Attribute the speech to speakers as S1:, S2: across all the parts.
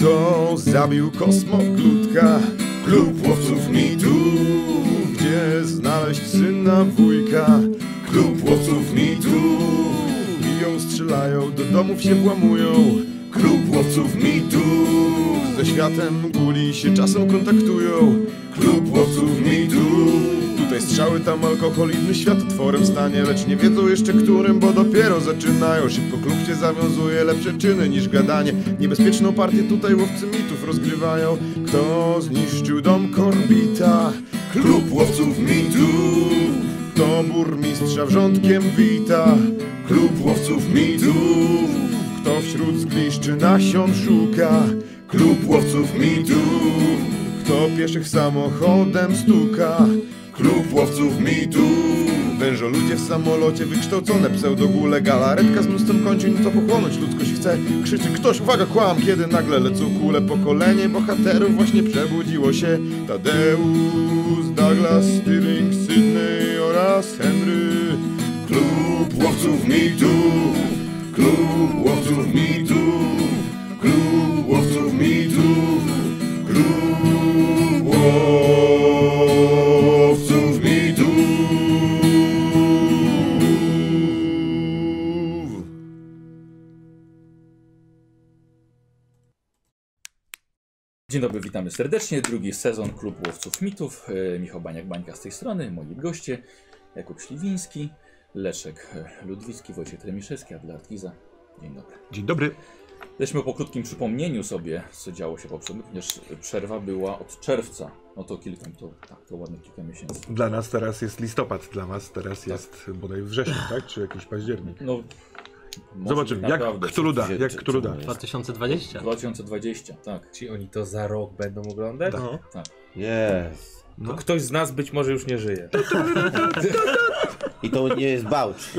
S1: mną zabił kosmoklutka Klub łowców mitu Gdzie znaleźć syna wujka Klub łowców mitu Biją, strzelają, do domów się włamują Klub łowców mitu Ze światem guli się czasem kontaktują Klub łowców mitu Tutaj strzały, tam alkohol, inny świat otworem stanie Lecz nie wiedzą jeszcze którym, bo dopiero zaczynają Szybko klub się zawiązuje, lepsze czyny niż gadanie Niebezpieczną partię tutaj łowcy mitów rozgrywają Kto zniszczył dom Korbita? Klub łowców mitów Kto burmistrza wrzątkiem wita? Klub łowców mitów Kto wśród zgliszczy nasion szuka? Klub łowców mitów kto pieszych samochodem stuka? Klub łowców mitu Wężo ludzie w samolocie, wykształcone pseudogule Galaretka z mnóstwem kończyn, co pochłonąć ludzkość chce Krzyczy ktoś, uwaga, kłam, kiedy nagle lecą kule Pokolenie bohaterów właśnie przebudziło się Tadeusz, Douglas, Stirling, Sydney oraz Henry Klub łowców mitu Klub łowców mitu Klub łowców mitu Klub łowców mitów.
S2: Dzień dobry, witamy serdecznie. Drugi sezon Klub Łowców Mitów. E, Michał Baniak-Bańka z tej strony, moi goście Jakub Śliwiński, Leszek e, Ludwicki, Wojciech Tremiszewski, Adler Giza. Dzień dobry.
S3: Dzień dobry.
S2: Jesteśmy po krótkim przypomnieniu sobie, co działo się poprzednio, ponieważ przerwa była od czerwca. No to kilka, to, tak, to ładne kilka miesięcy.
S3: Dla nas teraz jest listopad, dla was teraz jest bodaj wrzesień, tak? Czy jakiś październik?
S2: No, może
S3: Zobaczymy,
S2: tak
S3: jak
S2: naprawdę,
S3: Cthulhu da,
S2: czy-
S3: jak
S2: czy- czy
S3: Cthulhu da.
S2: ono jest.
S4: 2020.
S2: 2020, tak.
S5: Czy oni to za rok będą oglądać?
S3: No.
S6: Jest.
S5: To
S3: No.
S5: ktoś z nas być może już nie żyje.
S6: I to nie jest bałcz.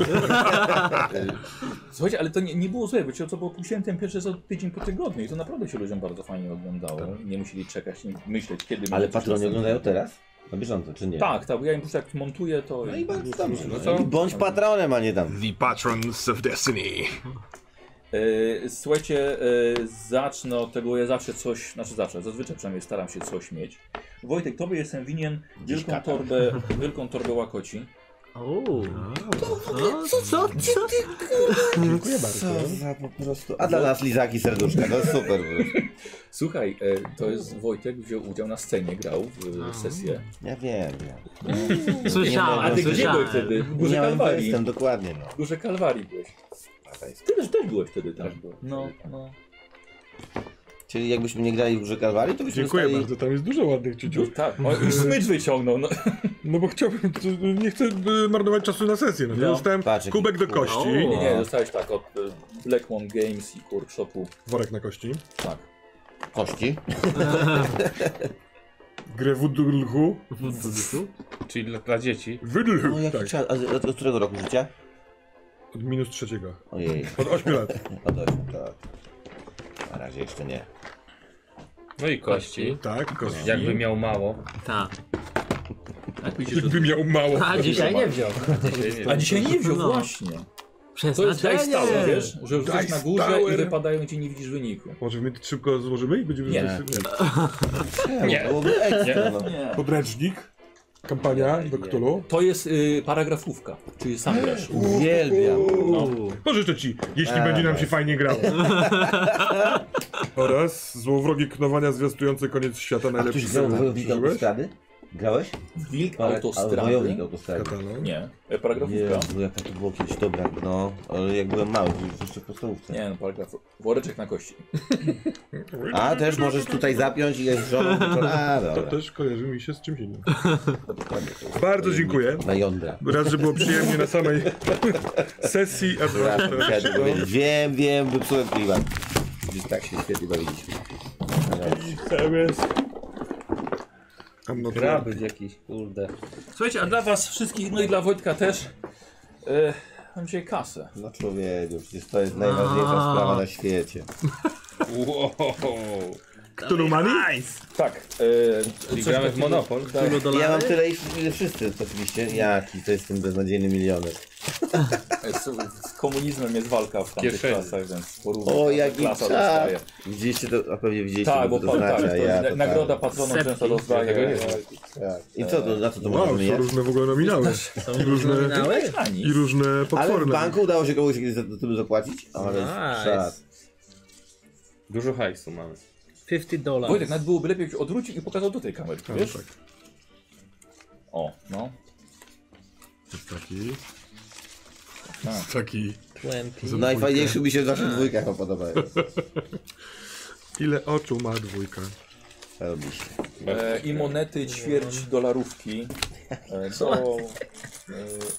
S2: Słuchajcie, ale to nie, nie było złe, bo ci o co było później ten pierwszy za tydzień po tygodniu i to naprawdę się ludziom bardzo fajnie oglądało.
S6: Tak.
S2: Nie musieli czekać, nie myśleć kiedy
S6: Ale
S2: będzie coś
S6: patroni
S2: następnego.
S6: oglądają teraz? Na bieżąco, czy nie?
S2: Tak, tak, bo ja im po prostu jak montuję to...
S6: No i bardzo dobrze.
S2: No
S6: I Bądź patronem, a nie tam.
S3: The Patrons of Destiny.
S2: E, Słuchajcie, e, zacznę od tego, ja zawsze coś, znaczy zawsze, zazwyczaj przynajmniej staram się coś mieć. Wojtek, tobie jestem winien wielką
S6: katar.
S2: torbę, wielką torbę łakoci.
S4: Uuu. No,
S6: Co? Co?
S3: Dziękuję bardzo.
S6: Co za po prostu... A
S2: No.
S6: dla nas lizaki serduszka, no super. po prostu.
S2: Słuchaj, e, to jest Wojtek, wziął udział na scenie, grał w e, sesję.
S6: Ja wiem, wiem.
S4: Słyszałem,
S2: A ty gdzie
S4: słyszałem.
S2: byłeś wtedy? W
S6: Nie
S2: Górze
S6: miałem
S2: Kalwarii.
S6: jestem dokładnie, no.
S2: W Górze Kalwarii byłeś. Ty też, też byłeś tak wtedy tam. No, no.
S6: Czyli jakbyśmy nie grali w Górze Kalwarii, to byśmy
S3: Dziękuję
S6: dostali...
S3: bardzo, tam jest dużo ładnych ciuciów.
S2: Tak, o, i smycz wyciągnął. No.
S3: No bo chciałbym, to nie chcę y, marnować czasu na sesję. No,
S2: No.
S3: Dostałem
S6: Patrz, jaki
S3: kubek do
S6: kubek.
S3: kości,
S2: Nie,
S4: O.
S2: nie, dostałeś tak od e, Blackmon Games i workshopu.
S3: worek na kości,
S2: Tak.
S6: Kości.
S3: grę w udulchu,
S5: Czyli dla, dla dzieci.
S3: wydlchu,
S6: No jaki
S3: tak,
S6: czas, a z, od, od którego roku życia?
S3: od minus trzeciego,
S6: Ojej,
S3: od 8 lat.
S6: od ośmiu, tak. Na razie jeszcze nie.
S5: No i kości.
S3: Tak, kości.
S5: Jakby miał mało.
S4: Tak.
S3: Jakby miał mało.
S4: A dzisiaj nie wziął.
S2: A dzisiaj nie wziął,
S4: No.
S2: właśnie. To jest
S4: Przeznaczenie.
S2: Dice Tower, wiesz? Że już jesteś na
S3: Dice
S2: górze i
S3: Tower.
S2: wypadają ci nie widzisz wyniku.
S3: Może my szybko złożymy i będziemy...
S2: Nie.
S3: rzucać-
S6: Nie, byłoby ekstra, no.
S2: Nie.
S3: Podręcznik, kampania do Cthulhu.
S2: To jest y, paragrafówka, czyli sam grasz.
S6: Uwielbiam.
S3: Pożyczę ci, jeśli
S6: A,
S3: będzie nam
S6: tak.
S3: się fajnie grało. Oraz złowrogie knowania zwiastujące koniec świata
S6: A
S3: najlepszy
S6: ktoś grał w Wojownik
S3: Użyłeś?
S6: Autostrady? Grałeś?
S2: Wilk
S6: Ale- ale
S2: autostrady.
S6: Wojownik Autostrady.
S3: Katalog.
S2: Nie, e, paragrafówka.
S6: Jezu, jaka to było kiedyś dobra, no. Ale jak byłem mały, to już jeszcze w podstawówce.
S2: Nie, no, paragraf. Woreczek na kości.
S6: A, też możesz tutaj zapiąć i jest żoną wieczorem. A,
S3: To
S6: dobra.
S3: też kojarzy mi się z czymś innym.
S6: Dokładnie, to jest
S3: Bardzo dziękuję.
S6: Na jądra.
S3: Raz, że było przyjemnie na samej sesji, a dwa, że
S6: Przepraszam,
S3: teraz
S6: chciałem
S3: się
S6: tylko powiedzieć. Wiem, wiem, wypsułem klimat. Gdzieś tak się świetnie bawiliśmy.
S3: I'm not
S5: Gra
S3: ready.
S5: być jakiś, kurde.
S2: Słuchajcie, a dla was wszystkich, no i dla Wojtka też. E, mam dzisiaj kasę.
S6: No człowieku, przecież to jest najważniejsza sprawa na świecie.
S5: Wow.
S3: Cthulhu Money?
S2: Tak.
S5: Czyli gramy w Monopol.
S6: Ja mam tyle, ile wszyscy oczywiście. Jaki to jest ten beznadziejny milioner.
S2: Z, z komunizmem jest walka w tamtych
S5: Kieszeni.
S2: czasach, więc porównaj.
S6: O,
S2: każda
S6: jaki
S2: klasa
S6: czas!
S2: dostaje.
S6: Widzieliście to, a pewnie widzieliście,
S2: Tak,
S6: bo
S2: bo
S6: to
S2: pan, tak, to,
S6: znaczy, ja to
S2: nagroda
S6: tak.
S2: patronom
S4: Sepki.
S2: często
S5: Ja tego nie
S2: dostaje.
S5: znam.
S6: I co, to, na co to
S2: No,
S3: Wow,
S6: można
S3: są
S6: mieć?
S3: różne w ogóle nominały.
S4: Są
S3: I różne,
S4: nominały?
S2: Ani.
S3: i różne
S6: Ale w
S3: potworne.
S6: banku udało się komuś kiedyś za za tym zapłacić? Ale
S4: Nice.
S6: czad.
S5: Dużo hajsu mamy.
S4: 50 dolarów.
S2: Wojtek, nawet byłoby lepiej, jakbyś odwrócił i pokazał do tej kamery,
S3: A, no
S2: wiesz?
S3: tak.
S2: O, no.
S3: Jest taki,
S2: A.
S3: jest taki.
S4: 20.
S6: Najfajniejszy mi się zawsze dwójka chyba podoba.
S3: Ile oczu ma dwójka?
S6: Robi się.
S2: E, I monety ćwierć dolarówki. E, do, e,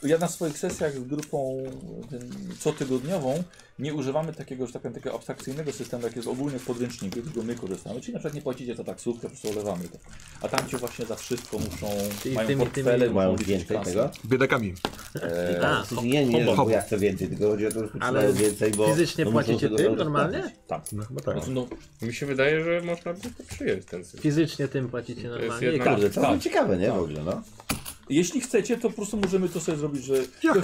S2: ja na swoich sesjach z grupą tym, cotygodniową nie używamy takiego, że tak powiem, takiego abstrakcyjnego systemu, jak jest ogólnie w podręczniku, tylko my korzystamy. Czyli na przykład nie płacicie za taksówkę, po prostu olewamy to. A tam ci właśnie za wszystko muszą,
S4: Czyli
S2: mają
S4: tymi-
S2: portfele,
S4: tymi-
S6: Mają
S2: muszą liczyć
S6: więcej
S2: kasę.
S6: tego?
S3: Biedakami.
S4: A,
S6: Nie, nie, nie,
S3: hop,
S6: że
S3: hop.
S6: ja chcę więcej, tylko chodzi o to, że
S4: Ale
S6: mają więcej, bo...
S4: fizycznie
S6: no muszą
S4: płacicie
S6: tego
S4: tym
S6: zaraz
S4: normalnie?
S2: Tak.
S3: No chyba tak.
S2: Znaczy, no,
S5: Mi się wydaje, że można by to przyjąć ten system.
S4: Fizycznie tym płacicie
S5: jest
S4: normalnie.
S5: jednak-
S6: Kurde, to
S2: Tak.
S6: tak. ciekawe, nie? W ogóle, no.
S2: jeśli chcecie, to po prostu możemy to sobie zrobić, że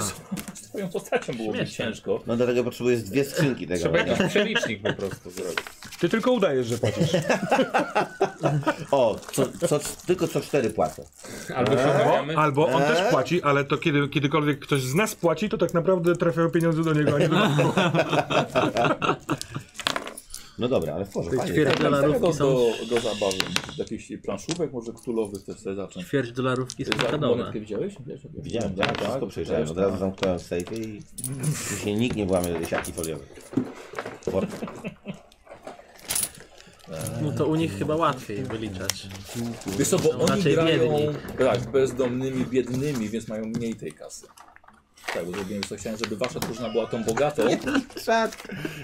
S2: z twoją postacią byłoby
S4: Śmieszne.
S2: ciężko.
S6: No dlatego potrzebujesz dwie skrzynki tego.
S5: Trzeba jakiś przelicznik po prostu zrobić.
S3: Ty tylko udajesz, że płacisz.
S6: O, co, co, tylko co cztery płacę.
S5: Albo się obawiamy.
S3: Albo on też płaci, ale to kiedy, kiedykolwiek ktoś z nas płaci, to tak naprawdę trafiają pieniądze do niego, a nie do nas.
S6: No dobra, ale w porządku. fajnie. tak.
S4: ćwierć
S2: Do,
S4: dolarówki są...
S2: do, do zabawy. Jakichś planszówek może królowych też sobie zacząć.
S4: Ćwierć dolarówki są
S2: Za
S4: kadowe.
S2: monetkę widziałeś? Wiesz,
S6: Widziałem, tak, wszystko przejrzałem.
S2: też
S6: Od razu
S2: tak.
S6: zamknąłem safe i później nikt nie włamie do siatki foliowej. Porka.
S4: No to u nich chyba łatwiej wyliczać.
S2: tak. Wiesz co, bo oni
S4: raczej
S2: grają
S4: biedni.
S2: tak, bezdomnymi, biednymi, więc mają mniej tej kasy. Tak, bo zrobiłem co chciałem, żeby wasza drużyna była tą bogatą.
S6: Szat.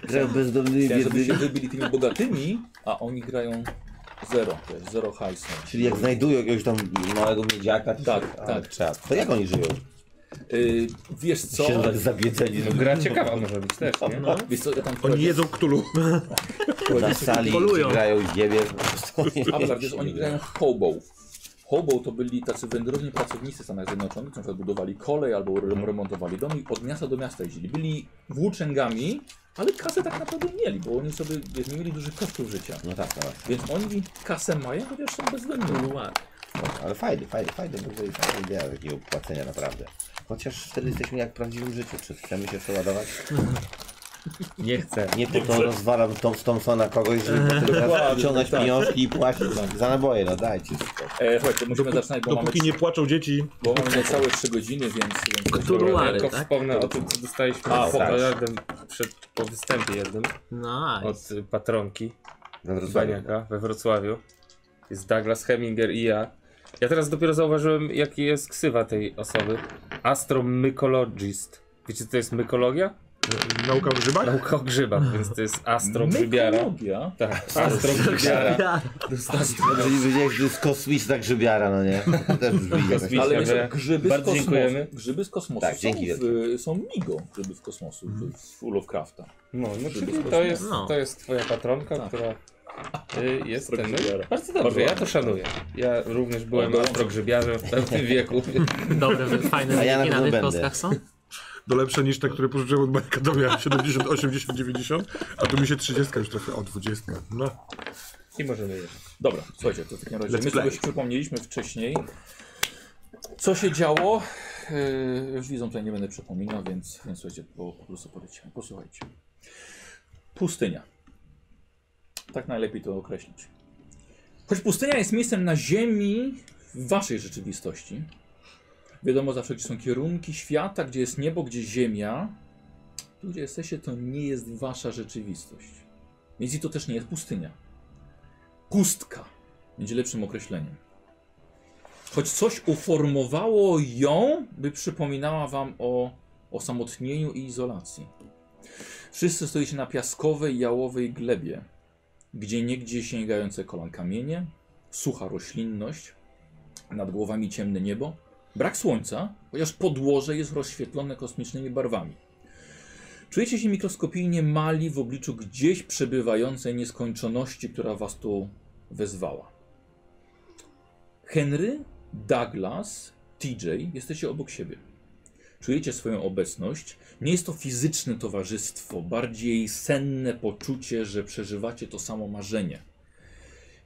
S6: Grał bezdomnymi
S2: Chciałem, żeby się
S6: biednymi.
S2: wybili tymi bogatymi, a oni grają zero, to jest zero hajsu.
S6: Czyli jak znajdują jakiegoś tam małego miedziaka, to
S2: Tak,
S6: się- ale
S2: tak.
S6: Czad. To jak oni żyją?
S2: Yy, wiesz co,
S6: Siedzą tak zabiedzeni.
S5: No gra ciekawa może być też, nie?
S4: No.
S2: wiesz co, ja tam
S3: Oni jedzą ktulu.
S6: Na sali
S4: Polują.
S6: grają i ziemię. po prostu.
S2: Abelard, wiesz, oni grają hobo. Hobo to byli tacy wędrowni pracownicy w Stanach Zjednoczonych, którzy na przykład budowali kolej albo rem- remontowali dom i od miasta do miasta jeździli. Byli włóczęgami, ale kasę tak naprawdę mieli, bo oni sobie wiesz, nie mieli dużych kosztów życia.
S6: No tak, no,
S2: Więc oni kasę mają, chociaż są bezwzględni.
S4: No ładnie.
S6: no, ale fajny, fajny, fajny, bo to jest taka idea takiego płacenia naprawdę. Chociaż wtedy jesteśmy jak w prawdziwym życiu. Czy chcemy się przeładować?
S5: Nie chcę.
S6: Nie po to rozwalam Tom, Thompsona kogoś, żeby potem teraz wyciągać pieniążki i płacić za naboje, no dajcie spokój.
S2: E, słuchaj, to musimy
S3: Dopó-
S2: zaczynać, bo mamy,
S3: Dopóki nie płaczą dzieci,
S2: bo mamy niecałe 3 godziny, więc... więc
S4: Którą-
S5: Ja tylko
S4: tak?
S5: wspomnę o tym, co dostaliśmy
S2: A,
S5: z
S2: pokaż.
S5: Abelardem przed, po występie jednym
S4: Nice.
S5: od y, patronki
S6: We Wrocławiu.
S5: Baniaka we Wrocławiu. Jest Douglas Heminger i ja. Ja teraz dopiero zauważyłem, jaki jest ksywa tej osoby. Astromycologist. Wiecie, co to jest mykologia?
S3: nauka w grzybach.
S5: Nauka o grzybach, więc to jest astrogrzybiara.
S2: Mykologia.
S5: Tak, astrogrzybiara.
S4: Ja,
S6: Dobrze, nie wiedziałeś, że to jest kosmiczna grzybiara, no nie? To też brzmi jakoś.
S5: Kosmiczna.
S2: Ale
S5: Dziękuję.
S2: myślę, grzyby z
S5: Bardzo
S2: kosmosu,
S5: dziękujemy.
S2: grzyby z kosmosu
S6: Tak,
S2: są,
S6: dzięki
S2: w, są migo, grzyby z kosmosu, w- z Lovecrafta.
S5: No, no czyli to jest,
S4: No.
S5: to jest twoja patronka,
S2: Tak.
S5: która y, jest ten. no,
S2: Astrogrzybiara.
S5: Bardzo dobrze, ja to szanuję. Ja również byłem
S2: dobrze.
S5: astrogrzybiarzem w pewnym wieku.
S4: dobre, fajne
S6: A ja na
S4: wyniki na
S6: pewno
S4: tych
S6: będę.
S4: kostkach są?
S3: Do lepsze niż te, które pożyczyłem od Majka do miałem 70, 80, 90, a tu mi się 30 już trafiła. O, 20. No.
S5: I możemy jeść.
S2: Dobra, słuchajcie, to w takim razie
S3: Let's
S2: my
S3: play.
S2: sobie przypomnieliśmy wcześniej, co się działo. Yy, już widzą, tutaj nie będę przypominał, więc, więc słuchajcie, po, po prostu poleciałem. Posłuchajcie. Pustynia. Tak najlepiej to określić. Choć pustynia jest miejscem na ziemi w waszej rzeczywistości, wiadomo zawsze, gdzie są kierunki świata, gdzie jest niebo, gdzie ziemia. Tu, gdzie jesteście, to nie jest wasza rzeczywistość. Więc i to też nie jest pustynia. Pustka będzie lepszym określeniem. Choć coś uformowało ją, by przypominała wam o osamotnieniu i izolacji. Wszyscy stoicie na piaskowej, jałowej glebie, gdzie niegdzie sięgające kolan kamienie, sucha roślinność, nad głowami ciemne niebo, brak słońca, chociaż podłoże jest rozświetlone kosmicznymi barwami. Czujecie się mikroskopijnie mali w obliczu gdzieś przebywającej nieskończoności, która was tu wezwała. Henry, Douglas, TJ, jesteście obok siebie. Czujecie swoją obecność. Nie jest to fizyczne towarzystwo, bardziej senne poczucie, że przeżywacie to samo marzenie.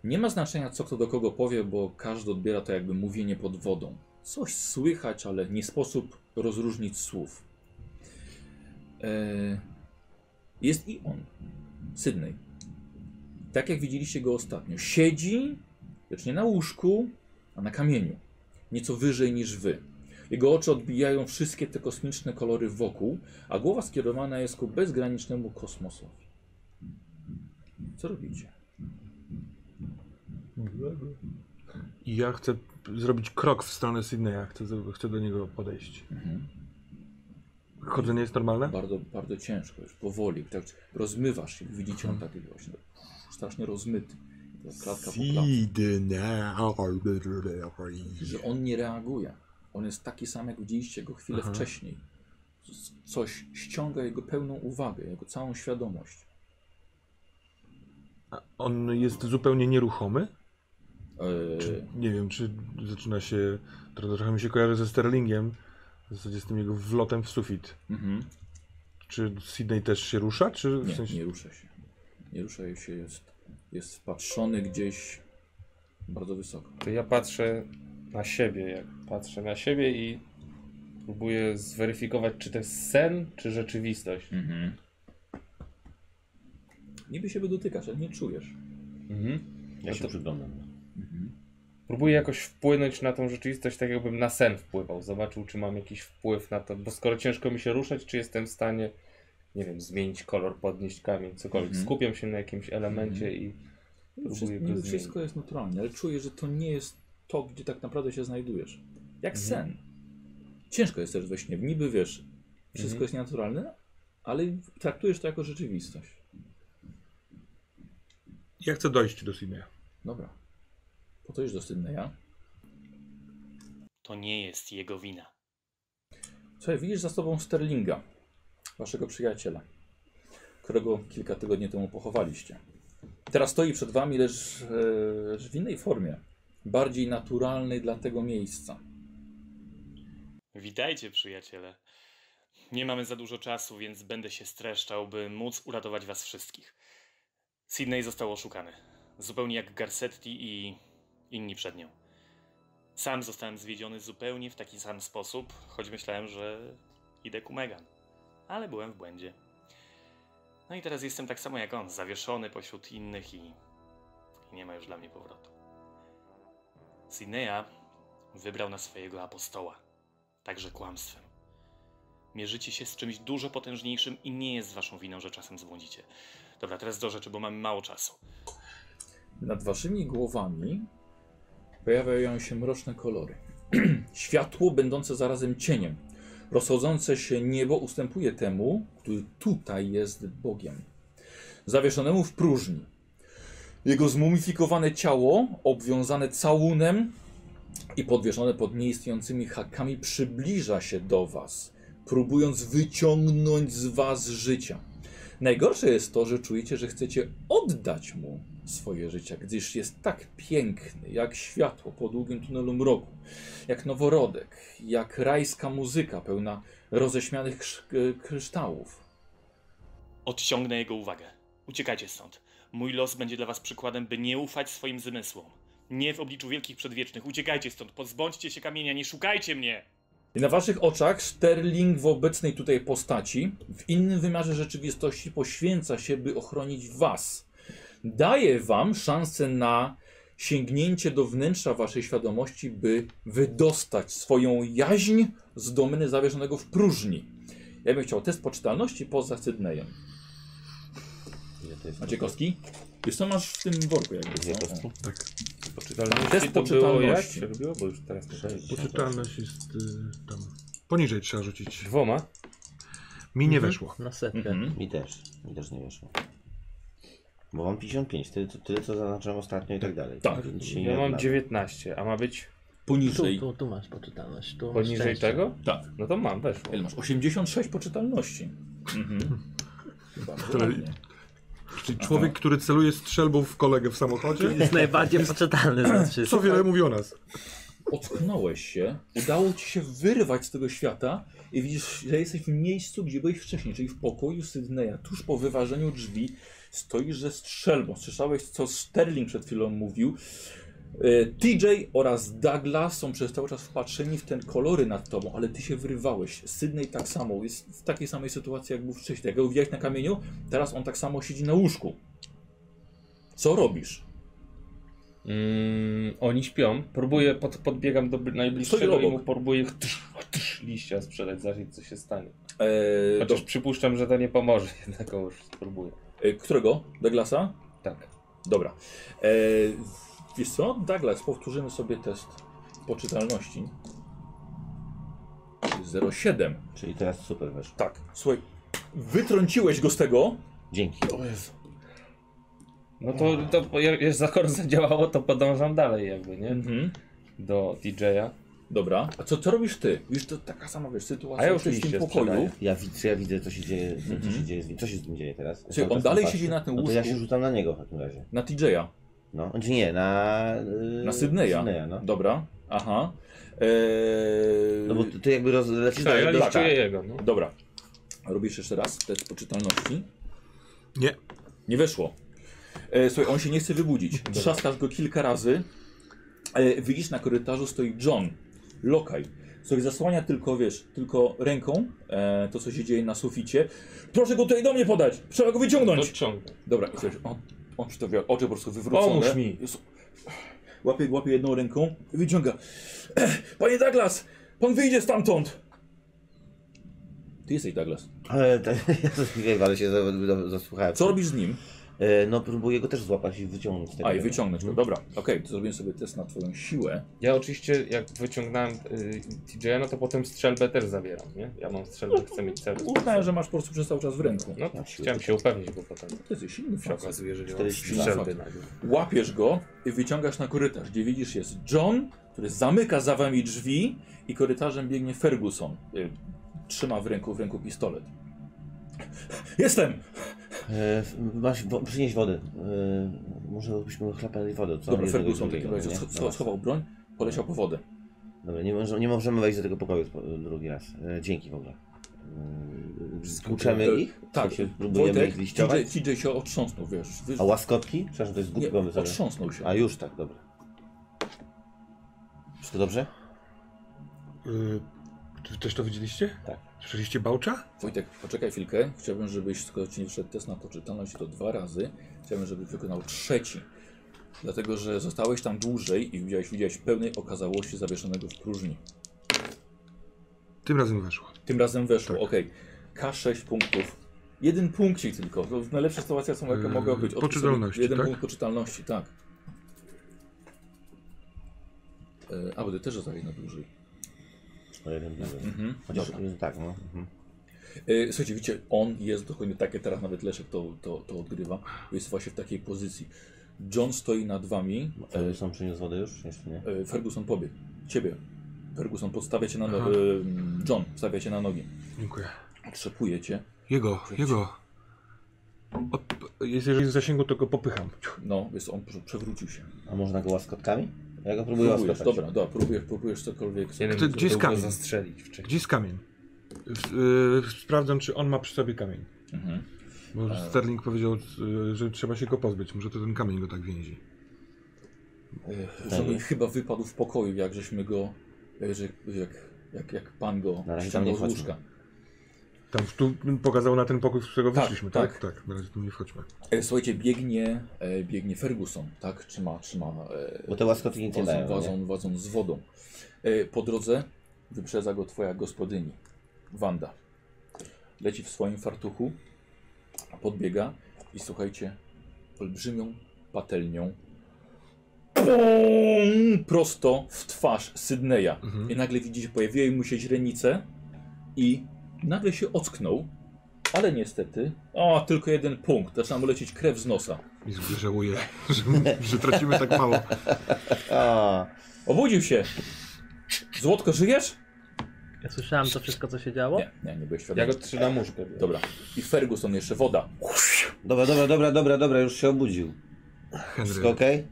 S2: Nie ma znaczenia, co kto do kogo powie, bo każdy odbiera to jakby mówienie pod wodą. Coś słychać, ale nie sposób rozróżnić słów. E, Jest i on, Sydney. Tak jak widzieliście go ostatnio. Siedzi, lecz nie na łóżku, a na kamieniu. Nieco wyżej niż wy. Jego oczy odbijają wszystkie te kosmiczne kolory wokół, a głowa skierowana jest ku bezgranicznemu kosmosowi. Co robicie?
S3: I ja chcę p- zrobić krok w stronę Sydneya, chcę, z- chcę do niego podejść. Chodzenie jest normalne?
S2: Bardzo, bardzo ciężko, już powoli. Tak rozmywasz się. Widzicie on taki właśnie strasznie rozmyty. Ta Klatka po klatce. Że on nie reaguje. On jest taki sam, jak widzieliście go chwilę
S3: Aha.
S2: wcześniej. C- Coś ściąga jego pełną uwagę, jego całą świadomość.
S3: A On jest zupełnie nieruchomy?
S2: Eee,
S3: Czy, nie wiem, czy zaczyna się... Trochę, trochę mi się kojarzy ze Sterlingiem, w zasadzie z tym jego wlotem w sufit.
S2: mhm.
S3: Czy Sydney też się rusza, czy w
S2: Nie,
S3: sensie...
S2: nie rusza się. Nie rusza się, jest, jest wpatrzony gdzieś bardzo wysoko.
S5: To ja patrzę na siebie, jak patrzę na siebie i próbuję zweryfikować, czy to jest sen, czy rzeczywistość.
S2: Mhm. Niby się dotykasz, ale nie czujesz.
S5: Mhm.
S6: Ja się
S5: to-
S6: przyglądam.
S5: Próbuję
S2: Mhm.
S5: jakoś wpłynąć na tą rzeczywistość, tak jakbym na sen wpływał. Zobaczył, czy mam jakiś wpływ na to, bo skoro ciężko mi się ruszać, czy jestem w stanie, nie wiem, zmienić kolor, podnieść kamień, cokolwiek.
S2: Mhm.
S5: Skupiam się na jakimś elemencie i
S2: Niby
S5: Próbuję
S2: wszystko,
S5: go
S2: niby
S5: zmienić.
S2: wszystko jest naturalne, ale czujesz, że to nie jest to, gdzie tak naprawdę się znajdujesz. Jak
S5: Mhm.
S2: sen. Ciężko jest też we śnie. Niby wiesz, wszystko
S5: Mhm.
S2: jest nienaturalne, ale traktujesz to jako rzeczywistość.
S3: Ja chcę dojść do Sydneya.
S2: Dobra. Po to już do Sydneya.
S7: To nie jest jego wina.
S2: Słuchaj, widzisz za sobą Sterlinga, waszego przyjaciela, którego kilka tygodni temu pochowaliście. Teraz stoi przed wami, lecz e, lecz w innej formie, bardziej naturalnej dla tego miejsca.
S7: Witajcie, przyjaciele. Nie mamy za dużo czasu, więc będę się streszczał, by móc uratować was wszystkich. Sydney został oszukany. Zupełnie jak Garcetti i inni przed nią. Sam zostałem zwiedziony zupełnie w taki sam sposób, choć myślałem, że idę ku Megan. Ale byłem w błędzie. No i teraz jestem tak samo jak on, zawieszony pośród innych i, i nie ma już dla mnie powrotu. Sydneya wybrał na swojego apostoła także kłamstwem. Mierzycie się z czymś dużo potężniejszym i nie jest waszą winą, że czasem zbłądzicie. Dobra, teraz do rzeczy, bo mamy mało czasu.
S2: Nad waszymi głowami pojawiają się mroczne kolory. Światło będące zarazem cieniem. Rozchodzące się niebo ustępuje temu, który tutaj jest Bogiem. Zawieszonemu w próżni. Jego zmumifikowane ciało, obwiązane całunem i podwieszone pod nieistniejącymi hakami, przybliża się do was, próbując wyciągnąć z was życia. Najgorsze jest to, że czujecie, że chcecie oddać mu swoje życie, gdyż jest tak piękny, jak światło po długim tunelu mroku, jak noworodek, jak rajska muzyka pełna roześmianych krz- k- kryształów.
S7: Odciągnę jego uwagę. Uciekajcie stąd. Mój los będzie dla was przykładem, by nie ufać swoim zmysłom. Nie w obliczu wielkich przedwiecznych. Uciekajcie stąd, pozbądźcie się kamienia, nie szukajcie mnie!
S2: I na waszych oczach Sterling w obecnej tutaj postaci, w innym wymiarze rzeczywistości, poświęca się, by ochronić was. Daje wam szansę na sięgnięcie do wnętrza waszej świadomości, by wydostać swoją jaźń z domeny zawieszonego w próżni. Ja bym chciał test poczytalności poza Sydneyem.
S6: Ile to jest?
S2: Macie kostki? Wiesz co masz w tym worku jakby?
S6: Dwie
S2: co?
S6: kostki?
S3: Tak.
S5: poczytalności
S2: Test
S5: to było jak
S2: poczytalności.
S5: się robiło, bo już teraz nie pamiętam.
S3: Poczytalność jest y, tam... Poniżej trzeba rzucić.
S5: Dwoma?
S3: Mi nie weszło.
S4: Na setkę.
S2: Mhm.
S6: Mi też. Mi też nie weszło. Bo mam 55, tyle, co- tyle co zaznaczyłem ostatnio i tak dalej.
S2: Tak.
S6: Więc się nie
S5: Ja mam
S6: odnawia.
S5: 19, a ma być
S4: Tu,
S2: Poniżej.
S4: tu, tu masz poczytalność. Tu masz
S5: poniżej
S4: szczęście.
S5: tego?
S2: Tak.
S5: No to mam, weszło.
S2: Ile masz? 86 poczytalności. Mhm. Bardzo
S3: To-
S2: ładnie.
S3: Czyli człowiek, który celuje strzelbą w kolegę w samochodzie,
S4: Jest najbardziej poczytalny ze
S3: co
S4: wszystkich.
S3: wiele mówi o nas.
S2: ocknąłeś się, udało ci się wyrwać z tego świata i widzisz, że jesteś w miejscu, gdzie byłeś wcześniej, czyli w pokoju Sydneya, tuż po wyważeniu drzwi stoisz ze strzelbą. Słyszałeś, co Sterling przed chwilą mówił. E, TJ oraz Douglas są przez cały czas wpatrzeni w ten kolory nad tobą, ale ty się wyrywałeś. Sydney tak samo, jest w takiej samej sytuacji, jak był wcześniej. Jak go widziałeś na kamieniu, teraz on tak samo siedzi na łóżku. Co robisz?
S5: Mm, oni śpią. Próbuję, pod, podbiegam do bl- najbliższego
S2: Stoi
S5: i mu
S2: obok.
S5: próbuję tsz, tsz, liścia sprzedać, zobaczyć co się stanie.
S2: E,
S5: Chociaż przypuszczam, że to nie pomoże, jednak już spróbuję.
S2: E, Którego? Douglasa?
S5: Tak.
S2: Dobra. E, wiesz co? Douglas, powtórzymy sobie test poczytalności. 07.
S6: Czyli teraz super weszło.
S2: Tak. Słuchaj, wytrąciłeś go z tego.
S6: Dzięki.
S5: No to, to bo jak jak zakon zadziałało, to podążam dalej jakby, nie?
S2: Mhm.
S5: Do DJ-a.
S2: Dobra. A co, co robisz ty? Wiesz, to taka sama wiesz, sytuacja.
S5: A ja już
S2: jesteś w
S5: liście
S2: tym pokoju.
S5: sprzedaję.
S6: Ja, wi- czy ja widzę, co się dzieje, co,
S2: Mhm.
S6: się dzieje z nim. Co się z nim dzieje teraz?
S2: on
S6: Cały czas
S2: dalej
S6: patrzy.
S2: siedzi na tym
S6: No to ja
S2: łóżku?
S6: się rzucam na niego w takim razie.
S2: Na TJ-a.
S6: No, czy nie, na... Yy,
S2: Na Sydneya.
S6: no.
S2: Dobra. Aha.
S6: no bo
S2: E,
S6: ty, ty jakby roz, lecisz
S5: Tak, ja
S6: dalej.
S5: liściuję jego, no.
S2: Dobra. Robisz jeszcze raz test poczytalności.
S3: Nie.
S2: Nie weszło. E, słuchaj, on się nie chce wybudzić. Trzaskasz go kilka razy. E, widzisz, na korytarzu stoi John, lokaj, który zasłania tylko, wiesz, tylko ręką e, to, co się dzieje na suficie. Proszę go tutaj do mnie podać! Trzeba go wyciągnąć!
S5: Dociągam.
S2: Dobra, i słuchaj, on, on przytawia oczy po prostu wywrócone.
S5: Pomóż mi.
S2: Jest- Łapie, łapie jedną ręką i wyciąga. Ech, Panie Douglas, pan wyjdzie stamtąd! Ty jesteś Douglas.
S6: Ale to- ja to nie wiem, ale się za- za- zasłuchałem.
S2: Co robisz z nim?
S6: E, no próbuję go też złapać i wyciągnąć z tego.
S2: A, i wyciągnąć go. Dobra, okej, to zrobiłem sobie test na twoją siłę.
S5: Ja oczywiście jak wyciągnąłem y, DJ-a, no to potem strzelbę też zabieram, nie? Ja mam strzelbę, chcę mieć cel.
S2: Uznałem, że masz po prostu przez cały czas w ręku.
S5: No to chciałem się upewnić, bo potem
S2: Ty jesteś silny
S5: się
S2: facet.
S5: okazuje, że nie mam
S6: 42
S5: strzelby nagle.
S2: Łapiesz go i wyciągasz na korytarz, gdzie widzisz jest John, który zamyka za wami drzwi i korytarzem biegnie Ferguson. Y, Trzyma w ręku, w ręku pistolet. Jestem!
S6: E, f- masz, wo, przynieś wody. E, może byśmy chlapali wodę. Co
S2: Dobra,
S6: Jednego,
S2: Ferguson w takim razie
S6: drugiego, nie? No.
S2: scho-
S6: Dobra.
S2: scho- schował broń, poleciał po wodę.
S6: Dobra, nie, może, nie możemy wejść do tego pokoju spo- drugi raz. E, dzięki w ogóle. E, Kłuczemy
S2: E,
S6: ich?
S2: Tak,
S6: W sensie próbujemy
S2: Wojtek,
S6: ich liściować?
S2: TJ, TJ się otrząsnął, wiesz. Wy...
S6: A łaskotki? Przepraszam, to jest głupi
S2: Nie,
S6: pomysł. ale-
S2: otrząsnął się.
S6: A już tak, dobra. Wszystko dobrze?
S3: Y, Czy też to widzieliście?
S6: Tak.
S3: Słyszeliście Bałcza?
S2: Wojtek, poczekaj chwilkę. Chciałbym, żebyś, skoro ci nie wszedł test na poczytalność, to dwa razy. Chciałbym, żebyś wykonał trzeci. Dlatego, że zostałeś tam dłużej i widziałeś, widziałeś pełnej okazałości zawieszonego w próżni.
S3: Tym razem weszło.
S2: Tym razem weszło,
S3: Tak.
S2: okej. K6 punktów. Jeden punkcik tylko. To najlepsza sytuacja, są, jaka
S3: Yy,
S2: mogła być. Odpisz
S3: poczytalności,
S2: sobie Jeden
S3: tak?
S2: punkt poczytalności, tak. Yy, a, bo ty też zostałeś na dłużej.
S6: O jeden bliżej.
S2: Mhm.
S6: Chociaż tak, no. Mhm.
S2: E, Słuchajcie, widzicie, on jest dokładnie tak, jak teraz nawet Leszek to, to, to odgrywa. Jest właśnie w takiej pozycji. John stoi nad wami.
S6: E, Są przyniósł wodę już? Jeszcze nie.
S2: E, e, Ferguson pobiegł. Ciebie. Ferguson podstawia cię na
S3: Aha.
S2: nogi. John stawia cię na nogi.
S3: Dziękuję.
S2: Trzepuje cię.
S3: Jego, jego. Od, jest- jeżeli jest w zasięgu, to go popycham. Ciuch.
S2: No, jest on prze- przewrócił się.
S6: A można go łaskotkami? Ja go próbuję
S2: Próbujesz,
S6: łaskotać.
S2: dobra, dobra, próbujesz, próbujesz cokolwiek.
S5: Jeden
S3: Kto- gdzie jest
S5: próbował
S3: kamień?
S5: zastrzelić wcześniej.
S3: Gdzie jest kamień? Y, y, sprawdzam, czy on ma przy sobie kamień.
S2: Mhm.
S3: Bo
S2: A.
S3: Sterling powiedział, y, że trzeba się go pozbyć. Może to ten kamień go tak więzi.
S2: E, Że on chyba wypadł w pokoju, jak żeśmy go. e, Że, jak, jak, jak pan go
S6: Na razie tam nie
S2: ściągnął z
S6: wchodźmy.
S2: łóżka.
S3: Tam tu pokazał na ten pokój, z którego
S2: Tak,
S3: wyszliśmy, tak?
S2: tak.
S3: Tak, na razie tu nie wchodźmy.
S2: E, Słuchajcie, biegnie, e, biegnie Ferguson, tak? Trzyma, trzyma. e,
S6: Bo te łaskotki nic nie
S2: Wadzą,
S6: dają. nie?
S2: wadzą, wadzą z wodą. E, Po drodze wyprzedza go twoja gospodyni, Wanda. Leci w swoim fartuchu, podbiega i słuchajcie, olbrzymią patelnią pum, prosto w twarz Sydneya.
S3: Mhm.
S2: I nagle widzicie, pojawiły mu się źrenice i nagle się ocknął, ale niestety, o, tylko jeden punkt, zaczyna mu lecieć krew z nosa.
S3: I żałuję, że, że tracimy tak mało.
S6: A,
S2: Obudził się! Złotko, żyjesz?
S4: Ja słyszałem to wszystko, co się działo?
S2: Nie, nie, nie byłeś świadomy.
S5: Ja go trzymam łóżkę.
S2: Dobra. I Ferguson jeszcze woda.
S6: dobra, dobra, dobra, dobra, dobra, już się obudził.
S3: Henry,
S6: Wszystko okej?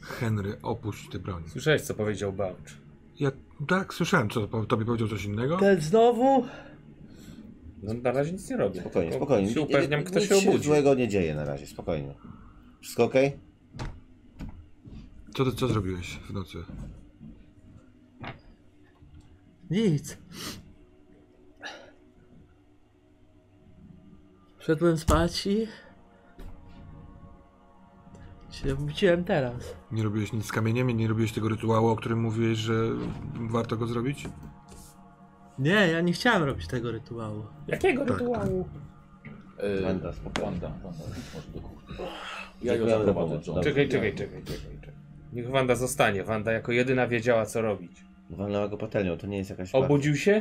S3: Henry, opuść tę broń.
S5: Słyszałeś, co powiedział Bałcz?
S3: Ja tak, słyszałem, co pan- tobie powiedział coś innego.
S2: Tak.
S4: Ten znowu?
S5: No, na razie nic nie robię.
S6: Spokojnie,
S5: Tylko
S6: spokojnie.
S5: Się upewniam,
S6: Nic-
S5: kto
S6: nic
S5: się obudzi.
S6: złego nie dzieje na razie, spokojnie. Wszystko ok?
S3: Co ty co zrobiłeś w nocy?
S4: Nic. Szedłem spać i... się obudziłem teraz.
S3: Nie robiłeś nic z kamieniem i nie robiłeś tego rytuału, o którym mówiłeś, że warto go zrobić?
S4: Nie, ja nie chciałem robić tego rytuału.
S2: Jakiego
S3: Tak.
S2: rytuału? Yy,
S6: Wanda, spokojnie.
S2: Wanda, Wanda, może do kuchni. Ja
S6: Dziękujemy
S2: ją
S6: za
S2: zaprowadzę,
S6: pomoc.
S2: John.
S5: Czekaj, czekaj, czekaj, czekaj, czekaj. Niech Wanda zostanie. Wanda jako jedyna wiedziała, co robić.
S6: Walnęła go patelnią, to nie jest jakaś...
S5: Obudził się?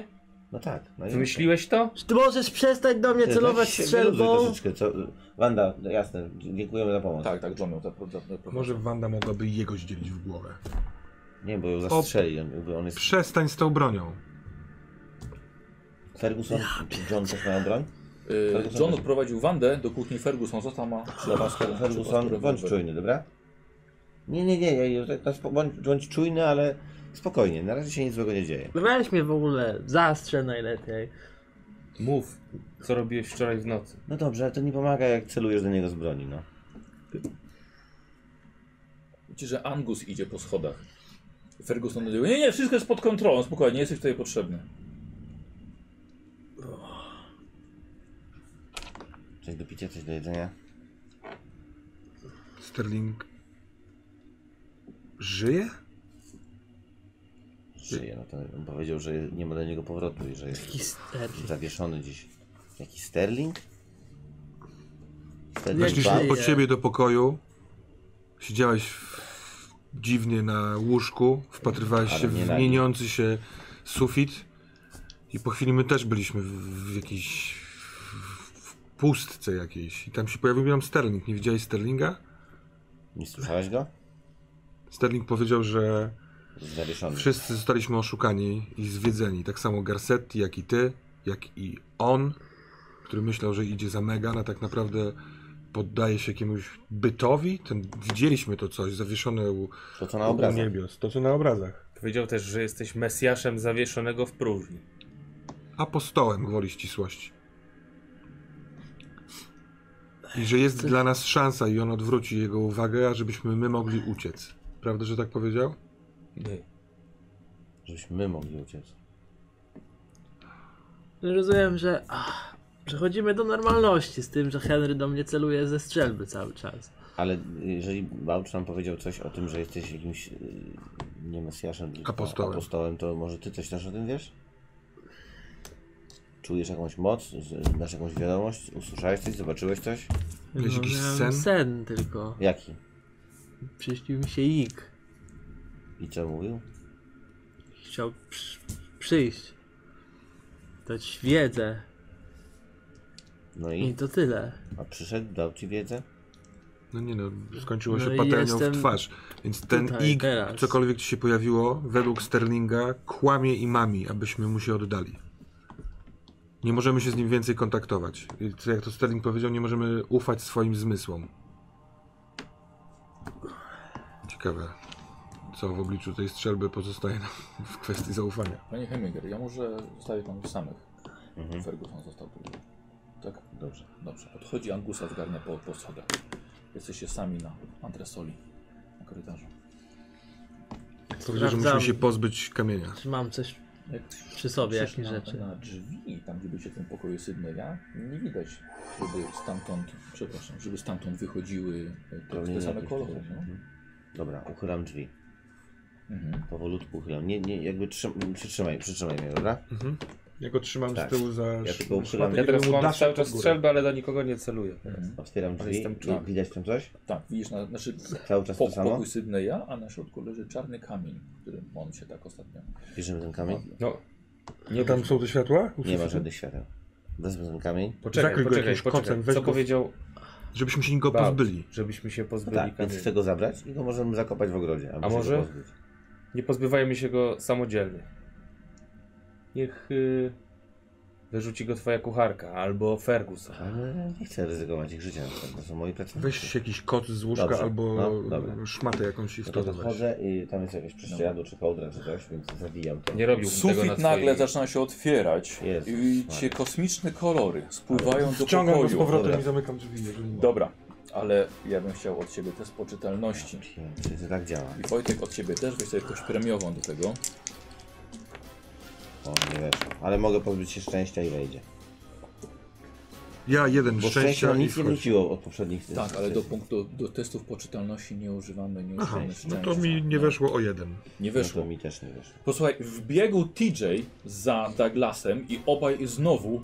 S6: bardzo- No tak. No i-
S5: Wymyśliłeś to?
S4: Czy ty możesz przestać do mnie
S6: Ty,
S4: celować
S6: weź się wyluzuj
S4: strzelbą?
S6: troszeczkę, co... Wanda, no jasne, dziękujemy za pomoc.
S2: Tak, tak, John ją zaprowadzę.
S3: Może Wanda mogłaby jego zdzielić w głowę.
S6: Nie, bo ją zastrzeli, jakby on jest...
S3: Przestań z tą bronią.
S6: Ferguson, John też miał broń?
S2: Yy, John odprowadził Wandę do kuchni Ferguson, został ma...
S6: Do was Ferguson, bądź czujny, dobra? Nie, nie, nie, ja- ja- na spo- bądź, bądź czujny, ale spokojnie, na razie się nic złego nie dzieje.
S4: No Weź mnie w ogóle, zastrzel najlepiej.
S5: Mów, co robiłeś wczoraj w nocy.
S6: No dobrze, ale to nie pomaga jak celujesz do niego z broni, no.
S2: Widzicie, że Angus idzie po schodach. Ferguson mówi, nie, nie, wszystko jest pod kontrolą, spokojnie, nie jesteś tutaj potrzebny.
S6: Coś do picia, coś do jedzenia.
S3: Sterling żyje?
S6: Żyje, no to on powiedział, że nie ma do niego powrotu i że jest
S4: Histerii.
S6: zawieszony gdzieś. Jaki Sterling?
S4: Nie
S6: Sterling
S4: żyje.
S3: Weszliśmy
S6: Bard?
S3: po ciebie do pokoju. Siedziałeś w... dziwnie na łóżku, wpatrywałeś
S6: Ale
S3: się w
S6: nie na nim.
S3: mieniący się sufit i po chwili my też byliśmy w, w jakiejś w pustce jakiejś i tam się pojawił nam Sterling. Nie widziałeś Sterlinga?
S6: Nie słyszałeś go?
S3: Sterling powiedział, że
S6: Zawieszony.
S3: wszyscy zostaliśmy oszukani i zwiedzeni. Tak samo Garcetti, jak i ty, jak i on, który myślał, że idzie za Megan, a tak naprawdę poddaje się jakiemuś bytowi. Ten, widzieliśmy to coś zawieszone u,
S6: To co na obrazach.
S3: niebios. To co na obrazach.
S5: Powiedział też, że jesteś Mesjaszem zawieszonego w próżni.
S3: Apostołem gwoli ścisłości. I że jest dla nas szansa i on odwróci jego uwagę, ażebyśmy my mogli uciec. Prawda, że tak powiedział?
S5: My.
S6: Żebyśmy my mogli uciec.
S4: Rozumiem, że ach, przechodzimy do normalności z tym, że Henry do mnie celuje ze strzelby cały czas.
S6: Ale jeżeli Bałcz nam powiedział coś o tym, że jesteś jakimś y, nie mesjaszem, tylko
S3: Apostołem.
S6: apostołem, to może ty coś też o tym wiesz? Czujesz jakąś moc? Z- Masz jakąś wiadomość? Usłyszałeś coś? Zobaczyłeś coś?
S3: Miałeś jakiś
S4: miałem
S3: sen?
S4: sen tylko.
S6: Jaki?
S4: Przyśnił mi się ik.
S6: I co mówił?
S4: Chciał przy, przyjść. Dać wiedzę.
S6: No
S4: I
S6: i?
S4: to tyle.
S6: A przyszedł, dał ci wiedzę?
S3: No nie no, skończyło się
S4: No i
S3: patelnią
S4: jestem
S3: w twarz. Więc ten
S4: tutaj,
S3: ig,
S4: teraz.
S3: cokolwiek ci się pojawiło, według Sterlinga kłamie i mami, abyśmy mu się oddali. Nie możemy się z nim więcej kontaktować. I co, Jak to Sterling powiedział, nie możemy ufać swoim zmysłom. Ciekawe, co w obliczu tej strzelby pozostaje nam w kwestii zaufania.
S2: Panie Heminger, ja może zostawię panów samych.
S6: Mhm.
S2: Ferguson został tu. Tak? Dobrze. Dobrze. Odchodzi Angusa, zgarnia po, po schodach. Jesteście sami na antresoli, na korytarzu.
S3: Powiedział, że musimy się pozbyć kamienia.
S4: Czy mam coś
S2: Jak
S4: przy sobie,
S2: patrzysz
S4: jakieś
S2: na,
S4: rzeczy.
S2: na drzwi, tam gdzie byście w tym pokoju Sydneya, nie widać, żeby stamtąd, przepraszam, żeby stamtąd wychodziły e, te, te same
S6: jakoś
S2: kolory.
S6: tutaj.
S2: No?
S6: Mhm. Dobra, uchylam drzwi.
S2: Mhm.
S6: Powolutku uchylam. Nie, nie, jakby trzym, przytrzymaj, przytrzymaj mnie, dobra?
S3: Mhm. Ja go trzymam
S6: Tak.
S3: z tyłu za
S6: Ja
S3: sz-
S6: tylko uchylam.
S3: szmatę i
S5: Ja teraz
S3: mu
S5: mam
S3: daszę
S5: cały
S3: pod
S5: czas
S3: górę.
S5: strzelbę, ale do nikogo nie celuję. teraz.
S6: Otwieram
S5: Ale
S6: drzwi.
S5: jestem czarny.
S6: Widać tam coś?
S2: Tak, widzisz, na, znaczy
S6: Cały czas
S2: po,
S6: to samo?
S2: pokój Sydneya, a na środku leży czarny kamień, którym on się tak ostatnio
S6: Bierzemy ten kamień?
S5: No,
S3: Nie tam są te światła?
S6: Nie ma żadnych świateł. Wezmę ten kamień.
S5: poczekaj,
S3: Zakryj go
S5: poczekaj,
S3: jakimś kocem,
S5: poczekaj.
S3: weź
S5: Co
S3: go-
S5: powiedział
S3: Żebyśmy się go
S5: Bałcz,
S3: pozbyli.
S5: żebyśmy się pozbyli
S6: Tak, więc
S5: kamieni.
S6: chcę go zabrać i go możemy zakopać w ogrodzie. aby
S5: A
S6: się
S5: może?
S6: go pozbyć.
S5: Nie pozbywajmy się go samodzielnie. Niech y, Wyrzuci go twoja kucharka albo Fergus.
S6: Ale nie chcę ryzykować ich życia. na przykład. To są moi pracownicy.
S3: Weź się jakiś kot z łóżka
S6: Dobrze,
S3: albo
S6: no, dobra.
S3: szmatę jakąś i w
S6: No
S3: to
S6: to
S3: dodać.
S6: wychodzę i tam jest jakieś prześcieradło czy kołdra czy coś, więc zawijam to.
S5: Nie robił tego na
S2: Sufit nagle
S5: swojej-
S2: zaczyna się otwierać
S6: Jezus
S2: i
S6: Maria.
S2: cię kosmiczne kolory spływają do
S3: Wciągam go z
S2: pokoju.
S3: powrotem
S6: Dobra.
S3: i zamykam drzwi. jeżeli mogę.
S2: Dobra, ale ja bym chciał od ciebie test poczytalności.
S6: Czy to tak działa?
S2: I Wojtek od ciebie też, weź sobie jakąś premiową do tego.
S6: O, nie weszło. Ale mogę pozbyć się szczęścia i wejdzie.
S3: Ja jeden
S6: Bo szczęście
S3: szczęścia
S6: nam
S3: i
S6: nic nie
S3: wchodzi.
S6: wróciło od poprzednich
S2: Tak, ale do
S6: sesji.
S2: punktu, do testów poczytalności nie używamy, nie
S3: Aha,
S2: używamy
S3: no
S2: szczęścia.
S3: to mi nie
S2: No,
S3: weszło o jeden.
S2: Nie
S6: No
S2: weszło.
S6: to mi też nie weszło.
S2: Posłuchaj, wbiegł TJ za Douglasem i obaj znowu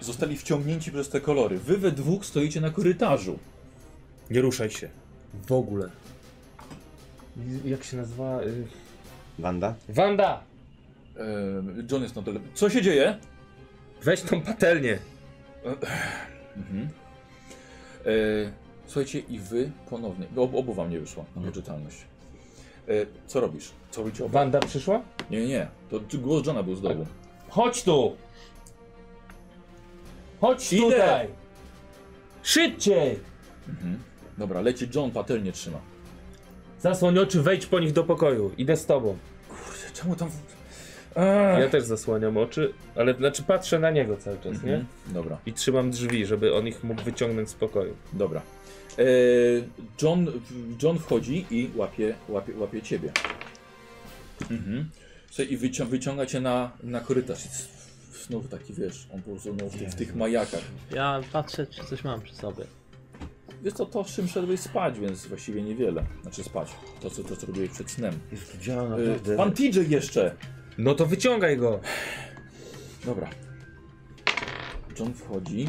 S2: zostali wciągnięci przez te kolory. Wy we dwóch stoicie na korytarzu.
S5: Nie ruszaj się. W ogóle. I- Jak się nazywa? y,
S6: Wanda?
S5: Wanda!
S2: Ehm, John jest na dole. Co się dzieje?
S5: Weź tą patelnię!
S2: Mhm. E, słuchajcie, i wy ponownie. Bo ob- obu wam nie wyszło na poczytalność. E, co robisz? Co robicie oba?
S5: Wanda przyszła?
S2: Nie, nie, nie. To t- głos Johna był z dołu.
S5: Chodź tu! Chodź
S2: Idę!
S5: tutaj! Szybciej!
S2: Dobra, leci John, patelnię trzyma.
S5: Zasłoń oczy, wejdź po nich do pokoju. Idę z tobą.
S2: Kurde, czemu tam...
S5: Ja też zasłaniam oczy, ale znaczy patrzę na niego cały czas, nie?
S2: Mhm. Dobra,
S5: I trzymam drzwi, żeby on ich mógł wyciągnąć z pokoju.
S2: dobra. E, John, John wchodzi i łapie, łapie, łapie ciebie. Mhm. Słuchaj, i wycią, wyciąga cię na, na korytarz. I c- Znowu taki, wiesz, on po prostu no, w, tych- w tych majakach.
S4: Ja patrzę, czy coś mam przy sobie.
S2: Wiesz co, to z czym szedłeś spać, więc właściwie niewiele. Znaczy spać. To co, to, co robiłeś przed snem.
S6: Jest to działa
S2: Y,
S6: naprawdę.
S2: Pan TJ jeszcze!
S5: No to wyciągaj go!
S2: Dobra. John wchodzi.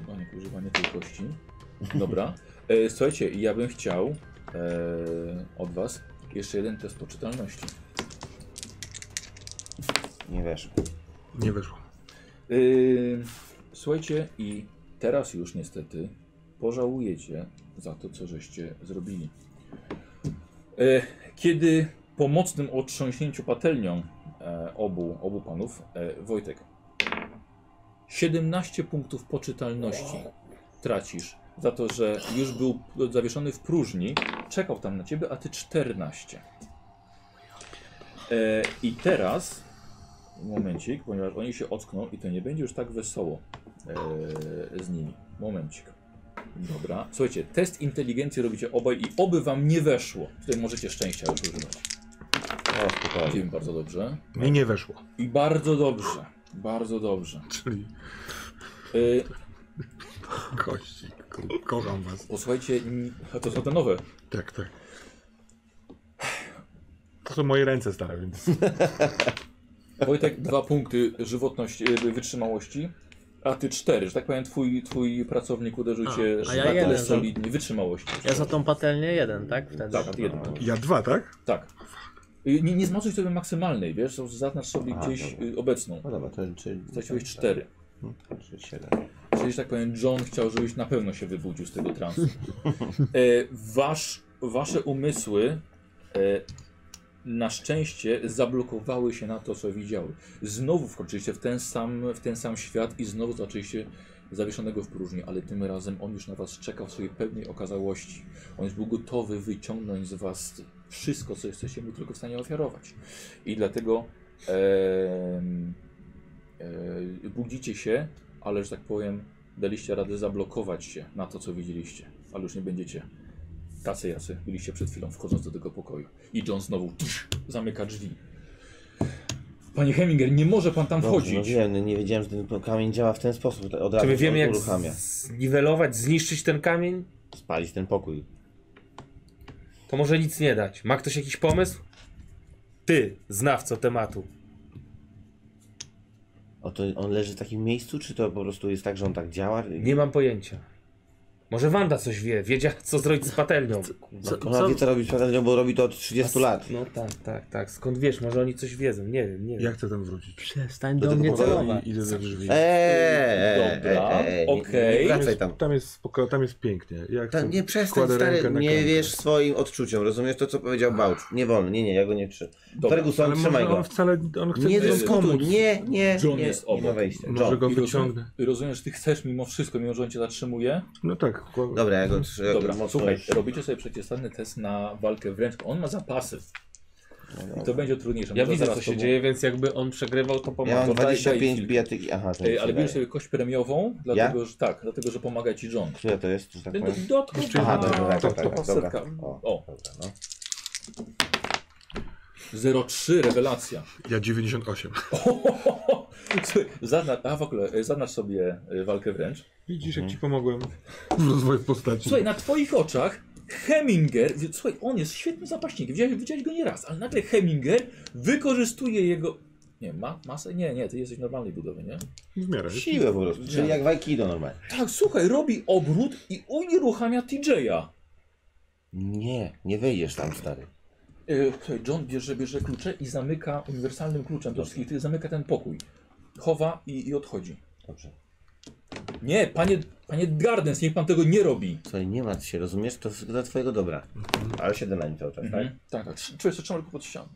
S2: Y, Banek, używanie tej kości. Dobra. E, Słuchajcie, ja bym chciał e, od was jeszcze jeden test poczytalności.
S6: Nie weszło. No.
S3: Nie weszło.
S2: Yy, słuchajcie, i teraz już niestety pożałujecie za to, co żeście zrobili. Yy, kiedy po mocnym otrząśnięciu patelnią e, obu, obu panów, e, Wojtek, 17 punktów poczytalności tracisz za to, że już był zawieszony w próżni, czekał tam na ciebie, a ty 14. E, I teraz Momencik, ponieważ oni się ockną i to nie będzie już tak wesoło e, z nimi. Momencik. Dobra. Słuchajcie, test inteligencji robicie obaj i oby wam nie weszło. Tutaj możecie szczęścia już używać.
S6: O, spokojnie.
S2: Dzień bardzo dobrze.
S3: Mi nie weszło.
S2: I bardzo dobrze. Bardzo dobrze.
S3: Czyli
S2: Y,
S3: kości. Ko- Kocham was.
S2: posłuchajcie, n- a to są te nowe.
S3: Tak, tak. To są moje ręce stare, więc.
S2: Wojtek, dwa punkty żywotności, y, wytrzymałości. A ty cztery, że tak powiem, twój, twój pracownik uderzył
S4: A,
S2: cię
S4: a ja
S2: na tyle
S4: jeden, że-
S2: solidnie. Wytrzymałości.
S4: Ja za tą patelnię jeden, tak? Wtedy.
S2: Tak, a ty jeden.
S3: Ja dwa, tak?
S2: Tak. Y, Nie, nie zmazuj sobie maksymalnej, wiesz, to zaznacz sobie
S6: Aha,
S2: gdzieś
S6: dobra.
S2: y, obecną.
S6: No dobra, to czy...
S2: Straciłeś cztery.
S6: Czy siedem.
S2: Czyli, że tak powiem, John chciał, żebyś na pewno się wybudził z tego transu. E, wasz, wasze umysły e, na szczęście zablokowały się na to, co widziały. Znowu wkroczyliście w ten sam, w ten sam świat i znowu zaczęliście zawieszonego w próżni, ale tym razem on już na was czekał w swojej pełnej okazałości. On już był gotowy wyciągnąć z was wszystko, co jesteście mu tylko w stanie ofiarować. I dlatego em, e, budzicie się, ale że tak powiem, daliście radę zablokować się na to, co widzieliście. Ale już nie będziecie tacy, jacy byliście przed chwilą, wchodząc do tego pokoju. I John znowu tusz, zamyka drzwi. Panie Heminger, nie może pan tam
S6: Dobrze, no
S2: wchodzić.
S6: wiem, no nie wiedziałem, że ten kamień działa w ten sposób. Od razu
S5: Czy my wiemy
S6: on
S5: jak
S6: uruchamia.
S5: zniwelować, zniszczyć ten kamień?
S6: Spalić ten pokój.
S5: To może nic nie dać. Ma ktoś jakiś pomysł? Ty, znawco tematu.
S6: O, to on leży w takim miejscu, czy to po prostu jest tak, że on tak działa?
S5: Nie mam pojęcia. Może Wanda coś wie, wiedziała co zrobić z patelnią. Kurwa.
S4: Co,
S6: Ona
S4: co,
S6: wie co robi z patelnią, bo robi to od 30 lat.
S5: No tak, tak, tak. Skąd wiesz? Może oni coś wiedzą, nie wiem, nie wiem.
S3: Ja chcę tam wrócić.
S4: przestań do,
S6: tego
S4: mnie
S6: powodu
S4: celować.
S3: I, idę za drzwi.
S6: Eee,
S2: Dobra,
S6: eee, nie-
S2: okej.
S6: Nie wracaj E, tam.
S3: Tam jest, spoko, tam jest pięknie. Ja chcę,
S6: Tam, nie przestań,
S3: Tak kładę
S6: stary,
S3: rękę na
S6: nie
S3: klamkę.
S6: wiesz swoim odczuciom, rozumiesz to, co powiedział Bałcz. Nie wolno, nie, nie, ja go nie trzy.
S2: Dobra.
S6: Ferguson,
S3: Ale
S6: trzymaj
S3: może
S6: go.
S3: on wcale, on chce
S6: Nie
S3: mi
S6: dyskutuj,
S3: pomóc.
S6: nie, nie,
S2: John
S6: nie,
S2: jest
S6: nie ma
S2: obok.
S6: wyjścia.
S3: Może
S6: John.
S3: go
S2: I rozumiem,
S3: wyciągnę.
S2: i rozumiem, że ty chcesz mimo wszystko, mimo że on cię zatrzymuje.
S3: No tak. kła-
S6: Dobra, ja go trzy- ja go
S2: Dobra,
S6: mocno
S2: słuchaj,
S6: jeszcze-
S2: robicie sobie przeciwstawny test na walkę wręcz. On ma zapasy.
S6: No
S2: I to będzie trudniejsze.
S5: Ja
S2: Może
S5: widzę
S2: zaraz
S5: co
S2: to
S5: się
S2: było.
S5: dzieje, więc jakby on przegrywał, to
S6: Ja
S5: pomaga.
S6: mam
S2: to daj- daj
S6: 25
S2: chwilkę.
S6: bijatyki, aha. to
S2: Ej,
S6: jest
S2: ale
S6: dalej.
S2: bierz sobie kość premiową, dlatego, że tak, dlatego, że pomaga ci John.
S6: Które to jest, że tak
S2: Ten
S6: powiem?
S2: dodatkowa
S6: Aha, dobra, tak, tak,
S3: to-
S6: tak, dobra.
S2: setka.
S6: O,
S2: O.
S6: dobra, no.
S2: 0,3 rewelacja.
S3: Ja 98.
S2: Słuchaj, Zaznacz, a w ogóle, y, zaznacz sobie y, walkę wręcz.
S3: Widzisz,
S6: Mhm.
S3: jak ci pomogłem w rozwoju No, postaci.
S2: Słuchaj, na twoich oczach Heminger, wie- słuchaj, on jest świetnym zapaśnikiem, widziałeś, widziałeś go nieraz, ale nagle Heminger wykorzystuje jego... Nie, ma, masę? Nie, nie, ty jesteś normalnej budowy, nie?
S3: W miarę.
S6: Siłę po prostu, czyli jak w Aikido normalnie.
S2: Tak, słuchaj, robi obrót i unieruchamia TJ'a.
S6: Nie, nie wyjdziesz tam, stary.
S2: E, Słuchaj, John bierze, bierze klucze i zamyka uniwersalnym kluczem do wszystkich, tych, zamyka ten pokój. Chowa i, i odchodzi.
S6: Dobrze.
S2: Nie, panie, panie Gardens, niech pan tego nie robi.
S6: Słuchaj, nie martw się, rozumiesz? To jest dla twojego dobra. Ale siedzę na nim cały czas, tak?
S2: Mhm. Tak, tak, trz- czujesz, że trzymam go pod ścianą.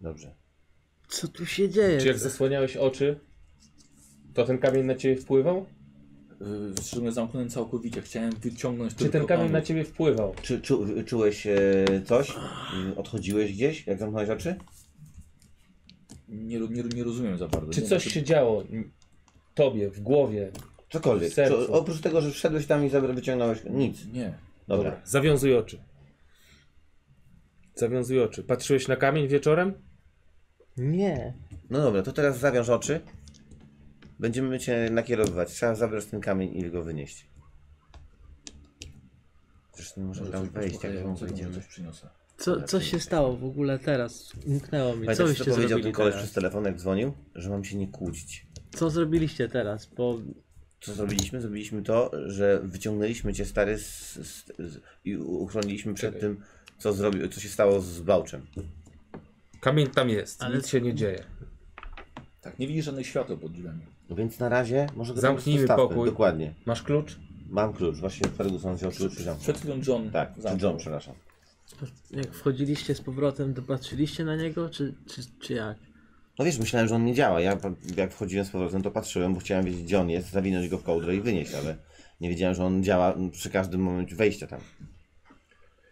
S6: Dobrze.
S4: Co tu się dzieje?
S5: Czy jak zasłaniałeś oczy, to ten kamień na ciebie wpływał?
S2: Yy, Wstrzymałem zamknąłem całkowicie, chciałem wyciągnąć
S5: Czy ten kamień na ciebie wpływał?
S6: Czy czu, czułeś e, coś? Mm, Odchodziłeś gdzieś, jak zamknąłeś oczy?
S2: Nie, ro- nie, ro- nie rozumiem za bardzo.
S5: Czy
S2: nie
S5: coś
S2: wiem,
S5: się działo m, tobie, w głowie?
S6: Cokolwiek.
S5: W sercu.
S6: Czy, oprócz tego, że wszedłeś tam i zabra- wyciągnąłeś nic.
S2: Nie.
S6: Dobra.
S5: Zawiązuj oczy. Zawiązuj oczy. Patrzyłeś na kamień wieczorem?
S4: Nie.
S6: No dobra, to teraz zawiąż oczy. Będziemy cię nakierowywać. Trzeba zabrać ten kamień i go wynieść. Zresztą nie możemy tam
S2: coś
S6: wejść, jak tam
S2: uspokajającego, może
S6: wejdziemy.
S2: coś przyniosę.
S4: Co, co się stało w ogóle teraz? Umknęło mi. Co
S6: Pamiętasz, co
S4: byście
S6: powiedział
S4: zrobili
S6: ten koleś
S4: teraz?
S6: przez telefon, jak dzwonił? Że mam się nie kłócić.
S4: Co zrobiliście teraz? Bo
S6: Co zrobiliśmy? Zrobiliśmy to, że wyciągnęliśmy cię stary z, z, z, i uchroniliśmy przed
S5: Czekaj.
S6: tym, co, zrobi, co się stało z Bałczem.
S5: Kamień tam jest,
S4: Ale-
S5: nic się nie dzieje.
S2: Tak, nie widzisz żadnych świateł pod drzwiami.
S6: No więc na razie może go tam
S5: Zamknijmy
S6: zostawmy.
S5: pokój.
S6: Dokładnie.
S5: Masz klucz?
S6: Mam klucz, właśnie Ferguson wziął klucz i zamknął.
S2: Przed chwilą John
S6: Tak, czy
S2: zamknął.
S6: John, przepraszam.
S4: jak wchodziliście z powrotem, to patrzyliście na niego, czy, czy, czy jak?
S6: No wiesz, myślałem, że on nie działa. Ja pa- jak wchodziłem z powrotem, to patrzyłem, bo chciałem wiedzieć, gdzie on jest, zawinąć go w kołdrę i wynieść, ale nie wiedziałem, że on działa przy każdym momencie wejścia tam.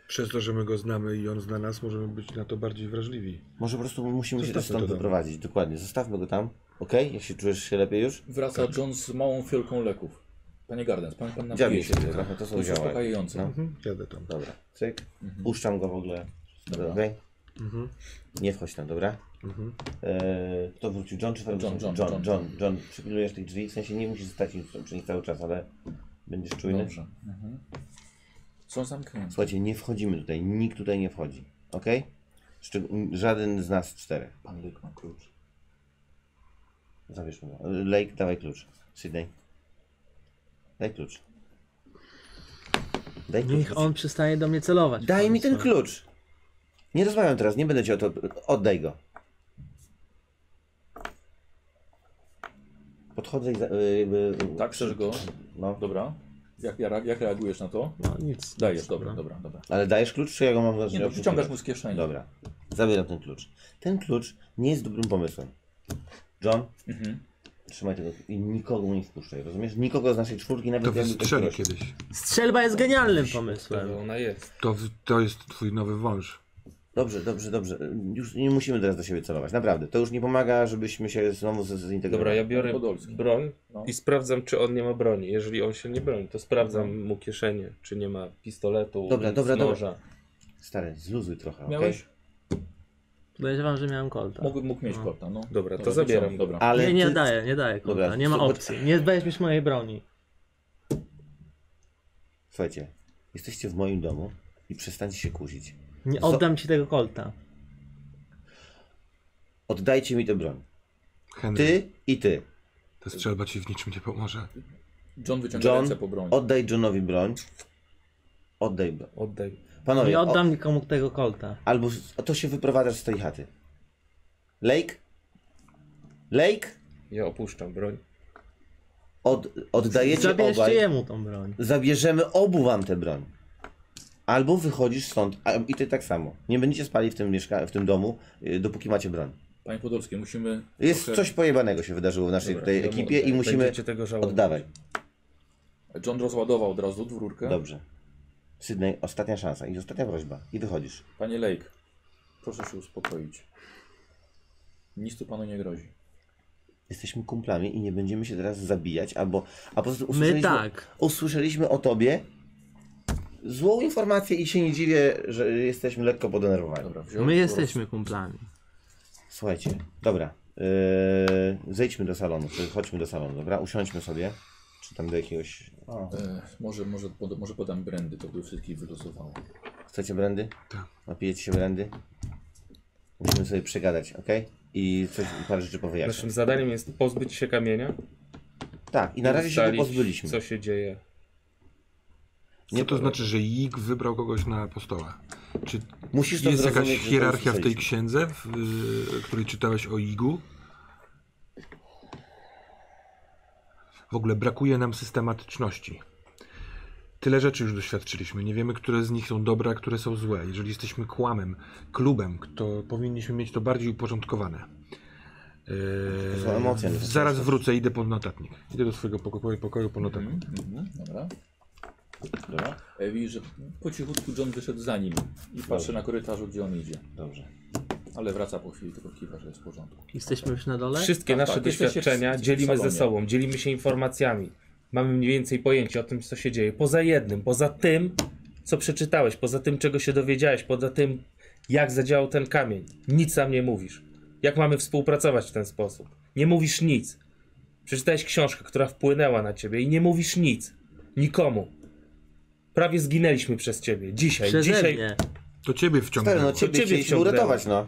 S3: Przez to, że my go znamy i on zna nas, możemy być na to bardziej wrażliwi.
S6: Może po prostu musimy się
S3: Zostawmy
S6: też stąd
S3: to tam.
S6: wyprowadzić, dokładnie. Zostawmy go tam, okej? Jak się czujesz się lepiej już?
S2: Wraca John z małą fiolką leków. Panie Gardens, pan, pan napije
S6: Dziabię
S2: się
S6: się
S2: tego.
S6: trochę, to
S2: To
S6: są
S2: jest
S6: działają.
S2: uspokajające.
S6: No.
S3: Mhm, jadę tam.
S6: Dobra, cyk. Puszczam go w ogóle. Dobra. okej?
S3: Mhm.
S6: Nie wchodź tam, dobra?
S3: Mhm.
S6: Eee, kto wrócił? John czy Ferguson?
S2: John, John,
S6: John,
S2: John.
S6: John, John. Przypilnujesz tych drzwi, w sensie nie musisz stać im przy nich cały czas, ale będziesz czujny.
S2: Dobrze. Mhm. Są zamknięte.
S6: Słuchajcie, nie wchodzimy tutaj, nikt tutaj nie wchodzi, ok? Szczeg- żaden z nas czterech.
S2: Pan Lyk ma klucz.
S6: Zabierzmy go. Lake, dawaj klucz. Sydney. Daj klucz. Daj klucz.
S4: Niech on przestanie do mnie celować.
S6: Daj
S4: Pan
S6: mi ten
S4: Sławek.
S6: klucz! Nie rozmawiam teraz, nie będę cię o to... Oddaj go. Podchodzę i za, y, jakby...
S2: Tak, chcesz go?
S6: No.
S2: Dobra. Jak, jak, jak reagujesz na to?
S3: No nic.
S2: Dajesz, dobra, dobra, dobra.
S6: Ale dajesz klucz, czy ja go mam...
S2: Nie, to wyciągasz mu z kieszeni.
S6: Dobra. Zabieram ten klucz. Ten klucz nie jest dobrym pomysłem. John,
S2: Mhm.
S6: Trzymaj tego i nikogo nie wpuszczaj, rozumiesz? Nikogo z naszej czwórki, nawet
S3: To
S6: jakby ktoś
S3: wystrzelę
S6: prosił.
S3: kiedyś.
S4: Strzelba jest genialnym pomysłem.
S5: Ona jest.
S3: To, to jest twój nowy wąż.
S6: Dobrze, dobrze, dobrze. Już nie musimy teraz do siebie celować, naprawdę. To już nie pomaga, żebyśmy się znowu z-
S5: Dobra,
S6: zintegrowali.
S5: ja biorę
S2: Podolski.
S5: broń
S2: No.
S5: i sprawdzam, czy on nie ma broni. Jeżeli on się nie broni, to sprawdzam mu kieszenie, czy nie ma pistoletu,
S6: Mhm. Dobra, dobra, dobra.
S5: noża.
S6: Stary, zluzuj trochę, okej?
S2: Miałeś?
S4: Podejrzewam, że miałem kolta.
S2: Mógł, mógł mieć kota, no.
S5: Dobra, to zabieram.
S2: Dobra.
S6: Ale
S4: nie, nie
S6: ty...
S4: daję, nie daję kolta.
S6: Dobra,
S4: nie ma
S6: zobacz-
S4: opcji. Nie weźmiesz mojej broni.
S6: Słuchajcie, jesteście w moim domu i przestańcie się kusić.
S4: Nie
S6: Zo-
S4: oddam ci tego kolta.
S6: Oddajcie mi tę broń.
S3: Henry,
S6: Ty i ty.
S3: ta strzelba ci w niczym nie pomoże.
S2: John wyciąga
S6: John,
S2: ręce po broni.
S6: Oddaj Johnowi broń. Oddaj broń.
S5: Oddaj.
S6: Panowie,
S4: Nie
S6: o-
S4: oddam nikomu tego kolta.
S6: albo s- to się wyprowadzasz z tej chaty. Lake? Lake?
S5: Ja opuszczam broń.
S6: Od, oddajecie
S4: Zabierzcie
S6: obaj.
S4: jemu tą broń.
S6: Zabierzemy obu wam tę broń. Albo wychodzisz stąd a, i ty tak samo. Nie będziecie spali w tym, mieszka- w tym domu, y, dopóki macie broń.
S2: Panie Podolski, musimy...
S6: Jest
S2: trochę-
S6: coś pojebanego się wydarzyło w naszej
S5: Dobra,
S6: tej
S5: ja mu
S6: ekipie i
S5: oddaję.
S6: musimy...
S5: Będziecie tego żałować.
S6: Oddawaj.
S2: John rozładował od razu dwórkę.
S6: Dobrze. Sydney, ostatnia szansa i ostatnia prośba. I wychodzisz.
S2: Panie Lake, proszę się uspokoić. Nic tu panu nie grozi.
S6: Jesteśmy kumplami i nie będziemy się teraz zabijać, albo... A poza tym
S4: My
S6: usłyszeliśmy,
S4: tak.
S6: usłyszeliśmy o tobie złą informację i się nie dziwię, że jesteśmy lekko podenerwowani.
S2: Dobra, wziął
S4: My
S2: po
S4: jesteśmy kumplami.
S6: Słuchajcie, dobra. Yy, zejdźmy do salonu, czy chodźmy do salonu, dobra? Usiądźmy sobie. Czy tam do jakiegoś. O,
S2: prostu- E, może, może, pod, może podam brandy, to by wszystkich wylosowało.
S6: chcecie brandy?
S3: Tak.
S6: Napijecie się brandy? Musimy sobie przegadać, ok? I coś parę rzeczy
S5: Naszym
S6: powyjaśnić.
S5: zadaniem jest pozbyć się kamienia.
S6: Tak, i na razie się go
S5: ustalić,
S6: pozbyliśmy.
S5: Co się dzieje.
S3: Nie to znaczy, że Jig wybrał kogoś na apostoła. Czy
S6: Musisz to
S3: jest jakaś
S6: zrozumieć. że to
S3: hierarchia w tej
S6: usłyszeliśmy.
S3: księdze, w, y, której czytałeś o Jigu? W ogóle brakuje nam systematyczności. Tyle rzeczy już doświadczyliśmy. Nie wiemy, które z nich są dobre, a które są złe. Jeżeli jesteśmy kłamem, klubem, to powinniśmy mieć to bardziej uporządkowane. Yy,
S6: To są emocje, to są
S3: zaraz
S6: coś.
S3: wrócę, idę pod notatnik. Idę do swojego pokoju, pokoju po notatnik.
S2: Mhm, mhm, dobra.
S6: Dobra,
S2: E, widzisz, że po cichutku John wyszedł za nim i patrzy na korytarzu, gdzie on idzie.
S6: dobrze.
S2: Ale wraca po chwili, tylko kiwa, że jest w porządku.
S4: Jesteśmy już na dole?
S5: Wszystkie
S2: Tak,
S5: nasze
S2: tak, jesteście
S5: doświadczenia
S2: w- w
S5: dzielimy ze
S2: salonie.
S5: sobą, dzielimy się informacjami. Mamy mniej więcej pojęcie o tym, co się dzieje. Poza jednym, poza tym, co przeczytałeś, poza tym, czego się dowiedziałeś, poza tym, jak zadziałał ten kamień. Nic nam nie mówisz. Jak mamy współpracować w ten sposób? Nie mówisz nic. Przeczytałeś książkę, która wpłynęła na ciebie i nie mówisz nic. Nikomu. Prawie zginęliśmy przez ciebie. Dzisiaj,
S4: Przeze
S5: dzisiaj.
S4: mnie.
S3: To ciebie
S6: Stary, no
S3: wciągnęło.
S6: ciebie
S5: ciebie
S6: chcieliśmy
S5: wciągnęło.
S6: uratować, no.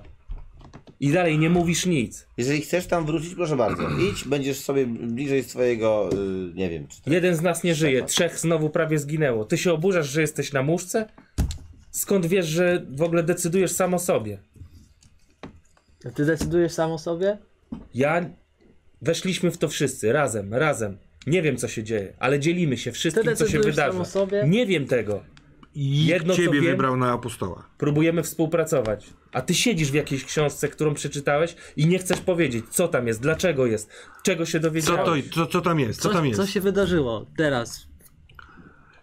S5: I dalej nie mówisz nic.
S6: Jeżeli chcesz tam wrócić, proszę bardzo. Idź, będziesz sobie bliżej swojego, y, nie wiem, czy
S5: Jeden z nas nie żyje, trzech znowu prawie zginęło. Ty się oburzasz, że jesteś na muszce? Skąd wiesz, że w ogóle decydujesz sam o sobie?
S4: A ty decydujesz sam o sobie?
S5: Ja. Weszliśmy w to wszyscy, razem, razem. Nie wiem, co się dzieje, ale dzielimy się
S4: Ty
S5: wszystkim, co się
S4: decydujesz sam
S5: wydarzy.
S4: o sobie?
S5: Nie wiem tego.
S3: I
S5: Jedno, co
S3: ciebie
S5: wiem-
S3: wybrał na apostoła.
S5: Próbujemy współpracować. A ty siedzisz w jakiejś książce, którą przeczytałeś i nie chcesz powiedzieć, co tam jest, dlaczego jest, czego się
S3: Co,
S5: dowiedziałeś.
S3: to, co, co tam jest? Co tam jest?
S4: co się wydarzyło teraz?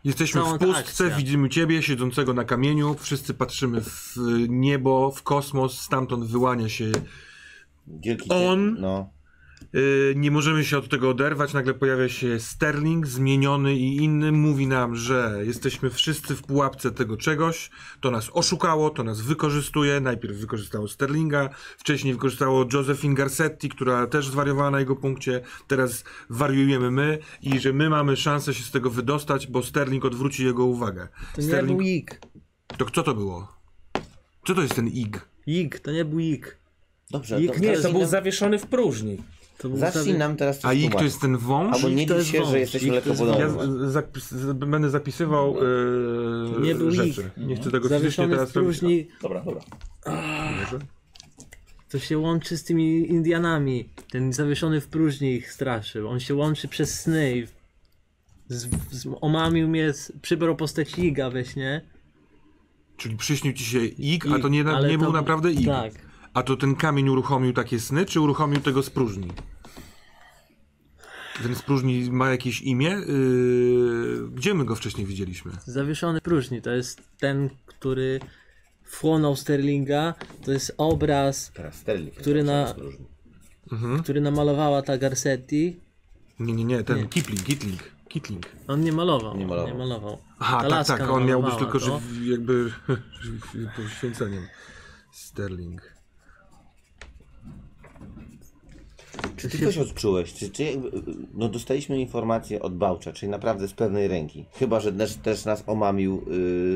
S3: Jesteśmy
S4: Cała
S3: w
S4: ta
S3: pustce,
S4: akcja.
S3: widzimy ciebie siedzącego na kamieniu, wszyscy patrzymy w y, niebo, w kosmos, stamtąd wyłania się.
S6: wielki...
S3: On-
S6: No.
S3: Yy, nie możemy się od tego oderwać, nagle pojawia się Sterling, zmieniony i inny, mówi nam, że jesteśmy wszyscy w pułapce tego czegoś, to nas oszukało, to nas wykorzystuje, najpierw wykorzystało Sterlinga, wcześniej wykorzystało Josephine Garcetti, która też zwariowała na jego punkcie, teraz wariujemy my i że my mamy szansę się z tego wydostać, bo Sterling odwróci jego uwagę.
S4: To nie
S3: Sterling
S4: był ik.
S3: To co to było? Co to jest ten ig?
S4: Ik, to nie był ik.
S6: Dobrze,
S4: Jak
S6: dobrze.
S5: Nie,
S4: Teraz
S5: to był
S4: inna-
S5: zawieszony w próżni.
S4: To był
S6: Zacznij
S4: sobie-
S6: nam teraz coś
S3: A ig to
S6: tłumaczyć.
S3: jest ten wąż?
S6: Albo nie
S4: to
S6: dziw
S4: jest
S6: się,
S4: wąż.
S6: że jesteśmy
S4: Ich
S6: lekko
S4: to jest
S3: Ja
S6: podobni.
S3: z- zapis, z- będę zapisywał yy,
S4: Nie był
S3: rzeczy.
S4: ig.
S3: Nie chcę tego fizycznie
S4: Zawieszony
S3: teraz
S4: w próżni,
S2: Dobra, dobra.
S4: to się łączy z tymi Indianami. Ten zawieszony w próżni ich straszy. On się łączy przez sny i z, z, omamił mnie, z, przybrał postać Iga we śnie.
S3: Czyli przyśnił ci się ig, a to nie, na-
S4: ale
S3: nie
S4: to-
S3: był naprawdę ig.
S4: Tak.
S3: A to ten kamień uruchomił takie sny, czy uruchomił tego z próżni? Ten z próżni ma jakieś imię? Yy, gdzie my go wcześniej widzieliśmy?
S4: Zawieszony próżni to jest ten, który wchłonął Sterlinga. To jest obraz,
S6: Teraz Sterling.
S4: Który na-
S3: Hmm?
S4: który namalowała ta Garcetti.
S3: Nie, nie, nie, ten Kipling, Kitling, Kitling.
S4: On nie malował.
S6: Nie malował.
S4: Nie malował.
S3: Aha,
S4: Ta
S3: tak,
S4: laska
S3: tak, on miał być
S4: namalowała
S3: tylko
S4: to.
S3: żyw, jakby żyw- poświęceniem. Sterling.
S6: Czy ty coś odczułeś? Czy, czy jakby, no dostaliśmy informację od Bałcza, czyli naprawdę z pewnej ręki. Chyba, że też, też nas omamił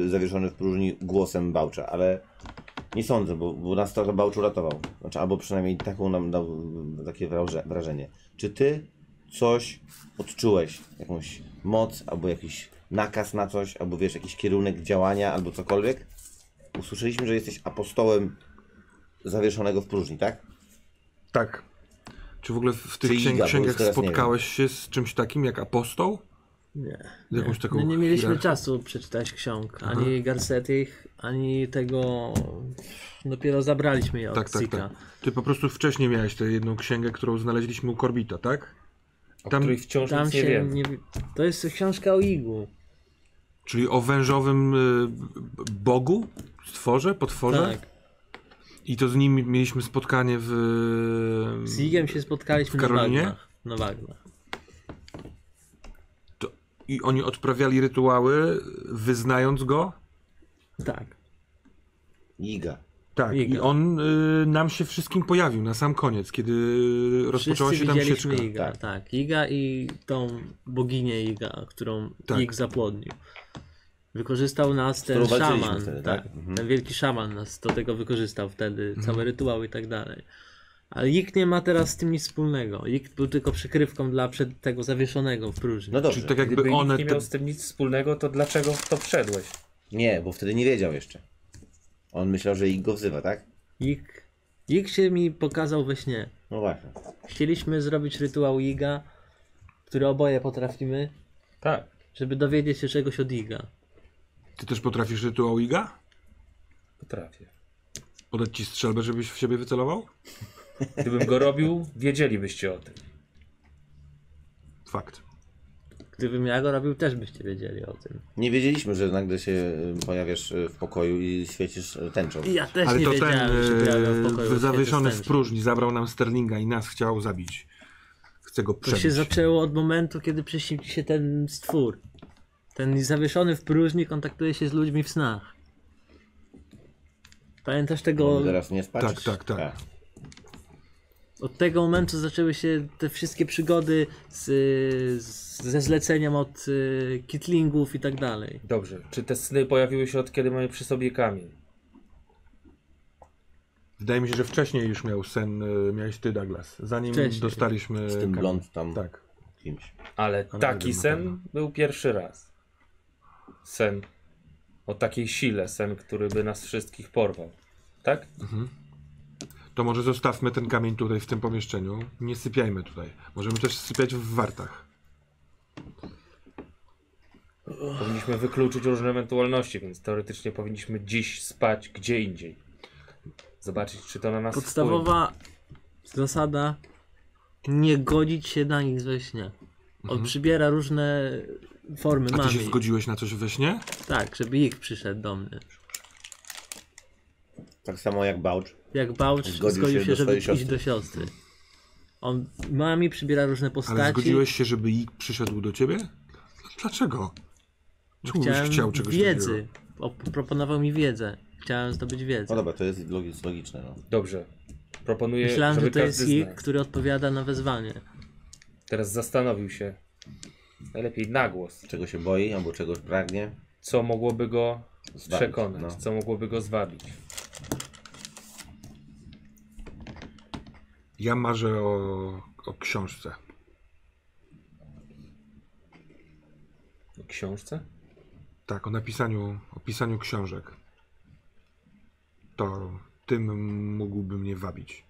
S6: yy, zawieszony w próżni głosem Bałcza, ale nie sądzę, bo, bo nas trochę Bałcz uratował. Znaczy, albo przynajmniej taką nam dał mm, takie wraże- wrażenie. Czy ty coś odczułeś, jakąś moc, albo jakiś nakaz na coś, albo wiesz, jakiś kierunek działania, albo cokolwiek, usłyszeliśmy, że jesteś apostołem zawieszonego w próżni, tak?
S3: Tak. Czy w ogóle w tych
S6: Czy Iga,
S3: księg,
S6: bo już
S3: księgach
S6: teraz nie wiem.
S3: spotkałeś się z czymś takim jak apostoł?
S4: Nie.
S3: Z jakąś taką
S4: My No nie mieliśmy
S3: hierarchią?
S4: czasu przeczytać ksiąg, ani Garcetych, ani tego. Dopiero zabraliśmy je od
S3: Tak, tak,
S4: Sika.
S3: tak. Ty po prostu wcześniej miałeś tę jedną księgę, którą znaleźliśmy u Korbita, tak?
S5: o
S3: Tam-
S5: której wciąż
S4: Tam
S5: nic
S4: się
S5: nie wiem.
S4: nie. To jest książka o Igu.
S3: Czyli o wężowym y, b- bogu, stworze, potworze.
S4: Tak.
S3: I to z nim mieliśmy spotkanie w.
S4: Z Igiem się spotkaliśmy
S3: W
S4: na
S3: Karolinie?
S4: Wagnach. Na Wagnach.
S3: I oni odprawiali rytuały, wyznając go.
S4: Tak.
S6: Iga.
S3: Tak, i
S4: Iga.
S3: on y, nam się wszystkim pojawił na sam koniec, kiedy y, rozpoczęła się
S4: Wszyscy
S3: tam
S4: widzieliśmy
S3: sieczka.
S4: Iga,
S6: Tak.
S4: tak. Iga i tą boginię Iga, którą
S3: Tak.
S4: Ig zapłodnił. Wykorzystał nas ten
S6: którą walczyliśmy
S4: szaman.
S6: wtedy, tak?
S4: tak?
S6: Mhm.
S4: Ten wielki szaman nas do tego wykorzystał wtedy,
S3: Mhm.
S4: całe rytuały i tak dalej. Ale Ig nie ma teraz z tym nic wspólnego. Ig był tylko przykrywką dla przed tego zawieszonego w próżni.
S6: No dobrze.
S3: Czyli tak jakby
S5: Gdyby
S3: one.
S5: nikt nie
S3: te-
S5: miał z tym nic wspólnego, to dlaczego w to wszedłeś?
S6: Nie, bo wtedy nie wiedział jeszcze. On myślał, że Ig go wzywa, tak?
S4: Ig, Ig się mi pokazał we śnie.
S6: No właśnie.
S4: Chcieliśmy zrobić rytuał Iga, który oboje potrafimy,
S5: Tak.
S4: żeby dowiedzieć się czegoś od Iga.
S3: Ty też potrafisz rytuał Iga?
S5: Potrafię.
S3: Podać ci strzelbę, żebyś w siebie wycelował?
S5: Gdybym go robił, wiedzielibyście o tym.
S3: Fakt.
S4: Gdybym ja go robił, też byście wiedzieli o tym.
S6: Nie wiedzieliśmy, że nagle się y, pojawiasz y, w pokoju i świecisz y, tęczą.
S4: Ja też
S3: Ale
S4: nie
S3: to ten
S4: wiedziałem, że to ja miałem w pokoju
S3: e,
S4: od
S3: zawieszony w
S4: Świętej
S3: próżni zabrał nam Sterlinga i nas chciał zabić. Chce go
S4: To się
S3: przebić.
S4: zaczęło od momentu, kiedy przyśnił ci się ten stwór. Ten zawieszony w próżni kontaktuje się z ludźmi w snach. Pamiętasz tego,
S6: On teraz nie spać?
S3: Tak, tak, tak.
S4: od tego momentu zaczęły się te wszystkie przygody z, z, ze zleceniem od y, kitlingów i tak dalej.
S5: Dobrze. Czy te sny pojawiły się od kiedy mamy przy sobie kamień?
S3: Wydaje mi się, że wcześniej już miał sen, e, miałeś ty, Douglas. Zanim
S4: Wcześniej.
S3: dostaliśmy.
S6: Z tym
S3: kamień.
S6: blond tam
S3: E, Tak.
S6: kimś.
S5: Ale
S3: Ale
S5: taki
S3: wiem na pewno.
S5: sen był pierwszy raz. Sen o takiej sile, sen, który by nas wszystkich porwał. Tak?
S3: To może zostawmy ten kamień tutaj w tym pomieszczeniu. Nie sypiajmy tutaj. Możemy też sypiać w wartach.
S5: Powinniśmy wykluczyć różne ewentualności, więc teoretycznie powinniśmy dziś spać gdzie indziej. Zobaczyć, czy to na nas wpływa.
S4: Podstawowa zasada nie godzić się na nich we śnie. On przybiera różne formy
S3: Mhm. A ty
S4: mamy.
S3: się zgodziłeś na coś we śnie?
S4: Tak, żeby ich przyszedł do mnie.
S6: Tak samo jak Bałcz.
S4: Jak Bałcz
S6: Zgodził
S4: zgodził,
S6: się
S4: się,
S6: do
S4: żeby
S6: swojej
S4: iść
S6: siostry.
S4: do siostry. On mami przybiera różne
S3: Ale
S4: postaci.
S3: zgodziłeś się, żeby ik przyszedł do ciebie? Dlaczego? Czemu byś
S4: Chciałem
S3: chciał czegoś
S4: wiedzy.
S3: takiego?
S4: O, proponował mi wiedzę. Chciałem zdobyć wiedzę.
S6: No dobra, to jest logi- logiczne. No.
S5: Dobrze. Proponuję,
S4: Myślałem,
S5: żeby
S4: że to jest
S5: każdy z
S4: ich,
S5: nas
S4: który odpowiada na wezwanie.
S5: teraz zastanowił się najlepiej na głos,
S6: Czego się boi albo czegoś pragnie.
S5: co mogłoby go
S6: Zwabić,
S5: przekonać,
S6: no.
S5: co mogłoby go zwabić.
S3: Ja marzę o, o książce.
S5: O Książce?
S3: Tak, o napisaniu, o pisaniu książek. To tym mógłby mnie wabić.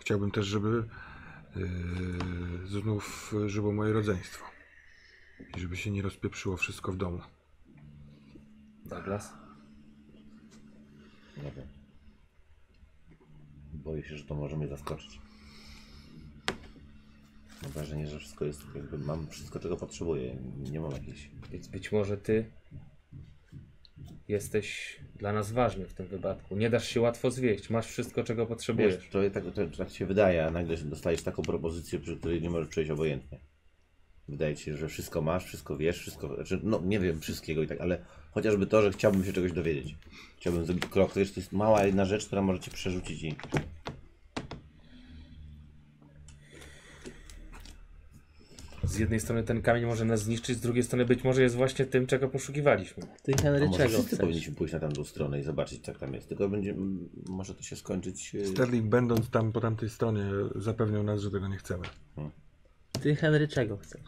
S3: Chciałbym też, żeby yy, znów żyło moje rodzeństwo. I żeby się nie rozpieprzyło wszystko w domu.
S5: Douglas?
S6: Nie wiem. Boję się, że to może mnie zaskoczyć. Mam wrażenie, że wszystko jest jakby mam wszystko, czego potrzebuję. Nie mam jakiejś.
S5: Więc być może ty jesteś dla nas ważny w tym wypadku. Nie dasz się łatwo zwieść. Masz wszystko, czego
S6: Wiesz,
S5: potrzebujesz.
S6: to, tak, to tak się wydaje, a nagle dostajesz taką propozycję, przy której nie możesz przejść obojętnie. Wydaje ci się, że wszystko masz, wszystko wiesz, wszystko. Znaczy, no nie wiem wszystkiego i tak, ale chociażby to, że chciałbym się czegoś dowiedzieć. Chciałbym zrobić krok. To jest, to jest mała jedna rzecz, która może cię przerzucić i.
S5: Z jednej strony ten kamień może nas zniszczyć, z drugiej strony być może jest właśnie tym, czego poszukiwaliśmy.
S4: Ty
S6: A
S4: Henry
S6: może
S4: czego
S6: wszyscy
S4: chcesz?
S6: powinniśmy pójść na tamtą stronę i zobaczyć, jak tam jest. Tylko będzie, m, może to się skończyć. y,
S3: Sterling będąc tam po tamtej stronie zapewniał nas, że tego nie chcemy.
S4: Ty Henry czego chcesz?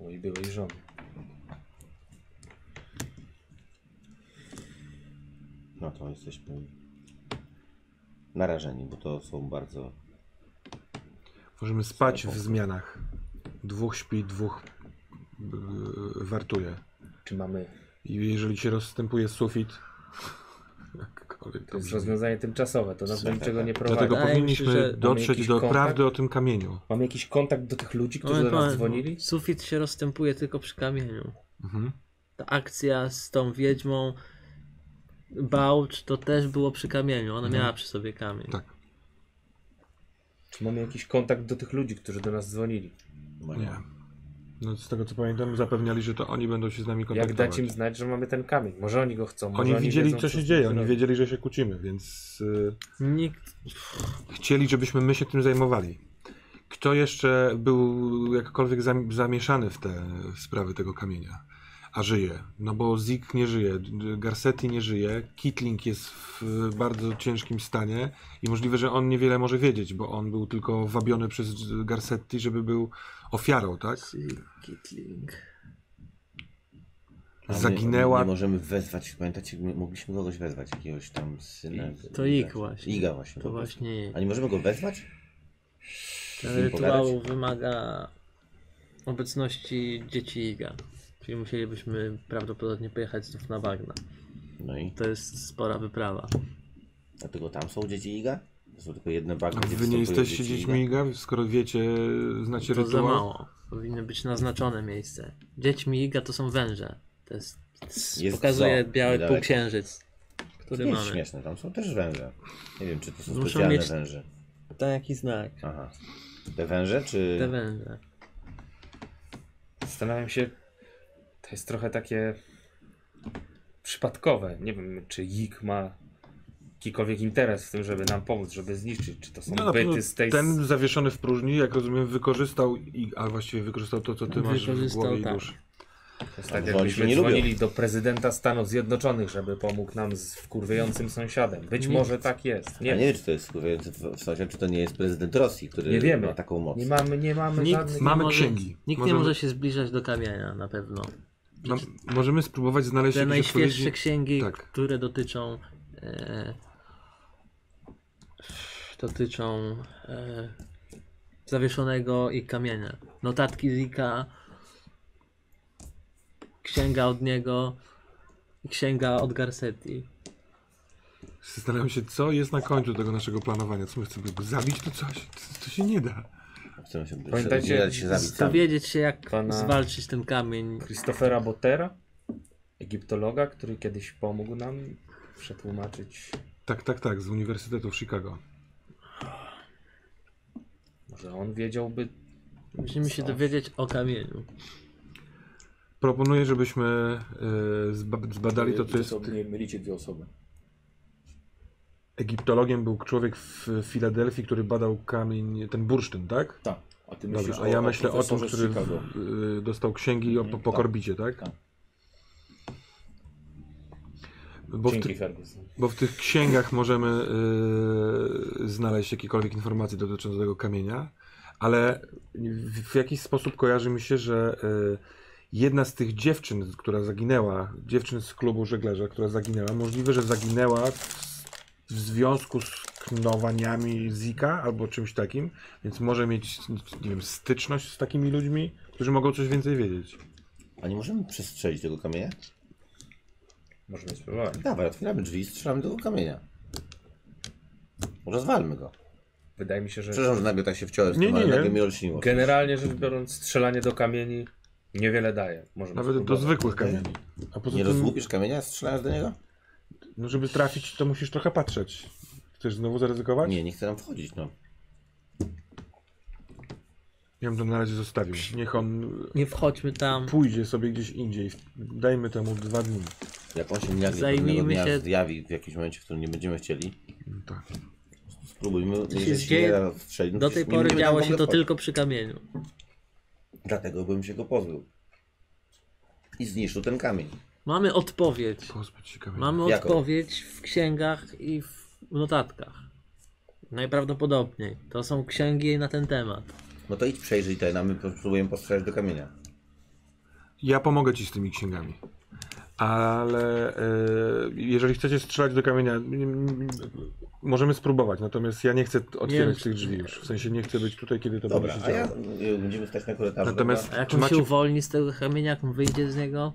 S5: Mojej byłej żony.
S6: No to jesteśmy narażeni, bo to są bardzo.
S3: Możemy spać w zmianach. Dwóch śpi, dwóch yy, wartuje.
S5: Czy mamy.
S3: I jeżeli się rozstępuje sufit, jakkolwiek
S5: To
S3: to
S5: jest
S3: brzmi.
S5: rozwiązanie tymczasowe, to nas do niczego nie prowadzi.
S3: Dlatego
S4: Wydaje mi się, że
S3: powinniśmy
S4: mamy
S3: dotrzeć
S5: jakiś
S3: do
S5: kontakt.
S3: prawdy o tym kamieniu.
S5: Mamy jakiś kontakt do tych ludzi, którzy do
S4: Moment,
S5: nas
S4: moment.
S5: dzwonili?
S4: Sufit się rozstępuje tylko przy kamieniu.
S3: Mhm.
S4: Ta akcja z tą wiedźmą Bałcz to też było przy kamieniu. Ona miała przy sobie kamień.
S3: Mhm. Tak.
S5: Czy mamy jakiś kontakt do tych ludzi, którzy do nas dzwonili?
S3: Nie. No z tego co pamiętam, zapewniali, że to oni będą się z nami
S5: Jak
S3: kontaktować.
S5: dać im znać, że mamy ten kamień? Może oni go chcą. Może
S3: Oni widzieli,
S5: wiedzą,
S3: co się
S5: z tym
S3: dzieje, oni
S5: zrobić.
S3: wiedzieli, że się kłócimy, więc y,
S4: Nikt.
S3: chcieli, żebyśmy my się tym zajmowali. Kto jeszcze był jakkolwiek zam- zamieszany w te sprawy tego kamienia? A żyje. No bo Zik nie żyje, D- D- Garcetti nie żyje, Kitling jest w bardzo ciężkim stanie i możliwe, że on niewiele może wiedzieć, bo on był tylko wabiony przez Garcetti, żeby był ofiarą, tak?
S4: Kitling.
S6: A my-
S3: Zaginęła-
S6: Nie możemy wezwać, pamiętacie, my mogliśmy kogoś wezwać, jakiegoś tam syna.
S4: I- to ik właśnie.
S6: Iga właśnie.
S4: To
S6: po prostu.
S4: właśnie.
S6: A nie możemy go wezwać?
S4: Ten
S6: z nim
S4: rytuał
S6: pogadać?
S4: wymaga obecności dzieci Iga. Czyli musielibyśmy prawdopodobnie pojechać znów na Wagna.
S6: No i
S4: To jest spora wyprawa.
S6: dlatego tam są dzieci Iga? To są tylko jedne bagno.
S3: A
S6: gdzie
S3: wy nie
S6: występują
S3: jesteście
S6: dzieci
S3: dziećmi
S6: Iga?
S3: Iga, skoro wiecie, znacie
S4: to za
S3: rytuał?
S4: mało. Powinno być naznaczone miejsce. Dziećmi Iga to są węże. To jest.
S6: Jest
S4: pokazuje
S6: zoo,
S4: biały
S6: niedaleko.
S4: półksiężyc,
S6: To
S4: który
S6: nie jest
S4: mamy.
S6: śmieszne, tam są też węże. Nie wiem, czy to są
S4: Muszą
S6: specjalne
S4: mieć-
S6: węże.
S4: Taki znak.
S6: Aha. Te węże, czy...
S4: Te węże.
S5: Zastanawiam się, to jest trochę takie przypadkowe. Nie wiem, czy Yik ma jakikolwiek interes w tym, żeby nam pomóc, żeby zniszczyć. Czy to są
S3: No na pewno
S5: byty z tej...
S3: ten zawieszony w próżni, jak rozumiem, wykorzystał, i, a właściwie wykorzystał to, co ty masz w
S4: Wykorzystał,
S3: głowie i
S4: tak.
S3: duszy.
S5: To jest tak,
S6: Dzwoni
S5: jakbyśmy
S6: się nie lubią.
S5: dzwonili do prezydenta Stanów Zjednoczonych, żeby pomógł nam z wkurwiającym sąsiadem. Być
S4: Nie.
S5: może tak jest.
S6: Ja
S5: Nie,
S6: nie
S5: nie,
S6: wiem, czy to jest wkurwiający w- w sąsiad, czy to nie jest prezydent Rosji, który
S5: Nie wiemy.
S6: ma taką moc.
S5: mamy, nie mamy
S4: Nikt
S5: żadnych...
S3: Mamy
S4: może-
S3: księgi.
S4: Nikt nie
S3: Możemy-
S4: może się zbliżać do kamienia na pewno.
S3: No, możemy spróbować znaleźć
S4: Te
S3: jakieś
S4: najświeższe
S3: odpowiedzi.
S4: księgi,
S3: Tak.
S4: które dotyczą. E, dotyczą e, zawieszonego i kamienia. Notatki Zika, księga od niego i księga od Garcetti.
S3: Zastanawiam się, co jest na końcu tego naszego planowania. Co my chcemy go zabić, to coś? To, to się nie da.
S6: Chcemy się,
S5: Pamiętajcie,
S6: nie dać się zabić sam.
S4: Dowiedzieć się, jak
S5: Pana-
S4: zwalczyć ten kamień.
S5: Christophera Bottera, egiptologa, który kiedyś pomógł nam przetłumaczyć.
S3: Tak, tak, tak, z Uniwersytetu w Chicago.
S5: Może on wiedziałby.
S4: Musimy się
S5: Co?
S4: dowiedzieć o kamieniu.
S3: Proponuję, żebyśmy y, zba- zbadali to, co jest.
S2: Nie mylicie dwie osoby.
S3: Egiptologiem był człowiek w Filadelfii, który badał kamień, ten bursztyn, tak?
S2: Tak. A ty myślisz
S3: Dobra, a ja
S2: o,
S3: myślę o tym,
S2: profesorze z
S3: który
S2: Chicago.
S3: y, dostał księgi o po,
S2: Mhm,
S3: po
S2: tak.
S3: korbicie, tak?
S2: Tak.
S3: Bo w,
S5: Dzięki,
S3: ty,
S5: Ferguson.
S3: Bo w tych księgach możemy y, znaleźć jakiekolwiek informacje dotyczące tego kamienia, ale w, w jakiś sposób kojarzy mi się, że y, jedna z tych dziewczyn, która zaginęła, dziewczyn z klubu żeglarza, która zaginęła, możliwe, że zaginęła w, w związku z knowaniami Zika albo czymś takim, więc może mieć, nie wiem, styczność z takimi ludźmi, którzy mogą coś więcej wiedzieć.
S6: A nie możemy przestrzelić tego kamienia?
S5: Możemy spróbować.
S6: Dawaj, otwieramy drzwi i strzelamy tego kamienia. Rozwalmy go.
S5: Wydaje mi się, że
S6: Przepraszam, że nagle tak się wciąłem z
S3: Nie,
S6: tym,
S3: nie,
S6: ale
S3: nie.
S6: nagle mi olśniło.
S5: generalnie rzecz biorąc, strzelanie do kamieni niewiele daje. Możemy
S3: Nawet do
S5: spróbować.
S3: zwykłych kamieni. A poza
S6: Nie
S3: tym-
S6: rozłupisz kamienia, strzelając do niego?
S3: No żeby trafić, to musisz trochę patrzeć. Chcesz znowu zaryzykować?
S6: Nie, nie chcę tam wchodzić, no.
S3: Ja bym to na razie zostawił. Niech on
S4: Nie wchodźmy tam.
S3: pójdzie sobie gdzieś indziej. Dajmy temu dwa dni.
S6: Jak on się nagle
S4: Zajmijmy
S6: pewnego dnia
S4: się-
S6: zjawi w jakimś momencie, w którym nie będziemy chcieli,
S3: No Tak.
S6: spróbujmy.
S4: się
S6: jeżeli się
S4: dzieje?
S6: nie da strzelić, no
S4: Do
S6: przecież
S4: tej
S6: nie
S4: pory
S6: będziemy
S4: działo
S6: w
S4: się
S6: ogóle
S4: to
S6: wchodzić.
S4: tylko przy kamieniu.
S6: Dlatego bym się go pozbył. I zniszczył ten kamień.
S4: Mamy odpowiedź.
S3: Pozbyć się kamienia.
S4: Mamy
S6: Jaką?
S4: odpowiedź w księgach i w notatkach. Najprawdopodobniej. To są księgi na ten temat.
S6: No to idź przejrzyj ten, a my spróbujemy postrzelać do kamienia.
S3: Ja pomogę ci z tymi księgami. Ale e, jeżeli chcecie strzelać do kamienia, m, m, możemy spróbować. Natomiast ja nie chcę t- otwierać
S4: Nie.
S3: tych drzwi już. W sensie nie chcę być tutaj, kiedy to
S6: Dobra,
S3: będzie
S6: a
S3: się
S6: ja
S3: działo.
S6: y, będziemy stać na korytarzu.
S3: Natomiast
S4: A jak
S3: czy
S4: on
S3: macie,
S4: się uwolni z tego kamienia, jak on wyjdzie z niego,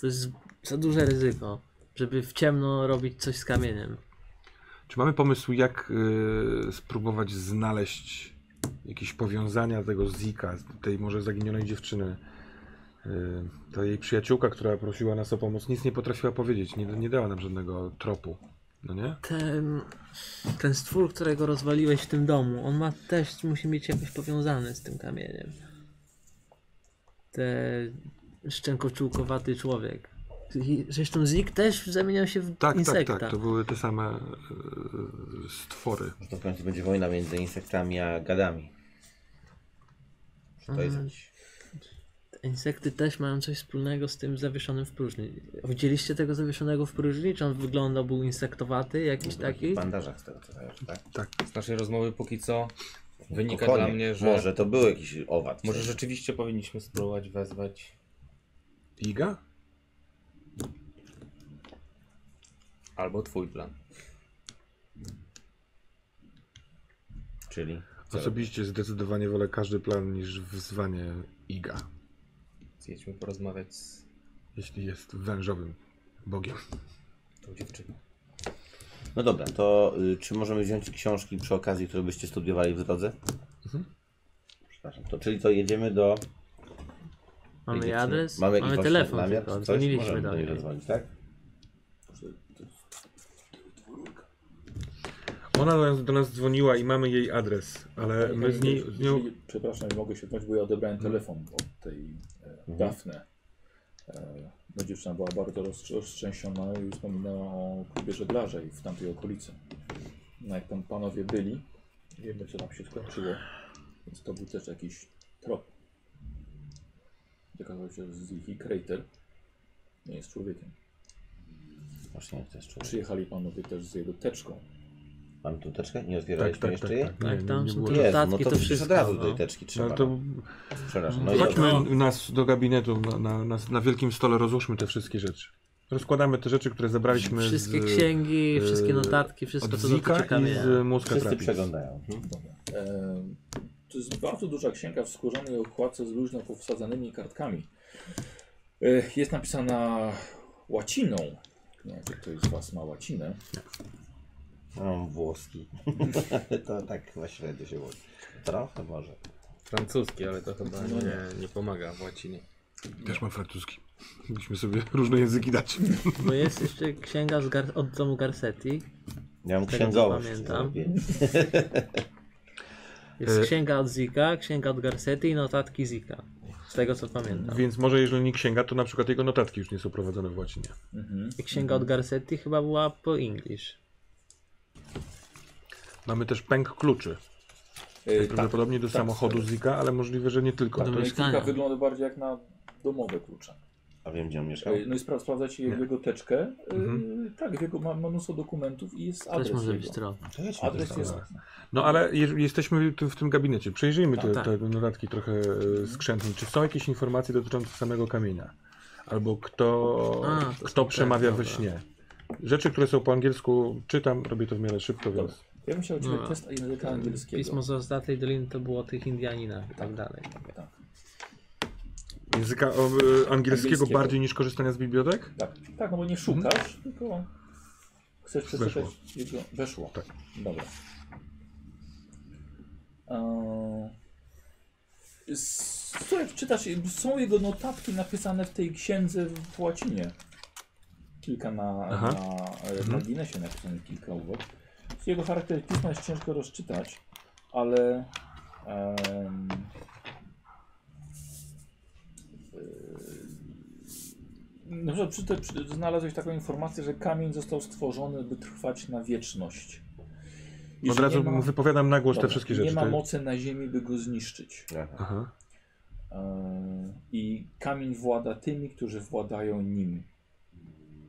S4: to jest za duże ryzyko, żeby w ciemno robić coś z kamieniem.
S3: czy mamy pomysł, jak e, spróbować znaleźć jakieś powiązania tego Zika, tej może zaginionej dziewczyny? E, Ta jej przyjaciółka, która prosiła nas o pomoc, nic nie potrafiła powiedzieć. Nie, nie dała nam żadnego tropu. No nie?
S4: Ten, ten stwór, którego rozwaliłeś w tym domu, on ma też, musi mieć jakoś powiązany z tym kamieniem. Ten szczękoczułkowaty człowiek. I Zresztą Zik też zamieniał się w
S3: Tak,
S4: insekta.
S3: tak, tak. To były te same e, stwory.
S6: Może to w końcu będzie wojna między insektami a gadami. Czy to jest
S4: Mhm.
S6: jakiś...
S4: Te Insekty też mają coś wspólnego z tym zawieszonym w próżni. Widzieliście tego zawieszonego w próżni? Czy on wyglądał, był insektowaty, jakiś
S6: W takich
S4: taki?
S6: bandażach z tego co kojarzę, tak?
S7: Z naszej rozmowy póki co wynika
S6: Konie.
S7: dla mnie, że
S6: Może to był jakiś owad.
S5: Może rzeczywiście powinniśmy spróbować wezwać
S3: Iga?
S5: albo twój plan.
S6: Czyli... Co
S3: Osobiście zdecydowanie wolę każdy plan niż wyzwanie Iga,
S5: Zjedźmy porozmawiać z
S3: jeśli jest wężowym bogiem.
S5: tą dziewczyną.
S6: No dobra, to y, czy możemy wziąć książki przy okazji, które byście studiowali w drodze?
S4: Mhm.
S6: Przepraszam. To, czyli to jedziemy do.
S4: Mamy
S6: jedziemy-
S4: adres,
S6: mamy
S4: mamy,
S6: jakiś właśnie
S4: telefon,
S6: namiar,
S4: tylko,
S6: czy coś?
S4: dzwoniliśmy
S6: Możemy
S4: do
S6: do niej
S4: niej.
S6: zadzwonić, tak?
S3: Ona do nas, do nas dzwoniła i mamy jej adres, ale
S2: Tak,
S3: my z, niej, z nią... Hmm.
S2: Jeżeli- Przepraszam, nie mogę się wtrącić, bo ja odebrałem telefon od tej e, Dafne. E, no dziewczyna była bardzo roztrz- roztrzęsiona i wspominała o klubie żeglarzy i w tamtej okolicy. No jak tam panowie byli, wiemy co tam się skończyło, więc to był też jakiś trop. Okazało się, że Zichi Crater nie jest człowiekiem.
S6: Właśnie jak też czuję.
S2: Przyjechali panowie też z jego teczką.
S6: Mamy tu teczkę? Nie otwieraliśmy jeszcze jej?
S4: Tak, tam są
S3: było czasu.
S4: te
S6: Jezu,
S4: notatki,
S6: no to,
S4: to
S6: przecież od
S4: wszystko,
S6: razu do tej
S4: no.
S6: teczki trzeba.
S3: No to
S6: Przepraszam. No
S3: chodźmy
S6: i
S3: nas do gabinetu, na, na, na, na wielkim stole rozłóżmy te wszystkie rzeczy. Rozkładamy te rzeczy, które zabraliśmy
S4: Wszystkie
S3: z,
S4: księgi,
S3: e,
S4: wszystkie notatki, wszystko
S3: od
S4: co
S3: Zika
S4: dotyczy
S3: i
S4: kamienia.
S3: z Mózga
S6: wszyscy
S3: Trapis.
S6: przeglądają. Mhm.
S2: Em, To jest bardzo duża księga w skórzanej okładce z luźno powsadzanymi kartkami. E, Jest napisana łaciną. Nie wiem, czy ktoś z Was ma łacinę.
S6: Mam włoski. to tak chyba średnio się łączy. Trochę może.
S5: Francuski, ale to chyba No nie, nie pomaga w łacinie.
S3: Też mam francuski. Musimy sobie różne języki dać.
S4: Bo No jest jeszcze księga z gar... od domu Garcetti.
S6: Ja
S4: Tego nie
S6: mam księgowość.
S4: pamiętam.
S6: więc-
S4: Jest
S3: E.
S4: księga od Zika, księga od Garcetti i notatki Zika. Z tego co pamiętam.
S3: Więc może jeżeli nie księga, to na przykład jego notatki już nie są prowadzone w łacinie.
S4: I księga od Garcetti chyba była po English.
S3: Mamy też pęk kluczy.
S2: E, Tak,
S3: Prawdopodobnie do
S2: tak,
S3: samochodu
S2: tak.
S3: Zika, ale możliwe, że nie tylko. No,
S2: ta
S4: do
S2: księga
S4: mieszkania.
S2: wygląda bardziej jak na domowe klucze.
S6: A wiem gdzie on
S4: Tak.
S6: mieszkał.
S2: E, No i spra- sprawdzacie jego, jego teczkę. E,
S4: Mhm.
S2: Tak, w jego ma ma mnóstwo dokumentów i jest
S4: Też
S2: adres
S4: może
S2: jego.
S4: być trop.
S6: Przejdźmy do
S2: Adres
S6: tego.
S2: jest...
S3: No ale jeż- jesteśmy tu w tym gabinecie. Przejrzyjmy te,
S4: tak.
S3: te notatki trochę e, skrzętnie. Czy są jakieś informacje dotyczące samego kamienia? Albo kto,
S4: A, to są
S3: kto
S4: te,
S3: przemawia we
S4: dobra.
S3: śnie? Rzeczy, które są po angielsku, czytam, robię to w miarę szybko, więc
S2: Ja bym chciał od Ciebie
S4: No.
S2: test
S6: Tak,
S2: języka angielskiego.
S4: Pismo z ostatniej doliny to było o tych Indianinach i tak dalej.
S2: Tak,
S3: języka o, e, angielskiego, bardziej niż korzystania z bibliotek?
S2: tak, tak, no bo nie szukasz, tylko chcesz przeczytać
S3: Mhm. Weszło.
S2: jego... Weszło.
S3: Tak.
S2: Dobra. Eee, s- Słuchaj, czytasz, są jego notatki napisane w tej księdze w łacinie. Kilka na, na,
S3: Aha. Mhm.
S2: e, na Guinnessie napisane kilka uwag. Jego charakter pisma jest ciężko rozczytać, ale em, e, no, że przy, te- przy, znalazłeś taką informację, że kamień został stworzony, by trwać na wieczność.
S3: Od razu mu wypowiadam na głos te
S2: dobra,
S3: wszystkie
S2: nie
S3: rzeczy.
S2: ma
S3: tak?
S2: mocy na ziemi, by go zniszczyć.
S6: Aha.
S3: Aha.
S2: Yy, I kamień włada tymi, którzy władają nim.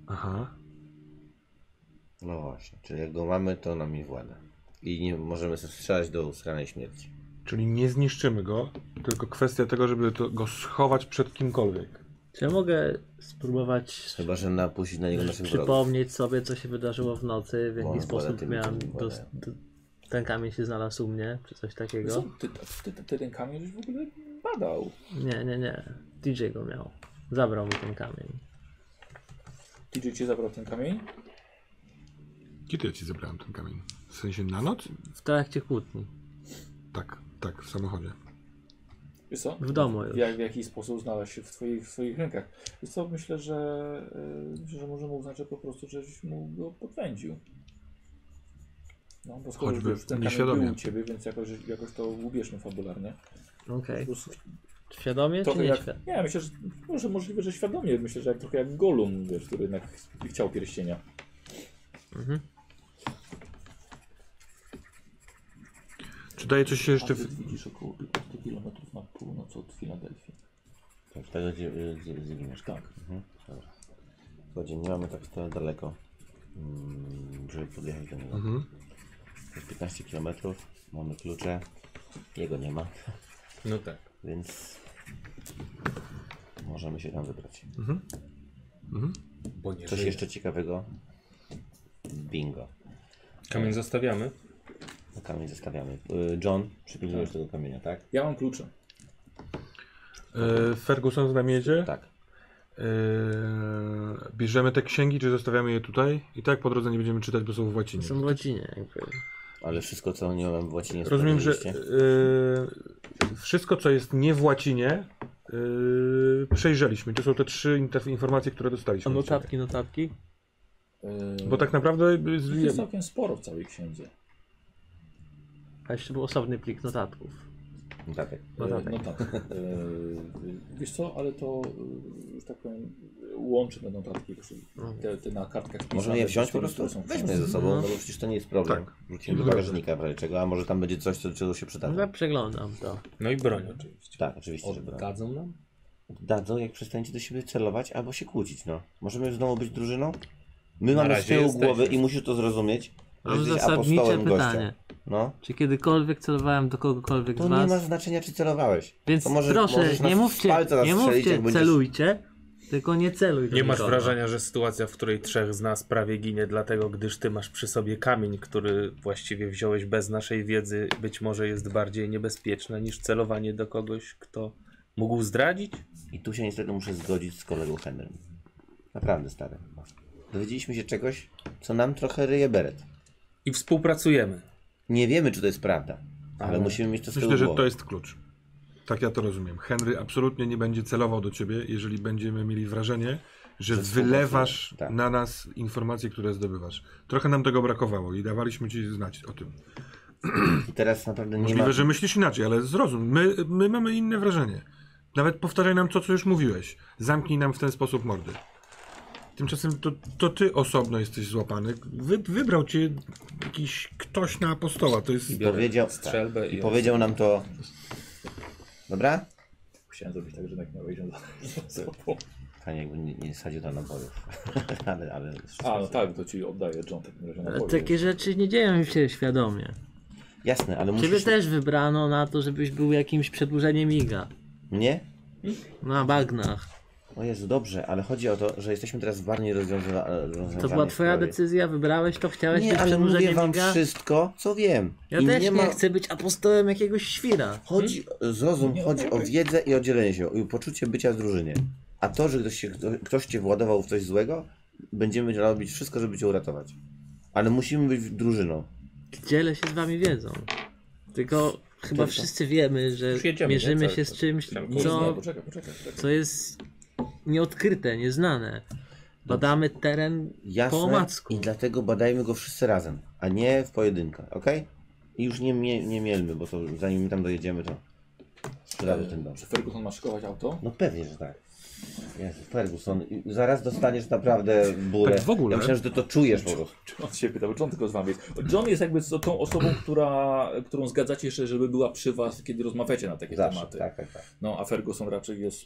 S3: Aha.
S6: No właśnie, czyli jak go mamy, to nami włada. I nie możemy strzelać do usranej śmierci.
S3: Czyli nie zniszczymy go, tylko kwestia tego, żeby to, go schować przed kimkolwiek.
S4: Czy ja mogę spróbować
S6: Chyba, że napuścić na niego naszych wrogów.
S4: przypomnieć sobie, co się wydarzyło w nocy, w jaki
S6: Wolę
S4: sposób
S6: tymi,
S4: miałem.
S6: którzy
S4: Dos-
S6: wolają.
S4: d- ten kamień się znalazł u mnie, czy coś
S2: Co?
S4: takiego?
S2: Ty, ty, ty, ty ten kamień już w ogóle badał.
S4: Nie, nie, nie. DJ go miał. Zabrał mi ten kamień.
S2: DJ cię zabrał ten kamień?
S3: Kiedy ja ci zebrałem ten kamień? W sensie na noc?
S4: W trakcie kłótni.
S3: Tak, tak, w samochodzie.
S2: Wiesz co?
S4: W domu już.
S2: Jak, w jaki sposób znalazł się w twoich, w swoich rękach. Wiesz co, myślę, że, yy, myślę, że możemy uznać, że po prostu żeś mu go podwędził. No, bo skoro
S3: Choćby
S2: już ten kamień
S3: nieświadomie.
S2: był u ciebie, więc jakoś, jakoś to ubierzmy fabularnie.
S4: Okej.
S2: Plus
S4: Świadomie czy
S2: trochę
S4: nie
S2: jak,
S4: świadomie?
S2: nie, myślę, że może możliwe, że świadomie. Myślę, że jak, trochę jak Golum, wiesz, który jednak chciał pierścienia.
S4: Mhm.
S3: Czy daje coś się jeszcze... W...
S2: widzisz około 15 km na północ od Filadelfii.
S6: Tak, tego gdzie, gdzie, gdzie giniesz.
S2: Tak.
S6: Mhm. Dobra. Słuchajcie, nie mamy tak wcale daleko, mm, żeby podjechać do niego.
S3: Mhm.
S6: Jest 15 km, mamy klucze, jego nie ma,
S5: No tak.
S6: więc możemy się tam wybrać.
S5: Bo nie
S6: Coś
S5: żyje.
S6: jeszcze ciekawego? Bingo.
S5: Kamień zostawiamy.
S6: Kamień zostawiamy. Y, John, przypilnujesz tego kamienia, tak?
S2: Ja mam klucze.
S3: E, Ferguson z nami jedzie?
S6: Tak.
S3: E, bierzemy te księgi, czy zostawiamy je tutaj? I tak po drodze nie będziemy czytać, bo są w łacinie.
S4: Są w łacinie jakby.
S6: Ale wszystko, co nie mam w łacinie,
S3: Rozumiem, że
S6: sprawdziliście?
S3: e, wszystko, co jest nie w łacinie, e, przejrzeliśmy. To są te trzy inter- informacje, które
S4: A
S3: dostaliśmy.
S4: notatki, notatki?
S2: Yy,
S3: Bo tak naprawdę e,
S2: ich jest
S3: z,
S2: całkiem sporo w całej księdze.
S4: A jeszcze był osobny plik notatków.
S6: Tak.
S4: No
S2: E,
S4: tak.
S2: No tak. E, Wiesz co, ale to, e, że tak powiem, łączy te notatki, po prostu te, te na kartkach.
S6: Możemy
S2: pisane,
S6: je wziąć po
S2: które
S6: prostu?
S2: są w
S6: Weźmy
S2: książce.
S6: je ze sobą, no bo przecież to nie jest problem.
S3: Tak.
S6: Wrzucimy do bagażnika w razie czego, a może tam będzie coś, co, czego się przyda.
S4: No ja przeglądam to.
S5: No i broń oczywiście.
S6: Tak, oczywiście, że brałem.
S5: Oddadzą nam?
S6: Dadzą, jak przestaniecie do siebie celować albo się kłócić, no. Możemy znowu być drużyną? My
S5: Na
S6: mamy z
S5: razie
S6: tyłu
S5: jesteśmy.
S6: głowy i musisz to zrozumieć, że
S4: Mam
S6: jesteś
S4: zasadnicze
S6: apostołem
S4: No, pytanie.
S6: gościa. No.
S4: Czy kiedykolwiek celowałem do kogokolwiek
S6: To
S4: z
S6: nie ma
S4: was?
S6: znaczenia, czy celowałeś.
S4: Więc
S6: to może,
S4: proszę,
S6: możesz nas
S4: nie
S6: w
S4: mówcie,
S6: palca
S4: nie
S6: zastrzelić,
S4: mówcie
S6: jak będziesz-
S4: celujcie, tylko nie celuj do
S5: Nie masz
S4: nikogo.
S5: wrażenia, że sytuacja, w której trzech z nas prawie ginie, dlatego gdyż ty masz przy sobie kamień, który właściwie wziąłeś bez naszej wiedzy, być może jest bardziej niebezpieczna niż celowanie do kogoś, kto mógł zdradzić?
S6: I tu się niestety muszę zgodzić z kolegą Henrym. Naprawdę, stary. Dowiedzieliśmy się czegoś, co nam trochę ryje beret.
S5: I współpracujemy.
S6: Nie wiemy, czy to jest prawda, ale
S5: Ale
S6: musimy mieć to z tyłu
S3: Myślę, że
S6: głowy.
S3: to jest klucz. Tak ja to rozumiem. Henry absolutnie nie będzie celował do ciebie, jeżeli będziemy mieli wrażenie, że,
S6: Że
S3: wylewasz
S6: współpracujesz, tak.
S3: na nas informacje, które zdobywasz. Trochę nam tego brakowało i dawaliśmy ci znać o tym.
S6: I teraz naprawdę nie
S3: Możliwe,
S6: ma...
S3: że myślisz inaczej, ale zrozum, my, my mamy inne wrażenie. Nawet powtarzaj nam to, co już mówiłeś. Zamknij nam w ten sposób mordy. Tymczasem to, to ty osobno jesteś złapany. Wy, wybrał cię jakiś ktoś na apostoła. To jest...
S6: Powiedział...
S5: strzelbę
S6: tak. I
S5: i-
S6: powiedział nam to... Dobra?
S2: Chciałem zrobić tak, że jednak miałeś ją za
S6: Panie, jakby nie, nie sadził do nabojów. ale, ale...
S2: A, no tak, to ci oddaję John w takim razie na
S4: Ale
S2: boju.
S4: Takie rzeczy nie dzieją się świadomie.
S6: Jasne, ale
S4: Ciebie
S6: musisz...
S4: też wybrano na to, żebyś był jakimś przedłużeniem miga.
S6: Mnie?
S4: Na bagnach.
S6: O Jezu, dobrze, ale chodzi o to, że jesteśmy teraz w bardziej rozwiąza- rozwiązanej
S4: To była twoja
S6: sprawie.
S4: decyzja, wybrałeś to, chciałeś być
S6: Nie, ale mówię
S4: przedłużeniem
S6: wam
S4: miga.
S6: wszystko, co wiem.
S4: Ja
S6: I
S4: też nie,
S6: nie ma...
S4: chcę Hmm? być apostołem jakiegoś świra.
S6: Chodzi, zrozum, chodzi o wiedzę i o dzielenie się, i o poczucie bycia w drużynie. A to, że ktoś, się, kto- ktoś cię władował w coś złego, będziemy robić wszystko, żeby cię uratować. Ale musimy być drużyną.
S4: Dzielę się z wami wiedzą. Tylko chyba wszyscy wiemy, że
S5: Już jedziemy, nie?
S4: mierzymy
S5: Cały
S4: się z
S5: czas.
S4: czymś,
S5: Chciałem
S2: Nie, nie,
S4: co,
S2: poczekaj, poczekaj, poczekaj.
S4: co jest nieodkryte, nieznane. Badamy teren po
S6: Jasne.
S4: omacku.
S6: I dlatego badajmy go wszyscy razem, a nie w pojedynkę, ok? I już nie, mie- nie mielmy, bo to zanim tam dojedziemy, to sprzedamy ten dom.
S2: Czy Ferguson ma szykować auto?
S6: No pewnie, że tak. Jezu, Ferguson, i- zaraz dostaniesz naprawdę bólę.
S3: Tak w ogóle?
S6: Ja myślałem, że ty to czujesz po prostu.
S2: On się pytał, John tylko z wami jest. John jest jakby z- tą osobą, która, którą zgadzacie się, żeby była przy was, kiedy rozmawiacie na takie
S6: Zawsze,
S2: tematy.
S6: tak, tak, tak.
S2: No, a Ferguson raczej jest...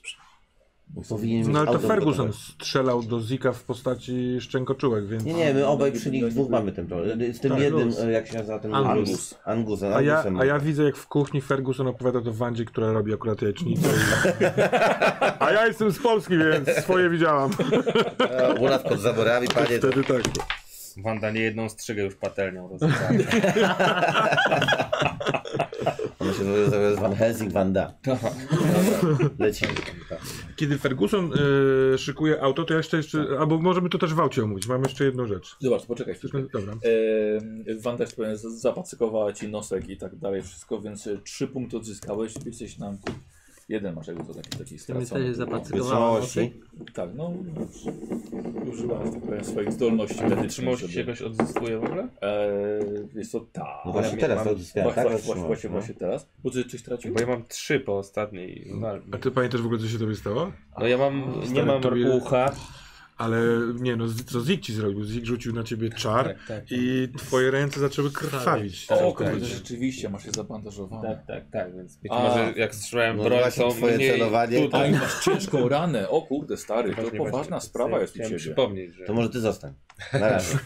S6: Bo powinien mieć
S3: No ale to
S6: auto
S3: Ferguson
S6: gotowe.
S3: strzelał do Zika w postaci szczękoczułek, więc...
S6: Nie, nie, my obaj przy nich
S2: No,
S6: dwóch
S2: niby-
S6: mamy ten problem. Z tym
S3: Tak,
S6: jednym,
S3: Luz.
S6: jak się nazywa ten
S4: Angus.
S6: Angus. Angus.
S3: A ja,
S6: Angusem.
S3: a ja widzę, jak w kuchni Ferguson opowiada to Wandzie, która robi akurat jajecznicę. A ja jestem z Polski, więc swoje widziałam.
S6: E, U nas pod zaborami, panie, to
S3: Wtedy tak.
S5: Wanda nie jedną strzygę już patelnią rozwiązała.
S6: ono się nazywa Van Helsing, Van Da. Lecimy.
S3: Kiedy Ferguson y, szykuje auto, to ja jeszcze, jeszcze... Albo możemy to też w aucie omówić. Mam jeszcze jedną rzecz.
S2: Zobacz, poczekaj chwilkę.
S3: Jesteśmy... Dobra.
S2: Yy, Wanda jeszcze powiem, z- zapacykowała ci nosek i tak dalej, wszystko, więc e, trzy punkty odzyskałeś, jesteś na jeden masz jakby to taki, taki
S4: Ty mi
S2: stracony.
S4: też zapacykowała nosek.
S6: Wytrzymałości.
S2: Tak, no już- używałaś tak powiem, swoich zdolności medycznych,
S5: Wytrzymałość się
S2: żeby...
S5: jakoś odzyskuje w ogóle?
S2: Eee, jest to tak.
S6: No właśnie teraz to odzyskałem,
S2: Właśnie,
S6: tak?
S2: właśnie, właśnie, właśnie,
S6: Wytrzymałość,
S2: właśnie teraz. Bo ty coś tracił?
S5: Bo ja mam trzy po ostatniej walce.
S3: A ty pamiętasz w ogóle, co się tobie stało?
S5: No ja mam, nie
S3: Stary,
S5: mam
S3: tobie-
S5: ucha.
S3: Ale nie no, z- co Zik ci zrobił? Zik rzucił na ciebie czar
S5: Tak, tak.
S3: i twoje ręce zaczęły krwawić.
S2: O,
S5: tak,
S2: kurde,
S5: tak.
S2: rzeczywiście, masz je zabandażowane.
S5: Tak, tak, tak, więc być
S2: A.
S5: może jak strzelałem
S6: No
S5: broń,
S6: właśnie
S5: to
S6: twoje
S5: mniej
S6: celowanie-
S2: A
S5: tutaj.
S2: i masz ciężką ranę. O kurde, stary, to
S5: Właśnie,
S2: poważna
S5: właśnie,
S2: sprawa jest u
S5: chciałem
S2: ciebie.
S5: przypomnieć, że...
S6: To może ty zostań. Na razie.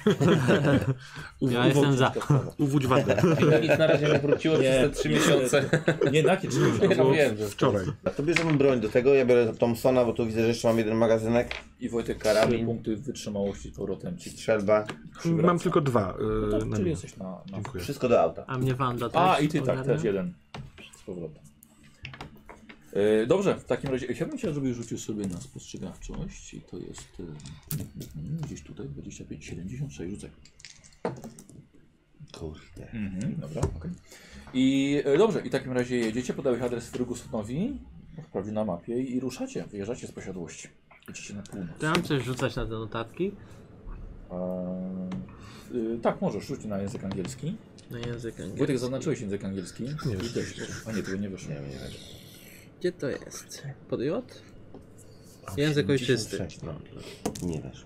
S3: U-
S4: Ja
S3: uwo-
S4: jestem za.
S3: Uwódź wadę.
S5: Mi nic na razie nie wróciło przez te trzy miesiące.
S2: Nie, na jakie trzy
S5: Ja
S2: miesiące?
S5: wiem, że...
S3: Wczoraj.
S6: A to bierzemy broń do tego, ja biorę Thompsona, bo tu widzę, że jeszcze mam jeden magazynek.
S2: I Wojtek karami
S6: Trzy.
S2: punkty wytrzymałości z powrotem ci
S6: Strzelba.
S2: przywraca.
S3: Mam tylko dwa. y,
S2: No to,
S3: na
S2: czyli
S3: minus.
S2: jesteś na... na...
S3: Dziękuję.
S6: Wszystko do auta.
S4: A mnie Wanda też.
S2: A, i ty tak,
S4: ogarnia?
S2: też jeden. Z powrotem. E, Dobrze, w takim razie chciałbym Cię, żebyś rzucił sobie na spostrzegawczość i to jest e, mm, gdzieś tutaj 25, 76, rzucaj.
S6: Kurde.
S2: Mhm, dobra, okej. I e, dobrze, i w takim razie jedziecie, podałeś adres Fergusonowi, sprawdził na mapie i ruszacie, wyjeżdżacie z posiadłości. Jedziecie na północ.
S6: Tak.
S4: To ja mam coś rzucać na te notatki?
S2: Eee, y, tak, możesz, rzuć na język angielski.
S4: Na język angielski.
S2: Wojtek, zaznaczyłeś język angielski.
S3: Nie.
S2: I też, a nie, tego nie wyszło.
S6: Nie wiem, nie wiem.
S4: Gdzie to jest? Pod J? Język ojczysty.
S6: 56, no. Nie wiesz.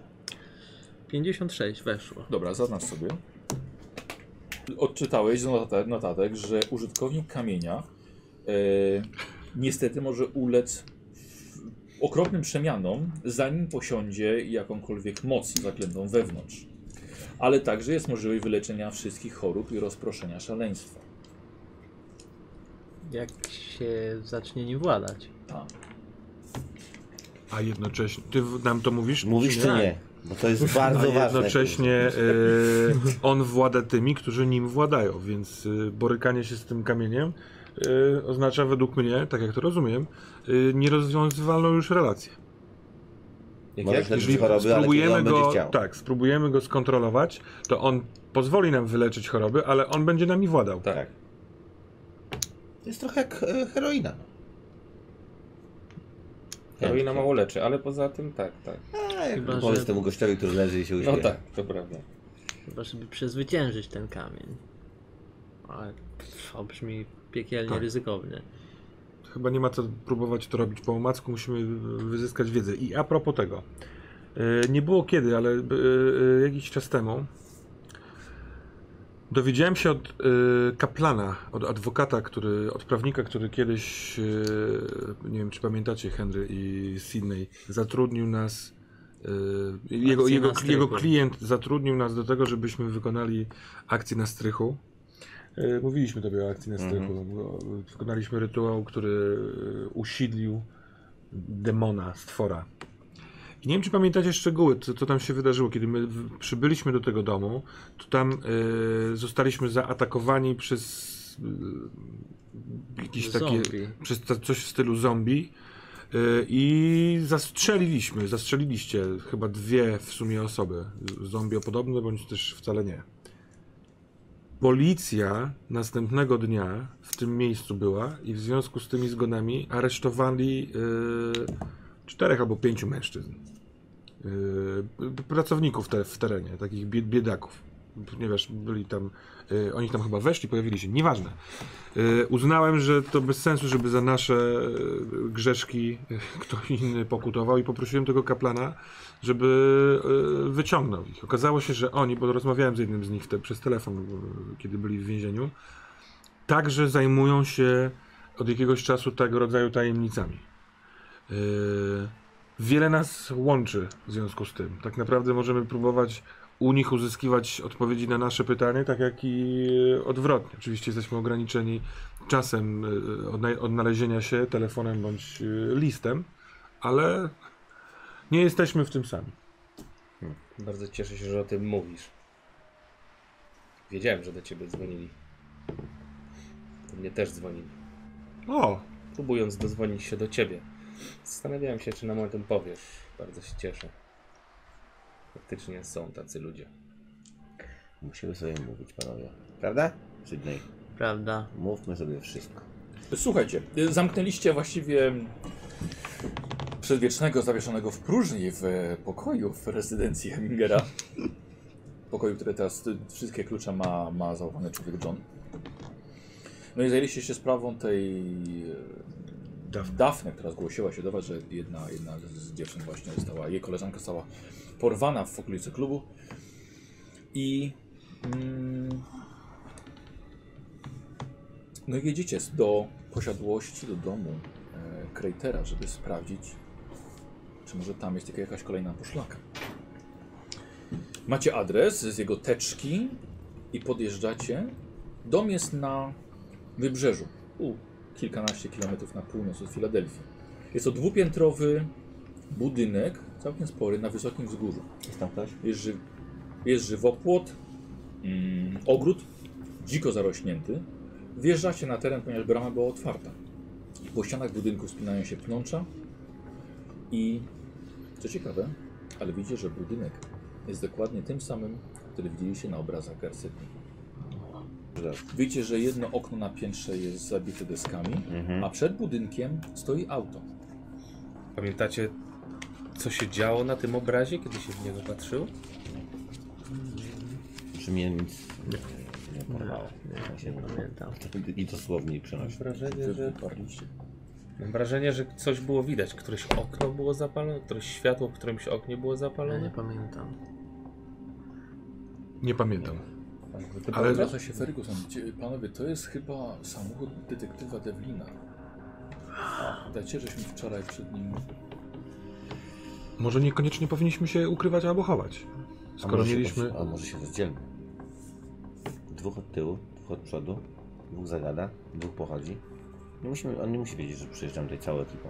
S4: 56 weszło.
S2: Dobra, zaznacz sobie. Odczytałeś z notatek, notatek że użytkownik kamienia e, niestety może ulec okropnym przemianom, zanim posiądzie jakąkolwiek moc zaklętą wewnątrz. Ale także jest możliwość wyleczenia wszystkich chorób i rozproszenia szaleństwa.
S4: Jak się zacznie nim władać.
S2: Tak.
S3: A jednocześnie. Ty w- nam to mówisz?
S6: Mówisz czy nie? Bo to jest bardzo
S3: A
S6: ważne.
S3: No, jednocześnie y, on włada tymi, którzy nim władają, więc y, borykanie się z tym kamieniem y, oznacza według mnie, tak jak to rozumiem, y, nierozwiązywalną już relację.
S6: Możesz
S5: Jak, jak?
S6: leczyć Znaczy, choroby, ale kiedy
S3: spróbujemy
S6: on będzie
S3: go,
S6: chciał.
S3: tak, spróbujemy go skontrolować, to on pozwoli nam wyleczyć choroby, ale on będzie nami władał.
S5: Tak.
S6: Tak. To jest trochę jak e, heroina.
S5: Heroina mało leczy, ale poza tym tak, tak.
S6: A, jak
S4: Chyba,
S6: powiedz
S4: że-
S6: temu gościowi, który leży i się
S5: No
S6: uśmiecha.
S5: tak, to prawda.
S4: Chyba, żeby przezwyciężyć ten kamień. Ale pff, to brzmi piekielnie
S3: Tak.
S4: ryzykownie.
S3: Chyba nie ma co próbować to robić po omacku, musimy e, wyzyskać wiedzę. I a propos tego, e, nie było kiedy, ale e, e, jakiś czas temu dowiedziałem się od e, kaplana, od adwokata, który, od prawnika, który kiedyś, e, nie wiem czy pamiętacie Henry i Sydney, zatrudnił nas, e, jego,
S4: Akcje
S3: jego,
S4: na strychu.
S3: jego klient zatrudnił nas do tego, żebyśmy wykonali akcję na strychu. E, Mówiliśmy tobie o akcji na strychu.
S4: Mhm.
S3: bo Wykonaliśmy rytuał, który e, usidlił demona, stwora. I nie wiem, czy pamiętacie szczegóły, co, co tam się wydarzyło. Kiedy my w- przybyliśmy do tego domu, to tam e, zostaliśmy zaatakowani przez e, jakieś takie.
S4: Zombie.
S3: przez to, coś w stylu zombie. e, I zastrzeliliśmy, zastrzeliliście chyba dwie w sumie osoby. Zombie podobne, bądź też wcale nie. Policja następnego dnia w tym miejscu była i w związku z tymi zgonami aresztowali y, czterech albo pięciu mężczyzn. Y, p- pracowników te, w terenie, takich bie- biedaków. ponieważ byli tam, y, oni tam chyba weszli, pojawili się, nieważne. Y, uznałem, że to bez sensu, żeby za nasze y, grzeszki y, ktoś inny pokutował i poprosiłem tego kaplana, żeby y, wyciągnął ich. Okazało się, że oni, bo rozmawiałem z jednym z nich te, przez telefon, y, kiedy byli w więzieniu, także zajmują się od jakiegoś czasu tego rodzaju tajemnicami. Yy, wiele nas łączy w związku z tym. Tak naprawdę możemy próbować u nich uzyskiwać odpowiedzi na nasze pytania, tak jak i yy, odwrotnie. Oczywiście jesteśmy ograniczeni czasem yy, odna- odnalezienia się telefonem bądź yy, listem, ale nie jesteśmy w tym sami.
S5: Bardzo cieszę się, że o tym mówisz. Wiedziałem, że do ciebie dzwonili. Do mnie też dzwonili.
S3: O,
S5: Próbując dodzwonić się do ciebie. Zastanawiałem się, czy nam o tym powiesz. Bardzo się cieszę. Faktycznie są tacy ludzie.
S6: Musimy sobie mówić, panowie. Prawda? Sydney,
S4: Prawda.
S6: mówmy sobie wszystko.
S2: Słuchajcie, y, zamknęliście właściwie przedwiecznego, zawieszonego w próżni w e, pokoju w rezydencji Hemingera. Pokoju, który teraz y, wszystkie klucze ma, ma zaufany człowiek John. No i zajęliście się sprawą tej Dafne, Dafne która zgłosiła się do was, że jedna, jedna z dziewczyn właśnie została, jej koleżanka została porwana w okolicy klubu. I mm, no i jedziecie do posiadłości, do domu e, Kreitera, żeby sprawdzić, czy może tam jest jaka- jakaś kolejna poszlaka. Macie adres z jego teczki i podjeżdżacie. Dom jest na wybrzeżu, u kilkanaście kilometrów na północ od Filadelfii. Jest to dwupiętrowy budynek, całkiem spory, na wysokim wzgórzu.
S6: Jest tam ktoś?
S2: Jest, ży jest żywopłot, mm, ogród, dziko zarośnięty. Wjeżdżacie na teren, ponieważ brama była otwarta. Po ścianach budynku spinają się pnącza i co ciekawe, ale widzicie, że budynek jest dokładnie tym samym, który widzieliście na obrazach Garcetti. Widzicie, że jedno okno na piętrze jest zabite deskami,
S6: Mhm.
S2: a przed budynkiem stoi auto.
S5: Pamiętacie, co się działo na tym obrazie, kiedy się w niego patrzyło?
S6: Czy mnie nic nie porwało? Tak
S4: Nie pamiętam.
S6: I dosłownie przenosi.
S5: wrażenie,
S2: Wy wyparliście.
S5: Mam wrażenie, że coś było widać. Któreś okno było zapalone, któreś światło w którymś oknie było
S4: Ale nie
S5: zapalone.
S4: pamiętam.
S3: nie pamiętam.
S5: Ale...
S3: Ale-
S2: Wraca się Ferguson. Cie- Panowie, to jest chyba samochód detektywa Devlina. Dacie, żeśmy wczoraj przed nim...
S3: Może niekoniecznie powinniśmy się ukrywać albo chować. Skoro mieliśmy.
S6: A może się tak rozdzielmy? Dwóch od tyłu, dwóch od przodu, dwóch zagada, dwóch pochodzi. Nie musimy, on nie musi wiedzieć, że przyjeżdżam tutaj całą ekipą.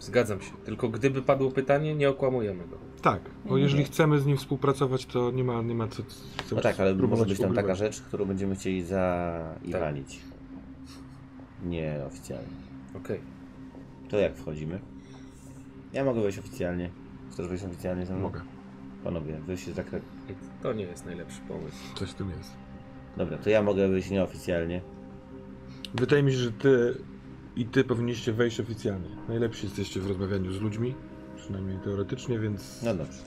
S5: Zgadzam się. Tylko gdyby padło pytanie, nie okłamujemy go.
S3: Tak, bo jeżeli chcemy z nim współpracować, to nie ma, nie ma co. co
S6: No tak, ale może
S3: próbować
S6: być tam taka
S3: ukrywać.
S6: rzecz, którą będziemy chcieli zairanić. Nie oficjalnie.
S5: Okej.
S6: To jak wchodzimy? Ja mogę wejść oficjalnie. Chcesz wejść oficjalnie ze mną?
S3: Mogę,
S6: Panowie, wy się zakre...
S5: To nie jest najlepszy pomysł.
S3: coś w tym jest.
S6: Dobra, to ja mogę wyjść nieoficjalnie.
S3: Wydaje mi się, że ty i ty powinniście wejść oficjalnie. Najlepsi jesteście w rozmawianiu z ludźmi, przynajmniej teoretycznie, więc.
S6: No dobrze.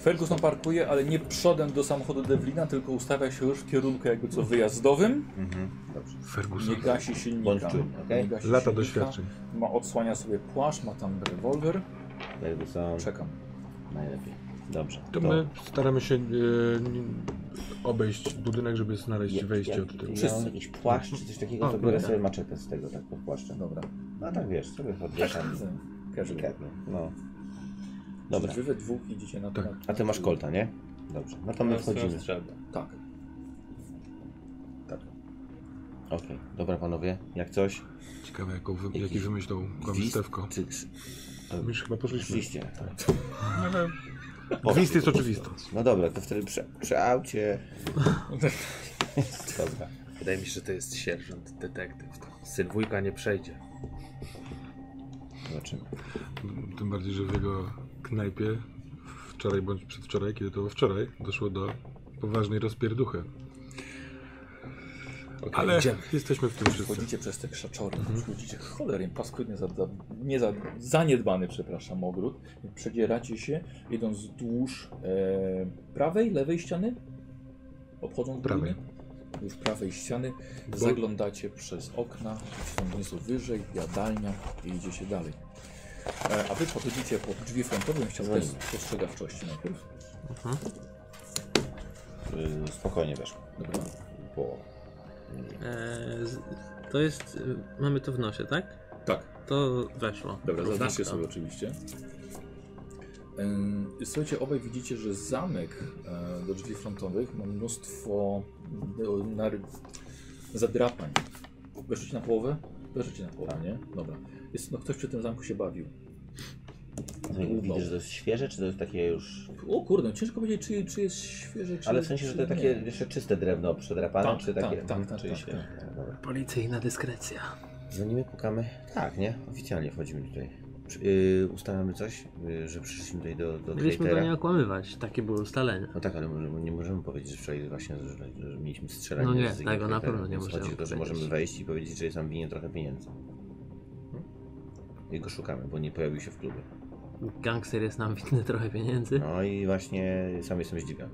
S2: Ferguson parkuje, ale nie przodem do samochodu Devlina, tylko ustawia się już w kierunku jakby co wyjazdowym.
S6: Mhm, dobrze.
S3: Ferguson.
S2: Nie gasi
S6: Bądź
S2: silnika.
S6: czujny, okej?
S2: Nie gasi
S3: Lata
S2: silnika.
S3: doświadczeń.
S2: Ma, odsłania sobie płaszcz, ma tam rewolwer.
S6: Jakby są
S2: Czekam.
S6: najlepiej. Dobrze.
S3: To my
S6: Tak.
S3: staramy się e, n- obejść budynek, żeby znaleźć
S6: Ja-
S3: wejście
S6: ja-
S3: od tyłu.
S6: Ja mam jakiś płaszcz czy coś takiego,
S3: O,
S6: to biorę
S3: dobra.
S6: sobie maczetę z tego, tak pod płaszczem.
S2: Dobra.
S6: No tak wiesz, sobie podwieszam.
S2: Każdy.
S6: Delikatnie, no.
S2: Dobra.
S6: Dobra,
S2: Wy we dwóch idziecie na
S3: Tak.
S2: na-
S6: a ty masz kolta, nie? Dobrze, no to my wchodzimy.
S5: strzelbę.
S2: Tak.
S6: Okej, dobra panowie, jak coś?
S3: Ciekawe, jaką wy, jaki
S6: Jakiś
S3: wymyślą
S6: gwizd
S3: kłamstewko.
S6: Czy...
S3: My już chyba poszliśmy.
S6: Oczywiście.
S3: Ale
S6: O,
S3: gwizd jest
S6: po prostu.
S3: oczywisty.
S6: No dobra, to wtedy przy, przy aucie. dobra.
S5: Wydaje mi się, że to jest sierżant, detektyw. To Syn wujka nie przejdzie.
S6: Zobaczymy.
S3: Tym bardziej, że w jego knajpie wczoraj bądź przedwczoraj, kiedy to było wczoraj, doszło do poważnej rozpierduchy. Ale
S5: idziemy.
S3: jesteśmy w tym wszyscy. Mhm.
S2: Wchodzicie przez te krzaczory, wchodzicie cholernie paskudnie, za, za, nie za, zaniedbany, przepraszam, ogród. Przedzieracie się, idąc wzdłuż e, prawej, lewej ściany, obchodząc
S3: Prawej.
S2: Już prawej ściany,
S3: Bo-
S2: zaglądacie przez okna, stąd nieco wyżej, jadalnia i idzie się dalej. E, a wy podchodzicie pod drzwi frontowe, chciałbym test spostrzegawczości najpierw.
S6: Y, Spokojnie weszło.
S2: Dobra.
S6: Połowa.
S4: Eee, z- to jest. y, Mamy to w nosie, tak?
S2: Tak,
S4: To weszło.
S2: Dobra,
S4: Równo
S2: zaznaczcie
S4: w
S2: sobie
S4: to.
S2: oczywiście. Ym, Słuchajcie, obaj widzicie, że zamek e, do drzwi frontowych ma mnóstwo e, nary- zadrapań. Weszliście na połowę? Weszliście na połowę, nie? Dobra. Jest, no ktoś przy tym zamku się bawił.
S6: Widzę, że to jest świeże, czy to jest takie już...
S2: O kurde, ciężko powiedzieć, czy, czy jest świeże, czy
S6: Ale w sensie, że
S2: czy
S6: to
S2: nie.
S6: takie jeszcze czyste drewno przedrapane,
S2: Tak,
S6: czy takie...
S2: tak, tak, tak,
S6: czy
S2: tak,
S6: się...
S2: tak.
S6: tak, dobra.
S4: Policyjna dyskrecja.
S6: Dzwonimy, pukamy. Tak, nie? Oficjalnie wchodzimy tutaj. Przy- y, ustalamy coś, y, że przyszliśmy tutaj do, do
S4: Mieliśmy go nie
S6: Kreitera.
S4: okłamywać, takie były ustalenia.
S6: No tak, ale możemy- nie możemy powiedzieć, że wczoraj właśnie że, że mieliśmy strzelanie.
S4: No nie,
S6: z
S4: tego na pewno nie
S6: Kreiterem,
S4: możemy
S6: więc Chodzi o to, że
S4: powiedzieć.
S6: możemy wejść i powiedzieć, że jest nam winien trochę pieniędzy. Hm? I go szukamy, bo nie pojawił się w klubie.
S4: Gangster jest nam winny trochę pieniędzy.
S6: No i właśnie sam jestem zdziwiony.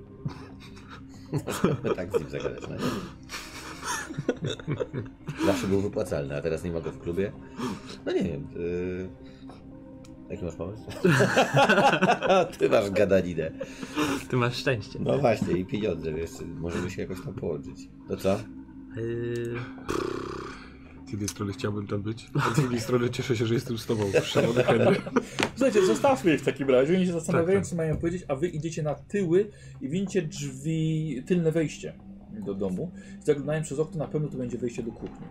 S6: tak z nim zagadać. no nie? Zawsze był wypłacalny, a teraz nie ma go w klubie. No nie wiem. Yy... Jaki masz pomysł? Ty masz gadaninę.
S4: Ty masz szczęście.
S6: No właśnie, i pieniądze, wiesz, możemy się jakoś tam połączyć. To co?
S4: Eee,
S3: Z jednej strony chciałbym tam być, a z drugiej strony cieszę się, że jestem z tobą, szalony Henry.
S2: Słuchajcie, zostawmy ich w takim razie. Oni się zastanawiają,
S3: Tak, tak.
S2: co mają powiedzieć, a wy idziecie na tyły i widzicie drzwi, tylne wejście do domu. Zaglądając przez okno, na pewno to będzie wejście do kuchni.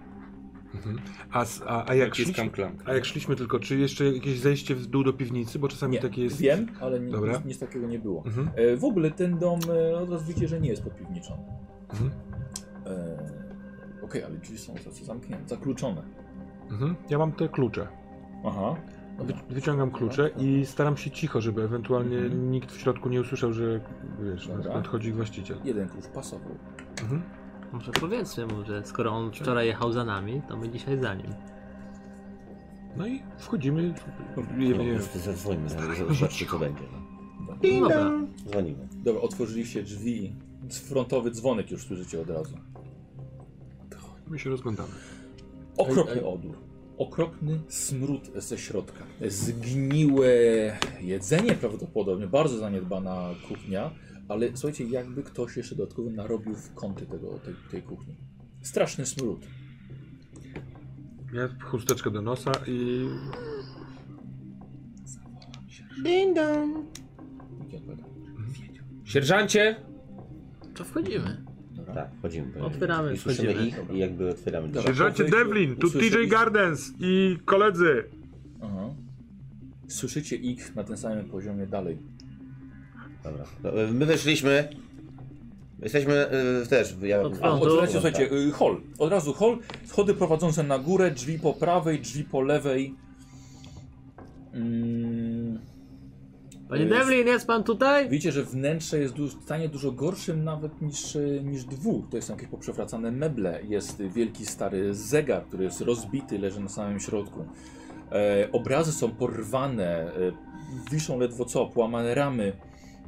S3: A, s- a, a, jak
S5: Naciskam
S3: szliśmy,
S5: klamkę.
S3: a jak szliśmy tylko, czy jeszcze jakieś zejście w dół do piwnicy, bo czasami
S2: Nie,
S3: takie jest...
S2: wiem, ale ni-
S3: Dobra.
S2: nic, nic takiego nie było.
S3: Mhm.
S2: E, w ogóle ten dom e, od razu widzicie, że nie jest podpiwniczony.
S3: Mhm.
S2: E, Okej, ale drzwi są za- zamknięte, zakluczone.
S3: Mhm. Ja mam te klucze.
S2: Aha. No
S3: Wy, wyciągam klucze i staram się cicho, żeby ewentualnie
S2: Mhm.
S3: nikt w środku nie usłyszał, że wiesz,
S2: Dobra.
S3: nadchodzi właściciel.
S2: Jeden klucz pasował.
S3: Mhm.
S4: może powiedzmy mu, że skoro on wczoraj jechał za nami, to my dzisiaj za nim.
S3: No i wchodzimy.
S6: No, już zadzwońmy, zaraz zobaczmy co będzie. no.
S4: No dobra,
S6: Dzwonimy.
S2: Dobra, otworzyliście drzwi. Frontowy dzwonek już słyszycie od razu.
S3: My się rozglądamy.
S2: Okropny odór. Okropny smród ze środka. Zgniłe jedzenie prawdopodobnie, bardzo zaniedbana kuchnia, ale słuchajcie, jakby ktoś jeszcze dodatkowo narobił w kąty tego, tej, tej kuchni. Straszny smród.
S3: Ja chusteczkę do nosa i.
S2: Nikt nie odpowiada.
S5: Sierżancie!
S4: to wchodzimy.
S6: Tak, wchodzimy.
S4: Otwieramy,
S6: I słyszymy
S4: wchodzimy.
S6: ich i jakby otwieramy
S2: Dobra.
S6: drzwi.
S2: po
S3: Sierżancie
S2: wejściu
S3: Devlin, tu TJ
S2: usłyszeliśmy-
S3: Gardens i koledzy!
S2: Aha. Słyszycie ich na tym samym poziomie dalej.
S6: Dobra. No, y, My weszliśmy. Jesteśmy y, też. Ja,
S4: Od
S2: A,
S4: No,
S2: otwieracie,
S4: dobra.
S2: słuchajcie, y, hol. Od razu hol, schody prowadzące na górę, drzwi po prawej, drzwi po lewej. Mm.
S4: Panie
S2: Y,
S4: Devlin, jest pan tutaj?
S2: Widzicie, że wnętrze jest du- w stanie dużo gorszym nawet niż, e, niż dwóch. To są jakieś poprzewracane meble. Jest wielki stary zegar, który jest rozbity, leży na samym środku. E, obrazy są porwane, e, wiszą ledwo co, połamane ramy.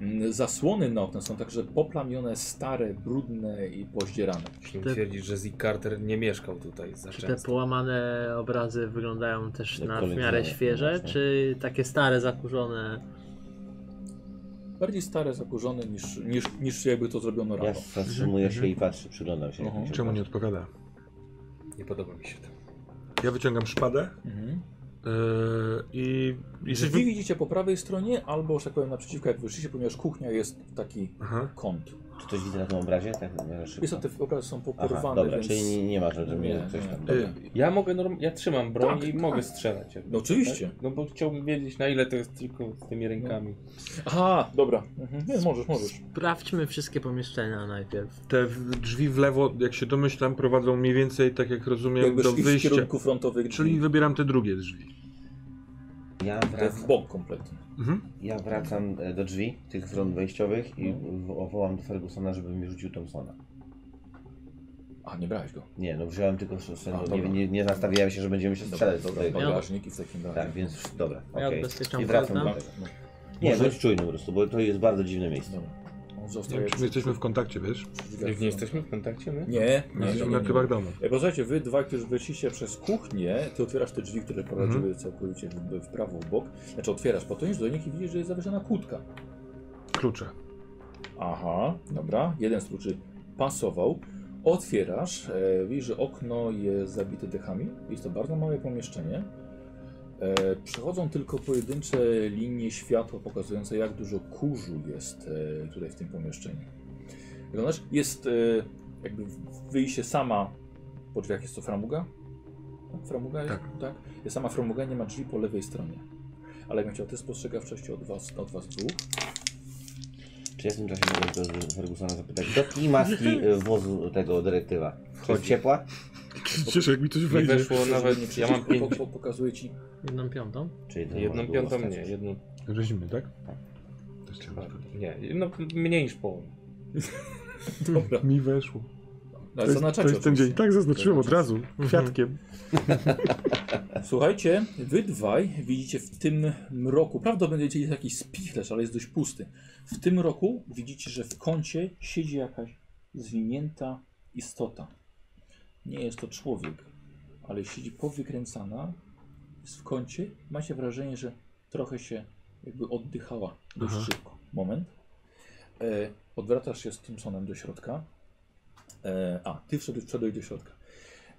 S2: Mm, Zasłony na oknach są także poplamione, stare, brudne i pozdzierane.
S5: Śmiem
S4: Te-
S5: twierdzić, że Zig Carter nie mieszkał tutaj za
S4: Czy te
S5: często. no,
S4: połamane obrazy wyglądają też
S6: Jak
S4: na w
S6: kolekcjoner,
S4: miarę świeże,
S6: właśnie.
S4: czy takie stare, zakurzone?
S2: Bardziej stare, zakurzone niż, niż, niż jakby to zrobiono
S6: ja
S2: rano.
S6: zatrzymuję się i patrzę, przyglądam się. jak
S2: Mhm.
S6: mi się
S3: Czemu nie
S6: patrzy.
S3: odpowiada?
S5: Nie podoba mi się to.
S3: Ja wyciągam szpadę
S2: Mhm.
S3: yy, i. Yy, i
S2: Drzwi widzicie po prawej stronie, albo, że tak powiem, naprzeciwko, jak wyszliście, ponieważ kuchnia jest w taki
S3: Aha.
S2: kąt.
S6: Czy coś widzę na tym obrazie? Tak, na szybko.
S2: Niestety te obrazy są poporwane,
S6: Aha, dobra,
S2: więc...
S6: czyli nie, nie ma, że mnie
S2: Nie,
S6: coś tam.
S2: nie.
S6: Dobra.
S5: Ja mogę norm... ja trzymam broń
S2: Tak,
S5: i
S2: tak.
S5: mogę strzelać. jakby,
S2: No oczywiście.
S5: Tak? No bo chciałbym wiedzieć na ile to jest tylko z tymi rękami.
S2: Aha, dobra. Mhm. Nie, możesz, możesz.
S4: Sprawdźmy wszystkie pomieszczenia najpierw.
S3: Te w- drzwi w lewo, jak się domyślam, prowadzą mniej więcej, tak jak rozumiem,
S2: Jakby
S3: do
S2: szli w
S3: wyjścia.
S2: kierunku frontowych drzwi.
S3: Czyli wybieram te drugie drzwi.
S6: Ja
S2: To jest w
S6: wracam,
S2: bok kompletnie.
S3: Mhm.
S6: ja wracam e, do drzwi, tych front wejściowych i wo- wołam do Fergusona, żeby mi rzucił Thompsona.
S2: A, nie brałeś go.
S6: Nie, no wziąłem tylko, że
S2: A,
S6: nie,
S2: dobra.
S6: nie, nie nastawiałem się, że będziemy się strzelać do tego.
S2: Bagażnik i w takim razie.
S6: Tak, więc dobra, okej.
S4: odbezpieczam
S6: I wracam do
S4: pazna.
S6: tego.
S2: No,
S6: Nie, bądź czujny po prostu, bo to jest bardzo dziwne miejsce.
S2: dobra. No, On
S3: Nie
S2: został
S3: wiem,
S2: jak
S3: czy my jesteśmy w kontakcie, wiesz?
S2: No.
S5: Jak nie jesteśmy w kontakcie, my?
S2: Nie, nie, nie,
S3: Jesteśmy
S2: nie,
S3: na
S2: nie.
S3: kibach domu.
S2: E, Posłuchajcie, wy dwa, którzy wyszliście przez kuchnię, ty otwierasz te drzwi, które prowadziły całkowicie w, w prawo, w bok. Znaczy otwierasz, potonisz do nich i widzisz, że jest zawieszona kłódka.
S3: Klucze.
S2: Aha, dobra. Jeden z kluczy pasował. Otwierasz, e, widzisz, że okno jest zabite dechami. Jest to bardzo małe pomieszczenie. E, przechodzą tylko pojedyncze linie światła pokazujące, jak dużo kurzu jest e, tutaj w tym pomieszczeniu. Wyglądasz, jest e, jakby wyjście sama, po drzwiach jest to framuga? Tak, Framuga?
S3: Tak.
S2: tak. Jest sama framuga, nie ma drzwi po lewej stronie. Ale jakbym chciał, ty spostrzegawczości od was, od was dwóch.
S6: Czy ja w tym czasie mogę do Fergusona zapytać, do jakiej maski y, wozu tego dyrektywa? Czy jest ciepła?
S3: Krzyczysz, jak mi coś
S5: Nie
S3: wejdzie.
S5: weszło nawet, ja mam
S2: Przecież
S5: pięć,
S2: Po, po, pokazuję ci.
S4: Jedną piątą.
S6: Czy to
S5: jedną
S6: może
S5: piątą
S6: było
S5: nie,
S6: wstać?
S5: jedną,
S3: Rzeźmy, tak? Też chciałem spytać.
S5: nie, no mniej niż połowę.
S2: Dobra.
S3: Mi weszło.
S2: No,
S3: To jest,
S2: zaznaczacie
S3: to jest ten dzień.
S2: oczywiście.
S3: Tak, zaznaczyłem od razu. Kwiatkiem.
S2: Słuchajcie, wy dwaj widzicie w tym mroku, prawdopodobnie jest jakiś spichlerz, ale jest dość pusty. W tym roku widzicie, że w kącie siedzi jakaś zwinięta istota. Nie jest to człowiek, ale siedzi powykręcana, jest w kącie. Macie wrażenie, że trochę się jakby oddychała dość
S3: Aha.
S2: szybko. Moment. E, odwracasz się z Simpsonem do środka. E, a, ty wszedłeś, wszedłeś do środka.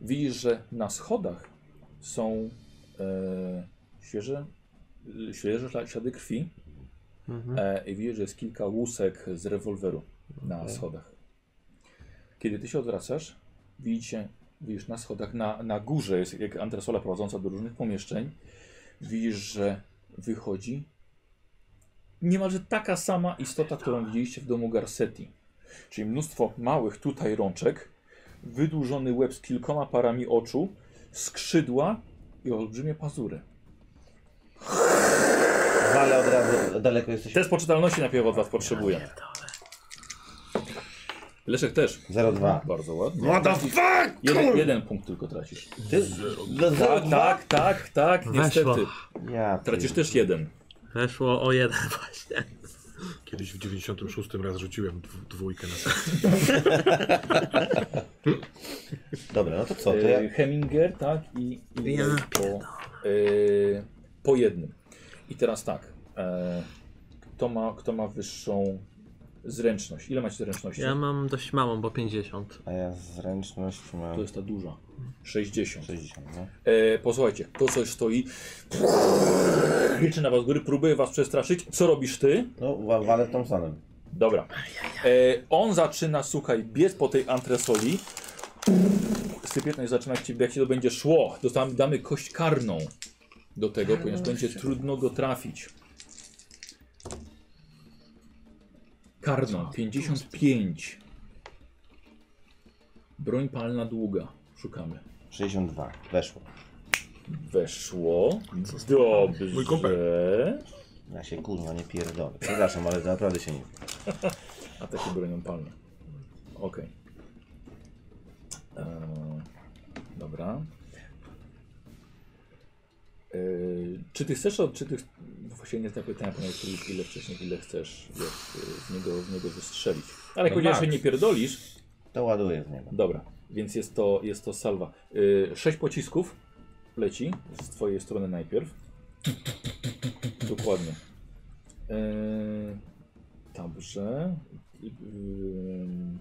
S2: Widzisz, że na schodach są e, świeże, y, świeże śla- ślady krwi
S4: Mhm.
S2: e, i widzisz, że jest kilka łusek z rewolweru na schodach. Kiedy ty się odwracasz, widzicie, widzisz na schodach, na, na górze jest jak antresola prowadząca do różnych pomieszczeń, widzisz, że wychodzi niemalże taka sama istota, którą widzieliście w domu Garcetti. Czyli mnóstwo małych tutaj rączek, wydłużony łeb z kilkoma parami oczu, skrzydła i olbrzymie pazury.
S6: Wale No, od razu, daleko jesteś.
S2: Test poczytalności najpierw od was potrzebuję. Leszek też.
S6: 0,2.
S2: Bardzo ładnie.
S1: What the fuck?
S2: Jeden, jeden punkt tylko tracisz.
S6: Ty? Do
S2: Tak,
S6: 0,2?
S2: tak, tak, tak, niestety.
S6: Ja
S2: Tracisz też jeden.
S4: Weszło o jeden właśnie.
S3: Kiedyś w 96 raz rzuciłem dw- dwójkę na sobie.
S6: Dobra, no to co, to ja...
S2: E, Heminger, tak, i, i
S4: Ja
S2: po, e, po jednym. I teraz tak. E, kto, ma, kto ma wyższą zręczność? Ile macie zręczności?
S4: Ja mam dość małą, bo 50.
S6: A ja zręczność
S2: To
S6: mam
S2: jest ta duża. 60.
S6: 60, no.
S2: E, posłuchajcie, to coś stoi. Liczy na was z góry, próbuje was przestraszyć. Co robisz ty?
S6: No, wa- walę Thompsonem.
S2: Dobra. E, on zaczyna, słuchaj, biec po tej antresoli. Sypietność zaczyna ci, jak się to będzie szło. Dostałem, damy kość karną do tego, ponieważ będzie trudno go trafić. Karną, 55. Broń palna długa. Szukamy.
S6: 62, weszło.
S2: Weszło.
S3: Mój kumpel.
S2: Dobrze.
S6: Ja się kurwa nie pierdolę. Przepraszam, ale to naprawdę się nie...
S2: A takie bronią palne. Okej. Eee, dobra. Eee, czy ty chcesz, od- czy ty... ch- No właśnie nie znam pytania, ponieważ ty- ile wcześniej, ile chcesz jak, e, z, niego, z niego wystrzelić. Ale jak
S5: No
S2: powiedziałeś, że
S5: max.
S2: nie pierdolisz,
S6: To ładuję w niego.
S2: dobra, więc jest to, jest to salwa. Eee, sześć pocisków leci z twojej strony najpierw. Dokładnie. Eee, Dobrze. Y, Ym,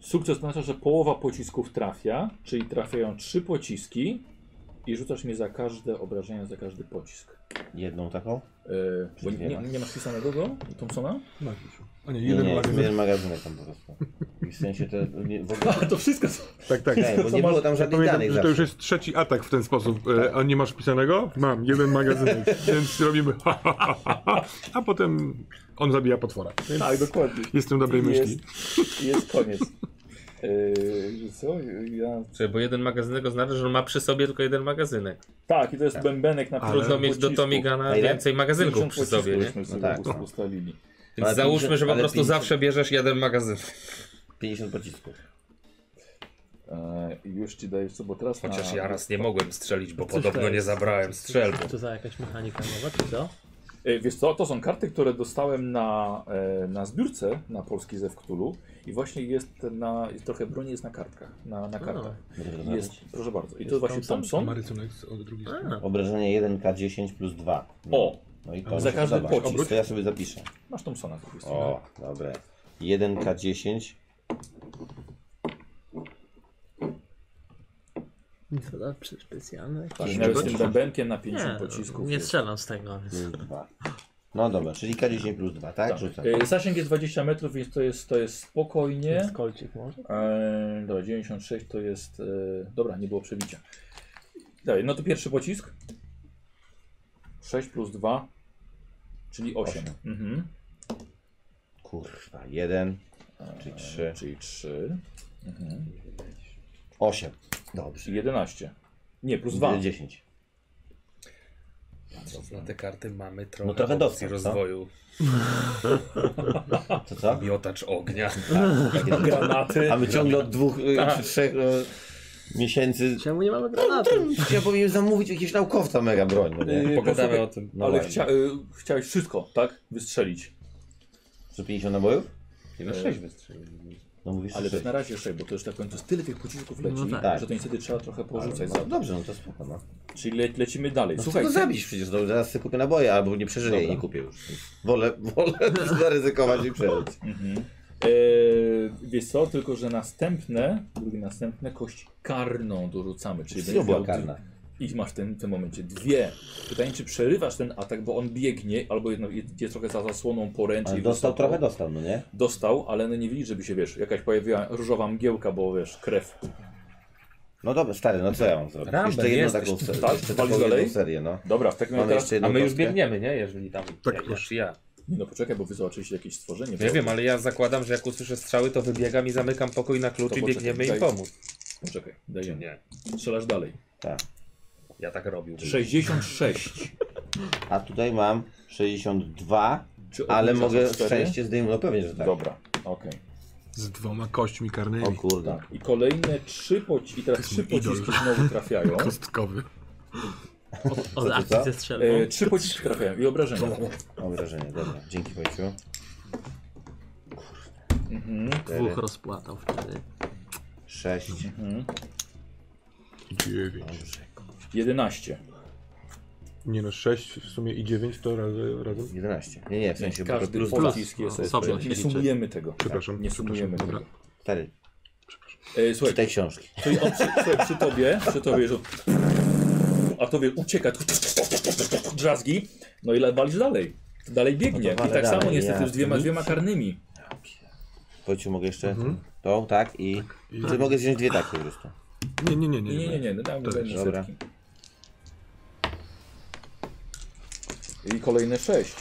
S2: Sukces oznacza, że połowa pocisków trafia, czyli trafiają trzy pociski i rzucasz mi za każde obrażenia, za każdy pocisk.
S6: Jedną taką?
S2: Yy, bo nie, nie,
S6: Dwiema.
S2: nie masz pisanego go, Thompsona?
S3: A nie,
S6: Nie,
S3: jeden
S6: nie,
S3: magazyn.
S6: jeden magazynek tam po prostu. I w sensie to nie, w ogóle...
S2: to wszystko. są-
S3: Tak, tak.
S6: Nie, bo nie było tam żadnych
S3: Pamiętam,
S6: danych
S3: że to już
S6: zawsze.
S3: jest trzeci atak w ten sposób. E, a nie masz pisanego? Mam, jeden magazyn, więc robimy ha, ha, ha, ha, ha. A potem on zabija potwora. Więc
S2: Tak, dokładnie.
S3: Jestem dobrej myśli.
S2: Jest, jest koniec. Yy, co? Ja...
S5: Czekaj, bo jeden magazynek oznacza, że on ma przy sobie tylko jeden magazynek.
S2: Tak, i to jest bębenek na
S3: Ale-
S5: Trudno mieć do
S2: pocisku.
S5: Tomigana
S6: A ile?
S5: więcej magazynków przy sobie, nie?
S2: Myśmy sobie
S6: tak.
S2: ust- ustalili.
S5: Więc
S6: Ale
S5: załóżmy, że po
S6: ale
S5: prostu
S6: 50.
S5: zawsze bierzesz jeden magazyn.
S6: 50 pocisków.
S2: E, i już ci daję, co, bo teraz
S5: Chociaż
S2: na...
S5: ja raz nie mogłem strzelić, bo
S4: Coś No to
S5: podobno nie
S4: jest.
S5: zabrałem strzelby.
S4: Co za jakaś mechanika nowa, czy co?
S2: E, Wiesz co, to są karty, które dostałem na, e, na zbiórce na polski ze Wktulu i właśnie jest na, jest trochę broni jest na kartkach, na, na kartach. Jest,
S6: znaczy-
S2: proszę bardzo. I to
S4: Jest
S2: właśnie
S4: Thompson?
S2: Thompson.
S3: Marycunek z- od drugiej strony.
S6: Obrażenie 1K10 plus 2.
S2: O,
S6: No i to
S2: Za
S6: mi się
S2: każdy
S6: podoba.
S2: pocisk.
S6: To ja sobie zapiszę.
S2: masz Thompsona po prostu.
S6: O, dobre. 1K10
S4: Co za przy- specjalne?
S2: Tak, miałeś z tym bębenkiem na 5
S4: Nie,
S2: pocisków.
S4: nie
S2: jest.
S4: strzelam z tego. więc-
S6: plus 2. No dobra, czyli K10 plus 2, tak?
S2: Tak.
S6: Rzucam.
S2: E, Zasięg jest 20 metrów, więc to jest, to jest spokojnie.
S4: Jest kolcik może?
S2: E, dobra, 96 to jest... E, dobra, nie było przebicia. Dalej, no to pierwszy pocisk. 6 plus 2, czyli 8. Mhm.
S6: Kurwa, 1, czyli 3,
S2: Czyli 3.
S6: 8. Dobrze. Y,
S2: Czyli 11. Nie, plus 2.
S6: 10.
S5: Na No, te karty mamy trochę,
S6: No trochę
S5: opcji
S6: dostęp, co?
S5: rozwoju.
S6: To co?
S5: Miotacz ognia.
S2: Granaty.
S6: A my ciągle od dwóch y,
S2: Tak.
S6: czy trzech y, miesięcy. No,
S4: Czemu nie mamy granatu?
S6: Ja powinien zamówić jakiegoś naukowca mega broń. No nie?
S5: Pogadamy o tym.
S6: No
S2: Y- Ale
S6: ładnie.
S2: chcia, y, chciałeś wszystko, tak? Wystrzelić.
S6: Że 50 nabojów?
S5: No sześć wystrzeli.
S6: No mówisz,
S2: Ale
S6: że
S2: to
S6: sześć.
S2: na razie jeszcze, bo to już na końcu jest tyle tych pocisków leci,
S4: No
S6: tak.
S2: że to niestety trzeba trochę porzucać.
S6: No,
S2: Za...
S6: dobrze, no to spoko. No.
S2: Czyli le, lecimy dalej.
S6: Słuchaj,
S2: Słuchaj,
S6: to
S2: ty-
S6: zabisz No przecież, no, zaraz sobie kupię naboje, albo nie przeżyję i
S2: Dobra.
S6: nie kupię już. Wolę, wolę zaryzykować i przeżyć.
S2: Mhm. E, wiesz co, tylko że następne, drugie następne, kość karną dorzucamy, czyli
S6: Znowu była
S2: miał d-
S6: karna.
S2: I masz w tym, w tym momencie dwie. Pytanie, czy przerywasz ten atak, bo on biegnie, albo jedno, jest trochę za zasłoną poręczy.
S6: Ale
S2: i
S6: dostał
S2: wysoko.
S6: trochę, dostał, no nie?
S2: Dostał, ale no nie widzisz, żeby się, wiesz, jakaś pojawiła różowa mgiełka, bo wiesz, krew.
S6: No dobra, stary, no co ja mam zrobić?
S5: Rambo,
S6: jeszcze jedną
S5: jesteś
S6: taką serię.
S2: Tak?
S6: Jeszcze
S2: Walisz
S6: taką jedną
S2: dalej?
S6: serię, no.
S2: Dobra, w takim
S6: Mamy
S2: razie teraz...
S6: jeszcze jedną
S5: A my już
S6: kostkę.
S5: biegniemy, nie? Jeżeli tam.
S3: Tak,
S5: ja,
S3: proszę.
S5: już ja.
S2: Nie no, poczekaj, bo wy zobaczyliście jakieś stworzenie.
S5: Nie wiem, ale ja zakładam, że jak usłyszę strzały, to wybiegam i zamykam pokój na klucz
S2: To
S5: i
S2: poczekaj,
S5: biegniemy im
S2: daj-
S5: pomóc.
S2: Poczekaj, dajemy.
S5: Nie.
S2: Strzelasz dalej.
S6: Tak.
S5: Ja tak robił.
S2: 66.
S6: A tutaj mam 62,
S2: Czy
S6: ale
S2: obniżasz o
S6: mogę
S2: cztery?
S6: szczęście zdejmować. No pewnie, że tak.
S2: Dobra, okej.
S3: Z dwoma kośćmi
S6: O
S3: karnymi.
S6: kurde.
S2: Tak. I kolejne trzy poci... I teraz
S3: jest
S2: trzy
S3: mój idol.
S2: pociski znowu trafiają.
S3: Kostkowy.
S4: Od akcji
S6: co?
S4: ze
S2: E,
S4: strzelbą.
S2: trzy pociski trafiają i obrażenia.
S6: Mam wrażenie, dobra. Dzięki Wojciu.
S2: Mhm.
S4: Dwóch rozpłatał wtedy.
S6: 6.
S3: Dziewięć.
S2: 11.
S3: Nie no, sześć w sumie i dziewięć to razy, razem.
S6: 11. Nie, nie, w sensie, bo to
S2: Każdy
S6: plus
S4: plus.
S6: 2.
S2: pocisk jest.
S4: No, osobno
S2: Nie
S4: się liczy.
S2: sumujemy tego.
S3: Przepraszam,
S2: Nie
S3: przepraszam,
S2: sumujemy
S3: dobra.
S2: tego.
S6: Stary,
S2: E, słuchaj,
S6: czytaj książki.
S2: to i on przy, słuchaj, przy tobie, przy tobie, że... A tobie ucieka, tu- drzazgi, no i le- walisz dalej. Dalej biegnie.
S6: No to
S2: I
S6: walę
S2: tak samo
S6: dalej,
S2: niestety
S6: ja No.
S2: z dwiema,
S6: nic.
S2: dwiema karnymi.
S6: Wojciu, mogę jeszcze
S2: Mhm.
S6: tą, tak? I ty mogę wziąć dwie takie po prostu.
S3: Nie, nie, nie, nie.
S2: Nie, nie, nie, nie, no dam daj mi
S6: dobra.
S2: setki. I kolejne 6.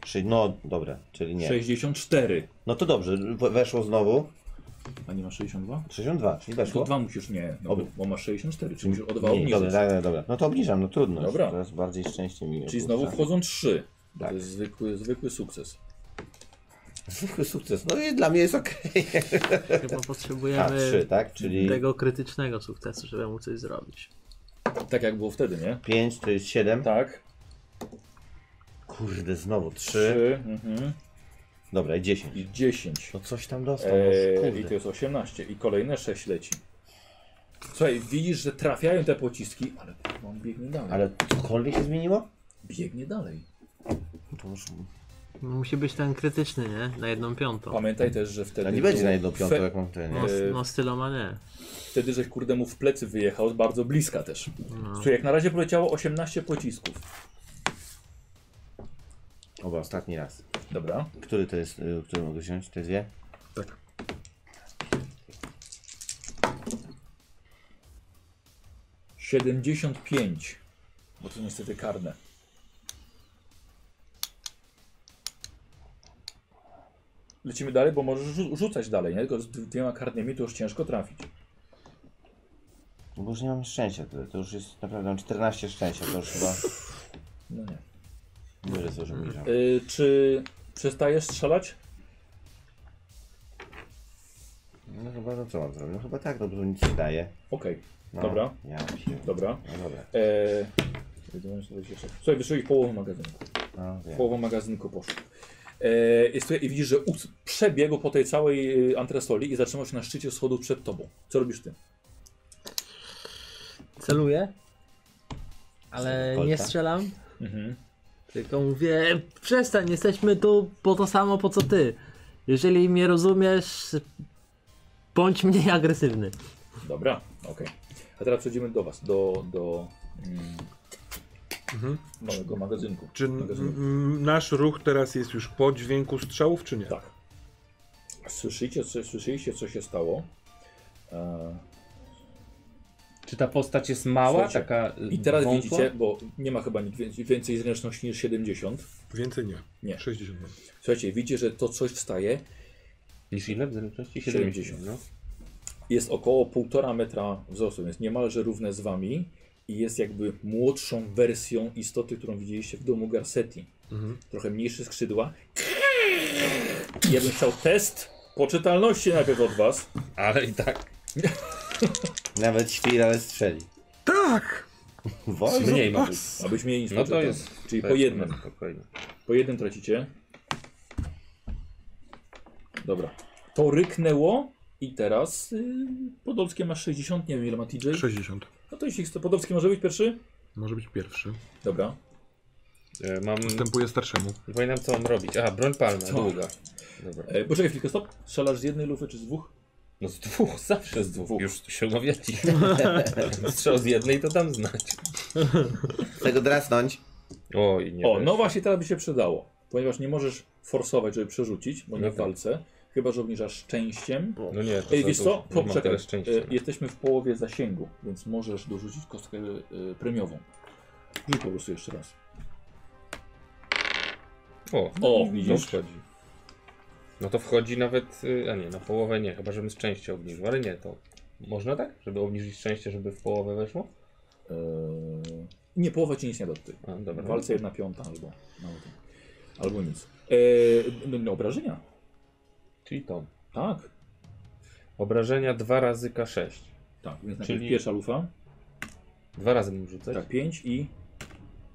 S6: Trzy- No dobra, czyli nie.
S2: 64.
S6: No to dobrze, w- weszło znowu.
S2: A nie ma 62?
S6: 62, czyli
S2: To
S6: weszło.
S2: dwa musisz nie, no, bo,
S6: Oby.
S2: bo masz 64, czyli musisz o dwa
S6: Nie, dobra,
S2: obniżyć.
S6: dobra, dobra. No to obniżam, no trudno. już.
S2: Dobra.
S6: Teraz bardziej szczęście mi.
S2: Czyli znowu wchodzą 3.
S6: Tak.
S2: To jest zwykły, zwykły sukces.
S6: Zwykły sukces. No i dla mnie jest okej.
S4: Chyba
S6: A, trzy,
S4: potrzebujemy
S6: tak? Czyli
S4: tego krytycznego sukcesu, żeby mu coś zrobić.
S2: Tak jak było wtedy, nie?
S6: pięć, to jest siedem.
S2: Tak.
S6: Kurde, znowu trzy.
S2: 3 mhm.
S6: Dobra, i dziesięć.
S2: i 10.
S6: No coś tam dostał. no,
S2: Eee, I to
S6: kurde.
S2: jest 18. I kolejne 6 leci. Słuchaj, widzisz, że trafiają te pociski, ale on biegnie dalej.
S6: Ale cokolwiek się zmieniło?
S2: Biegnie dalej.
S6: To już...
S2: Eee,
S4: No, Musi być ten krytyczny, nie? Na jedną piątą.
S2: Pamiętaj też, że wtedy...
S6: No nie będzie
S2: był
S6: na jedną piątą,
S2: fe-
S6: jak mam ten.
S4: No,
S6: nie?
S2: y-
S4: s- no styloma nie.
S2: Wtedy żeś kurde mu w plecy wyjechał, bardzo bliska też. Czyli jak na razie poleciało 18 pocisków.
S6: Oba, ostatni raz.
S2: Dobra.
S6: Który to jest, y, który mogę wziąć? Te dwie?
S3: Tak.
S2: Siedemdziesiąt pięć, Bo to niestety karne. Lecimy dalej, bo możesz rzu- rzucać dalej, nie? Tylko z d- dwiema karnymi to już ciężko trafić.
S6: No bo już nie mam szczęścia tyle. To już jest naprawdę, mam 14 szczęścia, to już chyba...
S2: No nie.
S6: Nie wiem, co już obniżam.
S2: Y, czy przestajesz strzelać?
S6: No chyba, no co mam zrobić? No chyba tak, no bo to nic nie daje.
S2: Okej,
S6: No,
S2: Dobra.
S6: Ja się...
S2: dobra.
S6: No dobra.
S2: Eee, wiedziałem, że to będzie jeszcze- Słuchaj, wyszło ich połowę magazynku.
S6: No, wiem.
S2: Połowa magazynku poszła. Eee, jest tutaj, I widzisz, że ust- przebiegł po tej całej y, antresoli i zatrzymał się na szczycie schodów przed tobą. Co robisz ty?
S4: Celuję, ale
S6: Kolta.
S4: nie strzelam.
S2: Mhm.
S4: Tylko mówię, przestań, jesteśmy tu po to samo, po co ty. Jeżeli mnie rozumiesz, bądź mniej agresywny.
S2: Dobra, okej. A teraz przejdziemy do was, do, do mm,
S3: Mhm.
S2: małego magazynku.
S3: Czy mhm. n-
S2: magazynku.
S3: m- nasz ruch teraz jest już po dźwięku strzałów, czy nie?
S2: Tak. Słyszycie, co, słyszeliście, co się stało? Eee,
S5: Czy ta postać jest mała,
S2: Słuchajcie,
S5: taka y,
S2: I teraz
S5: wątła?
S2: widzicie, bo nie ma chyba nikt więcej, więcej zręczności niż 70.
S3: Więcej nie.
S2: Nie.
S3: 60. mam.
S2: Słuchajcie, widzicie, że to coś wstaje.
S5: Niż ile w zależności?
S2: 70.
S5: No.
S2: Jest około 1,5 metra wzrostu, więc niemalże równe z wami. I jest jakby młodszą wersją istoty, którą widzieliście w domu Garcetti.
S3: Mhm.
S2: Trochę mniejsze skrzydła. Ja bym chciał test poczytalności najpierw od was.
S5: Ale i tak
S6: Nawet świr, ale strzeli.
S3: Tak!
S6: Wolno?
S5: mniej ma być.
S2: Abyś mieli nic
S5: No to
S2: poczytane.
S5: jest.
S2: Znaczy,
S5: no.
S2: Czyli
S5: to
S2: po
S5: jest
S2: jednym.
S5: Spokojnie.
S2: Po jednym tracicie. Dobra. To ryknęło i teraz y, Podolskie ma 60, nie wiem ile ma TJ.
S3: 60.
S2: No to jeśli chce, Podolski może być pierwszy?
S3: Może być pierwszy.
S2: Dobra.
S5: E, Mam.
S3: Wstępuje starszemu.
S5: Nie pamiętam co mam robić. Aha, broń palna,
S2: Co?
S5: długa. Dobra.
S2: E, poczekaj chwilkę, stop. Strzelasz z jednej lufy czy z dwóch?
S5: No z dwóch, zawsze z
S2: dwóch.
S5: dwóch. Już się umawiali. Strzał z jednej to dam znać.
S6: Chcę go drasnąć.
S5: Oj, nie
S2: o,
S5: wiesz.
S2: no właśnie teraz by się przydało. Ponieważ nie możesz forsować, żeby przerzucić, bo nie
S5: No
S2: w
S5: tak.
S2: walce. Chyba, że obniżasz szczęściem.
S5: No nie, to
S2: Ej,
S5: za
S2: wiesz co?
S5: dużo. Nie mam
S2: Poczekaj.
S5: tyle szczęścia. no.
S2: E, Jesteśmy w połowie zasięgu, więc możesz dorzucić kostkę e, premiową. Rzuć po prostu jeszcze raz.
S5: O,
S2: O,
S5: to
S2: widzisz? e,
S5: wchodzi. No to wchodzi nawet, y, a nie, na połowę nie, chyba żebym szczęście obniżył, ale nie, to można tak? Żeby obniżyć szczęście, żeby w połowę weszło?
S2: Eee, nie, połowa ci nic nie da tutaj.
S5: A,
S2: W
S5: dobra.
S2: walce jedna piąta albo mało tam. albo nic. Eee, no, obrażenia?
S5: Czyli to.
S2: Tak,
S5: Obrażenia 2 razy K6.
S2: tak. Więc najpierw
S5: Czyli-
S2: pierwsza lufa,
S5: Dwa razy mam rzucać.
S2: tak, 5 i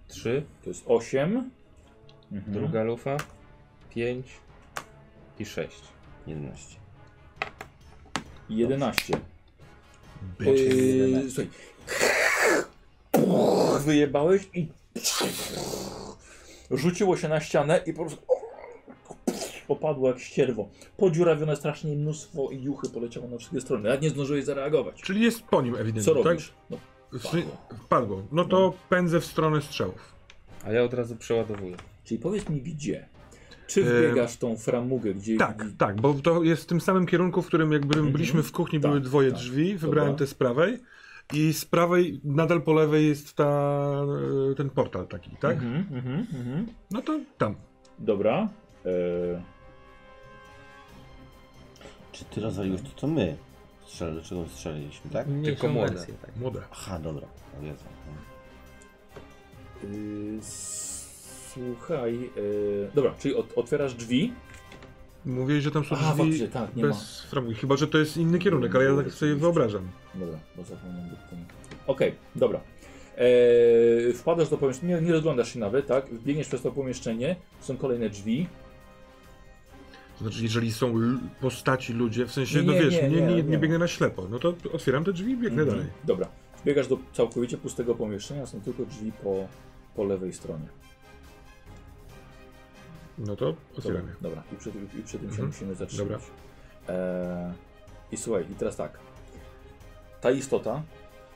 S5: 3,
S2: to jest 8. Mhm.
S5: druga lufa, 5 i 6.
S6: 11.
S2: I 11.
S3: Bitch.
S2: Eee, słuchaj. Wyjebałeś i rzuciło się na ścianę i po prostu popadło jak ścierwo. Podziurawione strasznie mnóstwo i juchy poleciało na wszystkie strony. Nawet nie zdążyłeś zareagować.
S3: Czyli jest po nim
S2: Co
S3: ewidentnie, tak?
S2: robisz? No,
S3: Wpadło. Wpadło. No to pędzę w stronę strzałów.
S5: A ja od razu przeładowuję.
S2: Czyli powiedz mi gdzie? Czy
S3: Em,
S2: wbiegasz w tą framugę, gdzie...
S3: Yy, Tak, tak, bo to jest w tym samym kierunku, w którym jakby byliśmy w kuchni,
S2: Tak,
S3: były dwoje
S2: tak.
S3: drzwi, wybrałem
S2: Dobra.
S3: te z prawej i z prawej, nadal po lewej jest ta, e, ten portal taki, tak?
S2: Mhm, mhm, mhm.
S3: No to tam.
S2: Dobra. E,
S6: Czy ty rozwaliłeś to, co my? Strzel, do czego strzeliliśmy, tak?
S4: Mniejszą
S5: młode.
S4: wersję, tak.
S3: Młode.
S6: Aha, dobra. O Jezu. no.
S2: y, słuchaj... E, dobra, czyli ot, otwierasz drzwi.
S3: Mówiłeś, że tam są
S2: A,
S3: drzwi
S2: faktycznie, tak, nie ma.
S3: bez framugi, chyba że to jest inny kierunek, ale ja tak sobie wyobrażam.
S2: Dobra, bo zapomniałem o tym. Okej, dobra. E, wpadasz do pomieszczenia, nie, nie rozglądasz się nawet, tak? Wbiegniesz przez to pomieszczenie, są kolejne drzwi.
S3: To znaczy, jeżeli są l- postaci, ludzie, w sensie,
S2: Nie,
S3: no
S2: nie,
S3: wiesz, nie, nie, nie,
S2: nie.
S3: biegnę na ślepo, no to otwieram te drzwi i biegnę
S2: Mhm.
S3: dalej.
S2: Dobra. Wbiegasz do całkowicie pustego pomieszczenia, są tylko drzwi po, po lewej stronie.
S3: No to
S2: Dobra,
S3: otwieram je.
S2: dobra. I przed, i przed tym się
S3: Mhm.
S2: musimy zatrzymać. E, I słuchaj, i teraz tak. Ta istota,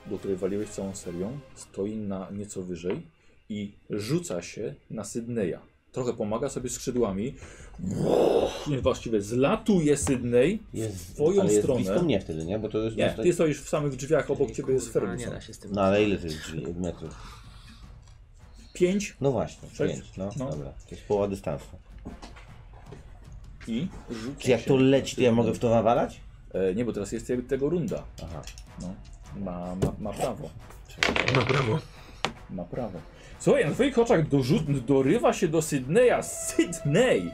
S2: do której waliłeś całą serią, stoi na nieco wyżej i rzuca się na Sydneya. Trochę pomaga sobie skrzydłami. Nie, Właściwie zlatuje Sydney w
S6: Jest,
S2: twoją
S6: ale jest
S2: stronę.
S6: blisko mnie wtedy, nie? Bo to jest... tak-
S2: Nie, ty stoisz w samych drzwiach, obok ciebie jest
S4: Kurwa, Nie
S2: Ferguson.
S4: da się z tym.
S6: No ale ile to jest drzwi- metrów?
S2: Pięć
S6: No właśnie,
S2: Sześć?
S6: pięć. No,
S2: No.
S6: dobra. To jest połowa dystansu.
S2: i rzuca
S6: Czy jak
S2: się
S6: to
S2: na
S6: leci, to ja
S2: Sydney.
S6: mogę w to nawalać?
S2: E, nie, bo teraz jest jakby tego runda.
S6: Aha.
S2: No. Ma, ma, ma prawo.
S3: No brawo.
S2: Ma prawo. Słuchaj, na twoich oczach dorzut, dorywa się do Sydneya. Sydney!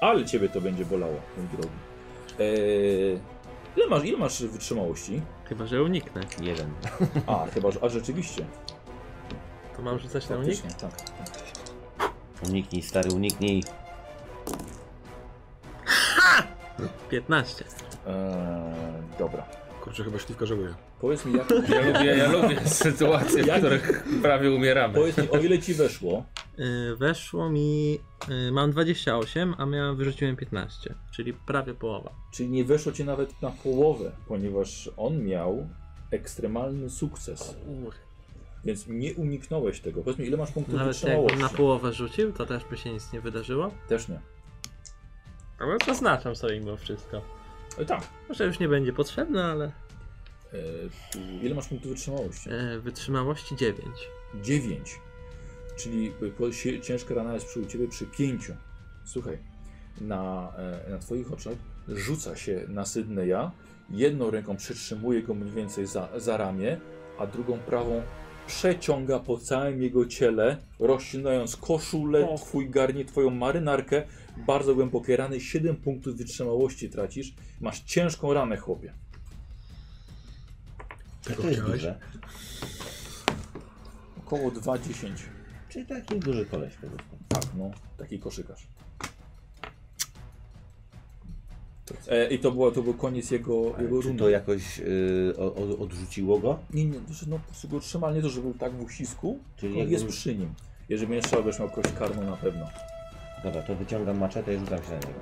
S2: Ale ciebie to będzie bolało, mój drogi. Eee, E, Ile masz, ile masz wytrzymałości?
S4: Chyba, że uniknę.
S6: Jeden.
S2: A, chyba, że. A rzeczywiście.
S4: To mam rzucać na unik?
S2: Faktycznie, tak.
S6: Uniknij, stary, uniknij.
S4: 15.
S2: Eee, dobra.
S3: Kurczę, chyba śliwka żałuje.
S2: Powiedz mi, jak,
S5: Ja lubię, ja lubię sytuacje, w
S2: Jak-
S5: których prawie umieramy.
S2: powiedz mi, o ile ci weszło?
S4: Yy, weszło mi... Yy, mam 28, a miałem wyrzuciłem 15, czyli prawie połowa.
S2: Czyli nie weszło ci nawet na połowę, ponieważ on miał ekstremalny sukces. Więc nie uniknąłeś tego. Powiedz mi, ile masz punktów
S4: Nawet jakbym
S2: wytrzymałości?
S4: na połowę rzucił, to też by się nic nie wydarzyło.
S2: Też nie.
S4: Ale zaznaczam no sobie mimo wszystko.
S2: E, tak.
S4: Może już nie będzie potrzebne, ale...
S2: E, ile masz punktów wytrzymałości?
S4: Yy, wytrzymałości 9.
S2: 9. Czyli e, po- si- ciężka rana jest przy u ciebie przy 5. Słuchaj, na, e, na twoich oczach rzuca się na Sydneya, jedną ręką przytrzymuje go mniej więcej za, za ramię, a drugą prawą przeciąga po całym jego ciele, rozcinając koszulę,
S5: Och.
S2: twój garnier, twoją marynarkę, bardzo głębokie rany, 7 punktów wytrzymałości tracisz, masz ciężką ranę chłopie.
S6: To jest duże.
S2: Około 2,10.
S6: Czyli taki duży koleś po prostu.
S2: Tak, no, taki koszykarz. E, I to, było, to był koniec jego, jego
S6: Tak, Czy
S2: rundy.
S6: to jakoś y, o- o- odrzuciło go?
S2: Nie, nie, to, że no, po prostu go trzymali, nie to, że był tak w uścisku,
S6: Czyli
S2: tylko
S6: jakby-
S2: jest przy nim. Jeżeli będziesz trzeba, będziesz miał kość karną na pewno.
S6: Dobra, to wyciągam maczetę i rzucam się na niego.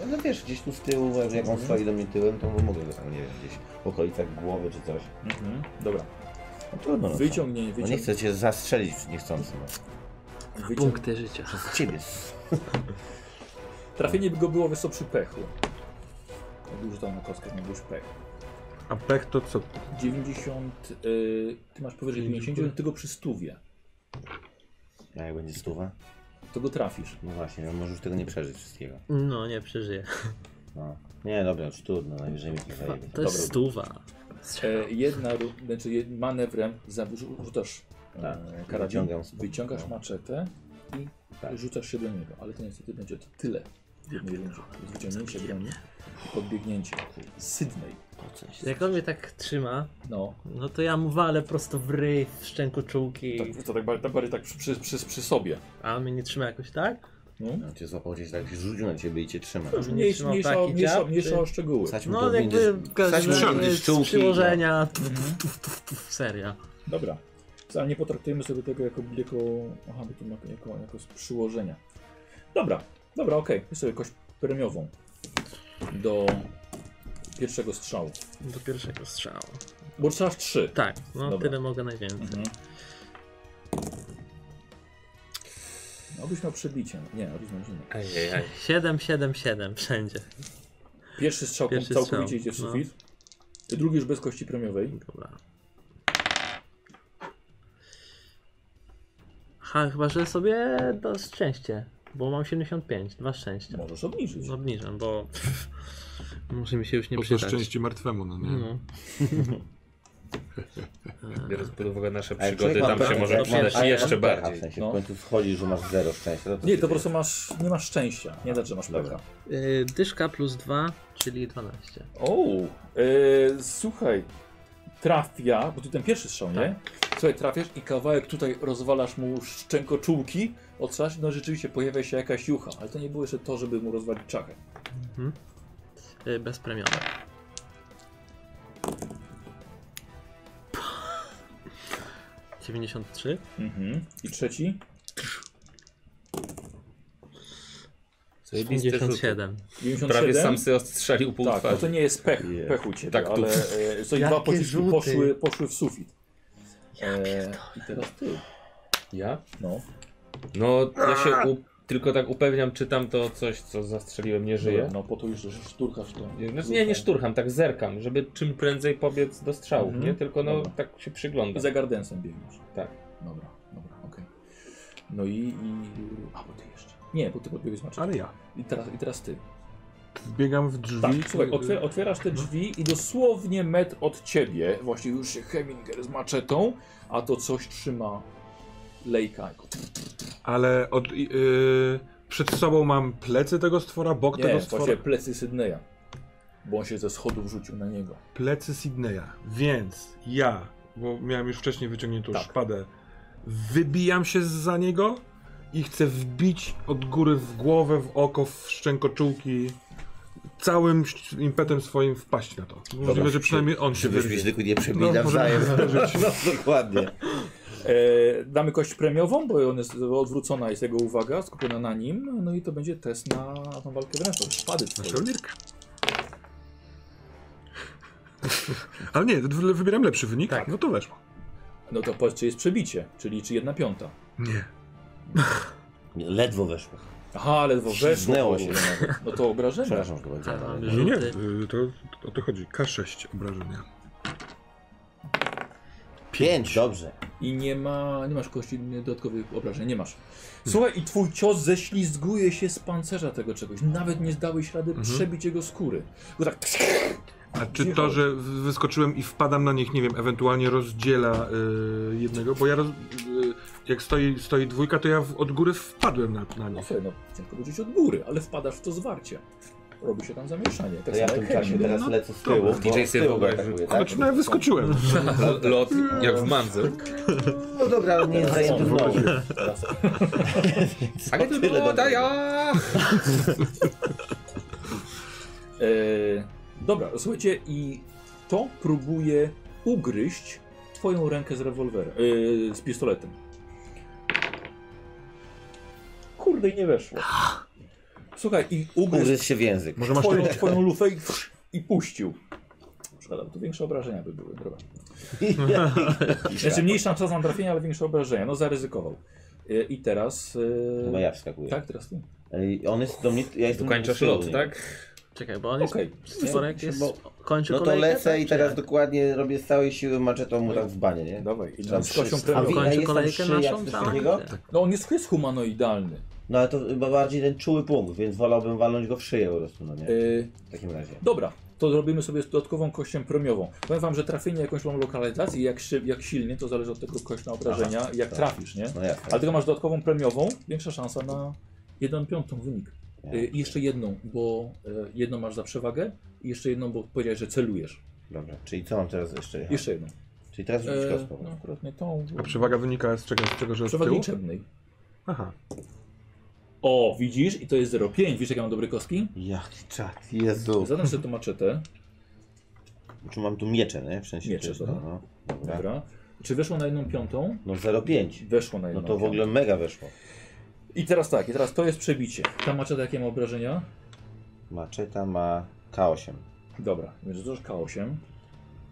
S6: No, No wiesz, gdzieś tu z tyłu, jak on stoi do mnie tyłem, to mogę go tam, nie wiem, gdzieś w okolicach głowy czy coś.
S2: Mhm. Dobra,
S6: No trudno. No, co?
S2: wyciągnij,
S6: no nie
S2: wyciągnij,
S6: chcę cię zastrzelić niechcący, no.
S2: wyciągnij.
S4: Punkty życia.
S6: Przez ciebie. s-
S2: Trafienie by go było wysoko przy pechu. Dużo tam na kostkach mógłbyś pech.
S3: A pech to co?
S2: 90, y, ty masz powyżej 50, ty go przy stówie.
S6: A jak będzie stuwa?
S2: To go trafisz.
S6: No właśnie, no możesz tego nie przeżyć wszystkiego.
S4: No, nie przeżyję.
S6: No. Nie, dobra, już trudno, najwyżej mi to zajmie.
S4: To jest stuwa.
S2: E, jedna, ru- znaczy jed- manewrem zawrzu- rzucasz
S6: Tak,
S2: e,
S6: wyciągam.
S2: wyciągasz maczetę i
S6: Tak.
S2: rzucasz się do niego, ale to niestety będzie to tyle w jednej rundzie. Jest Wyciągnięcie broni i podbiegnięcie. Sydney.
S4: Jak on mnie tak trzyma,
S2: No,
S4: no to ja mu walę prosto w ryj, w szczęku czułki.
S2: tak, to tak bardziej, tak, bardziej tak przy, przy, przy, przy sobie.
S4: A on mnie nie trzyma jakoś tak?
S2: No.
S6: No, cię złapał gdzieś tak, rzucił na ciebie i cię trzyma.
S5: No,
S4: Dobrze.
S2: Mniej,
S4: trzymał
S2: mniejsza,
S4: taki
S2: mniejsza,
S4: dziab,
S2: mniejsza
S4: czy-
S2: o szczegóły.
S6: Wsadź mu
S4: No
S6: do
S4: ale jakby
S6: windy-
S4: w każdym
S6: wsadź mu
S4: razie
S6: do
S4: z
S6: czołgi,
S4: przyłożenia, tuf, tuf, tuf, tuf, tuf, seria.
S2: Dobra. Ale nie potraktujemy sobie tego jako, jako, aha, bo tu ma- jako, jako z przyłożenia. Dobra, dobra, okej. Jest sobie kość premiową do pierwszego strzału.
S4: Do pierwszego strzału.
S2: Bo trzeba w trzy.
S4: Tak, no
S2: Dobra.
S4: tyle mogę najwięcej.
S2: Mhm. No byś miał przebicie. Nie, różne inne.
S5: Ajajaj.
S4: 7, 7, 7 wszędzie.
S2: Pierwszy strzał
S4: Pierwszy
S2: całkowicie
S4: strzał,
S2: idzie w
S4: no.
S2: sufit. Drugi już bez kości premiowej.
S4: Dobra. Ha, chyba, że sobie do szczęście, bo mam 75, dwa szczęścia. No,
S2: Możesz obniżyć.
S4: Obniżam, bo może mi się już nie
S3: Po to
S4: przydać.
S3: szczęście martwemu, no nie?
S4: No.
S5: Biorąc pod uwagę nasze
S6: Ale
S5: przygody,
S6: człowiek ma
S5: tam się
S6: pecha,
S5: może
S6: jak ma-
S5: przydać
S6: a jak
S5: jeszcze
S6: ma pecha, W
S5: bardziej.
S6: sensie,
S2: no.
S6: w końcu wchodzi, że masz zero szczęścia. No to
S2: Nie,
S6: wtedy-
S2: to po prostu masz, nie masz szczęścia. Nie masz masz
S6: Dobra.
S2: pecha.
S4: Y, Dyszka plus 2, czyli 12.
S2: O, e, słuchaj, trafia, bo tu ten pierwszy strzał, nie?
S5: Tak.
S2: Słuchaj, trafiasz i kawałek tutaj rozwalasz mu szczękoczułki, odstrzelasz, no rzeczywiście pojawia się jakaś jucha, ale to nie było jeszcze to, żeby mu rozwalić czachę.
S4: Y, Bez premiowe. Dziewięćdziesiąt trzy.
S2: Mhm. I trzeci?
S5: Zajebiste
S4: Pięćdziesiąt
S5: rzuty.
S4: siedem.
S2: 97?
S5: Prawie sam sobie ostrzelił pół
S2: Tak, no to
S5: twarzy.
S2: nie jest pech,
S6: Je.
S2: pech u ciebie,
S5: Tak, tu.
S2: ale e, co i
S4: Jakie
S2: dwa pociski
S4: rzuty.
S2: poszły, poszły w sufit. E, I teraz ty.
S5: Ja?
S2: No.
S5: No, ja się u... tylko tak upewniam, czy tam to coś, co zastrzeliłem, nie żyje.
S2: No po to już że szturkasz to.
S5: Znaczy, nie, nie szturcham, tak zerkam, żeby czym prędzej pobiec do strzału,
S2: Mhm.
S5: nie? Tylko no,
S2: Dobra.
S5: tak się przyglądam.
S2: I za gardensem biegniesz.
S5: Tak.
S2: Dobra, dobra, okej. No i, i... A, bo ty jeszcze. Nie, bo ty podbiegłeś maczetą.
S3: Ale ja.
S2: I teraz, I teraz ty.
S3: Wbiegam w drzwi.
S2: Tak, słuchaj, otwier otwierasz te drzwi i dosłownie metr od ciebie, właśnie już się Heminger z maczetą, a to coś trzyma lejka.
S3: Ale od, i- y, Przed sobą mam plecy tego stwora, bok
S2: Nie,
S3: No tego stwora.
S2: właśnie plecy Sydneya. Bo on się ze schodów rzucił na niego.
S3: plecy Sydneya. Więc ja, bo miałem już wcześniej wyciągniętą
S2: Tak.
S3: szpadę, wybijam się za niego i chcę wbić od góry w głowę, w oko, w szczękoczułki, całym ś- impetem swoim wpaść na to. Możliwe, że przynajmniej on się
S6: Żebyśmy się
S3: wyrwie.
S6: tylko nie przebili
S3: No,
S6: nawzajem.
S3: możemy zdarzyć.
S6: No, dokładnie.
S2: E, damy kość premiową, bo on jest odwrócona, jest jego uwaga, skupiona na nim. No i to będzie test na, na tą walkę wręcz. od Szpady twojej.
S3: Naszą lirkę. Ale nie, w- wybieram lepszy wynik. No to weszło.
S2: No to patrz, czy jest przebicie, czyli czy jedna piąta.
S3: Nie.
S6: Ledwo weszło.
S2: Aha, ledwo weszło.
S6: Śliznęło
S2: w ogóle
S6: się.
S2: nawet. No to obrażenia.
S6: Przepraszam, że to będzie.
S4: Aha,
S6: ale-
S3: Nie, nie,
S4: wyrzuty.
S3: y, to o to chodzi. K6 obrażenia.
S6: Pięć, dobrze.
S2: I nie ma, nie masz kości nie, dodatkowych obrażeń, nie masz. Słuchaj, i twój cios ześlizguje się z pancerza tego czegoś. Nawet nie zdałeś rady przebić jego skóry. Bo tak
S3: A czy to, że w- wyskoczyłem i wpadam na nich, nie wiem, ewentualnie rozdziela y, jednego? Bo ja, roz, y, jak stoi, stoi dwójka, to ja w, od góry wpadłem na, na
S2: No
S3: nich.
S2: słuchaj, no ciężko wrócić od góry, ale wpadasz w to zwarcie. Robi się tam zamieszanie. Tak
S6: To ja w
S2: samo
S6: tym
S2: jak
S6: czasie
S2: chemii.
S6: teraz
S3: No,
S6: lecę z
S3: dobra.
S6: tyłu.
S5: DJ
S6: bo z tyłu
S5: Sylwo
S6: go
S5: będzie.
S6: atakuje, tak?
S3: Znaczy, no ja wyskoczyłem.
S5: Lot jak w mandze.
S6: No dobra, ale nie zajęty w nogi.
S5: A nie
S6: Tyle
S5: tylko
S6: dobrego.
S5: ja!
S2: E, dobra, słuchajcie, i to próbuje ugryźć twoją rękę z rewolwerem, e, z pistoletem. Kurde, i nie weszło. Słuchaj, i ugryzł
S6: Ugryzł się w język.
S3: Może masz
S2: twoją,
S3: trójkę?
S2: twoją lufę i, i puścił. Szkoda, bo tu większe obrażenia by były, droga. Znaczy mniejsza szansa na trafienie, ale większe obrażenia. No zaryzykował. E, I teraz... e,
S6: Chyba No ja wskakuję.
S2: Tak, teraz ty.
S6: Ej, On jest do mnie, ja jestem
S5: Ukończasz
S6: do tyłu,
S5: lot,
S6: nie?
S5: tak?
S4: Czekaj, bo on jest...
S2: Okej.
S4: Storek jest...
S6: Bo-
S4: Kończy
S6: No to
S4: kolejkę,
S6: lecę
S4: tak,
S6: i
S4: czy
S6: teraz
S4: jak?
S6: dokładnie robię z całej siły maczetą mu tak w banie, nie?
S2: Dawaj. I
S6: Czy
S2: tam
S6: tam
S2: z kością
S6: trzy- A
S2: premiową.
S6: wi-
S4: Kończy
S6: jest tam
S4: kolejkę
S6: trzy, jak
S4: naszą?
S6: coś
S4: Tak.
S6: takiego?
S2: No on jest, jest humanoidalny.
S6: No ale to chyba bardziej ten czuły punkt, więc wolałbym walnąć go w szyję po prostu, no nie?
S2: E,
S6: W takim razie.
S2: Dobra, to zrobimy sobie z dodatkową kością promiową. Powiem wam, że trafienie jakąś mam lokalizację, jak, szyb, jak silnie, to zależy od tego kość na obrażenia,
S6: Aha,
S2: jak
S6: tak.
S2: trafisz, nie?
S6: No jasne.
S2: Ale tylko masz dodatkową premiową, większa szansa na 1 piątą wynik.
S6: Nie,
S2: Y, I jeszcze jedną, bo y, jedną masz za przewagę i jeszcze jedną, bo powiedziałeś, że celujesz.
S6: Dobra, czyli co mam teraz jeszcze? jechać?
S2: Jeszcze jedną.
S6: Czyli teraz rzucić
S2: E,
S6: kostką.
S2: no akurat nie tą.
S3: A przewaga wynika z czego, z czego że od
S2: Przewagi
S3: tyłu?
S2: liczebnej.
S3: Aha.
S2: O, widzisz? I to jest 0,5. Widzisz, jak ja mam dobre kostki?
S6: Jaki czat, Jezu.
S2: Zadam sobie to maczetę.
S6: Czy mam tu miecze, nie? W sensie
S2: Miecze,
S6: czysto,
S2: dobra.
S6: no. Dobra.
S2: Dobra. Czy weszło na jedną piątą?
S6: No 0,5.
S2: Weszło na
S6: No
S2: jedną
S6: to w
S2: piątą.
S6: ogóle mega weszło.
S2: I teraz tak, i teraz to jest przebicie. Ta maczeta jakie ma obrażenia?
S6: Maczeta ma K8.
S2: Dobra, więc to już K8.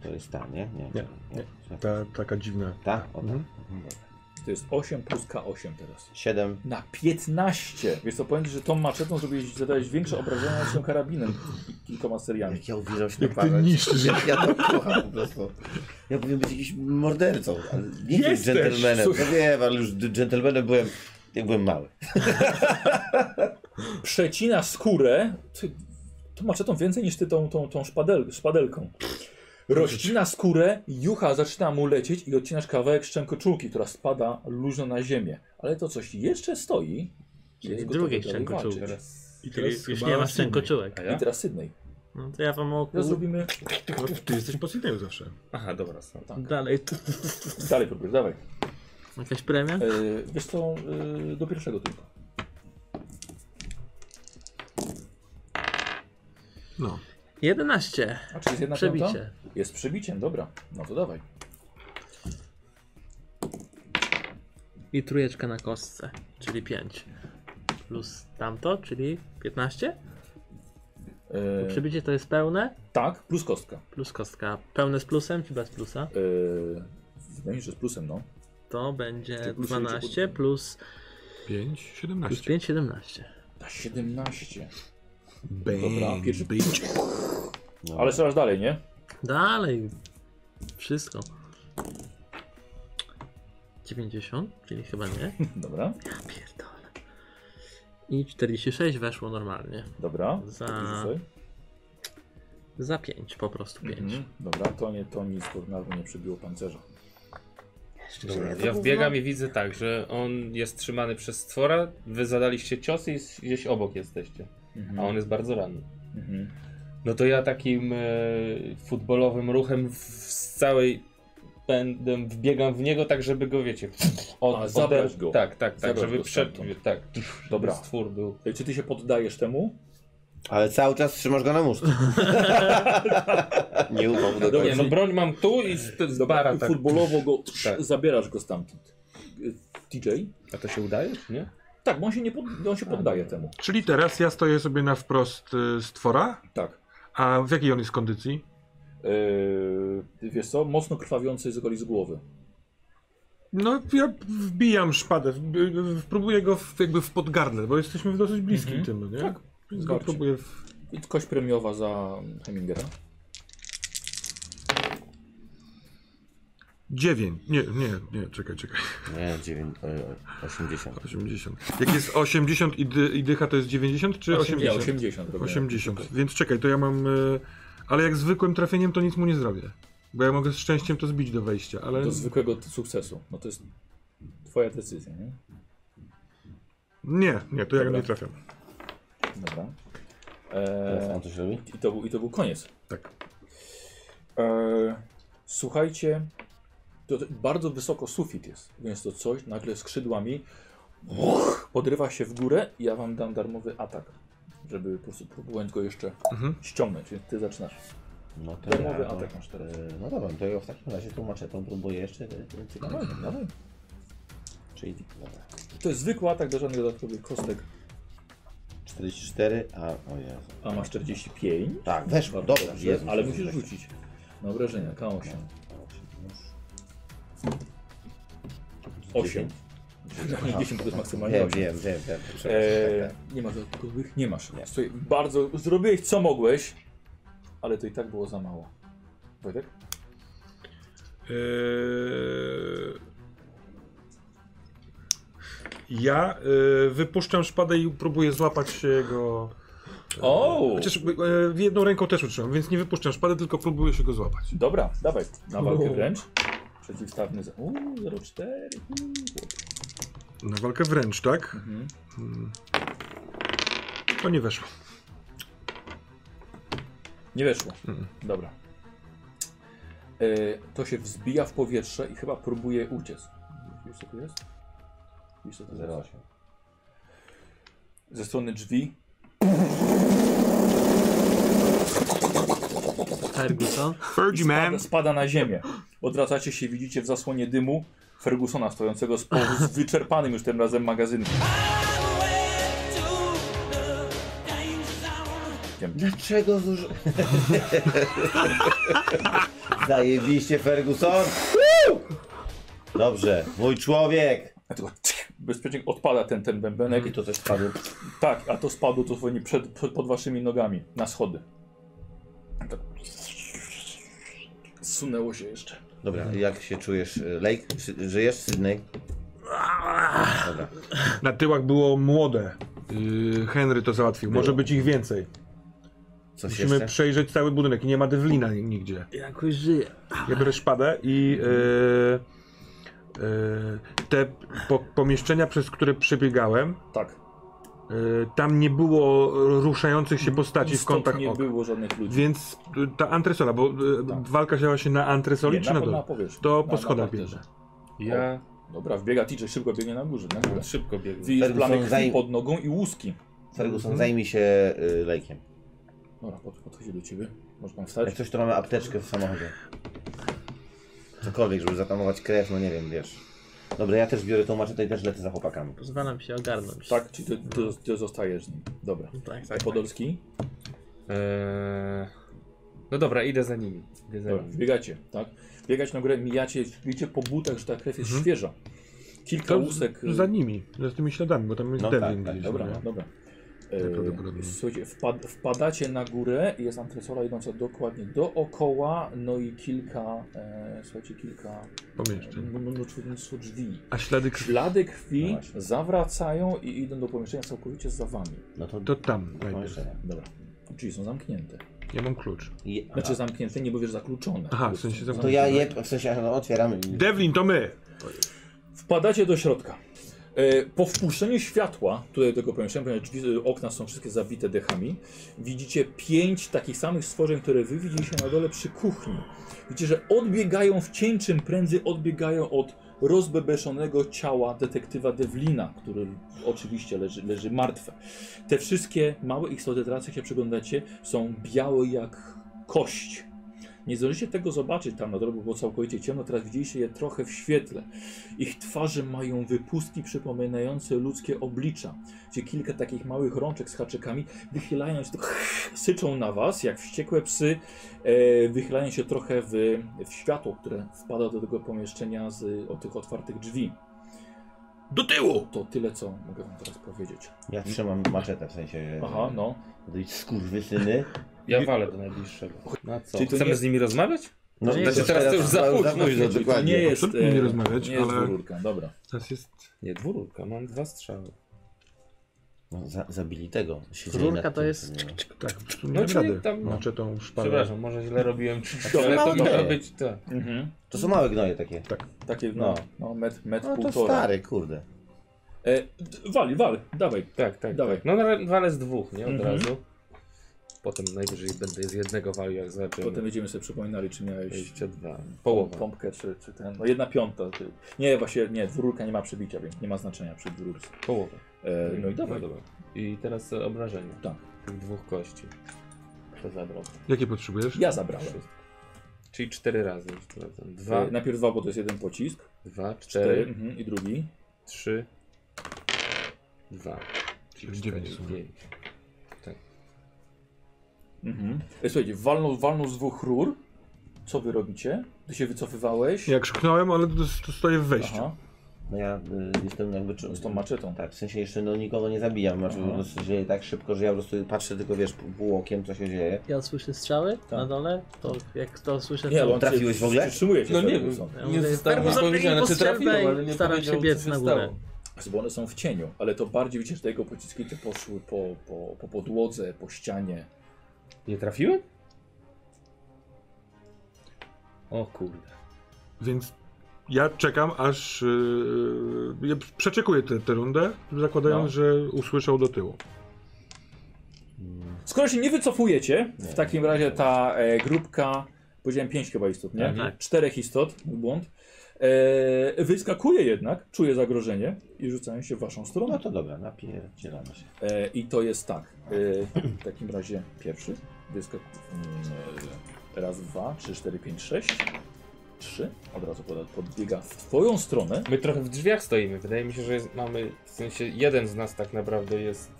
S6: To jest ta, nie? Nie,
S3: Nie, Ta, taka dziwna.
S6: Ta? O,
S3: Mhm.
S2: To jest 8 plus K8 teraz.
S6: 7.
S2: Na 15! Więc to powiem ci, że tą maczetą zrobiłeś, zadałeś większe obrażenia niż tym karabinem i kilkoma seriami.
S6: Jak ja uwielbiam się
S3: Jak ty
S6: napadać.
S3: niszczysz.
S6: Jak ja to kocham po prostu. Ja powinien być jakimś mordercą, ale nie jestem
S3: Jesteś,
S6: dżentelmenem. No wiem, ale już d- dżentelmenem byłem, jak byłem mały.
S2: Przecina skórę. Ty, tą maczetą więcej niż ty tą, tą, tą szpadel, szpadelką. Rozcina skórę, jucha zaczyna mu lecieć i odcinasz kawałek szczękoczułki, która spada luźno na ziemię. Ale to coś jeszcze stoi. i jest gotowe
S4: Drugiej
S2: dalej
S4: szczękoczułki.
S2: walczyć.
S3: I
S4: Czyli już nie masz szczękoczułek.
S5: A
S2: I
S5: ja?
S2: teraz Sydney.
S4: No to ja wam oku...
S2: Teraz zrobimy Tak.
S3: No, ty jesteś pod Sydneyem zawsze.
S5: Aha, dobra, są.
S4: Dalej.
S2: Dalej próbujesz, dawaj.
S4: Jakaś premia?
S2: Yy, wiesz co, yy, do pierwszego tylko.
S3: No.
S4: 11.
S2: A czy jest jedna
S4: Przebicie.
S2: piąta? Jest przebiciem, dobra. No to dawaj.
S4: I trójeczka na kostce, czyli 5. Plus tamto, czyli 15.
S6: E.
S2: Yy,
S4: Przebicie to jest pełne,
S2: tak, plus kostka.
S4: plus kostka. Pełne z plusem czy bez plusa?
S2: Yy, Wydaje mi się, że z plusem, no.
S4: To będzie
S2: Czy plus liczy
S4: 12
S2: pod-
S4: plus,
S3: 5, 17.
S4: plus 5, 17.
S2: Ta 17.
S3: Bang,
S2: Dobra, pierwszy-
S3: bitch.
S6: No.
S2: Ale coraz dalej, nie?
S4: Dalej. Wszystko. 90, czyli chyba nie.
S2: Dobra,
S4: Ja pierdolę. I 46 weszło normalnie.
S2: dobra.
S4: Za-
S2: Wyrzucaj.
S4: Za 5, po prostu 5.
S2: Mhm. Dobra, to nie, to nic, bo nawet nie przebiło pancerza.
S6: Jeszcze
S3: Dobra,
S6: się nie
S5: Ja wbiegam i widzę tak, że on jest trzymany przez stwora, wy zadaliście ciosy i gdzieś obok jesteście,
S2: Mhm.
S5: a on jest bardzo ranny.
S2: Mhm.
S5: No to ja takim e, futbolowym ruchem w, z całej będę wbiegam w niego tak, żeby go wiecie. Od,
S2: A, zabrać
S5: ode-
S2: go.
S5: Tak, tak, tak,
S2: Zabrać
S5: żeby
S2: go
S5: przed.
S2: stamtąd.
S5: Tak,
S2: Dobra.
S5: dobra. Stwór był.
S2: E, Czy ty się poddajesz temu?
S6: Ale cały czas trzymasz go na muszce. nie ufam do
S5: Nie,
S6: końca.
S5: no broń mam tu i z, z bara tak.
S2: Futbolowo go
S5: Tak.
S2: zabierasz go stamtąd. Y, TJ?
S5: A to się udaje, czy nie?
S2: Tak, bo on się nie pod, on się poddaje temu.
S3: Czyli teraz ja stoję sobie na wprost y, stwora,
S2: Tak.
S3: a w jakiej on jest kondycji?
S2: Yy, wiesz co, mocno krwawiący z okolic głowy.
S3: No, ja wbijam szpadę, wb- próbuję go w, jakby w podgardle, bo jesteśmy w dosyć bliskim
S2: Mhm.
S3: tym, nie?
S2: Tak,
S3: Więc go
S2: zgadza się.
S3: próbuję w...
S2: I Kość premiowa za Hemingera.
S3: dziewięć. Nie, nie, nie, czekaj, czekaj.
S6: Nie, e, 9, 80.
S3: 80. Jak jest 80 i, dy, i dycha to jest 90 czy
S2: 80.
S3: 80?
S2: 80. robię.
S3: 80. Więc czekaj, to ja mam... y, Ale jak zwykłym trafieniem to nic mu nie zrobię. Bo ja mogę z szczęściem to zbić do wejścia, ale...
S2: Do zwykłego t- sukcesu. No to jest twoja decyzja, nie?
S3: Nie, nie, to ja go
S2: Dobra.
S3: nie trafiam.
S2: Dobra.
S6: Teraz
S2: Eee,
S6: on coś robi?
S2: i, to był, I to był koniec.
S3: Tak.
S2: Eee, słuchajcie, to, to bardzo wysoko sufit jest, więc to coś nagle skrzydłami buch, podrywa się w górę i ja wam dam darmowy atak, żeby po prostu próbować go jeszcze
S3: Mhm.
S2: ściągnąć, więc ty zaczynasz.
S6: No to
S2: Domowy
S6: to-
S2: atak masz teraz.
S6: e, No dobra, to ja w takim razie tą maczetą próbuję jeszcze. Dawaj,
S3: Mhm.
S6: dawaj. Czyli dobra.
S2: To jest zwykły atak do żadnych dodatkowych kostek,
S6: 44, a o Jezu.
S2: a masz 45.
S6: Tak, weszło,
S2: Bardzo
S6: dobrze.
S2: dobrze,
S6: Jezu,
S2: No ale
S6: Jezu,
S2: musisz
S6: weszło.
S2: rzucić na obrażenia, K8. Osiem.
S6: 8.
S2: Na 10 to jest maksymalnie
S6: Wiem,
S2: 8.
S6: wiem, wiem, wiem.
S2: Eee,
S6: Przepraszam, tak,
S2: nie masz dodatkowych? Nie masz.
S6: Nie.
S2: Słuchaj, bardzo zrobiłeś co mogłeś, ale to i tak było za mało. Wojtek?
S3: Eee, Ja y, wypuszczam szpadę i próbuję złapać się jego.
S2: O!
S3: Chociaż y, jedną ręką też utrzymam, więc nie wypuszczam szpadę, tylko próbuję się go złapać.
S2: Dobra, dawaj. Na walkę
S3: Uuu.
S2: wręcz. Przeciwstawny za... Uuu, 04. uuu, Hmm, chłopie.
S3: Na walkę wręcz, tak?
S2: Mhm.
S3: To nie weszło.
S2: Nie weszło.
S3: Mhm.
S2: Dobra. Eee, to się wzbija w powietrze i chyba próbuje uciec. Wiesz co tu jest? Wiesz co tu jest?
S6: 08.
S2: ze strony drzwi.
S4: Ferguson.
S2: Spada, spada na ziemię. Odwracacie się, widzicie w zasłonie dymu Fergusona stojącego z, po- z wyczerpanym już tym razem magazynkiem.
S6: Dlaczego zużył? Zajebiście, Ferguson! Woo! Dobrze, mój człowiek!
S2: A tylko cyk, Bezpiecznie odpada ten, ten bębenek.
S6: I to też padło.
S2: Tak, a to spadło to dosłownie przed, przed, pod waszymi nogami, na schody. Tak. Zsunęło się jeszcze.
S6: Dobra, jak się czujesz, y, Lake? Czy- Żyjesz, Sydney? Dobra.
S3: Na tyłach było młode. Y, Henry to załatwił. Może być ich więcej.
S6: Coś
S3: Musimy
S6: jeszcze?
S3: przejrzeć cały budynek i nie ma dywlina nigdzie.
S4: Jakoś żyje.
S3: Ja biorę szpadę i y, y, te po, pomieszczenia, przez które przebiegałem,
S2: Tak.
S3: Y, Tam nie było y, ruszających się postaci w
S2: Istot
S3: kątach
S2: nie
S3: ok.
S2: było żadnych ludzi.
S3: Więc y, ta antresola, bo y,
S2: Tak.
S3: walka działa się na antresoli
S2: Nie,
S3: czy na dole?
S2: powierzchni.
S3: To
S2: Na-
S3: po
S2: na
S3: schodach
S2: parterze.
S3: bierze.
S5: Ja
S2: Dobra, wbiega TJ, szybko biegnie na górze. Na górę.
S5: szybko biegnę.
S2: Widzisz
S6: Ferguson
S2: plamy krwi
S6: zanim-
S2: pod nogą i łuski.
S6: Ferguson, zajmij się y, Lake'iem.
S2: Dobra, pod, podchodzi do ciebie. Może pan
S6: Jak
S2: wstać?
S6: coś, to mamy apteczkę w samochodzie. Cokolwiek, żeby zatamować krew, no nie wiem, wiesz. Dobra, ja też biorę tą maczetę i też lecę za chłopakami.
S4: Pozwalam się ogarnąć.
S2: Tak, czy ty, ty, ty zostajesz z nim. Dobra.
S4: tak,
S2: Tak,
S4: tak.
S2: Podolski?
S5: Eee, no dobra, idę za nimi. Idę za
S2: Dobra,
S3: Mhm.
S5: nimi.
S2: biegacie, tak? Biegać na górę, mijacie, widzicie po butach, że ta krew jest świeża. Kilka
S3: Mhm. To
S2: łusek. y-
S3: z- za nimi, za tymi śladami, bo tam jest
S6: No
S3: no,
S6: tak,
S3: Devlin
S6: tak,
S3: gdzieś.
S2: Dobra,
S3: nie? Tak
S2: dobra. E,
S3: Najprawdopodobniej.
S2: Słuchajcie, wpad, wpadacie na górę i jest antresola idąca dokładnie dookoła, no i kilka, e, słuchajcie, kilka, e,
S3: Pomieszczeń.
S2: m- mnóstwo, mnóstwo drzwi.
S3: A ślady krwi,
S2: Ślady
S6: No
S2: krwi
S6: właśnie.
S2: zawracają i idą do pomieszczenia całkowicie za wami.
S6: No to
S3: to tam
S6: No
S3: najpierw.
S6: jeszcze nie.
S2: Dobra. Drzwi są zamknięte.
S3: Ja mam klucz.
S6: Je...
S2: Znaczy zamknięte, nie mówisz zakluczone.
S3: Aha, w sensie
S6: To
S3: zamknięte.
S6: ja je, w sensie, no otwieramy.
S3: Devlin, to my!
S2: Wpadacie do środka. E, Po wpuszczeniu światła, tutaj do tego pomieszczenia, ponieważ drzwi, e, okna są wszystkie zabite dechami, widzicie pięć takich samych stworzeń, które wy widzieliście na dole przy kuchni. Widzicie, że odbiegają w cień, czym prędzej odbiegają od rozbebeszonego ciała detektywa Devlina, który oczywiście leży, leży martwe. Te wszystkie małe istoty, teraz jak się przyglądacie, są białe jak kość. Nie zdążycie tego zobaczyć tam na dole, bo było całkowicie ciemno, teraz widzieliście je trochę w świetle. Ich twarze mają wypustki przypominające ludzkie oblicza, gdzie kilka takich małych rączek z haczykami wychylają się, tak syczą na was jak wściekłe psy, e, wychylają się trochę w, w światło, które wpada do tego pomieszczenia z od tych otwartych drzwi.
S3: Do tyłu!
S2: To tyle, co mogę wam teraz powiedzieć.
S6: Ja trzymam maczetę, w sensie.
S2: Aha, no.
S6: Dość skurwysyny.
S5: Ja walę do najbliższego. Na co?
S2: Czyli to
S5: Chcemy
S2: nie-
S5: z nimi rozmawiać?
S6: No,
S4: Znaczy,
S5: teraz to już za późno,
S6: późno,
S2: Czyli
S6: dokładnie.
S2: To nie jest, e,
S3: Absolutnie nie rozmawiać,
S2: nie jest
S3: ale-
S2: dwururka, dobra.
S3: Teraz jest...
S5: Nie, dwururka, mam dwa strzały.
S6: No, za, zabili tego. Siedzieli
S4: Rurka
S6: nad
S4: to
S6: tym,
S4: jest...
S6: nie?
S3: Tak, w sumie
S5: No,
S3: nie
S5: czyli
S3: radę. Znaczy
S5: tam-
S3: Maczetą szparę.
S5: Przepraszam, może źle robiłem,
S6: to
S5: ale to
S6: małe.
S5: może być tak.
S2: Mhm.
S6: To są małe gnoje takie.
S2: Takie, no,
S6: No.
S2: no metr, metr
S6: No to
S2: półtora.
S6: stary, kurde.
S2: E, d- wali, wali, dawaj.
S5: Tak, tak.
S2: Dawaj.
S5: tak. No na- walę z dwóch, nie? Od
S2: Mhm.
S5: razu. Potem najwyżej będę z jednego walił, jak zobaczymy.
S2: Potem będziemy sobie przypominali, czy miałeś
S5: 22.
S2: połowę.
S5: Połowa.
S2: pompkę, czy, czy ten. No jedna piąta. Ty. Nie, właśnie nie, dwururka nie ma przebicia, więc nie ma znaczenia przy dwururce.
S5: Połowa.
S2: E, no i dawaj.
S5: dobra. I teraz e, obrażenia.
S2: Tak.
S5: Tych dwóch kości. To zabrał.
S3: Jakie potrzebujesz?
S2: Ja zabrałem.
S5: Czyli cztery razy. jeszcze razem. Dwa,
S2: E, najpierw dwa, bo to jest jeden pocisk.
S5: dwa,
S2: Cztery.
S5: cztery,
S2: Mhm, I drugi.
S5: trzy, dwa. Czyli
S3: Dziewięć
S5: cztery,
S3: w sumie.
S5: pięć.
S2: Mhm. E, słuchajcie, walną, walną z dwóch rur. Co wy robicie? Ty się wycofywałeś.
S3: Ja krzyknąłem, ale to, to stoję w wejściu.
S2: Aha,
S6: No ja y, jestem jakby... Czy,
S2: z tą maczetą.
S6: Tak, w sensie jeszcze no, nikogo nie zabijam. Znaczy,
S2: Aha.
S6: po prostu się dzieje tak szybko, że ja po prostu patrzę tylko, wiesz, pół- pół okiem, co się dzieje.
S4: Ja słyszę strzały
S2: Tak.
S4: na dole, to jak to słyszę,
S2: Nie,
S4: to...
S2: bo on
S6: trafiłeś
S2: się
S6: w ogóle?
S2: Przytrzymuje się
S5: No
S2: sobie
S5: nie
S2: mocno.
S5: wiem,
S4: Ja
S5: nie
S4: mówię,
S5: zostało mi
S4: "Permo,
S5: powiedziane, czy
S4: zabij,
S5: trafiłem, ale nie
S4: staram się
S5: powiedział,
S4: biec
S5: co
S4: na
S5: się
S4: górę.
S5: stało.
S2: Znaczy, bo one są w cieniu, ale to bardziej widzisz, że te jego pociski te poszły po, po, po podłodze, po ścianie.
S5: Nie trafiłem? O kurde.
S3: Więc ja czekam, aż. Yy, ja przeczekuję tę tę rundę, zakładając,
S2: No.
S3: że usłyszał do tyłu.
S2: Skoro się nie wycofujecie, w takim razie ta e, grupka, powiedziałem pięć chyba istot, nie?
S4: Tak.
S2: Czterech istot, mój błąd. E, wyskakuje jednak, czuje zagrożenie i rzucają się w waszą
S6: No
S2: stronę.
S6: to dobra, napierdzielamy się.
S2: E, I to jest tak. E, w takim razie pierwszy, wyskak... e, raz, dwa, trzy, cztery, pięć, sześć. Trzy, od razu pod- podbiega w twoją stronę.
S5: My trochę w drzwiach stoimy. Wydaje mi się, że jest, mamy, w sensie jeden z nas tak naprawdę jest,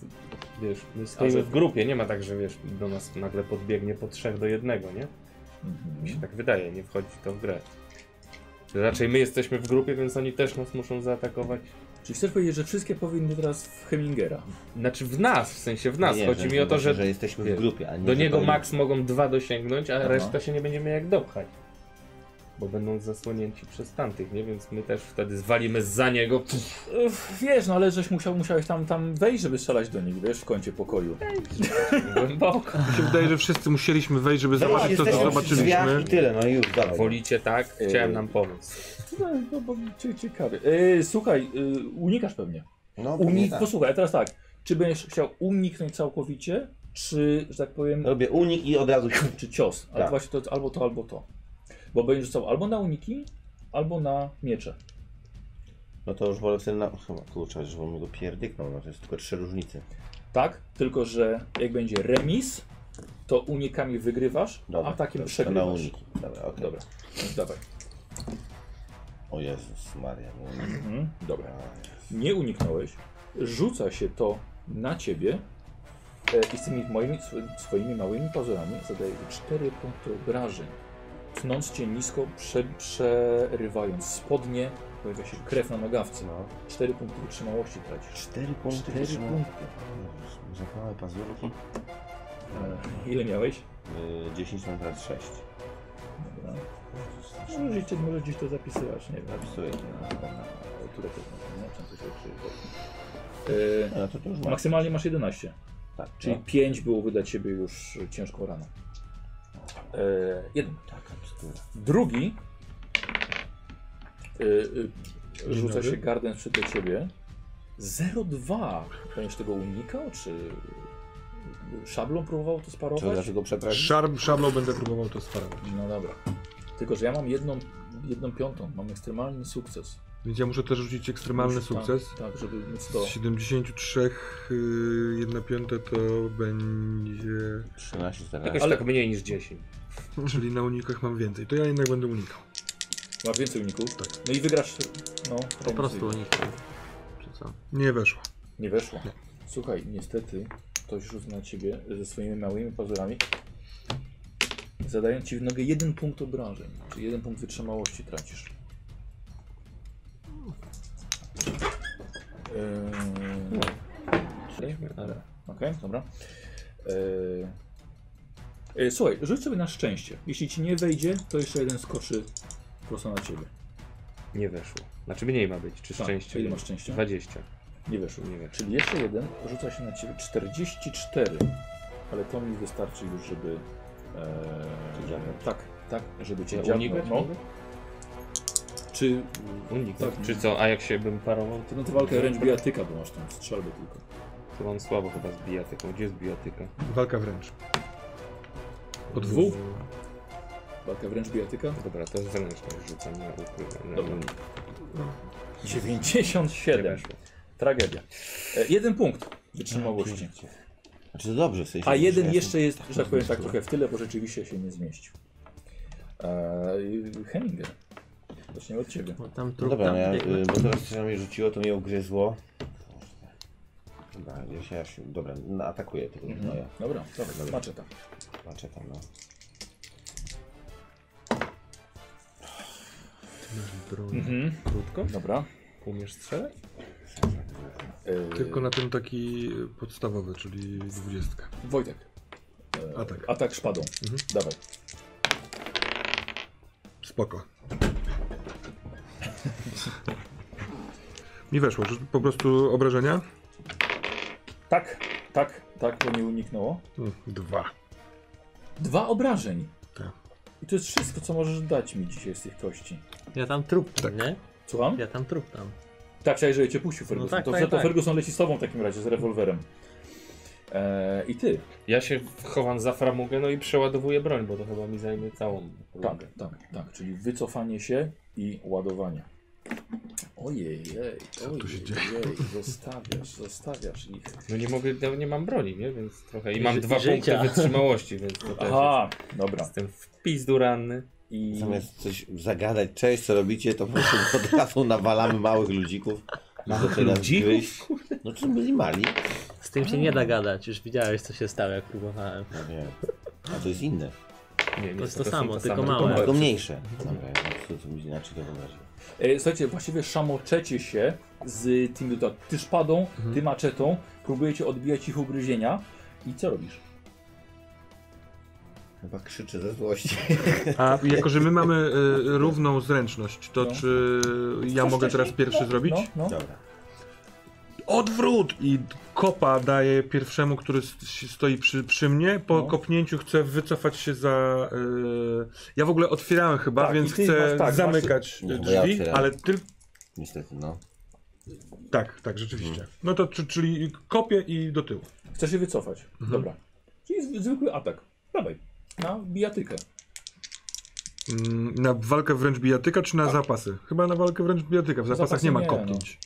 S5: wiesz, my
S2: że-
S5: stoimy w grupie, nie ma tak, że wiesz, do nas nagle podbiegnie po trzech do jednego, nie? Mi się
S2: Mhm.
S5: tak wydaje, nie wchodzi to w grę. Raczej my jesteśmy w grupie, więc oni też nas muszą zaatakować.
S2: Czyli chcesz powiedzieć, że wszystkie powinny teraz w Hemingera.
S5: Znaczy w nas, w sensie w nas.
S6: Nie,
S5: Chodzi mi o to,
S6: właśnie,
S5: że,
S6: że jesteśmy
S5: wie,
S6: w grupie, a nie
S5: do
S6: że
S5: niego
S6: to-
S5: maks mogą dwa dosięgnąć, a
S2: Aha.
S5: reszta się nie będziemy jak dopchać. Bo będą zasłonięci przez tamtych, nie? Więc my też wtedy zwalimy za niego.
S2: Ech, Wiesz, no ale żeś musiał, musiałeś tam, tam wejść, żeby strzelać do nich, wiesz, w kącie pokoju.
S5: Głęboko.
S3: Mi się wydaje, że wszyscy musieliśmy wejść, żeby
S6: Dobra,
S3: zobaczyć to, co
S6: No jesteśmy przy drzwiach
S3: zobaczyliśmy.
S6: i tyle, no i już, dawaj.
S5: Wolicie tak? Chciałem nam pomóc.
S2: No, no bo cie- ciekawie. Yy, słuchaj, yy, unikasz pewnie.
S6: No,
S2: Unik,
S6: nie tak.
S2: Posłuchaj, teraz tak. Czy będziesz chciał uniknąć całkowicie, czy, że tak powiem,
S6: Robię unik i od razu...
S2: czy cios? Ale
S6: No, Tak.
S2: właśnie to, albo to, albo to. Bo będziesz rzucał albo na uniki, albo na miecze.
S6: No to już wolę wtedy na... Chyba, kurczę, że bym go pierdyknął, no to jest tylko trzy różnice.
S2: Tak? Tylko, że jak będzie remis, to unikami wygrywasz, a takim
S6: dobra, to na
S2: przegrywasz.
S6: uniki. Dobra, okej.
S2: Dobra, więc dawaj.
S6: O Jezus Maria, no unik.
S2: Mhm, dobra. Nie uniknąłeś. Rzuca się to na ciebie e, i z tymi moimi, sw- swoimi małymi pazurami zadaje ci 4 punkty obrażeń. Tnąc cię nisko, prze, przerywając spodnie, pojawia się krew na nogawce.
S6: No.
S2: 4 punkty wytrzymałości tracisz.
S6: Cztery punkty.
S2: Cztery
S6: wytrzyma-
S2: punkty.
S6: Jezus, Zapałe pazurki.
S2: E, ile miałeś?
S6: Yy, 10 na teraz 6.
S2: Dobra. Może gdzieś, może gdzieś to zapisywać, nie wiem.
S6: Zapisuję. No, spoko.
S2: Ale Które to znaczy, nie? Często się krzyczy.
S6: No to, to już
S2: E,
S6: mam.
S2: Maksymalnie masz 11,
S6: Tak,
S2: czyli
S6: no.
S2: 5 było wydać siebie już ciężką raną. E, jeden.
S6: Taka bzdura.
S2: Drugi y, y,
S3: Dzień
S2: rzuca
S3: dobry.
S2: się garden przy do ciebie. 0,2. Będziesz tego unikał, czy szablą próbował to
S6: Czy
S2: sparować?
S6: dlaczego przepraszam?
S3: Szarm, szablą będę próbował to sparować.
S2: No dobra. Tylko, że ja mam jedną, jedną piątą. Mam ekstremalny sukces.
S3: Więc ja muszę też rzucić ekstremalny
S2: Muszę-
S3: sukces.
S2: Tak, tak, żeby móc to...
S3: Z 73, yy, 1 piąta to będzie...
S6: 13, 14.
S5: Jakoś
S2: Ale-
S5: tak mniej niż 10.
S3: Czyli na unikach mam więcej. To ja jednak będę unikał.
S2: Masz więcej uników. No i wygrasz... No,
S4: Po prostu o nich. Czy co?
S3: Nie weszło.
S2: Nie weszło. Słuchaj, niestety ktoś rzuca na ciebie ze swoimi małymi pazurami, zadając ci w nogę jeden punkt obrażeń, czyli jeden punkt wytrzymałości tracisz. Eee,
S5: Przejdźmy, ale-
S2: Okej, dobra. Eee, e, słuchaj, rzuć sobie na szczęście. Jeśli ci nie wejdzie, to jeszcze jeden skoczy prosto na ciebie.
S5: Nie weszło. Znaczy mniej ma być, czy
S2: Tak,
S5: szczęście?
S2: Ile masz szczęścia?
S5: 20.
S2: Nie weszło.
S5: Nie weszło.
S2: Czyli jeszcze jeden rzuca się na ciebie 44, ale to mi wystarczy już, żeby.
S6: Cię
S2: E,
S6: dziabnąć.
S2: tak, tak, żeby cię
S5: Ja
S2: dziabnąć.
S5: unikać
S2: No.
S5: mogę?
S2: Czy
S5: Unik.
S2: Tak.
S5: Czy co, a jak się bym parował, to,
S2: no to walkę wręcz bijatyka, bo masz tam strzelbę tylko.
S5: to mam słabo chyba z bijatyką. Gdzie jest bijatyka?
S3: Walka wręcz.
S2: Po dwóch? Walkę wręcz bijatyka?
S5: Dobra, to zręcznie rzucam na ukrywam.
S2: Dobra.
S5: unik. Nie
S2: 97.
S5: weszło.
S2: Tragedia. E, jeden punkt wytrzymałości.
S6: Znaczy to dobrze w sensie.
S2: A
S6: że
S2: jeden
S6: ja
S2: jeszcze jest, że tak powiem, tak
S6: zmęczony.
S2: trochę w tyle, bo rzeczywiście się nie zmieścił. E, Henninger, zaczniemy od ciebie.
S4: Bo tam
S6: No
S4: trup
S6: dobra,
S4: tam
S6: no ja,
S4: biegnie.
S6: y, bo teraz coś na mnie rzuciło, to mnie ugryzło. Dobra, ja się, ja się dobra, no, atakuję tego
S2: Mhm.
S6: gnoja.
S2: Dobra, dobra, maczeta.
S6: Patrzę tam, no.
S2: Mhm.
S5: Krótko?
S2: Dobra.
S5: Umiesz strzelać?
S2: Yy,
S3: Tylko na ten taki podstawowy, czyli 20.
S2: Wojtek,
S3: Atak.
S2: atak szpadą.
S3: Mhm.
S2: Dawaj.
S3: Spoko. Mi weszło, że po prostu obrażenia?
S2: Tak, tak, tak, to nie uniknęło.
S3: Mm, Dwa.
S2: Dwa obrażeń.
S3: Tak.
S2: I to jest wszystko, co możesz dać mi dzisiaj z tych kości.
S4: Ja tam trup tam,
S3: Tak.
S4: nie?
S2: Słucham?
S4: Ja tam trup tam.
S2: Tak, chciałeś, żeby cię puścił Ferguson.
S4: No tak,
S2: to,
S4: tak,
S2: to
S4: tak.
S2: Ferguson leci z tobą w takim razie, z rewolwerem. Eee, I ty.
S5: Ja się chowam za framugę, no i przeładowuję broń, bo to chyba mi zajmie całą
S2: Tak,
S5: rundę.
S2: tak, tak. Czyli wycofanie się i ładowanie. Ojej, jej,
S3: Co
S2: ojej,
S3: tu się
S2: jej, zostawiasz, zostawiasz ich.
S5: No nie mogę, no nie mam broni, nie? Więc trochę. I
S4: I
S5: mam
S4: ży-
S5: dwa
S4: i życia.
S5: punkty wytrzymałości, więc to też
S2: Aha,
S5: jest.
S2: dobra.
S5: Jestem w pizdu ranny.
S2: I...
S6: Zamiast coś zagadać, cześć, co robicie, to po prostu od razu nawalamy małych ludzików. Małych
S5: ludzików?
S6: No czy byli mali?
S4: Z tym się nie da gadać, już widziałeś co się stało jak próbowałem.
S6: No nie. A to jest inne.
S5: Nie, nie,
S4: To jest to
S5: są
S4: samo,
S5: te
S4: tylko
S5: same.
S2: No,
S4: małe.
S6: Tylko mniejsze. Dobra, ja to, to inaczej to wyobraziłem.
S2: E, słuchajcie, właściwie szamoczecie się z tymi, tak, ty szpadą,
S6: Mhm.
S2: ty maczetą, próbujecie odbijać ich ugryzienia i co robisz?
S6: Chyba krzyczę ze złości.
S3: A jako, że my mamy y, równą zręczność, to
S2: No.
S3: czy ja
S2: Co
S3: mogę
S2: wcześniej?
S3: teraz pierwszy
S2: No,
S3: zrobić?
S2: No, no.
S6: Dobra.
S3: Odwrót! I kopa daje pierwszemu, który s- s- stoi przy, przy mnie. Po
S2: No.
S3: kopnięciu chcę wycofać się za. y, Ja w ogóle otwierałem chyba,
S2: Tak,
S3: więc
S2: i ty
S3: chcę
S2: masz- tak,
S3: zamykać
S6: masz-
S3: y,
S6: No, ja
S3: drzwi,
S6: otwieram.
S3: ale ty.
S6: Niestety, no.
S3: Tak, tak, rzeczywiście. No to czy- czyli kopię i do tyłu.
S2: Chcesz się wycofać.
S6: Mhm.
S2: Dobra. Czyli z- zwykły atak. Dawaj. Na bijatykę.
S3: Mm, Na walkę wręcz bijatyka, czy na zapasy? Chyba na walkę wręcz bijatyka. W zapasach
S2: zapasy
S3: nie ma
S2: nie,
S3: kopnięć.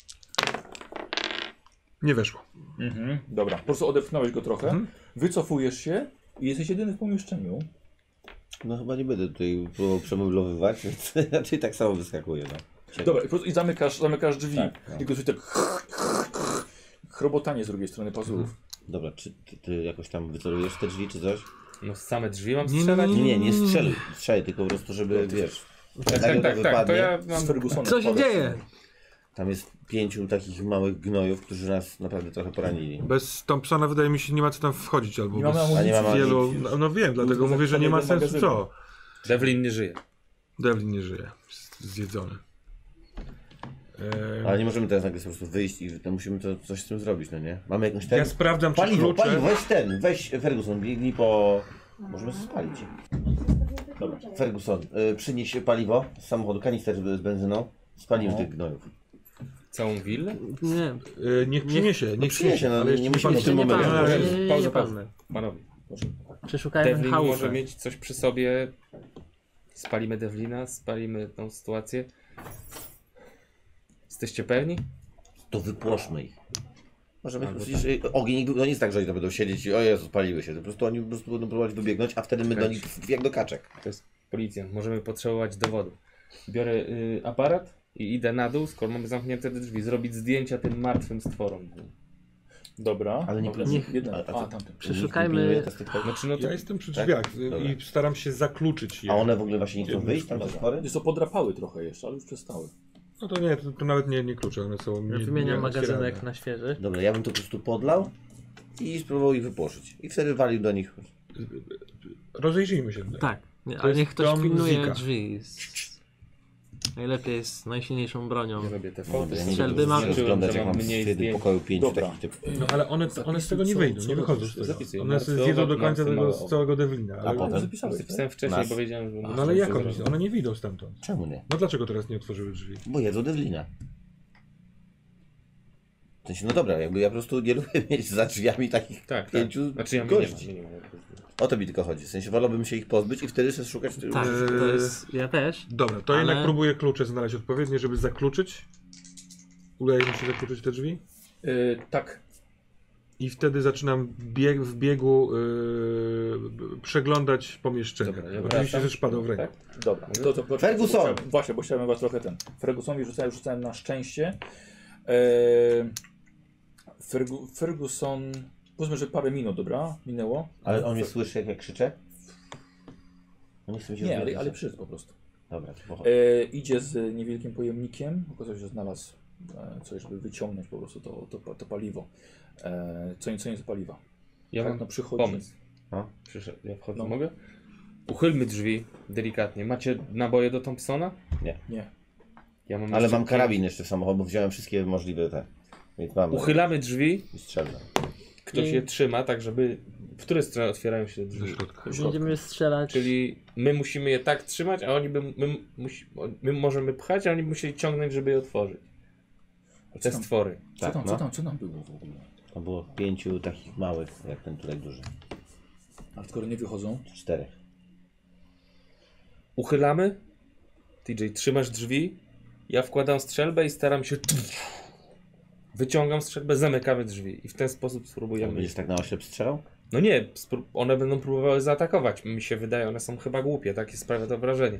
S3: Nie weszło.
S2: Mhm. Dobra. Po prostu odepchnąłeś go trochę.
S3: Mhm.
S2: Wycofujesz się i jesteś jedyny w pomieszczeniu.
S6: No chyba nie będę tutaj próbował przemeblowywać, więc raczej tak samo wyskakuje, no. Ciekawe.
S2: Dobra. I, po prostu, i zamykasz, zamykasz drzwi.
S6: Tak, tak.
S2: Tylko słyszę tak chrobotanie z drugiej strony pazurów.
S6: Dobra, czy ty, ty jakoś tam wycelujesz te drzwi, czy coś?
S5: No same drzwi mam
S3: Nie,
S5: strzelać?
S6: Nie, nie, nie strzeluj, strzelaj, tylko po prostu, żeby, wiesz,
S5: Tak,
S6: nagle
S5: tak,
S6: to
S5: tak, tak, to
S6: wypadnie.
S5: ja
S2: Z
S5: mam...
S2: Fergusonem.
S4: Co się
S2: wpadasz.
S4: dzieje?
S6: tam jest pięciu takich małych gnojów, którzy nas naprawdę trochę poranili.
S3: Bez Thompsona wydaje mi się nie ma co tam wchodzić albo
S2: Nie mamy
S3: bez
S2: amunicji.
S6: A nie mamy
S3: wielu.
S6: amunicji już.
S3: No, no wiem, dlatego mówię, że nie ma
S2: zamknęli do
S3: sensu co.
S5: Devlin nie żyje.
S3: Devlin nie żyje. Jest Zjedzony. Eee,
S6: Ale nie możemy teraz nagle po prostu wyjść i to musimy to, coś z tym zrobić, no nie? Mamy jakąś ten...
S3: ja sprawdzam, czy
S6: Paliwo,
S3: klucze.
S6: paliwo, weź ten, weź Ferguson, biegnij po Możemy spalić. Ferguson, y, przynieś paliwo z samochodu, kanister z benzyną.
S5: No.
S6: Spalimy tych gnojów.
S5: Całą willę?
S4: Nie,
S3: E, niech przyniesie, niech, przyniesie,
S6: no,
S3: ale
S6: nie
S3: jeszcze nie pan
S6: musimy
S3: w
S6: się
S3: tym
S6: nie
S3: momencie.
S4: palmy.
S6: palmy.
S5: Pauza,
S4: Nie, nie,
S5: pauza.
S4: nie palmy.
S5: Panowie, proszę.
S4: Przeszukałem
S5: Devlin może
S4: chałupę.
S5: mieć coś przy sobie. Spalimy Devlina, spalimy tą sytuację. Jesteście pewni?
S6: To wypłoszmy ich. Możemy
S5: Albo
S4: tak.
S6: przecież y, ogień, no nie jest tak, że oni tam będą siedzieć i o Jezu, spaliły się. To po prostu oni po prostu będą próbować wybiegnąć, a wtedy my do nich f- jak do kaczek.
S5: To jest policjant, możemy potrzebować dowodu. Biorę y, aparat i idę na dół, skoro mamy zamknięte te drzwi, zrobić zdjęcia tym martwym stworom.
S2: Dobra.
S6: Ale nie-
S2: Dobra,
S6: nie-
S2: jeden.
S6: a- a
S2: A,
S6: co?
S2: tamten.
S4: Przeszukajmy-
S6: Nikt nie pilnuje tastyka.
S5: Znaczy, no to
S3: Ja jestem przy drzwiach y,
S6: Tak? Dobra.
S3: i staram się zakluczyć je.
S6: A one w ogóle właśnie nie chcą
S3: Jednym
S6: wyjść tam
S3: szkoda.
S6: ze spory?
S2: Wiesz co, podrapały trochę jeszcze, ale już przestały.
S3: No to nie, to, to nawet nie, nie klucze, one są nie,
S4: Ja wymieniam
S3: nie
S4: magazynek
S3: otwierane.
S4: na świeży.
S6: Dobra, ja bym to po prostu podlał i spróbował ich wypłoszyć. I wtedy walił do nich.
S3: Rozejrzyjmy się tutaj.
S4: Tak, nie,
S3: To
S4: ale
S3: jest
S4: niech ktoś
S3: dom
S4: pilnuje
S3: Zika.
S4: drzwi. z- Najlepiej z najsilniejszą bronią.
S5: ja robię te
S6: Dobra,
S5: foty.
S6: ja nie
S4: Strzelby
S6: będę
S4: mam-
S5: Zobaczyłem,
S6: rozglądać,
S5: że
S6: jak
S5: mam
S6: mam
S5: mniej
S6: wtedy w
S5: zdjęć.
S6: pokoju pięć
S2: Dobra.
S6: takich typów.
S3: No ale one, one z tego nie
S2: co-
S3: wyjdą,
S2: co
S3: nie wychodzą z
S2: robisz?
S3: tego.
S5: Zapisuj.
S3: One
S5: Marcy
S3: zjedzą do
S5: owad,
S3: końca
S5: marcy
S3: tego,
S5: mały
S3: z
S5: owad.
S3: całego Devlina. Ale,
S6: potem?
S2: Ale zapisałeś, tak?
S5: Zapisałem wcześniej,
S6: Nas.
S5: bo wiedziałem, że
S3: no ale jak one, one nie wyjdą stamtąd?
S6: Czemu nie?
S3: No dlaczego teraz nie otworzyły drzwi?
S6: Bo jedzą Devlina. W sensie, no dobra, jakby ja po prostu nie lubię mieć za drzwiami takich
S3: no
S5: Tak, tak.
S6: pięciu
S5: Znaczy ja mnie nie mam,
S6: gości.
S5: mnie nie mam.
S6: O to mi tylko chodzi. W sensie wolałbym się ich pozbyć i wtedy sobie szukać.
S4: Tak, to
S3: Eee.
S4: jest. Ja też.
S3: Dobra, to
S4: Ale-
S3: jednak próbuję klucze znaleźć odpowiednie, żeby zakluczyć. Udaje mi się zakluczyć te drzwi.
S2: Yy, tak,
S3: I wtedy zaczynam bieg, w biegu yy, b- przeglądać pomieszczenie.
S5: Dobra, ja
S3: Oczywiście
S5: wracam.
S3: ze szpadą w ręku.
S5: Tak?
S2: Dobra, to, to, to,
S6: Mhm. Ferguson!
S2: Bo chciałem, właśnie, bo chciałem was trochę ten. Fergusonowi rzucałem, rzucałem na szczęście. E, Fergu, Ferguson. Powiedzmy, że parę minut, dobra? Minęło.
S6: Ale on mnie słyszy, jak ja krzyczę? On nie chce mi się
S2: Nie, ale,
S6: rozmawiać.
S2: ale przyszedł po prostu.
S6: Dobra, to pochodź.
S2: E, idzie z niewielkim pojemnikiem. Okazał się, że znalazł e, coś, żeby wyciągnąć po prostu to, to, pa- to paliwo. E, co, nie- co nie z paliwa.
S5: Ja
S2: tak,
S5: mam
S2: no przychodzi.
S5: pomysł.
S6: No.
S5: Przyszedł, ja wchodzę.
S2: No.
S5: Mogę? Uchylmy drzwi delikatnie. Macie naboje do Thompsona?
S2: Nie.
S5: Ja mam
S6: Ale
S5: jeszcze-
S6: mam karabin jeszcze w samochodzie, bo wziąłem wszystkie możliwe te. Więc mam.
S5: Uchylamy drzwi,
S6: I strzelam.
S5: ktoś
S4: I-
S5: je trzyma, tak żeby... W której stronie otwierają się te
S3: Do
S5: drzwi?
S3: środka.
S4: Będziemy strzelać.
S5: Czyli my musimy je tak trzymać, a oni by, my, musi, my możemy pchać, a oni by musieli ciągnąć, żeby je otworzyć. Te
S2: tam?
S5: stwory.
S2: Co,
S6: Tak,
S2: tam,
S6: no.
S2: co, tam, co tam było w ogóle?
S6: Tam było pięciu takich małych, jak ten tutaj duży.
S2: A skoro nie wychodzą,
S6: Czterech.
S5: Uchylamy, TJ trzymasz drzwi, ja wkładam strzelbę i staram się... Wyciągam strzelbę, zamykamy drzwi i w ten sposób
S6: Ja
S5: spróbujemy...
S6: będziesz tak na oślep strzelał?
S5: No nie, spró- one będą próbowały zaatakować. Mi się wydaje, one są chyba głupie, takie sprawia to wrażenie.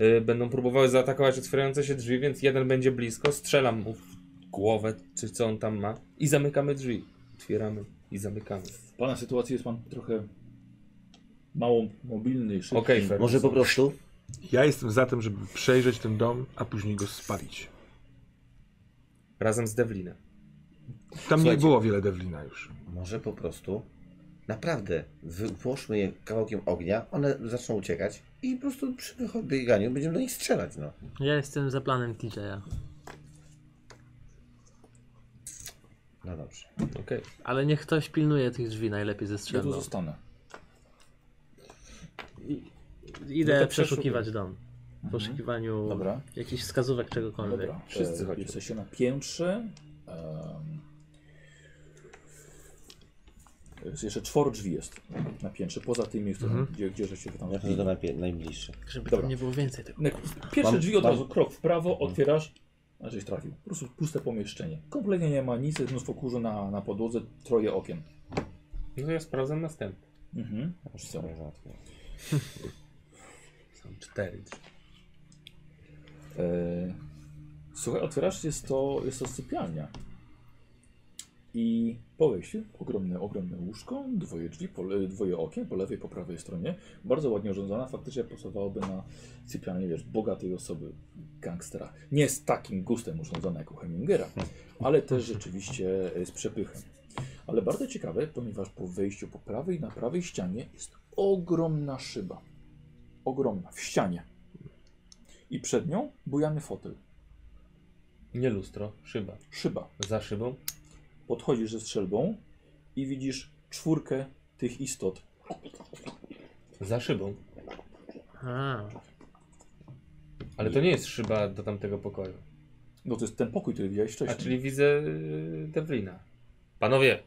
S5: Y, Będą próbowały zaatakować otwierające się drzwi, więc jeden będzie blisko, strzelam mu w głowę, czy co on tam ma, i zamykamy drzwi. Otwieramy i zamykamy.
S2: w pana sytuacji jest pan trochę mało mobilny i szybki.
S5: Okej, Fer.
S6: Może po prostu?
S3: Ja jestem za tym, żeby przejrzeć ten dom, a później go spalić.
S5: Razem z Devlinem.
S3: Tam nie
S6: Słuchajcie.
S3: było wiele Devlina już.
S6: Może po prostu. Naprawdę, wypłoszmy je kawałkiem ognia, one zaczną uciekać i po prostu przy wycho- bieganiu będziemy do nich strzelać, no.
S4: Ja jestem za planem TJ'a.
S6: No dobrze.
S5: Okej.
S4: Ale niech ktoś pilnuje tych drzwi najlepiej ze
S2: Ja tu
S4: strzelbą.
S2: zostanę.
S4: Idę
S5: No to
S4: przeszukiwać dom. W poszukiwaniu
S2: Dobra.
S4: jakichś wskazówek czegokolwiek.
S2: Dobra,
S5: Wszyscy
S2: e,
S5: chodźmy.
S2: Jesteście na piętrze. em, Jest jeszcze czworo drzwi jest na piętrze, poza tymi, w którym- gdzie, gdzie żeście wy tam
S6: Mhm. Ja chodzę do najpie- najbliższych.
S4: Żeby
S2: Dobra.
S4: tam nie było więcej tego.
S2: Na- Pierwsze
S6: Mam-
S2: drzwi od
S6: mam- Mhm.
S2: razu, krok w prawo, otwierasz, a żeś trafił. Po prostu puste pomieszczenie. Kompletnie nie ma nic, jest mnóstwo kurzu na, na podłodze, troje okien.
S5: No to ja sprawdzam następny.
S2: Mhm.
S6: Już sobie załatwię.
S5: Są cztery drzwi.
S2: E, Słuchaj, otwierasz, jest to, jest to sypialnia. I po wejściu ogromne, ogromne łóżko, dwoje drzwi, po, le- dwoje okien, po lewej, po prawej stronie. Bardzo ładnie urządzona, faktycznie pasowałoby na sypialnię, wiesz, bogatej osoby, gangstera. Nie z takim gustem urządzona jak u Hemingera, ale też rzeczywiście e, z przepychem. Ale bardzo ciekawe, ponieważ po wejściu po prawej, na prawej ścianie jest ogromna szyba. Ogromna, w ścianie. I przed nią bujany fotel,
S5: Nie lustro, szyba.
S2: szyba.
S5: Za szybą.
S2: Podchodzisz ze strzelbą i widzisz czwórkę tych istot.
S5: Za szybą.
S4: A,
S5: Ale to nie jest szyba do tamtego pokoju.
S2: No to jest ten pokój, który widziałeś
S5: A
S2: wcześniej.
S5: czyli widzę yy, Devlina. Panowie,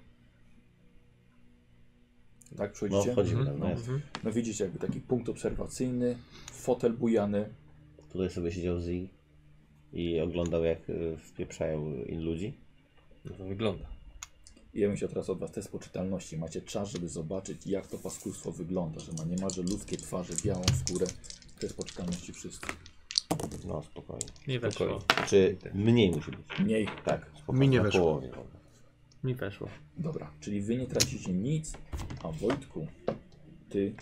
S2: Tak,
S6: No,
S2: przechodzicie.
S6: wchodzimy
S3: Mhm.
S6: tam, no.
S4: mhm.
S2: No widzicie jakby taki punkt obserwacyjny, fotel bujany.
S6: Tutaj sobie siedział Zig i oglądał jak y, wpieprzają in ludzi.
S5: no to wygląda.
S2: I ja bym chciał teraz od was test poczytalności. Macie czas, żeby zobaczyć jak to paskudstwo wygląda, że ma niemalże ludzkie twarze, białą skórę. Test poczytalności wszystkich.
S6: No spokojnie.
S4: Mi weszło.
S6: Czy mniej musi być?
S2: Mniej.
S6: Tak, spokojnie.
S3: Mi nie
S6: na
S3: weszło.
S6: połowie.
S4: Mi weszło.
S2: Dobra, czyli wy nie tracicie nic, a Wojtku, ty...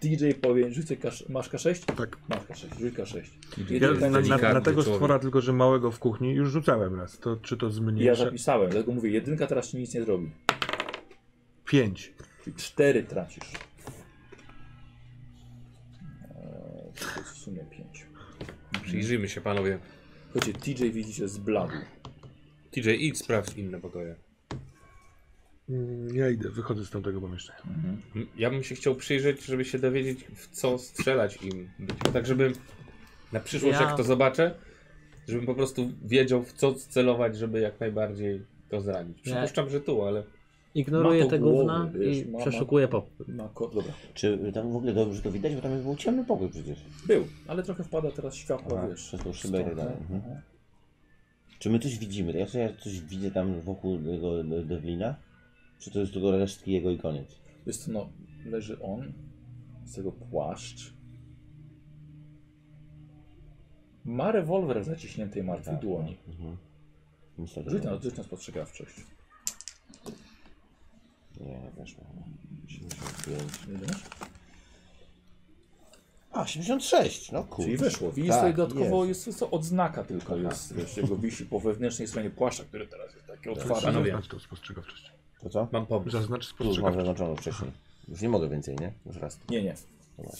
S2: DJ powie, rzucę kasz... masz K6?
S3: Tak.
S2: Masz K6, rzuć K6.
S3: Ja
S2: Jeden
S3: na,
S2: pytanie-
S3: na, na
S5: Delikatny
S3: tego
S5: człowiek.
S3: stwora, tylko że małego w kuchni, już rzucałem raz. To czy to
S2: Ja
S3: zmniejsza?
S2: zapisałem, dlatego mówię, jedynka teraz ci nic nie zrobi.
S3: Pięć.
S2: Czyli cztery tracisz. Eee, to jest w sumie pięć.
S5: Przyjrzyjmy się panowie.
S2: Słuchajcie, TJ widzicie zbladł.
S5: TJ, idź sprawdź inne pokoje.
S3: Mm, Ja idę, wychodzę z tamtego pomieszczenia.
S5: M- Mhm. Ja bym się chciał przyjrzeć, żeby się dowiedzieć w co strzelać im. Tak żeby na przyszłość
S4: Ja-
S5: jak to zobaczę, żebym po prostu wiedział w co celować, żeby jak najbardziej to zranić. Przypuszczam, że tu, ale...
S4: Ignoruję
S2: Ma to
S4: te
S2: głowy,
S4: gówna
S2: wiesz,
S4: i
S2: ma- ma-
S4: przeszukuję pokój.
S2: Na ko- Dobra,
S6: Czy tam w ogóle dobrze to widać? Bo tam był ciemny pokój przecież.
S2: był, ale trochę wpada teraz światło,
S6: Aha,
S2: wiesz.
S6: przez tą szybę i tak dalej. Mhm. Czy my coś widzimy? Ja, czy ja coś widzę tam wokół tego De- Devlina? Czy to jest tylko resztki jego i koniec?
S2: Jest no, leży on, z tego płaszcz. Ma rewolwer w zaciśniętej martwej dłoni.
S6: Mhm. Nic takiego.
S2: Rzuć na, rzuć na spostrzegawczość.
S6: Nie, weszło. 75.
S2: Nie wiesz?
S6: A, 76, no kurczę.
S2: Czyli weszło. Widzisz
S6: Tak,
S2: tutaj dodatkowo
S6: jest.
S2: jest,
S6: Tak.
S2: jest to odznaka tylko
S6: Aha.
S2: jest. Wiesz, jego wisi po wewnętrznej stronie płaszcza, który teraz jest
S6: Tak.
S2: taki otwarty.
S5: Panowie.
S3: Zaznacz tą spostrzegawczość.
S6: To co?
S5: Mam pomysł.
S3: Zaznacz
S6: Tu mam
S3: spostrzegawczość.
S6: zaznaczoną wcześniej. Już nie mogę więcej, nie? Już raz.
S2: Nie, nie.
S6: Zobacz.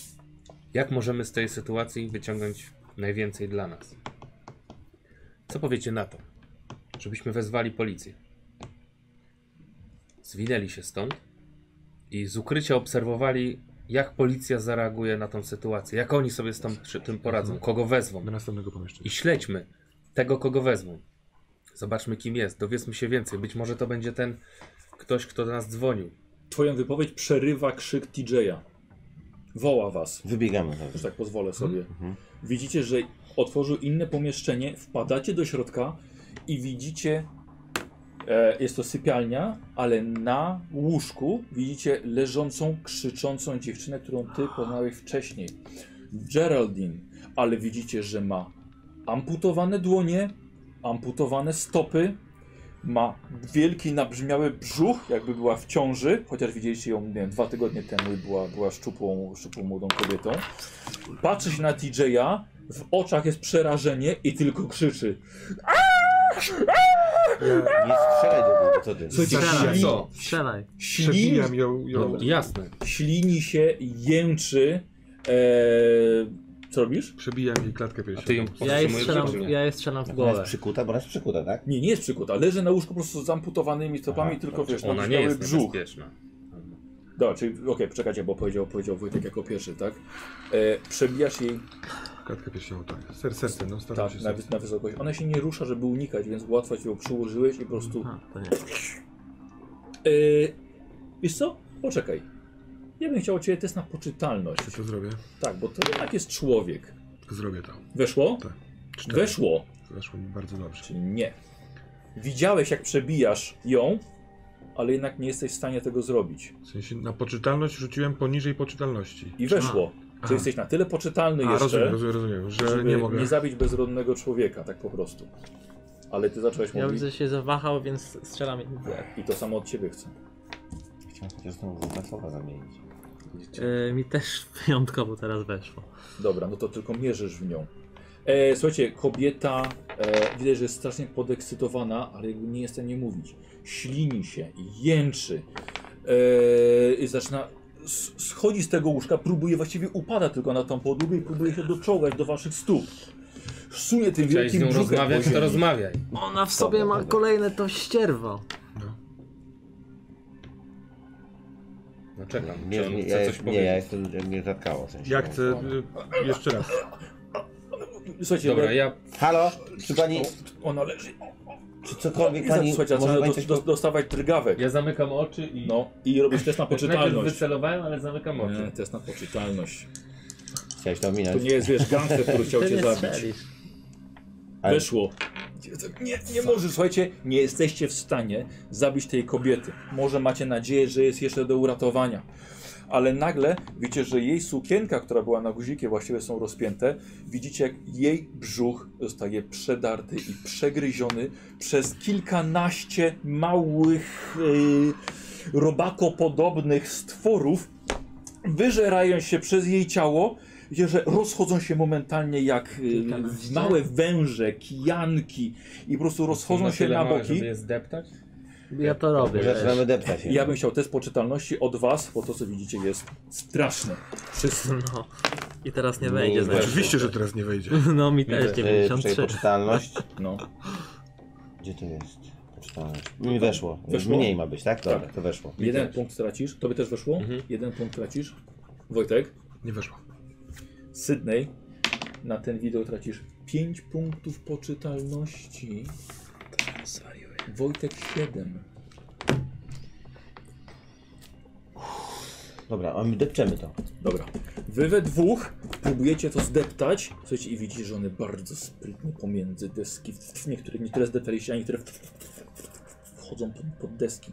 S5: Jak możemy z tej sytuacji wyciągnąć najwięcej dla nas? Co powiecie na to? Żebyśmy wezwali policję. Zwinęli się stąd i z ukrycia obserwowali, jak policja zareaguje na tą sytuację, jak oni sobie z tą, przy tym poradzą,
S2: Mhm.
S5: kogo wezwą.
S3: Do następnego
S5: I
S3: pomieszczenia.
S5: śledźmy tego, kogo wezmą. Zobaczmy, kim jest, dowiedzmy się więcej. Być może to będzie ten ktoś, kto do nas dzwonił.
S2: Twoją wypowiedź przerywa krzyk TJ-a. Woła was,
S6: Wybiegamy.
S2: że tak pozwolę sobie. Widzicie, że otworzył inne pomieszczenie, wpadacie do środka i widzicie, e, jest to sypialnia, ale na łóżku widzicie leżącą, krzyczącą dziewczynę, którą ty poznałeś wcześniej. Geraldine, ale widzicie, że ma amputowane dłonie, amputowane stopy, ma wielki, nabrzmiały brzuch, jakby była w ciąży, chociaż widzieliście ją nie wiem, dwa tygodnie temu i była, była szczupłą, szczupłą młodą kobietą. Patrzy się na TJ'a, w oczach jest przerażenie i tylko krzyczy.
S6: Nie strzelaj do mnie, bo co ty?
S2: Słuchajcie,
S4: Strzelaj.
S2: ślini,
S5: Co?
S4: Strzelaj.
S2: ślini,
S3: Przebijam ją,
S5: No,
S3: ją
S2: Dobra.
S5: Jasne.
S2: ślini się, jęczy. Eee, co robisz?
S3: przebijam jej klatkę
S5: A
S3: piersiową.
S5: ty ją
S4: Ja jej
S5: powstrzymujesz,
S4: strzelam,
S5: czy nie?
S4: ja jej strzelam w
S6: Tak, Ona jest
S4: głowę.
S6: przykuta, bo ona jest przykuta, tak?
S2: Nie, nie jest przykuta. Leży na łóżku po prostu z amputowanymi stopami,
S6: Aha,
S2: tylko wiesz,
S5: Ona nie
S2: nabrzmiały
S5: jest
S2: brzuch.
S5: niebezpieczna.
S2: Dobra, czyli okej, czekajcie, bo powiedział, powiedział Wojtek jako pierwszy, tak? E, przebijasz jej
S3: Klatkę piersiową, tak. Ser, serce, no staram
S2: tak,
S3: się
S2: na,
S3: serce.
S2: na wysokość. Ona się nie rusza, żeby unikać, więc łatwo ci ją przyłożyłeś i po prostu...
S4: A, to nie.
S2: E, wiesz co? Poczekaj. Ja bym chciał od ciebie test na poczytalność.
S3: Czy to zrobię?
S2: Tak, bo to jednak jest człowiek.
S3: Zrobię to.
S2: Weszło?
S3: Tak. Cztery.
S2: Weszło.
S3: Weszło mi bardzo dobrze.
S2: Czyli nie. Widziałeś, jak przebijasz ją, ale jednak nie jesteś w stanie tego zrobić.
S3: W sensie na poczytalność rzuciłem poniżej poczytalności.
S2: I weszło.
S3: Aha.
S2: Czy jesteś na tyle poczytalny
S3: A,
S2: jeszcze,
S3: rozumiem, rozumiem, rozumiem, że
S2: żeby
S3: nie mogę.
S2: zabić bezrodnego człowieka, tak po prostu. Ale ty zacząłeś
S4: Ja
S2: mówić
S4: widzę, że się zawahał, więc strzelam jej w głowę.
S2: i to samo od ciebie chcę.
S6: Chciałem chociaż tą dwa słowa zamienić.
S4: E, mi też wyjątkowo teraz weszło.
S2: Dobra, no to tylko mierzysz w nią. E, słuchajcie, kobieta e, widać, że jest strasznie podekscytowana, ale jakby nie jest w stanie mówić. Ślini się, jęczy. E, i zaczyna s- schodzi z tego łóżka, próbuje właściwie upada tylko na tą podłogę i próbuje się doczołgać do waszych stóp. Sunie tym
S5: Chciałeś z
S2: wielkim
S5: nią
S2: brzuchem po
S5: rozmawiać,
S2: ziemi.
S5: to rozmawiaj.
S4: Ona w sobie ma kolejne to ścierwo.
S3: No.
S5: No czekam,
S6: Nie,
S5: czy on
S6: nie,
S5: chce
S6: ja,
S5: coś
S6: nie, ja
S5: powiedzieć.
S6: jestem, mnie zatkało. W sensie.
S3: Ja chcę y, jeszcze raz.
S2: Słuchajcie,
S5: Dobra, ja
S6: Halo? Czy pani,
S2: ona leży.
S6: czy cokolwiek
S2: I
S6: pani,
S2: słuchajcie,
S6: może
S2: zaczyna
S6: pani
S2: do,
S6: coś...
S2: do, dostawać drgawek.
S5: Ja zamykam oczy i.
S2: No i robisz test na
S5: Tak najpierw
S2: poczytalność.
S5: wycelowałem, ale zamykam
S2: Nie,
S5: oczy.
S2: test na poczytalność.
S6: Chciałeś to
S2: To
S6: ominąć?
S2: nie jest, wiesz, gangster, który chciał cię zabić.
S4: strzelisz.
S6: Ale-
S2: Wyszło. Nie, nie możesz, słuchajcie, nie jesteście w stanie zabić tej kobiety. Może macie nadzieję, że jest jeszcze do uratowania. Ale nagle widzicie, że jej sukienka, która była na guzikie, właściwie są rozpięte. Widzicie, jak jej brzuch zostaje przedarty i przegryziony przez kilkanaście małych, yy, robakopodobnych stworów. Wyżerają się przez jej ciało. Widzicie, że rozchodzą się momentalnie jak yy,
S4: Kilkanaście?
S2: małe węże, kijanki i po prostu rozchodzą
S5: Na
S2: się
S5: tyle
S2: na
S5: małe,
S2: boki.
S5: Żeby je zdeptać?
S4: Ja to robię. też.
S6: Zaczynamy deptać się.
S2: Ja bym chciał test poczytalności od was, bo to co widzicie jest straszne. Wszyscy.
S4: No. I teraz nie
S6: Nie
S4: wejdzie.
S6: wejdzie.
S4: zaraz.
S3: Oczywiście, że teraz nie wejdzie.
S4: No mi
S5: Nie
S4: też
S5: wejdzie.
S6: Yy,
S4: 93.
S6: Przepoczytalność.
S2: No.
S6: Gdzie to jest? Poczytalność. Mi weszło.
S2: Weszło?
S6: Mniej ma być, tak? Dobra,
S2: Tak.
S6: to weszło.
S2: Jeden punkt tracisz. Tobie też weszło?
S5: Mhm.
S2: Jeden punkt tracisz. Wojtek,
S3: Nie weszło.
S2: Sydney, na ten widok tracisz 5 punktów poczytalności. Wojtek 7.
S6: Dobra, a my depczemy to.
S2: Dobra. Wy we dwóch próbujecie to zdeptać. Słuchajcie, i widzicie, że one bardzo sprytnie pomiędzy deski. Niektóre, niektóre zdeptaliście, a niektóre wchodzą pod, pod deski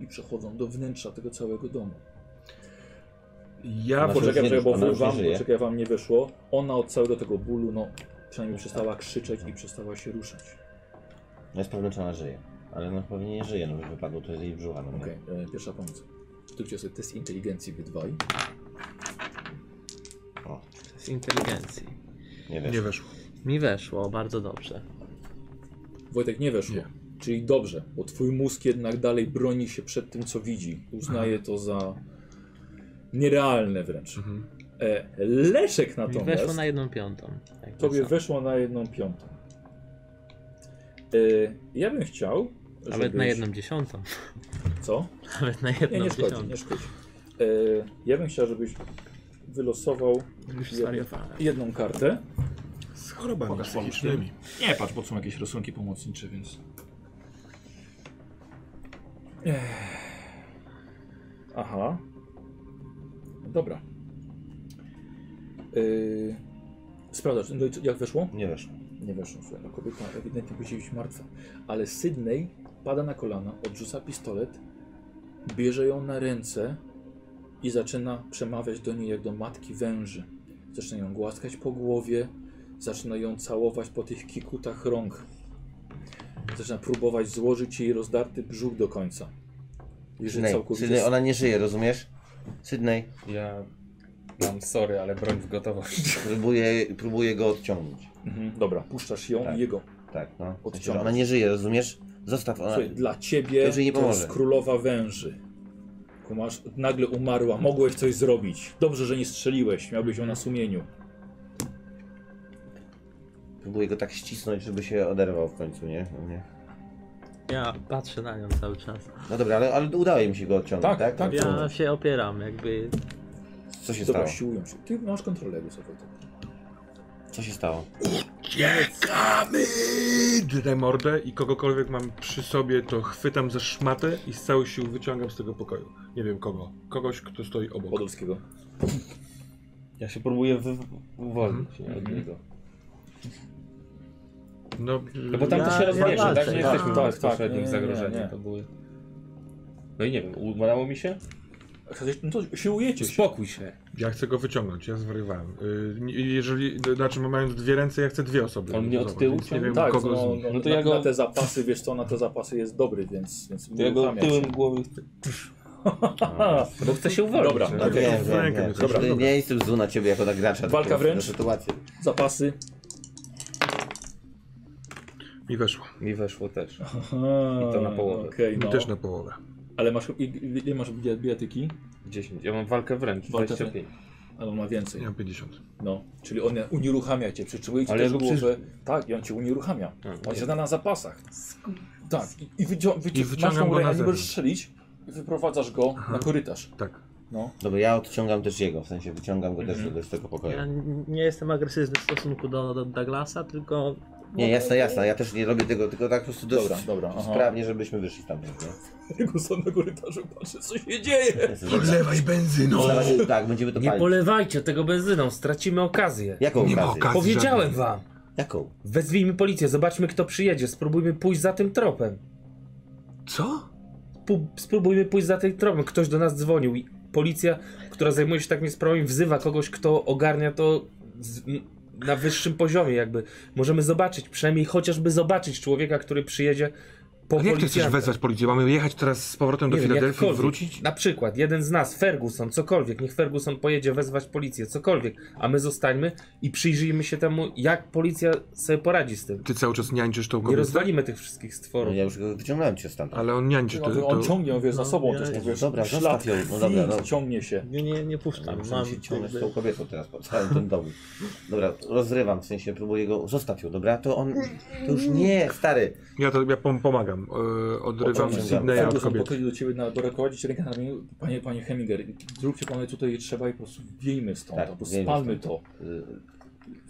S2: i przechodzą do wnętrza tego całego domu.
S3: Ja
S6: Ona
S3: po...
S6: się-
S2: Poczekaj,
S6: już nie-
S2: poczekaj, bo
S6: ona
S2: wy
S6: już nie
S2: wam,
S6: żyje.
S2: poczekaj, wam nie wyszło. Ona od całego tego bólu, no, przynajmniej przestała krzyczeć i przestała się ruszać.
S6: No jest pewne, czy ona żyje. Ale no pewnie nie żyje, no by wypadło to z jej brzucha. No, nie?
S2: Okej, e, pierwsza pomoc. Zróbcie sobie test inteligencji wy dwaj.
S6: O,
S4: Z inteligencji.
S3: nie
S6: nie weszło.
S3: weszło.
S4: Mi weszło bardzo dobrze.
S2: Wojtek nie weszło.
S3: Nie.
S2: Czyli dobrze, bo twój mózg jednak dalej broni się przed tym, co widzi. Uznaje to za nierealne wręcz.
S3: Mhm.
S2: E, Leszek
S4: Mi
S2: natomiast,
S4: weszło na jedną piątą. Jakby
S2: tobie
S4: co.
S2: weszło na jedną piątą. E, ja bym chciał,
S4: Nawet
S2: żebyś-
S4: na jedną dziesiątą.
S2: Co?
S4: Nawet na
S2: Nie,
S4: jedną
S2: nie szkodzi,
S4: dziesiątą.
S2: nie szkodzi. E, ja bym chciał, żebyś wylosował
S4: Już
S2: jedną-
S4: zwariowałem.
S2: jedną kartę.
S3: Z chorobami psychicznymi.
S2: Nie patrz, bo są jakieś rysunki pomocnicze, więc. Ech. Aha. Dobra. Yy... Sprawdzasz, no i co, jak weszło?
S6: Nie weszło.
S2: Nie weszło, słuchaj, no kobieta ewidentnie musi być martwa. Ale Sydney pada na kolana, odrzuca pistolet, bierze ją na ręce i zaczyna przemawiać do niej jak do matki węży. Zaczyna ją głaskać po głowie, zaczyna ją całować po tych kikutach rąk. Zaczyna próbować złożyć jej rozdarty brzuch do końca. Jeżeli
S6: Sydney,
S2: całkowicie...
S6: Sydney, ona nie żyje, rozumiesz? Sydney,
S5: Ja. Mam sorry, ale broń w gotowości.
S6: próbuje, próbuje go odciągnąć.
S2: Mhm, dobra, puszczasz ją
S6: Tak.
S2: i jego.
S6: Tak, no. W sensie, że
S2: Odciągnąć.
S6: ona nie żyje, rozumiesz? Zostaw ona.
S2: Słuchaj, dla
S6: To
S2: ciebie
S6: już jej nie
S2: to
S6: pomoże.
S2: jest królowa węży. Kumasz, nagle umarła, mogłeś coś zrobić. Dobrze, że nie strzeliłeś, miałbyś ją na sumieniu.
S6: Próbuje go tak ścisnąć, żeby się oderwał w końcu, nie? No, nie.
S4: Ja patrzę na nią cały czas.
S6: no dobra, ale, ale udało im się go odciągnąć,
S2: Tak,
S6: tak?
S2: tak,
S6: Co-
S4: Ja się opieram, jakby
S6: Co się
S2: Dobra,
S6: stało?
S2: siłują się. Ty masz kontrolę jakby sobie.
S6: Co się stało?
S3: Uciekamy! Daj mordę i kogokolwiek mam przy sobie, to chwytam za szmatę i z całych sił wyciągam z tego pokoju. Nie wiem kogo. Kogoś, kto stoi obok.
S2: Podolskiego.
S5: Ja się próbuję wy... uwolnić nie, od
S2: Mhm.
S5: niego.
S3: No,
S5: No bo tam
S4: Ja-
S5: to się
S4: ja
S5: rozbierze, tak?
S4: walczę,
S5: Nie
S4: tak.
S5: jesteśmy
S2: Tak,
S5: w
S2: tak, nie,
S5: bezpośrednim
S2: nie, nie.
S5: zagrożeniu. To były. No i nie wiem, udało mi się?
S2: No to siłujecie się.
S5: Uspokój się.
S3: Ja chcę go wyciągnąć, ja zwariowałem. Y, nie- Jeżeli, to znaczy mając dwie ręce, ja chcę dwie osoby.
S5: On mnie od
S3: Zobacz,
S5: tyłu
S3: więc Nie wiem
S5: ciągnie?
S2: Tak,
S3: kogo z
S2: no,
S3: nich.
S2: no,
S5: No to
S2: na,
S5: ja go-
S2: na te zapasy, wiesz co, na te zapasy jest dobry, więc, więc
S5: To ja go
S2: uruchamia
S5: tyłem
S2: się.
S5: głowy. Bo chcę się uwolnić.
S2: Dobra,
S5: no.
S3: dobra.
S6: No, wiem,
S3: Rękę
S6: wiem, wiem.
S3: bierzesz, dobra.
S6: Nie, nie jestem zły na ciebie jako na gracza.
S2: Walka
S6: tylko
S2: wręcz?
S6: na sytuację.
S2: Zapasy.
S3: Mi weszło.
S5: Mi weszło też.
S2: I
S5: to na połowę.
S2: Okej,
S3: Mi
S2: no.
S3: też na połowę.
S2: Ale masz, i- i- ile masz bi- bijatyki?
S5: 10. Ja mam walkę wręcz.
S2: Walkę
S5: 25.
S2: Ale on ma więcej.
S3: Ja mam 50.
S2: No, czyli on unieruchamia cię, przyczuje ci
S5: Ale
S2: też
S5: ja go
S2: głowę.
S5: przecież-
S2: Tak, i on cię unieruchamia.
S5: A,
S2: On jest na zapasach. Tak, i, i, wycią, wycią,
S3: I wyciągam
S2: masz tą
S3: go na
S2: rękę, nie
S3: zewnątrz.
S2: możesz strzelić i wyprowadzasz go
S3: Aha.
S2: na korytarz.
S3: Tak.
S2: No.
S6: Dobra, ja odciągam też jego, w sensie wyciągam go też
S2: Mhm.
S6: do- do tego pokoju.
S4: Ja n- nie jestem agresywny w stosunku do, do Douglasa, tylko
S6: Nie, jasne, jasne, ja też nie robię tego, tylko tak po prostu dosyć
S2: Dobra, dobra, aha.
S6: sprawnie, żebyśmy wyszli stamtąd. nie?
S2: Tego samego rytarzu patrzę, co się dzieje.
S6: Jest-
S3: Podlewaj benzyną!
S5: No.
S6: Zalewa- Tak, będziemy to
S5: Nie
S6: palić.
S5: polewajcie tego benzyną, stracimy okazję.
S6: Jaką
S3: Nie ma
S6: okazję?
S3: okazji
S5: Powiedziałem
S3: żadnej.
S5: wam.
S6: Jaką?
S5: Wezwijmy policję, zobaczmy kto przyjedzie, spróbujmy pójść za tym tropem.
S3: Co?
S5: Pu- spróbujmy pójść za tym tropem. Ktoś do nas dzwonił i policja, która zajmuje się takimi sprawami, wzywa kogoś, kto ogarnia to z, m- na wyższym poziomie jakby. Możemy zobaczyć, przynajmniej chociażby zobaczyć człowieka, który przyjedzie po
S3: Ale jak ty chcesz
S5: policjanta.
S3: wezwać policję? Mamy jechać teraz z powrotem do
S5: No, Nie wiem,
S3: Filadelfii i
S5: jakkolwiek.
S3: wrócić?
S5: Na przykład, jeden z nas, Ferguson, cokolwiek, niech Ferguson pojedzie wezwać policję, cokolwiek, a my zostańmy i przyjrzyjmy się temu, jak policja sobie poradzi z tym.
S3: Ty cały czas niańczysz tą
S5: Nie
S3: kobietę?
S5: rozwalimy tych wszystkich
S6: No,
S5: stworów.
S6: ja już go wyciągnąłem cię stamtąd.
S3: Ale on niańczy to,
S2: On, on
S3: to...
S2: ciągnie, on wie za
S4: No,
S2: sobą
S4: ja-
S2: też, tak
S6: Jezu,
S2: wiesz,
S6: dobra,
S2: ślad
S6: zostaw ją, no
S2: krwi
S6: dobra, no.
S2: ciągnie się.
S4: nie, nie, nie puszczam.
S6: Muszę
S4: Mam
S6: się ciągnąć z
S4: jakby-
S6: tą kobietą teraz po całym tym domu. Dobra, rozrywam, w sensie próbuję go... Zostaw ją, dobra? To on... To już nie, stary.
S3: Ja, to, ja pom- pomagam. E, odrywam
S6: Odciągam.
S3: Sydneya od
S2: Ferguson
S3: kobiety.
S2: podchodzi Tak, do ciebie, na, doprowadzić rękę na ramieniu. Panie, panie Heminger, zróbcie panie tutaj trzeba i po prostu wiejmy stąd,
S6: Tak,
S2: po prostu
S6: wiejmy
S2: spalmy to.
S6: stąd. Y,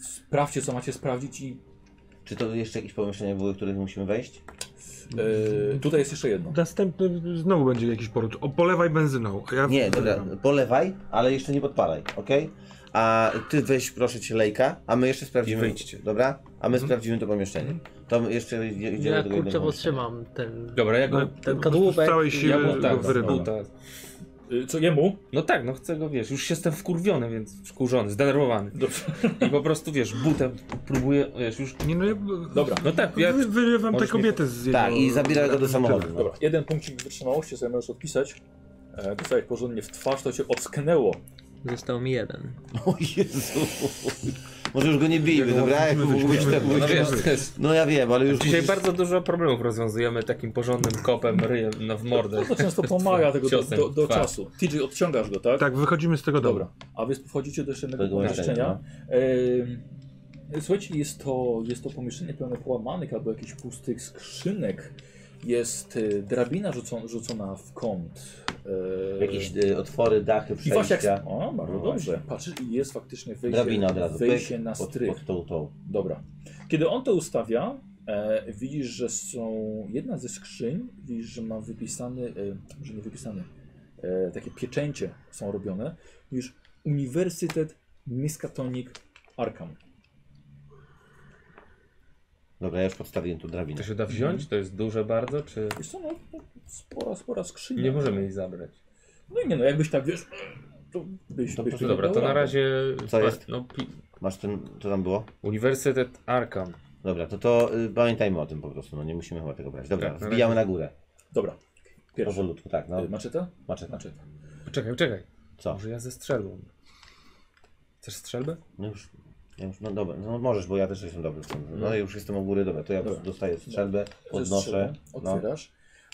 S2: Sprawdźcie, co macie sprawdzić i
S6: Czy to jeszcze jakieś pomieszczenia były, w których musimy wejść?
S2: e, tutaj jest jeszcze jedno.
S3: Następny znowu będzie jakiś poród. O, polewaj benzyną. A ja
S6: Nie, dobra,
S3: odrywam.
S6: polewaj, ale jeszcze nie podpalaj, okej? A ty weź proszę cię lejka, a my jeszcze sprawdzimy...
S5: I wyjdźcie.
S6: Dobra? A my sprawdzimy to pomieszczenie. To my jeszcze idzie- idziemy
S4: Ja
S6: do tego
S4: kurczę
S6: jednego pomieszczenia.
S4: powstrzymam ten...
S5: Dobra, ja
S3: No,
S5: go...
S4: Ten
S3: z
S4: kadłubek.
S3: całej
S5: Ja
S3: siły
S5: buta,
S3: go wyrywam.
S5: buta.
S2: E, co jemu?
S5: tak. No tak, no chcę go, wiesz, już jestem wkurwiony, więc wkurzony, zdenerwowany.
S2: Dobrze.
S5: I po prostu, wiesz, butem próbuję, wiesz, już...
S3: Nie no, ja...
S2: Dobra.
S5: No tak, ja...
S3: Wy- Wyrywam tę
S5: Możesz mi-
S3: kobietę z jego...
S6: Tak, i zabiera go do samochodu. no.
S2: Dobra, jeden punkcik wytrzymałości sobie możesz odpisać. E, Dostałeś porządnie w twarz, to cię ocknęło.
S4: Został mi jeden.
S6: O Jezu. Może już go nie bijmy, dobra? Jak
S3: Musimy
S6: mógł być
S3: wyjść,
S6: tak
S3: musimy
S5: No
S3: wyjść.
S5: wiesz, to jest...
S6: No ja wiem, ale już
S5: Dzisiaj
S6: musisz-
S5: bardzo dużo problemów rozwiązujemy takim porządnym kopem, ryjem na w mordę.
S2: To często pomaga tego do,
S5: Ciosem
S2: do,
S5: w
S2: do
S5: twarz.
S2: czasu. TJ, odciągasz go, tak?
S3: Tak, wychodzimy z tego domu.
S2: Dobra. A wy wchodzicie do jeszcze jednego
S6: Tego no.
S2: pomieszczenia.
S6: mieszkania,
S2: Em, Słuchajcie, jest to, jest to pomieszczenie pełne połamanych albo jakichś pustych skrzynek. Jest e, drabina rzucona, rzucona w kąt. E,
S6: jakieś y, otwory, dachy,
S2: I właśnie jak...
S6: przejścia.
S2: O, bardzo
S6: No
S2: dobrze. Patrzysz i jest faktycznie wyjście,
S6: Drabina od razu.
S2: wyjście
S6: pyk,
S2: na
S6: pod-
S2: strych.
S6: Pod tą, tą.
S2: Dobra. Kiedy on to ustawia, e, widzisz, że są jedna ze skrzyń, widzisz, że ma wypisany, e, może nie wypisany, e, takie pieczęcie są robione, widzisz Uniwersytet Miskatonic Arkham.
S6: Dobra, ja już podstawiłem tu drabinę.
S5: To się da wziąć? To jest duże bardzo, czy...
S2: Wiesz co, no, no, spora, spora skrzynia.
S5: Nie możemy jej zabrać.
S2: No i nie no, jakbyś tak, wiesz, to byś...
S6: To
S2: byś
S6: proszę,
S5: Dobra, to na razie...
S6: Co jest?
S5: No, pi...
S6: Masz ten, co tam było?
S5: Uniwersytet Arkham.
S6: Dobra, to to y, pamiętajmy o tym po prostu, no nie musimy chyba tego brać. Dobra,
S5: Tak, na
S6: wbijamy na górę.
S2: Dobra. Pierwszy.
S6: Powolutku, tak, no.
S2: E, Maczeta?
S6: Maczeta.
S2: Maczeta.
S5: Czekaj, czekaj.
S6: Co?
S5: Może ja ze strzelbą. Chcesz strzelbę?
S6: No już, ja już, no dobra, no możesz, bo ja też jestem dobry w tym. No ja już jestem u góry, dobra, to ja
S2: Mm. Dobra.
S6: dostaję strzelbę, podnoszę.
S2: Zestrzelę,
S6: No.
S2: Otwierasz.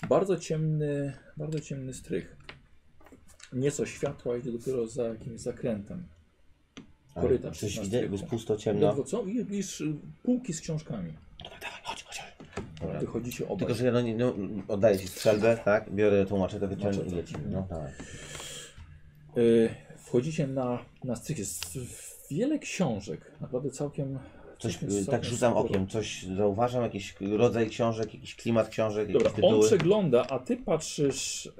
S2: Bardzo ciemny, bardzo ciemny strych. Nieco światła idzie dopiero za jakimś zakrętem.
S6: Ale
S2: Korytarz
S6: Coś
S2: na
S6: widzę,
S2: strychu.
S6: jest pusto, ciemno.
S2: Ledwo co? I widzisz y, półki z książkami.
S6: Dobra.
S2: Wychodzicie obaj.
S6: Tylko, że ja no, nie- no, oddaję ci strzelbę, tak? Biorę tą maczetę, wyciągam i
S2: Maczetę.
S6: lecimy. No tak.
S2: Y, wchodzicie na, na strych. Jest wiele książek. Naprawdę całkiem...
S6: Coś,
S2: całkiem-
S6: y, tak
S2: całkiem
S6: rzucam
S2: sporo.
S6: okiem, coś zauważam, jakiś rodzaj książek, jakiś klimat książek,
S2: Dobra,
S6: jakieś
S2: on
S6: tytuły.
S2: przegląda, a ty patrzysz,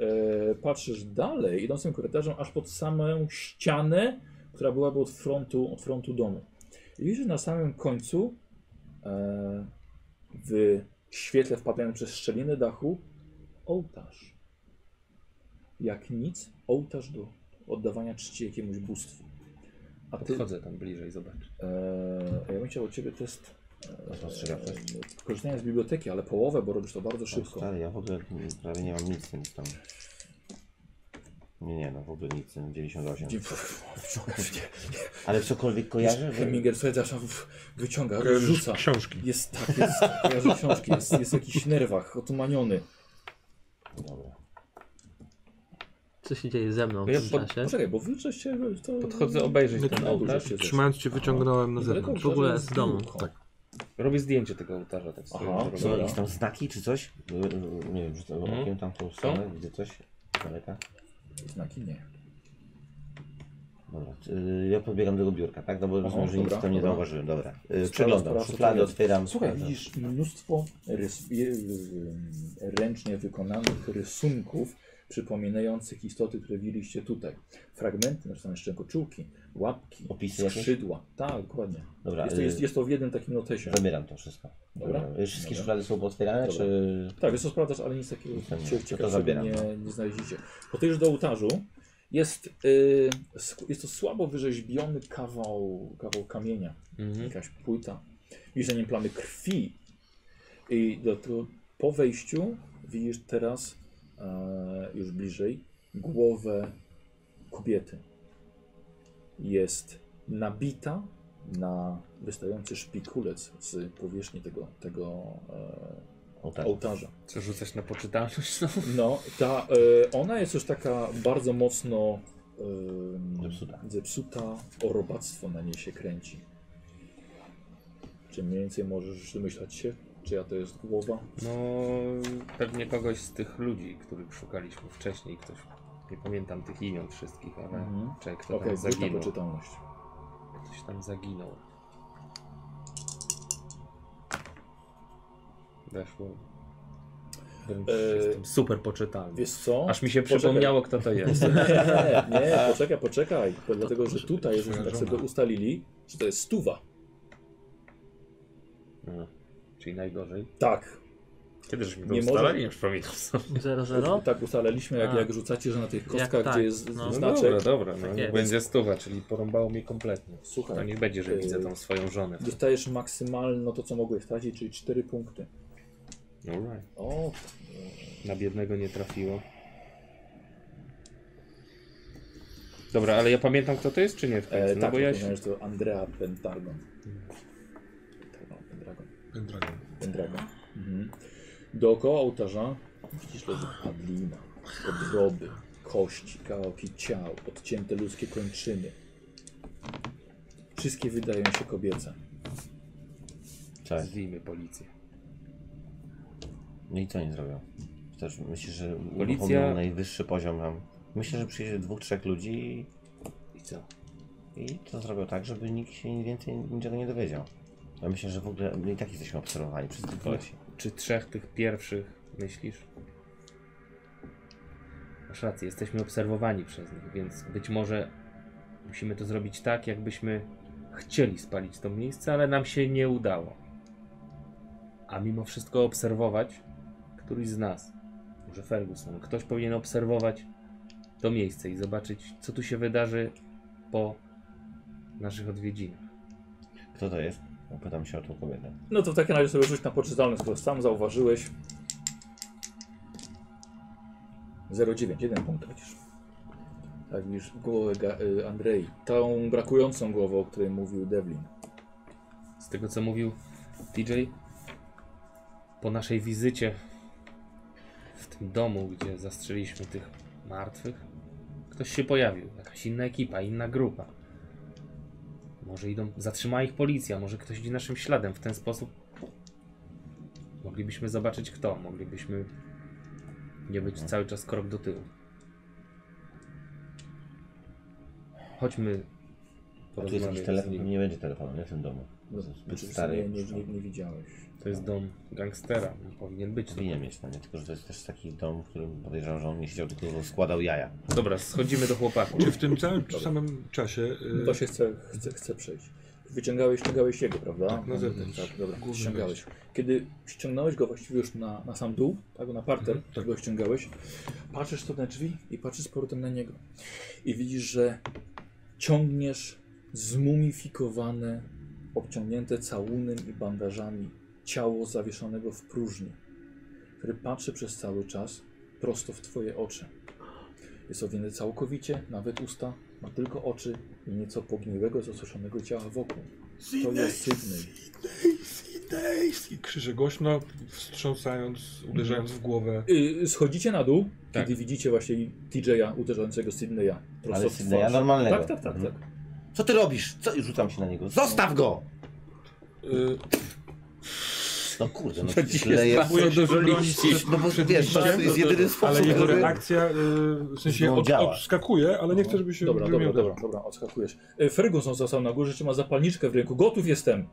S2: e, patrzysz dalej, idąc tym korytarzem, aż pod samą ścianę, która byłaby od frontu, od frontu domu. I widzisz, że na samym końcu e, w świetle wpadając przez szczeliny dachu ołtarz. Jak nic, ołtarz do oddawania czci jakiemuś bóstwu. A ty,
S5: Podchodzę tam bliżej, zobacz.
S2: Eee, ja bym chciał od ciebie test.
S6: Teraz ostrzegawczość.
S2: eee, Korzystania z biblioteki, ale połowę, bo robisz to bardzo szybko.
S6: Stary, ja w ogóle prawie nie mam nic, nic tam. Nie, nie, no w ogóle nic, 98.
S2: Wyciągasz mnie.
S6: Ale cokolwiek kojarzę? że-
S2: Hemminger, słuchaj, zawsze w- wyciąga,
S3: Kojarzysz
S2: rzuca.
S3: E, Książki.
S2: Jest tak, jest, kojarzy książki, jest, jest jakiś nerwach, otumaniony.
S6: Dobra.
S4: Co się dzieje ze mną w
S5: Ja
S4: tym
S5: pod-
S6: Znaczy?
S4: czasie?
S2: Poczekaj, bo wyczysz się... To...
S5: Podchodzę obejrzeć ten
S2: No,
S5: ołtarz.
S2: dużo się zesz-
S3: Trzymając cię wyciągnąłem na
S2: Niedaleko
S3: zewnątrz.
S4: W ogóle z
S2: ołtarza jest
S4: domu.
S2: biurko.
S3: Tak.
S5: Robię zdjęcie tego ołtarza, tak sobie
S2: Aha,
S5: robię.
S6: Są
S2: Dobra.
S6: jakieś tam znaki czy coś? Y, y, Nie wiem, rzucam
S5: Mhm.
S6: okiem tam tą stronę, widzę coś. z Daleka.
S2: Znaki nie.
S6: Dobra, y, ja podbiegam do tego biurka, tak? No bo rozumiem, że nic
S2: dobra,
S6: tam nie
S2: dobra.
S6: zauważyłem. Dobra. Y, Przeglądam,
S2: sprawdzę,
S6: szuflady
S2: co jest.
S6: otwieram.
S2: Słuchaj,
S6: sprawdzam.
S2: widzisz mnóstwo rys, je- y, ręcznie wykonanych rysunków przypominających istoty, które widzieliście tutaj. Fragmenty, znaczy tam jeszcze koczułki, łapki,
S6: Opisy jakieś?
S2: skrzydła. Tak, dokładnie.
S6: Dobra,
S2: Jest to,
S6: y,
S2: jest, jest to w jednym takim notesie.
S6: Zabieram to wszystko.
S2: Dobra.
S6: Dobra. Y, Wszystkie
S2: Dobra.
S6: szuflady są pootwierane,
S2: Dobra.
S6: czy...
S2: Tak, jest to sprawdzasz, ale nic takiego
S6: Nic tam nie ma.
S2: cie-
S6: No to
S2: ciekawego
S6: zabieram,
S2: nie,
S6: no.
S2: nie znajdziecie. Podejrzysz do ołtarzu. Jest, y, sk- jest to słabo wyrzeźbiony kawał, kawał kamienia.
S5: Mhm.
S6: Mhm.
S2: jakaś płyta. Widzisz na nim plamy krwi. I do tego, po wejściu widzisz teraz e, już bliżej głowę kobiety. Jest nabita na wystający szpikulec z powierzchni tego, tego e,
S6: Ołtarz.
S2: ołtarza.
S5: Co rzucać na poczytalność?
S2: No, ta, e, ona jest już taka bardzo mocno e,
S6: Zepsuta.
S2: zepsuta, o robactwo na niej się kręci. Czy mniej więcej możesz domyślać się, czyja to jest głowa?
S5: No, pewnie kogoś z tych ludzi, których szukaliśmy wcześniej, ktoś, nie pamiętam tych imion wszystkich, ale
S2: Mhm.
S5: czekaj, kto
S2: Okej,
S5: tam
S2: okay, na
S5: zaginął.
S2: poczytalność.
S5: Ktoś tam zaginął. Weszło. Wręcz
S2: Eee,
S5: jestem super poczytalny.
S2: Wiesz co?
S5: Aż mi się
S2: Poczekaj.
S5: przypomniało, kto to jest.
S2: Nie, nie, poczekaj, poczekaj. bo Dlatego, że tutaj, żeśmy tak sobie ustalili, że to jest stuwa.
S5: No, czyli najgorzej.
S2: Tak.
S5: Kiedy żeśmy
S2: to Nie może- ustalali?
S5: Nie przypominam sobie.
S4: 0-0?
S2: Tak ustaliliśmy, jak,
S4: No, A.
S2: jak rzucacie, że na tych kostkach,
S4: tak,
S2: gdzie jest
S4: no.
S5: No
S2: znaczek,
S5: dobra, dobra, no,
S4: Tak
S5: niech
S4: jest.
S5: będzie stuwa, czyli porąbało mnie kompletnie.
S2: Słuchaj,
S5: To niech będzie, że
S2: eee,
S5: widzę tą swoją żonę.
S2: dostajesz maksymalno to, co mogłeś stracić, czyli 4 punkty.
S5: Alright.
S2: O,
S5: Na biednego nie trafiło. Dobra, ale ja pamiętam kto to jest, czy nie? w końcu?
S2: E,
S5: no
S2: tak,
S5: bo ja się...
S2: rozumiesz, to Andrea Pentargon. Pentargon, Pendragon.
S3: Pendragon.
S2: Pendragon. Mhm. Dookoła ołtarza widzisz leży padlina, obroby, kości, kawałki ciał, odcięte ludzkie kończyny. Wszystkie wydają się kobiece.
S6: Cześć.
S5: Zwijmy policję.
S6: No i co nie zrobią? Też myślę, że
S5: Policja-
S6: Policja... najwyższy poziom nam. Myślę, że przyjdzie dwóch, trzech ludzi
S5: I co?
S6: i i to zrobią tak, żeby nikt się więcej niczego nie dowiedział. Ja myślę, że w ogóle my i tak jesteśmy obserwowani przez tych kolesi.
S5: Czy trzech tych pierwszych myślisz? Masz rację, jesteśmy obserwowani przez nich, więc być może musimy to zrobić tak, jakbyśmy chcieli spalić to miejsce, ale nam się nie udało. A mimo wszystko obserwować któryś z nas, może Ferguson, ktoś powinien obserwować to miejsce i zobaczyć, co tu się wydarzy po naszych odwiedzinach.
S6: Kto to jest? Pytam się o tą kobietę.
S2: No to w takim razie sobie rzuć na poczytalność, skoro sam zauważyłeś. 0,9, jeden punkt tracisz. Tak widzisz głowę Ga- y, Andrei. Tą brakującą głową, o której mówił Devlin.
S5: Z tego co mówił DJ, po naszej wizycie w tym domu, gdzie zastrzeliliśmy tych martwych, ktoś się pojawił. Jakaś inna ekipa, inna grupa. Może idą, zatrzymała ich policja, może ktoś idzie naszym śladem. W ten sposób moglibyśmy zobaczyć kto, moglibyśmy nie być cały czas krok do tyłu. Chodźmy
S6: A tu jest jakiś
S5: porozmawiać z
S6: telefon,
S5: nim.
S6: nie będzie telefonu nie? w tym domu.
S2: No,
S6: Zbyt
S2: czy
S6: stary.
S2: nie, nie, nie, nie widziałeś.
S5: To jest dom gangstera, on powinien być.
S6: Powinien mieć na nie, tylko że to jest też taki dom, w którym podejrzewam, że on nie siedział, tylko składał jaja.
S5: Dobra, schodzimy do chłopaków.
S3: Czy w tym całym czy samym czasie... y,
S2: To się chce, chce, chce przejść. Wyciągałeś, ściągałeś jego, prawda?
S3: Tak, na zewnątrz.
S2: Tak, dobra,
S3: Główny
S2: ściągałeś. Kiedy ściągnąłeś go właściwie już na, na sam dół, tak, na parter,
S3: Mhm, tak.
S2: go ściągałeś, patrzysz tu na drzwi i patrzysz z powrotem na niego. I widzisz, że ciągniesz zmumifikowane, obciągnięte całunem i bandażami ciało zawieszonego w próżni, który patrzy przez cały czas prosto w twoje oczy. Jest owinięty całkowicie, nawet usta, ma tylko oczy i nieco pogniłego, zasłoszonego ciała wokół. To jest Sydney.
S3: I krzyże głośno, wstrząsając, uderzając w głowę.
S2: Y, schodzicie na dół,
S5: Tak.
S2: kiedy widzicie właśnie TJ-a uderzającego Sydneya. prosto
S6: Ale
S2: w
S6: Sydneya
S2: twarz.
S6: normalnego. Mhm.
S2: Tak, tak, tak. tak.
S6: Co
S4: Y,
S6: ty robisz? Co? I rzucam się na niego. Zostaw go!
S3: Y,
S6: No kurde, no
S2: To
S6: przecież
S2: ci jest
S6: leje...
S2: bardzo dużo liści.
S6: No bo wiesz, to jest jedyny
S3: Ale
S6: sposób,
S3: jego
S6: żeby...
S3: reakcja y, w sensie
S6: No,
S3: od,
S6: działa.
S3: odskakuje, ale nie chcę, żeby się tak?
S2: Dobra,
S3: żeby
S2: dobra,
S3: miał-
S2: dobra, dobra, odskakujesz. E, Ferguson został na górze, trzyma zapalniczkę w ręku. Gotów jestem.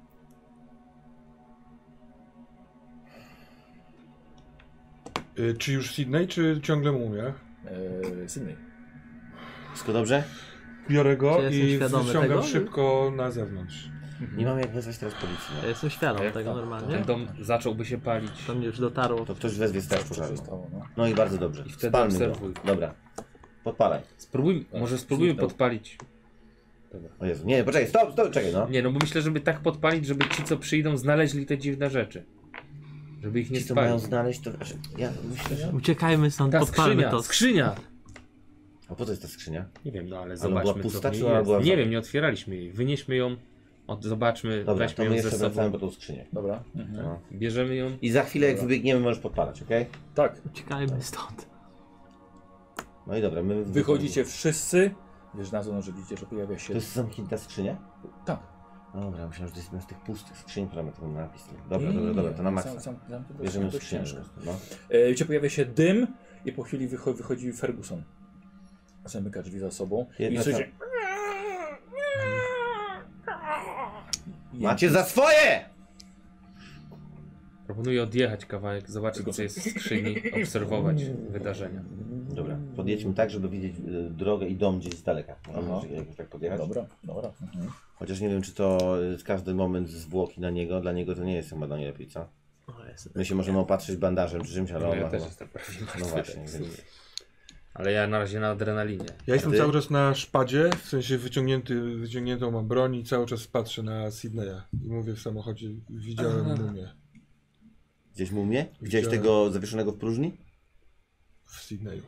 S3: Y, Czy już Sydney, czy ciągle mumia?
S2: E, Sydney.
S6: Wszystko dobrze?
S3: Biorę
S4: Czy
S3: go
S4: jestem
S3: i
S4: świadomy
S3: wyciągam
S4: tego?
S3: szybko na zewnątrz.
S6: Nie mam jak wezwać teraz policji.
S4: Ja
S6: No.
S4: jestem świadom
S5: Jak
S4: tego
S5: to?
S4: normalnie.
S5: Ten dom zacząłby się palić.
S4: To mnie już dotarło.
S6: To ktoś wezwie straż
S2: Co się
S6: pożarną.
S2: stało, no.
S6: No i bardzo dobrze.
S5: I wtedy
S6: Spalmy go.
S5: obserwuj.
S6: Dobra. Podpalaj.
S5: Spróbujmy, może spróbujmy
S2: zniknął.
S5: podpalić.
S6: O Jezu, nie, poczekaj, stop, stop, czekaj, no.
S5: Nie, no bo myślę, żeby tak podpalić, żeby ci, co przyjdą, znaleźli te dziwne rzeczy. Żeby ich nie
S6: Ci, co mają
S5: spalić.
S6: znaleźć, to... Ja myślę, że...
S4: Uciekajmy stąd,
S5: Ta
S4: podpalmy
S5: skrzynia,
S4: to.
S5: skrzynia!
S6: A po co jest ta skrzynia?
S5: Nie wiem, no ale
S6: była
S5: zobaczmy,
S6: pusta,
S5: co w
S6: czy
S5: niej
S6: ona
S5: jest.
S6: była
S5: Nie
S6: za-
S5: wiem, nie otwieraliśmy jej. Wynieśmy ją, od, zobaczmy,
S6: Dobra,
S5: weźmy
S6: to my
S5: ją ze
S6: jeszcze
S5: sobą.
S6: wracamy po tą skrzynię.
S2: Dobra. Mhm.
S6: No.
S5: Bierzemy ją.
S6: I za chwilę, jak
S2: Dobra.
S6: wybiegniemy, możesz podpalać, okej?
S2: Tak,
S4: Uciekajmy stąd.
S6: No i dobra, my...
S2: wychodzicie wszyscy. Wiesz na zewnątrz, że widzicie, że pojawia
S6: To
S2: się...
S6: jest zamknięta skrzynia?
S2: Tak.
S6: Dobra, myślałem, że to jest jedna z tych pustych skrzyń, która ma ten napis. Dobra,
S2: Nie, nie,
S6: dobra,
S2: nie,
S6: dobra,
S2: nie.
S6: to na
S2: Sam- sam-
S6: maksa.
S2: sam- to
S6: Bierzemy
S2: dość
S6: skrzynię.
S2: ciężko.
S6: No.
S2: E, Widzicie, pojawia się dym i po chwili wycho wychodzi Ferguson. Zamyka drzwi za sobą.
S6: Jedna
S2: I słyszycie...
S6: Macie za swoje!
S5: Proponuję odjechać kawałek, zobaczyć, co jest w skrzyni, obserwować wydarzenia.
S6: Dobra, podjedźmy tak, żeby widzieć y, drogę i dom gdzieś z daleka.
S2: Aha.
S6: Może jakoś tak podjechać.
S2: Dobra, dobra. Mhm.
S6: Chociaż nie wiem, czy to y, każdy moment zwłoki na niego, dla niego to nie jest chyba najlepiej, co?
S4: O, jestem.
S6: My się możemy opatrzyć bandażem czy czymś, ale
S5: No,
S6: on
S5: ja
S6: ma
S5: też
S6: chyba...
S5: jestem prawie martwy.
S6: No właśnie,
S5: tak w
S6: więc-
S5: sumie. Ale ja na razie na adrenalinie.
S3: Ja jestem
S6: ty?
S3: cały czas na szpadzie, w sensie wyciągnięty, wyciągniętą mam broń i cały czas patrzę na Sydneya. I mówię w samochodzie, widziałem mumię
S6: Gdzieś mumię? Gdzieś
S3: Widziałem.
S6: tego zawieszonego w próżni?
S3: w Sydneyu.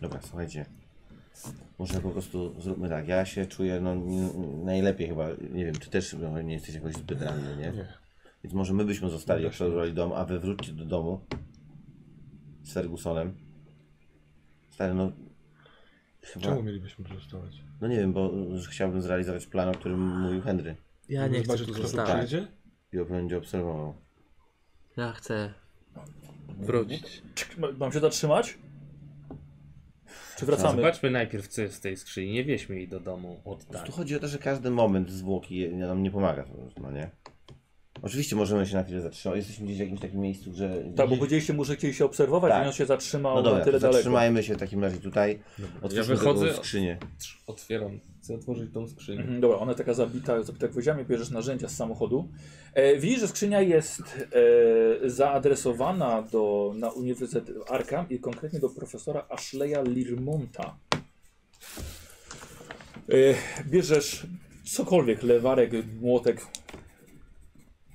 S6: Dobra, słuchajcie. Może po prostu zróbmy tak. Ja się czuję no, n- najlepiej chyba. Nie wiem, czy też no, nie jesteś jakoś zbyt ranny, nie?
S3: Nie.
S6: Więc może my byśmy zostali,
S3: Dobra.
S6: jak przebrali dom, a wy wróćcie do domu z Fergusonem. Stary, no... Chyba...
S4: Tak.
S3: Czemu mielibyśmy tu zostawać?
S6: No nie wiem, bo y, chciałbym zrealizować plan, o którym mówił Henry.
S4: Ja nie chcę
S3: Zobaczyć,
S4: tu
S3: kto tu
S4: zostać.
S3: przyjedzie?
S5: Tak.
S6: I on będzie obserwował.
S4: Ja chcę wrócić.
S2: Czek, ma- Mam się zatrzymać? Czy wracamy?
S5: Mhm. Zobaczmy najpierw, co jest w tej skrzyni. Nie wieźmy jej do domu od
S6: Po prostu chodzi o to, że każdy moment zwłoki je- nam nie pomaga, po prostu, no nie? Oczywiście możemy się na chwilę zatrzymać. Jesteśmy gdzieś w jakimś takim miejscu, że...
S2: Tak, bo powiedzieliście mu, że chcieli się obserwować,
S6: Tak.
S2: a on się zatrzymał
S6: No dobra,
S2: na
S6: to
S2: tyle daleko.
S6: zatrzymajmy się w takim razie tutaj. Otwórzmy
S5: Ja wychodzę-
S6: taką skrzynię.
S5: Otwieram. Chcę otworzyć tą skrzynię.
S2: Mhm, dobra, ona taka zabita, zabita gwoździami, bierzesz narzędzia z samochodu. E, widzisz, że skrzynia jest e, zaadresowana do, na Uniwersytet Arkham i konkretnie do profesora Ashleya Lirmonta. E, bierzesz cokolwiek, lewarek, młotek.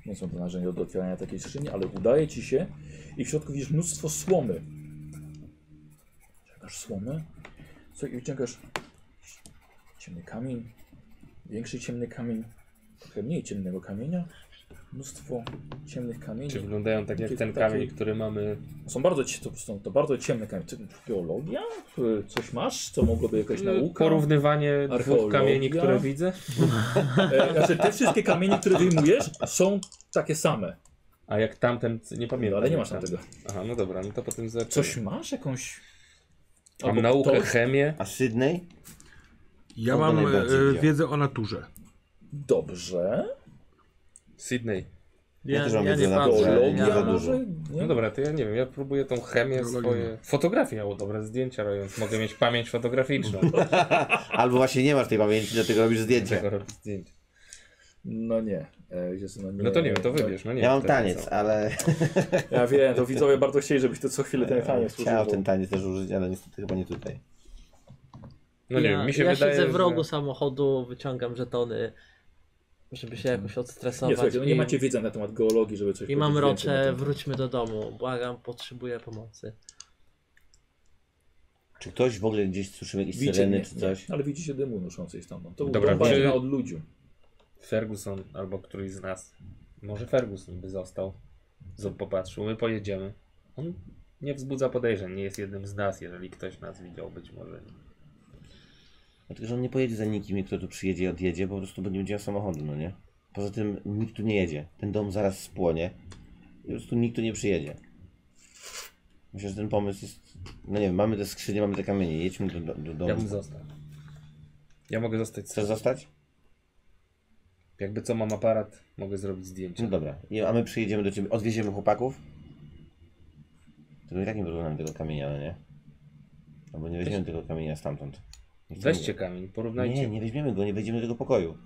S2: Nie są to narzędzia do otwierania takiej skrzyni, ale udaje ci się i w środku widzisz mnóstwo słomy. Czekasz słomy? Co i wyciągasz ciemny kamień, większy ciemny kamień, trochę mniej ciemnego kamienia, mnóstwo ciemnych kamieni.
S5: Czy wyglądają tak jak
S2: Taki-
S5: ten
S2: taki-
S5: kamień, który mamy.
S2: Są bardzo, cie- to, są to bardzo ciemne kamienie. Ty- Geologia? Y, Coś masz, co mogłoby
S5: Y,
S2: jakaś nauka?
S5: Porównywanie dwóch
S2: Archeologia?
S5: kamieni, które widzę.
S2: E, znaczy, te wszystkie kamienie, które wyjmujesz, są takie same.
S5: A jak tamten, c- nie pamiętam.
S2: ale nie masz
S5: jak tam-
S2: tamtego.
S5: Aha, no dobra, no to potem zobaczymy.
S2: Coś masz? Jakąś...
S5: Mam
S2: albo
S5: naukę,
S2: ktoś?
S5: chemię.
S6: A Sydney?
S3: Ja
S6: Kogo
S3: mam
S6: najbardziej
S3: e,
S6: widział?
S3: wiedzę o naturze.
S2: Dobrze.
S5: Sydney.
S6: Ja
S4: Ja,
S6: też
S4: ja,
S6: mam wiedzę
S4: nie
S6: na
S4: patrzę.
S6: teologię,
S4: Ja,
S2: Geologia
S6: nie za dużo.
S2: może?
S5: No
S2: Nie?
S5: dobra, to ja nie wiem, ja próbuję tą chemię
S3: Biologię.
S5: swoje. Fotografię, o dobra, zdjęcia robiąc. Mogę mieć pamięć fotograficzną.
S6: Albo właśnie nie masz tej pamięci, dlatego robisz zdjęcia.
S5: Dlaczego robić zdjęcia?
S2: No nie. E, Jezu, no nie.
S5: No to nie wiem, to wybierz. No nie
S6: Ja
S5: wiem,
S6: mam
S5: to jest
S6: taniec,
S5: co.
S6: ale
S2: Ja wiem, to widzowie bardzo chcieli, żebyś to co chwilę ten taniec
S6: chciałem
S2: używał.
S6: Eee, ten taniec też użyć, ale niestety chyba nie tutaj.
S5: No nie wiem, mi się
S4: ja
S5: wydaje,
S4: siedzę w rogu
S5: że...
S4: samochodu, wyciągam żetony, żeby się jakoś
S2: Nie,
S4: odstresować.
S2: słuchajcie, no nie
S4: i-
S2: macie wiedzy na temat geologii, żeby coś
S4: I mam
S2: powiedzieć więcej na
S4: rocze,
S2: ten temat.
S4: wróćmy do domu. Błagam, potrzebuję pomocy.
S6: Czy ktoś w ogóle gdzieś słyszył jakieś
S2: Widzicie,
S6: syreny
S2: nie,
S6: czy coś?
S2: Nie, ale widzicie dymu noszącej stamtąd. To
S5: Dobra,
S2: Dobra, była
S5: czy-
S2: czy... od ludzi.
S5: Ferguson albo któryś z nas. Może Ferguson by został. Zob popatrzył, my pojedziemy. On nie wzbudza podejrzeń, nie jest jednym z nas, jeżeli ktoś nas widział, być może.
S6: Dlatego, że on nie pojedzie za nikim, kto tu przyjedzie i odjedzie, bo po prostu będzie miał samochodu, no nie? Poza tym nikt tu nie jedzie. Ten dom zaraz spłonie. I po prostu nikt tu nie przyjedzie. Myślę, że ten pomysł jest... No nie wiem, mamy te skrzynie, mamy te kamienie. Jedźmy do, do, do domu.
S5: Ja bym został. Ja mogę zostać
S6: Chcesz
S5: sam.
S6: zostać?
S5: Jakby co mam aparat, mogę zrobić zdjęcie.
S6: No dobra. I- A my przyjedziemy do ciebie. Odwieziemy chłopaków? Tylko i tak nie wyrównamy tego kamienia, no nie? Albo nie weźmiemy tego kamienia stamtąd. Nie chcemy
S5: Weźcie
S6: go.
S5: kamień,
S6: Nie,
S5: porównajcie.
S6: nie weźmiemy go, nie wejdziemy do tego pokoju.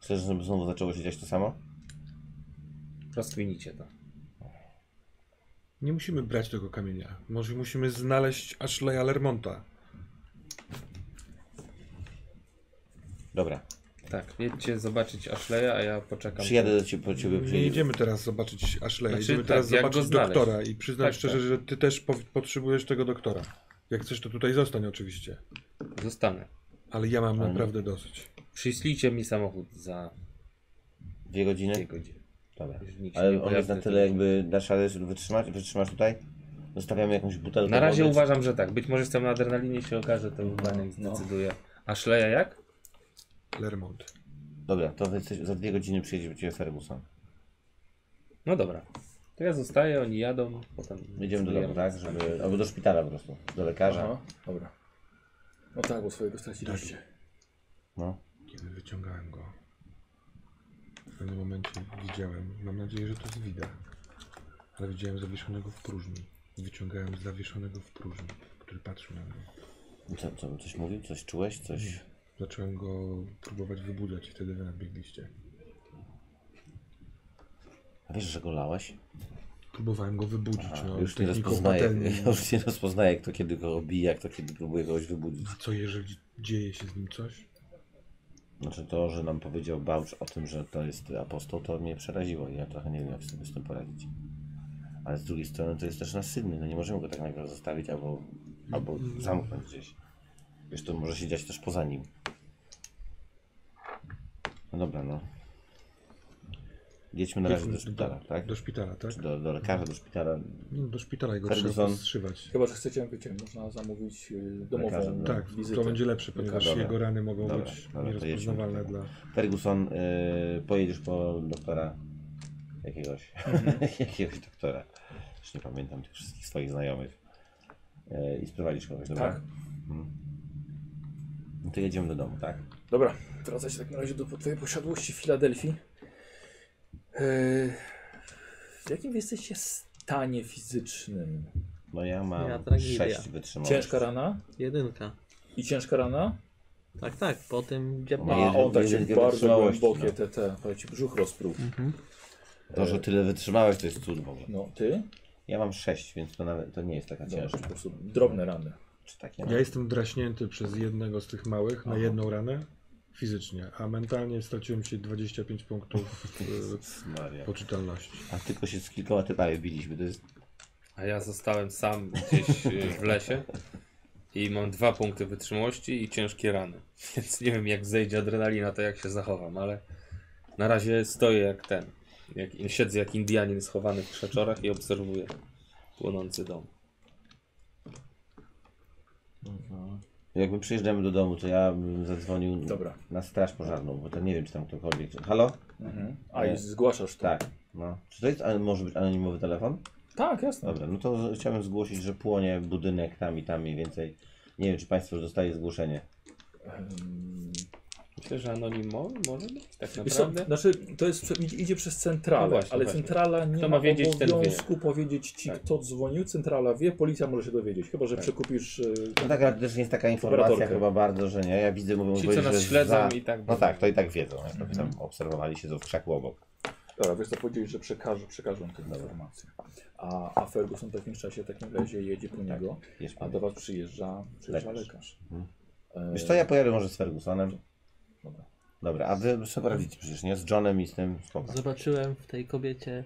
S6: Chcesz, żeby znowu zaczęło się dziać to samo?
S5: Rozkminicie to.
S3: Nie musimy brać tego kamienia. Może musimy znaleźć Ashleya Lermonta.
S6: Dobra.
S5: Tak, jedźcie zobaczyć Ashleya, a ja poczekam.
S6: Przyjadę do ciebie, po ciebie
S3: Nie
S6: przyjedzie.
S3: idziemy teraz zobaczyć Ashleya,
S5: Znaczy,
S3: idziemy
S5: tak,
S3: teraz
S5: jak go
S3: zobaczyć
S5: znaleźć.
S3: doktora i przyznam
S5: Tak,
S3: szczerze,
S5: tak.
S3: że ty też po- potrzebujesz tego doktora. Jak chcesz, to tutaj zostań oczywiście.
S5: Zostanę.
S3: Ale ja mam
S5: Mhm.
S6: Ale-
S3: naprawdę dosyć.
S5: Przyślijcie mi samochód za
S6: Dwie godziny?
S5: dwie godziny.
S6: Dobra.
S5: Już nikt się nie
S6: Ale on
S5: pojawia
S6: jest na
S5: wtedy.
S6: tyle jakby, dasz radę żeby wytrzymać, wytrzymasz tutaj? Zostawiamy jakąś butelkę
S5: Na razie
S6: wody.
S5: uważam, że tak. Być może jestem na adrenalinie się okaże, to Baniak zdecyduje. Ashleya jak?
S3: Lermont.
S6: Dobra, to jesteś, za dwie godziny przyjedzie do ciebie Ferguson.
S5: No dobra. To ja zostaję, oni jadą, potem...
S6: Jedziemy do domu,
S5: decydujemy.
S6: tak? Żeby, albo do szpitala po prostu, do lekarza.
S2: Aha, dobra. No tak, bo swojego straciliście.
S6: No.
S3: Kiedy wyciągałem go, w pewnym momencie widziałem, mam nadzieję, że to jest widać, ale widziałem zawieszonego w próżni. Wyciągałem zawieszonego w próżni, który patrzył na mnie.
S6: I Co, co, coś mówił? Coś czułeś? Coś...
S3: Zacząłem go próbować wybudzać i wtedy wy nadbiegliście.
S6: A wiesz, że go lałeś?
S3: Próbowałem go wybudzić,
S6: A,
S3: no,
S6: już nie
S3: techniką
S6: rozpoznaję,
S3: patelni.
S6: ja już nie rozpoznaję, kto kiedy go obija, kto kiedy próbuje kogoś wybudzić.
S3: A co jeżeli dzieje się z nim coś?
S6: Znaczy to, że nam powiedział Bałcz o tym, że to jest apostoł, to mnie przeraziło i ja trochę nie wiem, jak sobie z tym poradzić. Ale z drugiej strony to jest też nasydny, no nie możemy go tak nagle zostawić albo, albo zamknąć gdzieś. Wiesz, to może się dziać też poza nim. No dobra, no. Jedźmy na razie do szpitala, tak?
S3: Do szpitala, tak?
S6: Czy do, do lekarza, do szpitala.
S3: No, do szpitala i go
S6: Ferguson.
S3: trzeba powstrzymać.
S2: Chyba, że chcecie, wiecie, można zamówić y, domową
S6: Lekarzem,
S2: Lekarzem,
S3: Tak, to będzie lepsze, ponieważ
S6: No, Dobra.
S3: jego rany mogą
S6: Dobra,
S3: być
S6: dobra, to jedźmy
S3: nierozpoznawalne
S6: tutaj.
S3: dla...
S6: Ferguson, yy, pojedziesz po doktora jakiegoś, jakiegoś doktora. Już nie pamiętam tych wszystkich swoich znajomych. Yy, I sprowadzisz kogoś, dobra?
S2: Tak.
S6: Mhm. No to jedziemy do domu, tak?
S2: Dobra, wracaj się tak na razie do twojej posiadłości w Filadelfii. Yy, w jakim wy jesteście stanie fizycznym?
S6: No ja mam
S4: Ja, tragedia.
S6: sześć wytrzymałości.
S2: Ciężka rana?
S4: Jedynka.
S2: I ciężka rana?
S4: Tak, tak, potem
S2: A,
S6: Ma
S4: dziabła.
S6: jeden-
S2: on tak się
S6: jeden
S2: bardzo
S6: wytrzymałości,
S2: głębokie
S6: no.
S2: te, te, ale ci brzuch rozpruł.
S6: To, że tyle wytrzymałeś, to jest cud w ogóle.
S2: No, ty?
S6: Ja mam sześć, więc to nawet to nie jest taka
S2: Zobacz, po
S6: ciężka.
S2: prostu drobne rany.
S6: Czy tak ja mam?
S3: Ja jestem draśnięty przez jednego z tych małych na
S6: Aha.
S3: jedną ranę fizycznie, a mentalnie straciłem się 25 punktów
S6: Jezus Maria.
S3: e, poczytalności.
S6: A tylko się z kilkoma typami biliśmy, to jest...
S5: A ja zostałem sam gdzieś y, w lesie i mam dwa punkty wytrzymałości i ciężkie rany. Więc nie wiem jak zejdzie adrenalina, to jak się zachowam, ale na razie stoję jak ten. Jak, siedzę jak Indianin schowany w krzeczorach i obserwuję płonący dom.
S6: Jakby przyjeżdżamy do domu, to ja bym zadzwonił
S2: Dobra.
S6: na straż pożarną, bo to nie wiem, czy tam ktokolwiek... Halo?
S2: Mhm. A i
S6: Nie.
S2: zgłaszasz to?
S6: Tak, no. Czy to jest, ale może być anonimowy telefon?
S2: Tak, jasne.
S6: Dobra, no to z- chciałbym zgłosić, że płonie budynek tam i tam mniej więcej. Nie wiem, czy Państwo już dostali zgłoszenie.
S2: Ym,
S5: Myślę, że anonimowy może być tak
S2: Wiesz co,
S5: naprawdę.
S2: znaczy, to jest, idzie przez centralę,
S5: No właśnie,
S2: ale
S5: właśnie.
S2: centrala nie
S5: Kto
S2: ma
S5: ma wiedzieć, ten wie.
S2: obowiązku powiedzieć ci,
S5: Tak.
S2: kto dzwonił. Centrala wie, policja może się dowiedzieć, chyba że
S5: Tak.
S2: przekupisz. y,
S6: No tak, ale też nie jest taka informacja
S2: Operatorkę.
S6: chyba bardzo, że nie. Ja widzę, mówią,
S5: Ci,
S6: no, powiedzieć,
S5: co nas
S6: że
S5: śledzą
S6: za...
S5: i tak
S6: No
S5: będą.
S6: tak, to i tak wiedzą. Jak tam obserwowali się w krzaku obok.
S2: Dobra, wiesz co, powiedzieć, że przekażę, przekażą tę informację. A, a Ferguson w takim czasie, w takim razie jedzie po niego,
S6: Wiesz,
S2: a do was przyjeżdża, przyjeżdża lekarz. E,
S6: Wiesz co, ja pojadę może z Fergusonem.
S2: Dobra.
S6: Dobra, a wy sobie radzicie przecież, nie? Z Johnem i z tym spoko.
S4: Zobaczyłem w tej kobiecie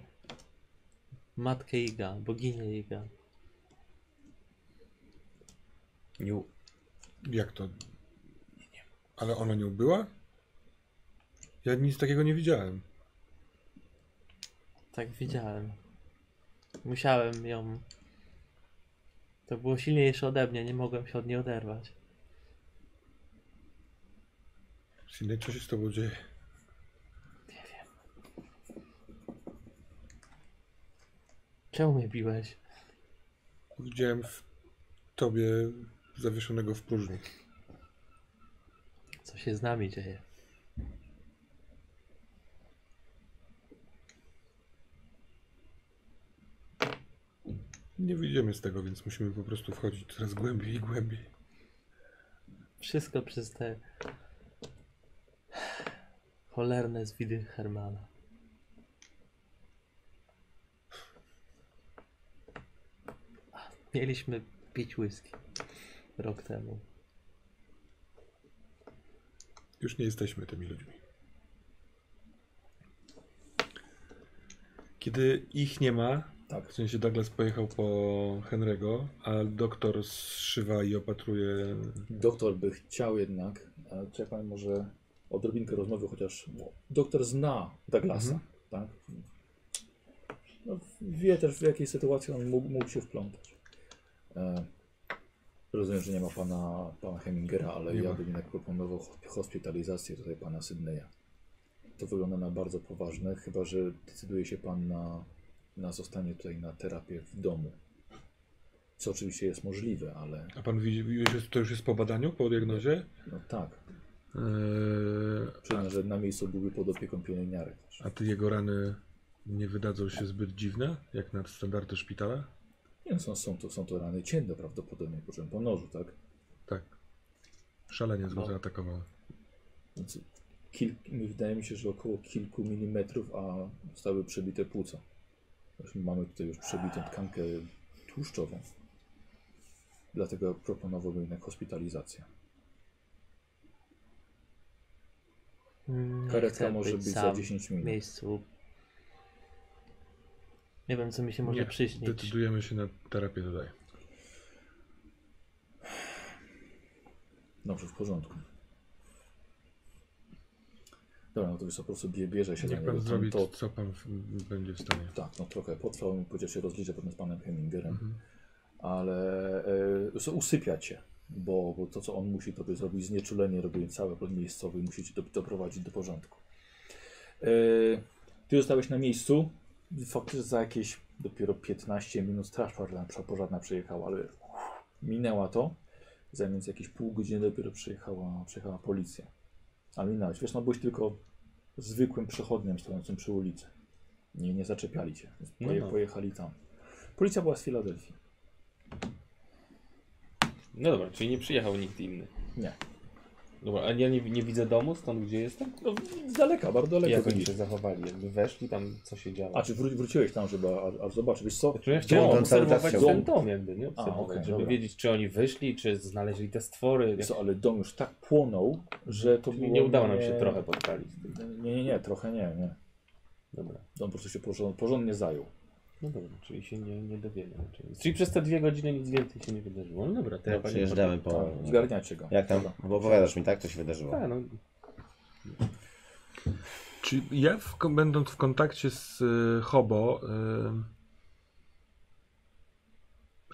S4: matkę Iga, boginię Iga.
S5: Niu.
S3: Jak to? Ale ona nie była? Ja nic takiego nie widziałem.
S4: Tak widziałem. Musiałem ją. To było silniejsze ode mnie, nie mogłem się od niej oderwać.
S3: Sidney, co się z tobą dzieje?
S4: Nie wiem. Czemu mnie biłeś?
S3: Widziałem w tobie zawieszonego w próżni.
S4: Co się z nami dzieje?
S3: Nie wyjdziemy z tego, więc musimy po prostu wchodzić coraz głębiej i głębiej.
S4: Wszystko przez te cholerne zwidy Hermana. Mieliśmy pić whisky rok temu.
S3: Już nie jesteśmy tymi ludźmi. Kiedy ich nie ma,
S2: Tak.
S3: w sensie Douglas pojechał po Henry'ego, a doktor zszywa i opatruje.
S2: Doktor by chciał jednak, e, ale czekaj może odrobinkę rozmowy, chociaż doktor zna Douglasa,
S3: Mhm.
S2: tak? No, wie też w jakiej sytuacji on mógł, mógł się wplątać. E, rozumiem, że nie ma pana, pana Hemingera, ale
S3: Nie
S2: ja
S3: ma.
S2: bym jednak proponował hosp- hospitalizację tutaj pana Sydneya. To wygląda na bardzo poważne, chyba że decyduje się pan na, na zostanie tutaj na terapię w domu. Co oczywiście jest możliwe, ale
S3: A pan widzi, już jest- to już jest po badaniu, po diagnozie? e,
S2: no tak.
S3: Eee,
S2: Przyznam, że na miejscu byłby pod opieką pielęgniarek.
S3: a te jego rany nie wydadzą się zbyt dziwne, jak na standardy szpitala?
S2: Nie, no są, są, to, są to rany cięte prawdopodobnie, po czym po nożu, tak?
S3: Tak. Szalenie go zaatakowały.
S2: Więc kil, mi- wydaje mi się, że około kilku milimetrów, a zostały przebite płuca. Zresztą Mamy tutaj już przebitą tkankę tłuszczową. Dlatego proponowałbym jednak hospitalizację.
S4: Nie
S2: Karetka
S4: chcę
S2: może być za
S4: sam
S2: 10
S4: w
S2: minut.
S4: miejscu. Nie wiem, co mi się może
S3: Nie,
S4: przyśnić.
S3: Decydujemy się na terapię tutaj.
S2: Dobrze, w porządku. Dobra, no to jest po prostu bie- bierze się
S3: Jak
S2: za
S3: pan
S2: niego.
S3: zrobi,
S2: to,
S3: co pan w, będzie w stanie.
S2: Tak, no trochę potrwał, bym powiedział, się rozliczę potem z panem Hemingerem, ale e, so- usypia cię, bo, bo to, co on musi tobie zrobić, znieczulenie robią całe podmiejscowe i musi cię do, doprowadzić do porządku. E, ty zostałeś na miejscu, faktycznie za jakieś dopiero 15 minut straż pożarna- pożarna przyjechała, ale minęła to, zanim za jakieś pół godziny dopiero przyjechała, przyjechała policja. A minąłeś, wiesz, no byłeś tylko zwykłym przechodniem stojącym przy ulicy. Nie, nie zaczepiali cię. Więc
S5: No,
S2: Poje,
S5: no.
S2: Pojechali tam. Policja była z Filadelfii.
S5: No dobra, czyli nie przyjechał nikt inny.
S2: Nie.
S5: Dobra, a ja nie, nie widzę domu stąd, gdzie jestem?
S2: No, z daleka, bardzo daleko.
S5: Jak oni
S2: widzisz.
S5: się zachowali? Jakby weszli tam, co się działo?
S2: A czy wró- wróciłeś tam, żeby aż, aż zobaczyć? Wiesz co?
S5: Znaczy, ja
S6: on
S5: chciałem
S6: tam cały czas
S5: obserwować
S6: siedział.
S5: ten dom jakby, nie? Obserwować,
S2: okej,
S5: żeby
S2: dobra.
S5: wiedzieć, czy oni wyszli, czy znaleźli te stwory.
S2: Wiesz co, ale dom już tak płonął, że to
S5: Czyli
S2: było...
S5: nie udało nam się trochę podpalić.
S2: Nie, nie, nie, trochę nie, nie.
S5: Dobra.
S2: Dom po prostu się porządnie, porządnie zajął.
S5: No dobra, czyli się nie, nie dowiemy. Czyli, czyli przez te dwie godziny nic więcej się nie wydarzyło. No dobra, to ja
S6: No,
S5: panie...
S6: przyjeżdżamy po...
S2: Tak, Zgarniacie go.
S6: Jak tam?
S2: Dobra.
S6: Bo opowiadasz mi, tak? Co się wydarzyło?
S5: A, no,
S3: Czy ja, w, kon- będąc w kontakcie z y, Hobo, y,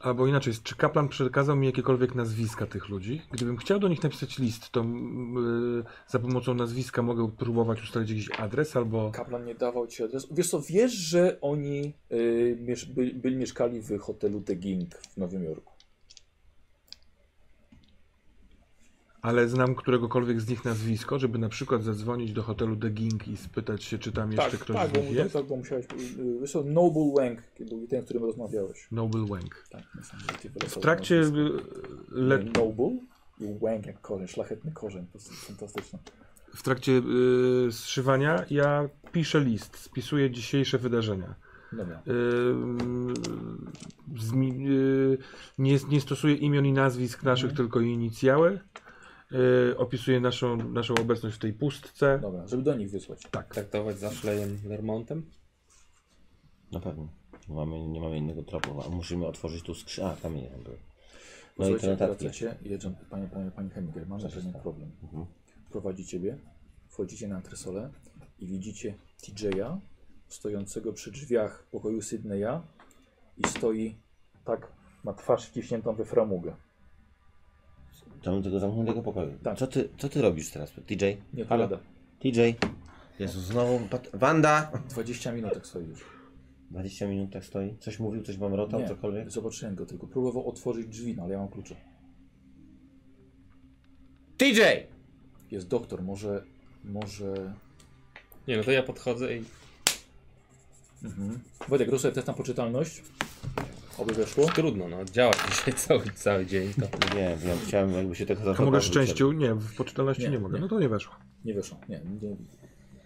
S3: albo inaczej, czy kaplan przekazał mi jakiekolwiek nazwiska tych ludzi? Gdybym chciał do nich napisać list, to mm, y, za pomocą nazwiska mogę próbować ustalić jakiś adres albo.
S2: Kaplan nie dawał ci adresu. Wiesz co, wiesz, że oni y, miesz, by, byli mieszkali w hotelu The King w Nowym Jorku.
S3: Ale znam któregokolwiek z nich nazwisko, żeby na przykład zadzwonić do hotelu The Ging i spytać się, czy tam jeszcze
S2: tak,
S3: ktoś
S2: tak,
S3: z
S2: bo,
S3: nich
S2: tak,
S3: jest.
S2: tak, bo musiałeś... y, Wiesz co, Noble Wang był ten, z którym rozmawiałeś.
S3: Noble Wang.
S2: Tak, niesamowicie
S3: W
S2: wylosowe
S3: trakcie y,
S2: nazwisko.
S3: le,
S2: Noble i Wang jak korzeń, szlachetny korzeń, po prostu fantastyczne.
S3: w trakcie y, zszywania ja piszę list, spisuję dzisiejsze wydarzenia.
S2: Dobra.
S3: Y, zmi- y, nie, nie stosuję imion i nazwisk naszych, tylko inicjały. Y, opisuję naszą, naszą obecność w tej pustce.
S2: Dobra, żeby do nich wysłać.
S3: Tak.
S5: traktować za szlejem Lermontem?
S6: Na pewno. Nie mamy, nie mamy innego tropu. A musimy otworzyć tu skrzynkę. A, tam nie był. No i
S2: Słuchajcie,
S6: te notatki.
S2: wracacie, jeżdżą, panie, panie, panie Hemiger, mam pewien problem.
S6: Mhm.
S2: Prowadzi ciebie, wchodzicie na antresolę i widzicie TJ'a stojącego przy drzwiach pokoju Sydneya i stoi tak, ma twarz wciśniętą we framugę.
S6: Tam tego zamkniętego pokoju.
S2: Tak.
S6: Co ty, co ty robisz teraz? TJ?
S2: Nie
S6: Halo?
S2: odpowiada.
S6: TJ? Jezu, znowu... Pat... Wanda!
S2: 20 minut tak stoi już.
S6: 20 minut tak stoi? Coś mówił, coś mam rotał, cokolwiek?
S2: Nie, zobaczyłem go tylko. Próbował otworzyć drzwi, no ale ja mam klucze.
S6: TJ!
S2: Jest doktor, może... Może...
S5: Nie no, to ja podchodzę i
S2: Mhm. Wojtek, rób sobie test na poczytalność. Oby weszło.
S5: trudno, no działa dzisiaj cały, cały dzień. To.
S6: Nie wiem, chciałem jakby się tego
S3: A
S6: zachował.
S3: mogę szczęściu? Nie, w poczytalności nie,
S2: Nie,
S3: mogę.
S2: nie.
S3: No to nie weszło.
S2: Nie weszło. Nie, nie.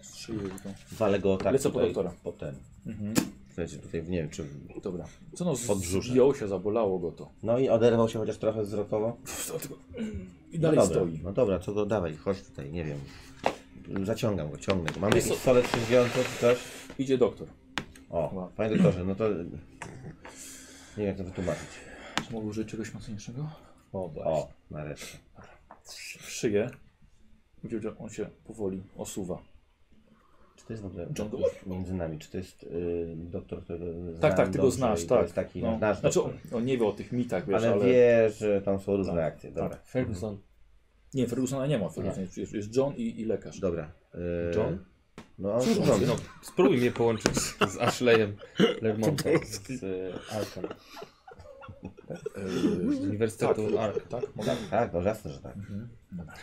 S2: Strzyję go.
S6: Walę go tak
S2: Lecę po
S6: tutaj,
S2: doktora.
S6: Potem.
S2: Mhm.
S6: Słuchajcie, tutaj nie wiem czy...
S2: Dobra. Co no,
S6: Pod brzusze.
S2: zbijął się, zabolało go to.
S6: No i oderwał się chociaż trochę wzrokowo.
S2: I dalej
S6: no dobra,
S2: stoi.
S6: No dobra, co go dawaj, chodź tutaj, nie wiem. Zaciągam go, ciągnę go. Mamy jakiś stolec przywiązy czy coś?
S2: Idzie doktor.
S6: O,
S2: Wow.
S6: panie doktorze, no to... Nie wiem jak to wytłumaczyć.
S2: Czy mogę użyć czegoś mocniejszego? O,
S6: O, nareszcie.
S2: W szyję. Widział, że on się powoli osuwa.
S6: Czy to jest w ogóle
S2: John Doe?
S6: już między nami? Czy to jest y, doktor, którego znam
S2: Tak, tak, ty go
S6: dobrze
S2: znasz,
S6: i to
S2: tak.
S6: jest taki
S2: no.
S6: nasz
S2: znaczy, on,
S6: doktor.
S2: on nie wie o tych mitach, wiesz,
S6: ale,
S2: ale...
S6: wie, że tam są różne
S2: Tak,
S6: akcje. Dobra.
S5: Ferguson.
S2: Nie, Fergusona nie ma. Ferguson jest, jest John i, i lekarz.
S6: Dobra. y,
S5: John?
S6: No,
S5: No,
S6: John.
S5: no, spróbuj mnie połączyć z, z Ashleyem Lermontem z y, Arkham,
S2: Eee,
S5: z Uniwersytetu
S2: Tak.
S5: Arkham.
S2: tak, mogę?
S6: Tak, no jasne, że tak.
S2: Mhm. Dobra.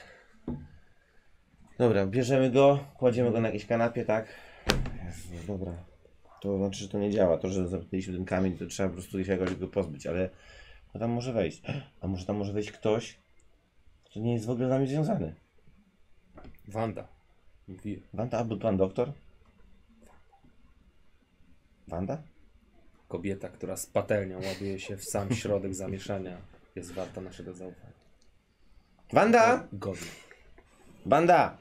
S6: Dobra, bierzemy go, kładziemy go na jakiejś kanapie, tak? Jezu, dobra. To znaczy, że to nie działa. To, że zapytaliśmy ten kamień, to trzeba po prostu się jakoś go pozbyć, ale no tam może wejść. A może tam może wejść ktoś, kto nie jest w ogóle z nami związany.
S5: Wanda. Mówi-
S6: Wanda albo pan doktor? Wanda?
S5: Kobieta, która z patelnią ładuje się w sam środek zamieszania, jest warta naszego zaufania.
S6: Wanda!
S5: Godnie.
S6: Wanda!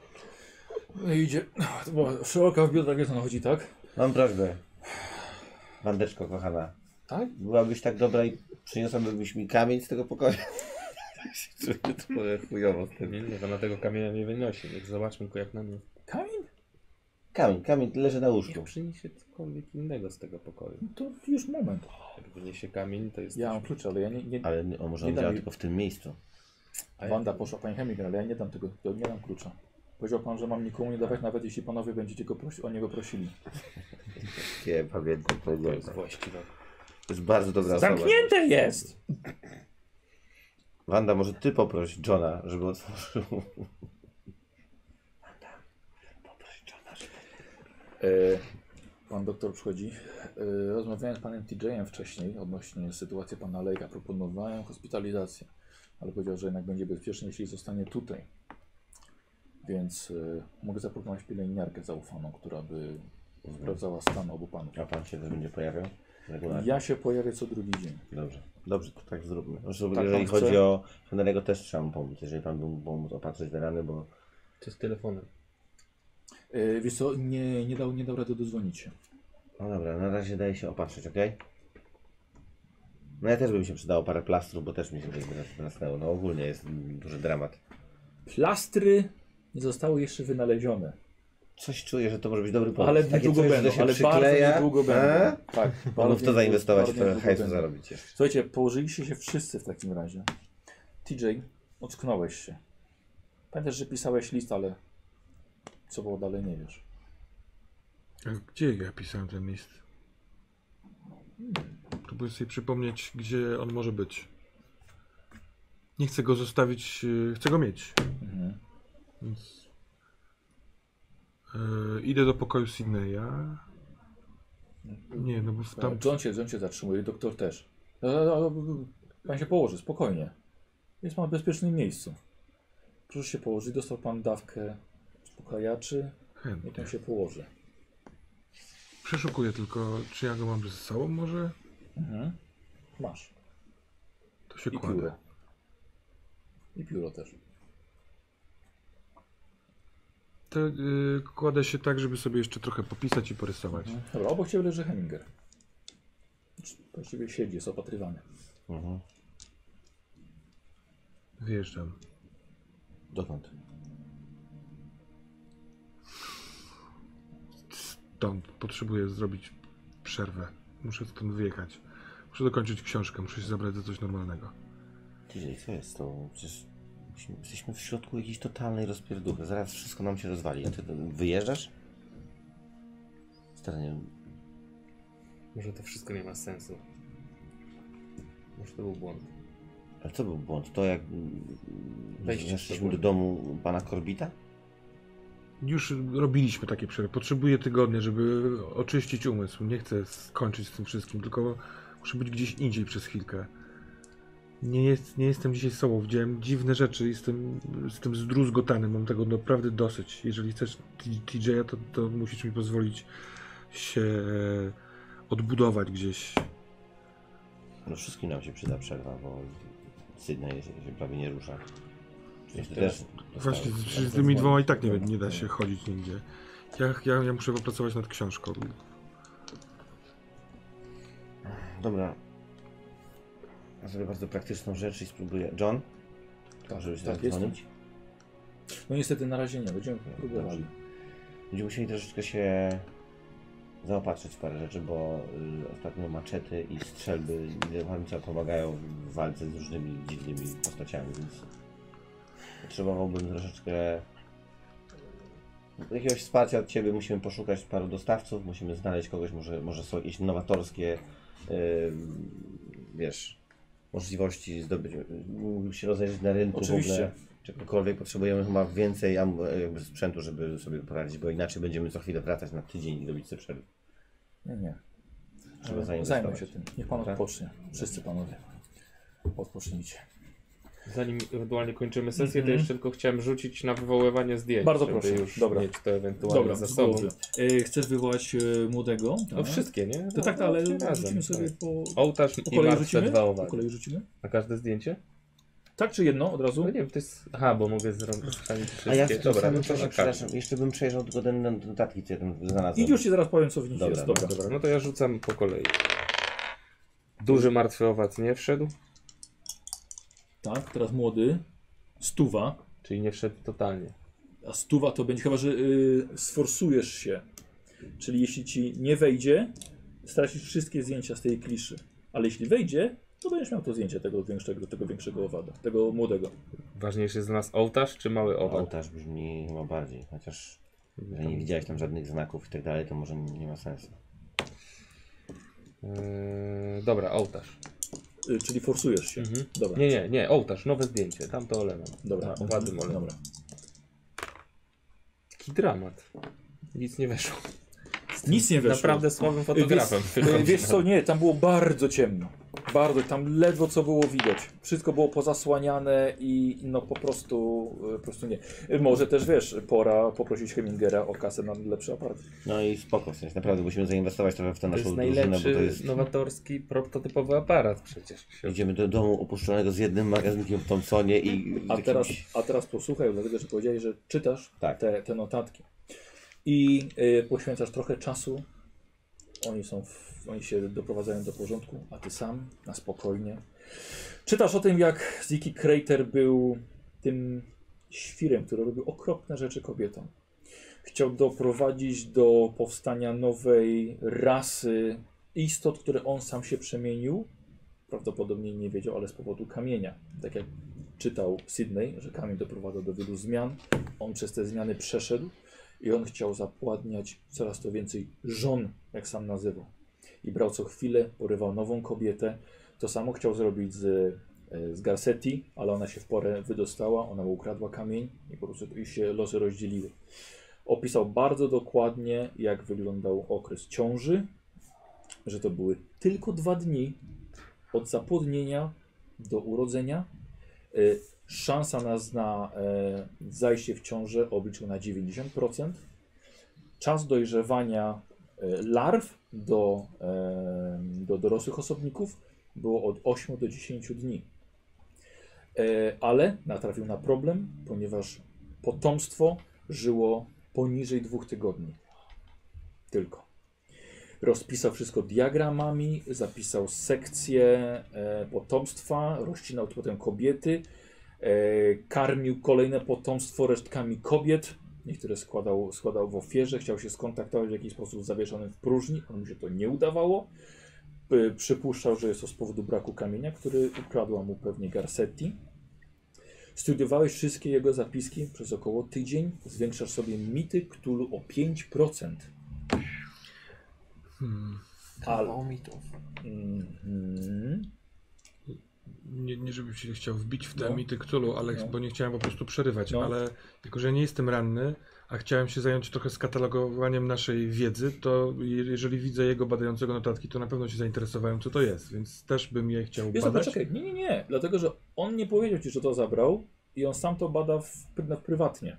S2: No i idzie. To była szeroka w biodrach, jak ona chodzi, tak?
S6: Mam prośbę. Wandeczko, kochana.
S2: Tak?
S6: Byłabyś tak dobra i przyniosłabyś mi kamień z tego pokoju. Czuję trochę chujowo z tym.
S5: Nie, nie, ona tego kamienia nie wynosi. Niech zobaczmy go jak na mnie.
S2: Kamień?
S6: Kamień, kamień leży na łóżku.
S5: Niech przyniesie cokolwiek innego z tego pokoju.
S2: To już moment.
S5: Jak wyniesie kamień, to jest...
S2: Ja mam klucze, ale ja nie. nie...
S6: Ale nie- o, może on
S2: Nie dam
S6: działa
S2: jej.
S6: tylko w tym miejscu.
S2: Wanda poszła pani chemik, ale ja nie dam tego, to nie dam klucza. Powiedział pan, że mam nikomu nie dawać, nawet jeśli panowie będziecie go prosi- o niego prosili.
S6: Nie pamiętam tego.
S5: To
S6: To
S5: jest właściwe.
S6: jest bardzo dobra osoba.
S2: Zamknięte jest!
S6: Wanda, może ty poproś Johna, żeby otworzył.
S2: E, Pan doktor przychodzi. E, Rozmawiałem z panem TJ-em wcześniej odnośnie sytuacji pana Lejka. Proponowałem hospitalizację, ale powiedział, że jednak będzie bezpieczny, jeśli zostanie tutaj. Więc e, mogę zaproponować pielęgniarkę zaufaną, która by sprawdzała stan obu panów.
S6: A pan się też będzie pojawiał? Regularnie?
S2: Ja się pojawię co drugi dzień.
S6: Dobrze. Dobrze, to tak zróbmy. Zresztą,
S2: pan
S6: jeżeli
S2: chce?
S6: chodzi o Henry'ego też trzeba mu pomóc, jeżeli pan by mu pomóc opatrzyć te rany, bo
S5: To z telefonem.
S2: E, Wiesz co, nie, nie, dał, nie dał rady dozwonić się.
S6: No dobra, na razie daje się opatrzyć, ok? No ja też bym się przydało parę plastrów, bo też mi się coś wyrasnęło. No ogólnie jest mm, duży dramat.
S2: Plastry nie zostały jeszcze wynalezione.
S6: Coś czuję, że to może być dobry pomysł.
S2: Ale
S6: Takie
S2: niedługo
S6: coś, że to
S2: będą,
S6: się
S2: ale
S6: przykleja, E?
S2: bardzo niedługo
S6: a?
S2: będą. Tak,
S6: Mogę w to
S2: niedługo-
S6: zainwestować,
S2: bardzo
S6: trochę
S2: niedługo
S6: hajsu
S2: będą.
S6: zarobić jeszcze.
S2: Słuchajcie, położyliście się wszyscy w takim razie. TJ, ocknąłeś się. Pamiętasz, że pisałeś list, ale co było dalej nie wiesz.
S3: A Tak. Gdzie ja pisałem ten list? Próbuję sobie przypomnieć, gdzie on może być. Nie chcę go zostawić, y, chcę go mieć.
S2: Mhm.
S3: Więc... Y, idę do pokoju Sydneya. Nie, no bo w tam...
S2: E, John, się, John się zatrzymuje, doktor też. E, e, e, Pan się położy, spokojnie. Jest pan w bezpiecznym miejscu. Proszę się położyć, dostał pan dawkę uspokajaczy i
S3: Chętnie.
S2: pan się położy.
S3: Przeszukuję tylko, czy ja go mam ze sobą może?
S2: Mhm. Masz.
S3: To się
S2: I pióro.
S3: kładę.
S2: I pióro też.
S3: To y, kładę się tak, żeby sobie jeszcze trochę popisać i porysować.
S2: Dobra, obok ciebie leży Heminger. Znaczy, Właściwie siedzi, jest opatrywany.
S6: Mhm.
S3: Wyjeżdżam.
S6: Dokąd?
S3: Stąd potrzebuję zrobić przerwę. Muszę stąd wyjechać. Muszę dokończyć książkę, muszę się zabrać za coś normalnego.
S6: Tydzień, co jest to? Przecież musimy- jesteśmy w środku jakiejś totalnej rozpierduchy. Zaraz wszystko nam się rozwali. A ty to wyjeżdżasz? Stary, nie wiem.
S5: Może to wszystko nie ma sensu. Może to był błąd.
S6: Ale co był błąd? To jak mm,
S5: Wejście
S6: weszliśmy
S5: było.
S6: do domu pana Korbita?
S3: Już robiliśmy takie przerwy. Potrzebuję tygodnia, żeby oczyścić umysł. Nie chcę skończyć z tym wszystkim, tylko muszę być gdzieś indziej przez chwilkę. Nie, jest, nie jestem dzisiaj sobą. Widziałem dziwne rzeczy. Jestem, jestem zdruzgotany. Mam tego naprawdę dosyć. Jeżeli chcesz TJ-a, to, to musisz mi pozwolić się odbudować gdzieś.
S6: No wszystkim nam się przyda przerwa, bo Sydney się, się prawie nie rusza. Przecież ty
S5: Teraz-
S6: też dostałeś-
S3: Właśnie, z, z
S6: dostałeś
S3: tymi
S6: dzwon-
S3: dwoma i tak nie,
S6: dzwon-
S3: nie da się chodzić nigdzie. Ja, ja, ja muszę popracować nad książką.
S6: Dobra. Ja zrobię bardzo praktyczną rzecz i spróbuję. John? Możesz tak,
S2: jestem.
S6: dzwonić?
S2: No niestety na razie nie, będziemy próbowali.
S6: Dobrze. Będziemy musieli troszeczkę się zaopatrzyć w parę rzeczy, bo y, ostatnio maczety i strzelby nie do końca pomagają w walce z różnymi dziwnymi postaciami, więc potrzebowałbym troszeczkę jakiegoś wsparcia od Ciebie. Musimy poszukać paru dostawców, musimy znaleźć kogoś, może, może są jakieś nowatorskie y, wiesz, możliwości zdobyć, mógłbym się rozejrzeć na rynku w ogóle
S2: Oczywiście.
S6: czegokolwiek potrzebujemy chyba więcej am- jakby sprzętu, żeby sobie poradzić, bo inaczej będziemy co chwilę wracać na tydzień i robić sobie przerwy.
S2: Nie, nie.
S6: Trzeba
S2: E, Zajmę
S6: zainwestować.
S2: się tym. Niech pan
S6: Dobra.
S2: odpocznie. Wszyscy panowie. Odpocznijcie.
S5: Zanim ewentualnie kończymy sesję, to
S2: Mhm.
S5: jeszcze tylko chciałem rzucić na wywoływanie zdjęć.
S2: Bardzo
S5: żeby
S2: proszę.
S5: Już
S2: Dobra.
S5: mieć to ewentualnie za sobą.
S2: E, chcesz wywołać e, młodego?
S5: No wszystkie, nie?
S2: To tak, ale rzucimy
S5: razem.
S2: sobie
S5: tak.
S2: po...
S5: Ołtarz
S2: Po
S5: i
S2: kolei
S5: martwe
S2: rzucimy?
S5: dwa
S2: Po
S5: owady.
S2: kolei rzucimy?
S5: Na każde zdjęcie?
S2: Tak czy jedno od
S5: No
S2: razu?
S5: nie wiem, to jest... Aha, bo mogę zrobić wszystkie.
S6: A ja w tym
S5: Dobra,
S6: samym
S5: no to
S6: czasie,
S5: na
S6: przepraszam,
S5: każde.
S6: jeszcze bym przejrzał tylko ten ten notatki, co ja tam znalazłem.
S2: I już ci zaraz powiem co w nich
S6: Dobra,
S2: jest. Dobra.
S5: Dobra, no to ja rzucam po kolei. Duży martwy owad nie wszedł,
S2: Tak, teraz młody. Stuwa.
S5: czyli nie wszedł totalnie.
S2: A stuwa to będzie, chyba że y, sforsujesz się. Czyli jeśli ci nie wejdzie, stracisz wszystkie zdjęcia z tej kliszy. Ale jeśli wejdzie, to będziesz miał to zdjęcie tego większego, tego większego owada, tego młodego.
S5: Ważniejszy jest dla nas ołtarz czy mały owad?
S6: Ołtarz brzmi chyba bardziej, chociaż jeżeli nie widziałeś tam żadnych znaków i tak dalej, to może nie ma sensu.
S5: Yy, dobra, ołtarz.
S2: Y, czyli forsujesz się.
S5: Mhm.
S2: Dobra.
S5: Nie, Tak, nie, nie, ołtarz, nowe zdjęcie, tam to olewam.
S2: Dobra.
S5: A, owady olewam.
S2: Dobra.
S5: Taki dramat. Nic nie weszło.
S2: Nic nie weszło.
S5: Naprawdę słabym fotografem.
S2: Y, Wiesz, y, wiesz co, nie, tam było bardzo ciemno. Bardzo, tam ledwo co było widać. Wszystko było pozasłaniane i no po prostu, y, po prostu nie. Y, Może też wiesz, pora poprosić Hemingera o kasę na lepszy aparat.
S6: No i spoko, w sensie naprawdę musimy zainwestować trochę w tę
S5: To
S6: naszą
S5: jest
S6: drużynę, bo
S5: najlepszy,
S6: to jest...
S5: nowatorski, prototypowy aparat przecież.
S6: Idziemy do domu opuszczonego z jednym magazynkiem w Thompsonie i...
S2: A
S6: jakimś-
S2: teraz, a teraz posłuchaj, dlatego że powiedziałeś, że czytasz
S6: Tak.
S2: te, te notatki i y, poświęcasz trochę czasu. Oni, są w, oni się doprowadzają do porządku, a ty sam na spokojnie. Czytasz o tym, jak Ziki Crater był tym świrem, który robił okropne rzeczy kobietom. Chciał doprowadzić do powstania nowej rasy istot, które on sam się przemienił. Prawdopodobnie nie wiedział, ale z powodu kamienia. Tak jak czytał Sydney, że kamień doprowadza do wielu zmian. On przez te zmiany przeszedł i on chciał zapładniać coraz to więcej żon, jak sam nazywał. I brał co chwilę, porywał nową kobietę. To samo chciał zrobić z, e, z Garcetti, ale ona się w porę wydostała, ona mu ukradła kamień i po prostu i się losy rozdzieliły. Opisał bardzo dokładnie, jak wyglądał okres ciąży, że to były tylko dwa dni od zapłodnienia do urodzenia Y, Szansa na, na e, zajście w ciążę obliczył na 90%. Czas dojrzewania e, larw do, e, do dorosłych osobników było od 8 do 10 dni. E, ale natrafił na problem, ponieważ potomstwo żyło poniżej dwóch tygodni. Tylko. Rozpisał wszystko diagramami, zapisał sekcje e, potomstwa, rozcinał potem kobiety, e, karmił kolejne potomstwo resztkami kobiet. Niektóre składał, składał w ofierze, chciał się skontaktować w jakiś sposób z zawieszonym w próżni, ale mu się to nie udawało. E, Przypuszczał, że jest to z powodu braku kamienia, który ukradła mu pewnie Garcetti. Studiowałeś wszystkie jego zapiski przez około tydzień. Zwiększasz sobie mity Cthulhu o 5%. Ale-
S4: Kawał mitów.
S2: Mhm.
S3: Nie, nie żebym się chciał wbić w te
S2: No.
S3: mity Cthulhu, ale,
S2: No.
S3: bo nie chciałem po prostu przerywać,
S2: No.
S3: ale jako, że nie jestem ranny, a chciałem się zająć trochę skatalogowaniem naszej wiedzy, to je- jeżeli widzę jego badającego notatki, to na pewno się zainteresowałem, co to jest, więc też bym je chciał
S2: Wiesz, co,
S3: badać.
S2: poczekaj, nie, nie, nie. Dlatego, że on nie powiedział ci, że to zabrał i on sam to bada w, na- prywatnie.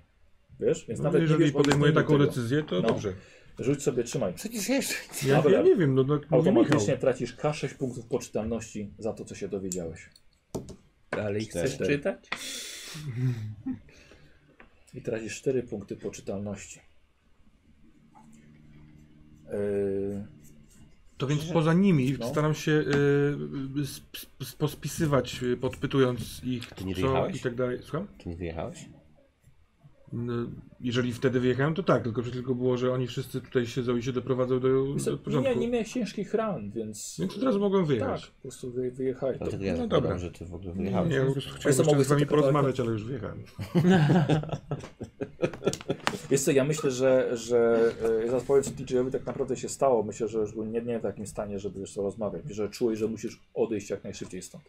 S2: Wiesz? Więc
S3: No,
S2: nawet nie
S3: jeżeli
S2: wiesz,
S3: podejmuje
S2: o
S3: taką
S2: tego.
S3: decyzję, to
S2: No.
S3: dobrze.
S2: Rzuć sobie, trzymaj.
S6: Przecież jeszcze.
S3: Ja,
S2: Dobra.
S3: ja nie wiem, no, no mówi
S2: Automatycznie
S3: Michał.
S2: tracisz K6 punktów poczytalności za to, co się dowiedziałeś.
S5: Dalej chcesz
S2: Cztery.
S5: czytać?
S2: I tracisz 4 punkty poczytalności. Yy,
S3: To więc poza nimi
S2: No.
S3: staram się y, y, sp- sp- pospisywać, y, podpytując ich,
S6: Ty nie
S3: co
S6: wyjechałeś?
S3: i tak dalej. Słucham?
S6: Ty nie wyjechałeś?
S3: No, jeżeli wtedy wyjechałem, to tak, tylko że tylko było, że oni wszyscy tutaj siedzą i się doprowadzą do, do
S2: nie,
S3: porządku.
S2: nie, nie miałeś ciężkich ran, więc...
S3: Więc od razu mogłem
S2: Tak,
S3: wyjechać.
S2: po prostu wy, wyjechałeś. To,
S6: Dlatego ja
S3: no
S6: zakładam,
S3: dobra.
S6: że ty w ogóle
S3: Nie, nie,
S6: wyjechałeś.
S3: ja po prostu
S2: Państwo
S3: chciałem jeszcze
S2: mogły
S3: z wami
S2: sobie kawałek-
S3: porozmawiać, ale już wyjechałem.
S2: Wiesz co, ja myślę, że, że e, zaraz powiem co DJ-owi tak naprawdę się stało. Myślę, że już był nie, nie w takim stanie, żeby wiesz co rozmawiać. Że czułeś, że musisz odejść jak najszybciej stąd.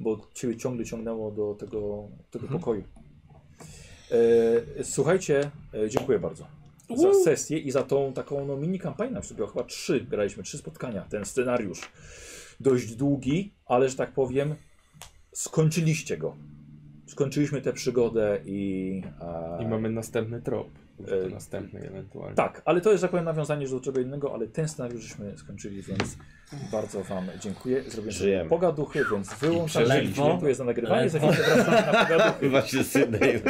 S2: Bo ciebie ciągle ciągnęło do tego, tego
S5: Mhm.
S2: pokoju. E, słuchajcie, e, dziękuję bardzo za sesję i za tą taką no, mini kampanię nam sobie. Chyba trzy graliśmy, trzy spotkania. Ten scenariusz dość długi, ale że tak powiem skończyliście go. Skończyliśmy tę przygodę i... e,
S5: I mamy następny trop. Może to
S2: Ej.
S5: następny ewentualnie.
S2: tak, ale to jest, jak powiem, nawiązanie już do czego innego, ale ten scenariusz żeśmy skończyli, więc bardzo Wam dziękuję. Zrobiłem sobie
S6: Żyjemy.
S2: pogaduchy, więc wyłączam.
S5: przeżyliśmy.
S2: Dziękuję za nagrywanie.
S5: Ledwo.
S2: Za chwilę wracamy na pogaduchy.
S6: Chyba się synej.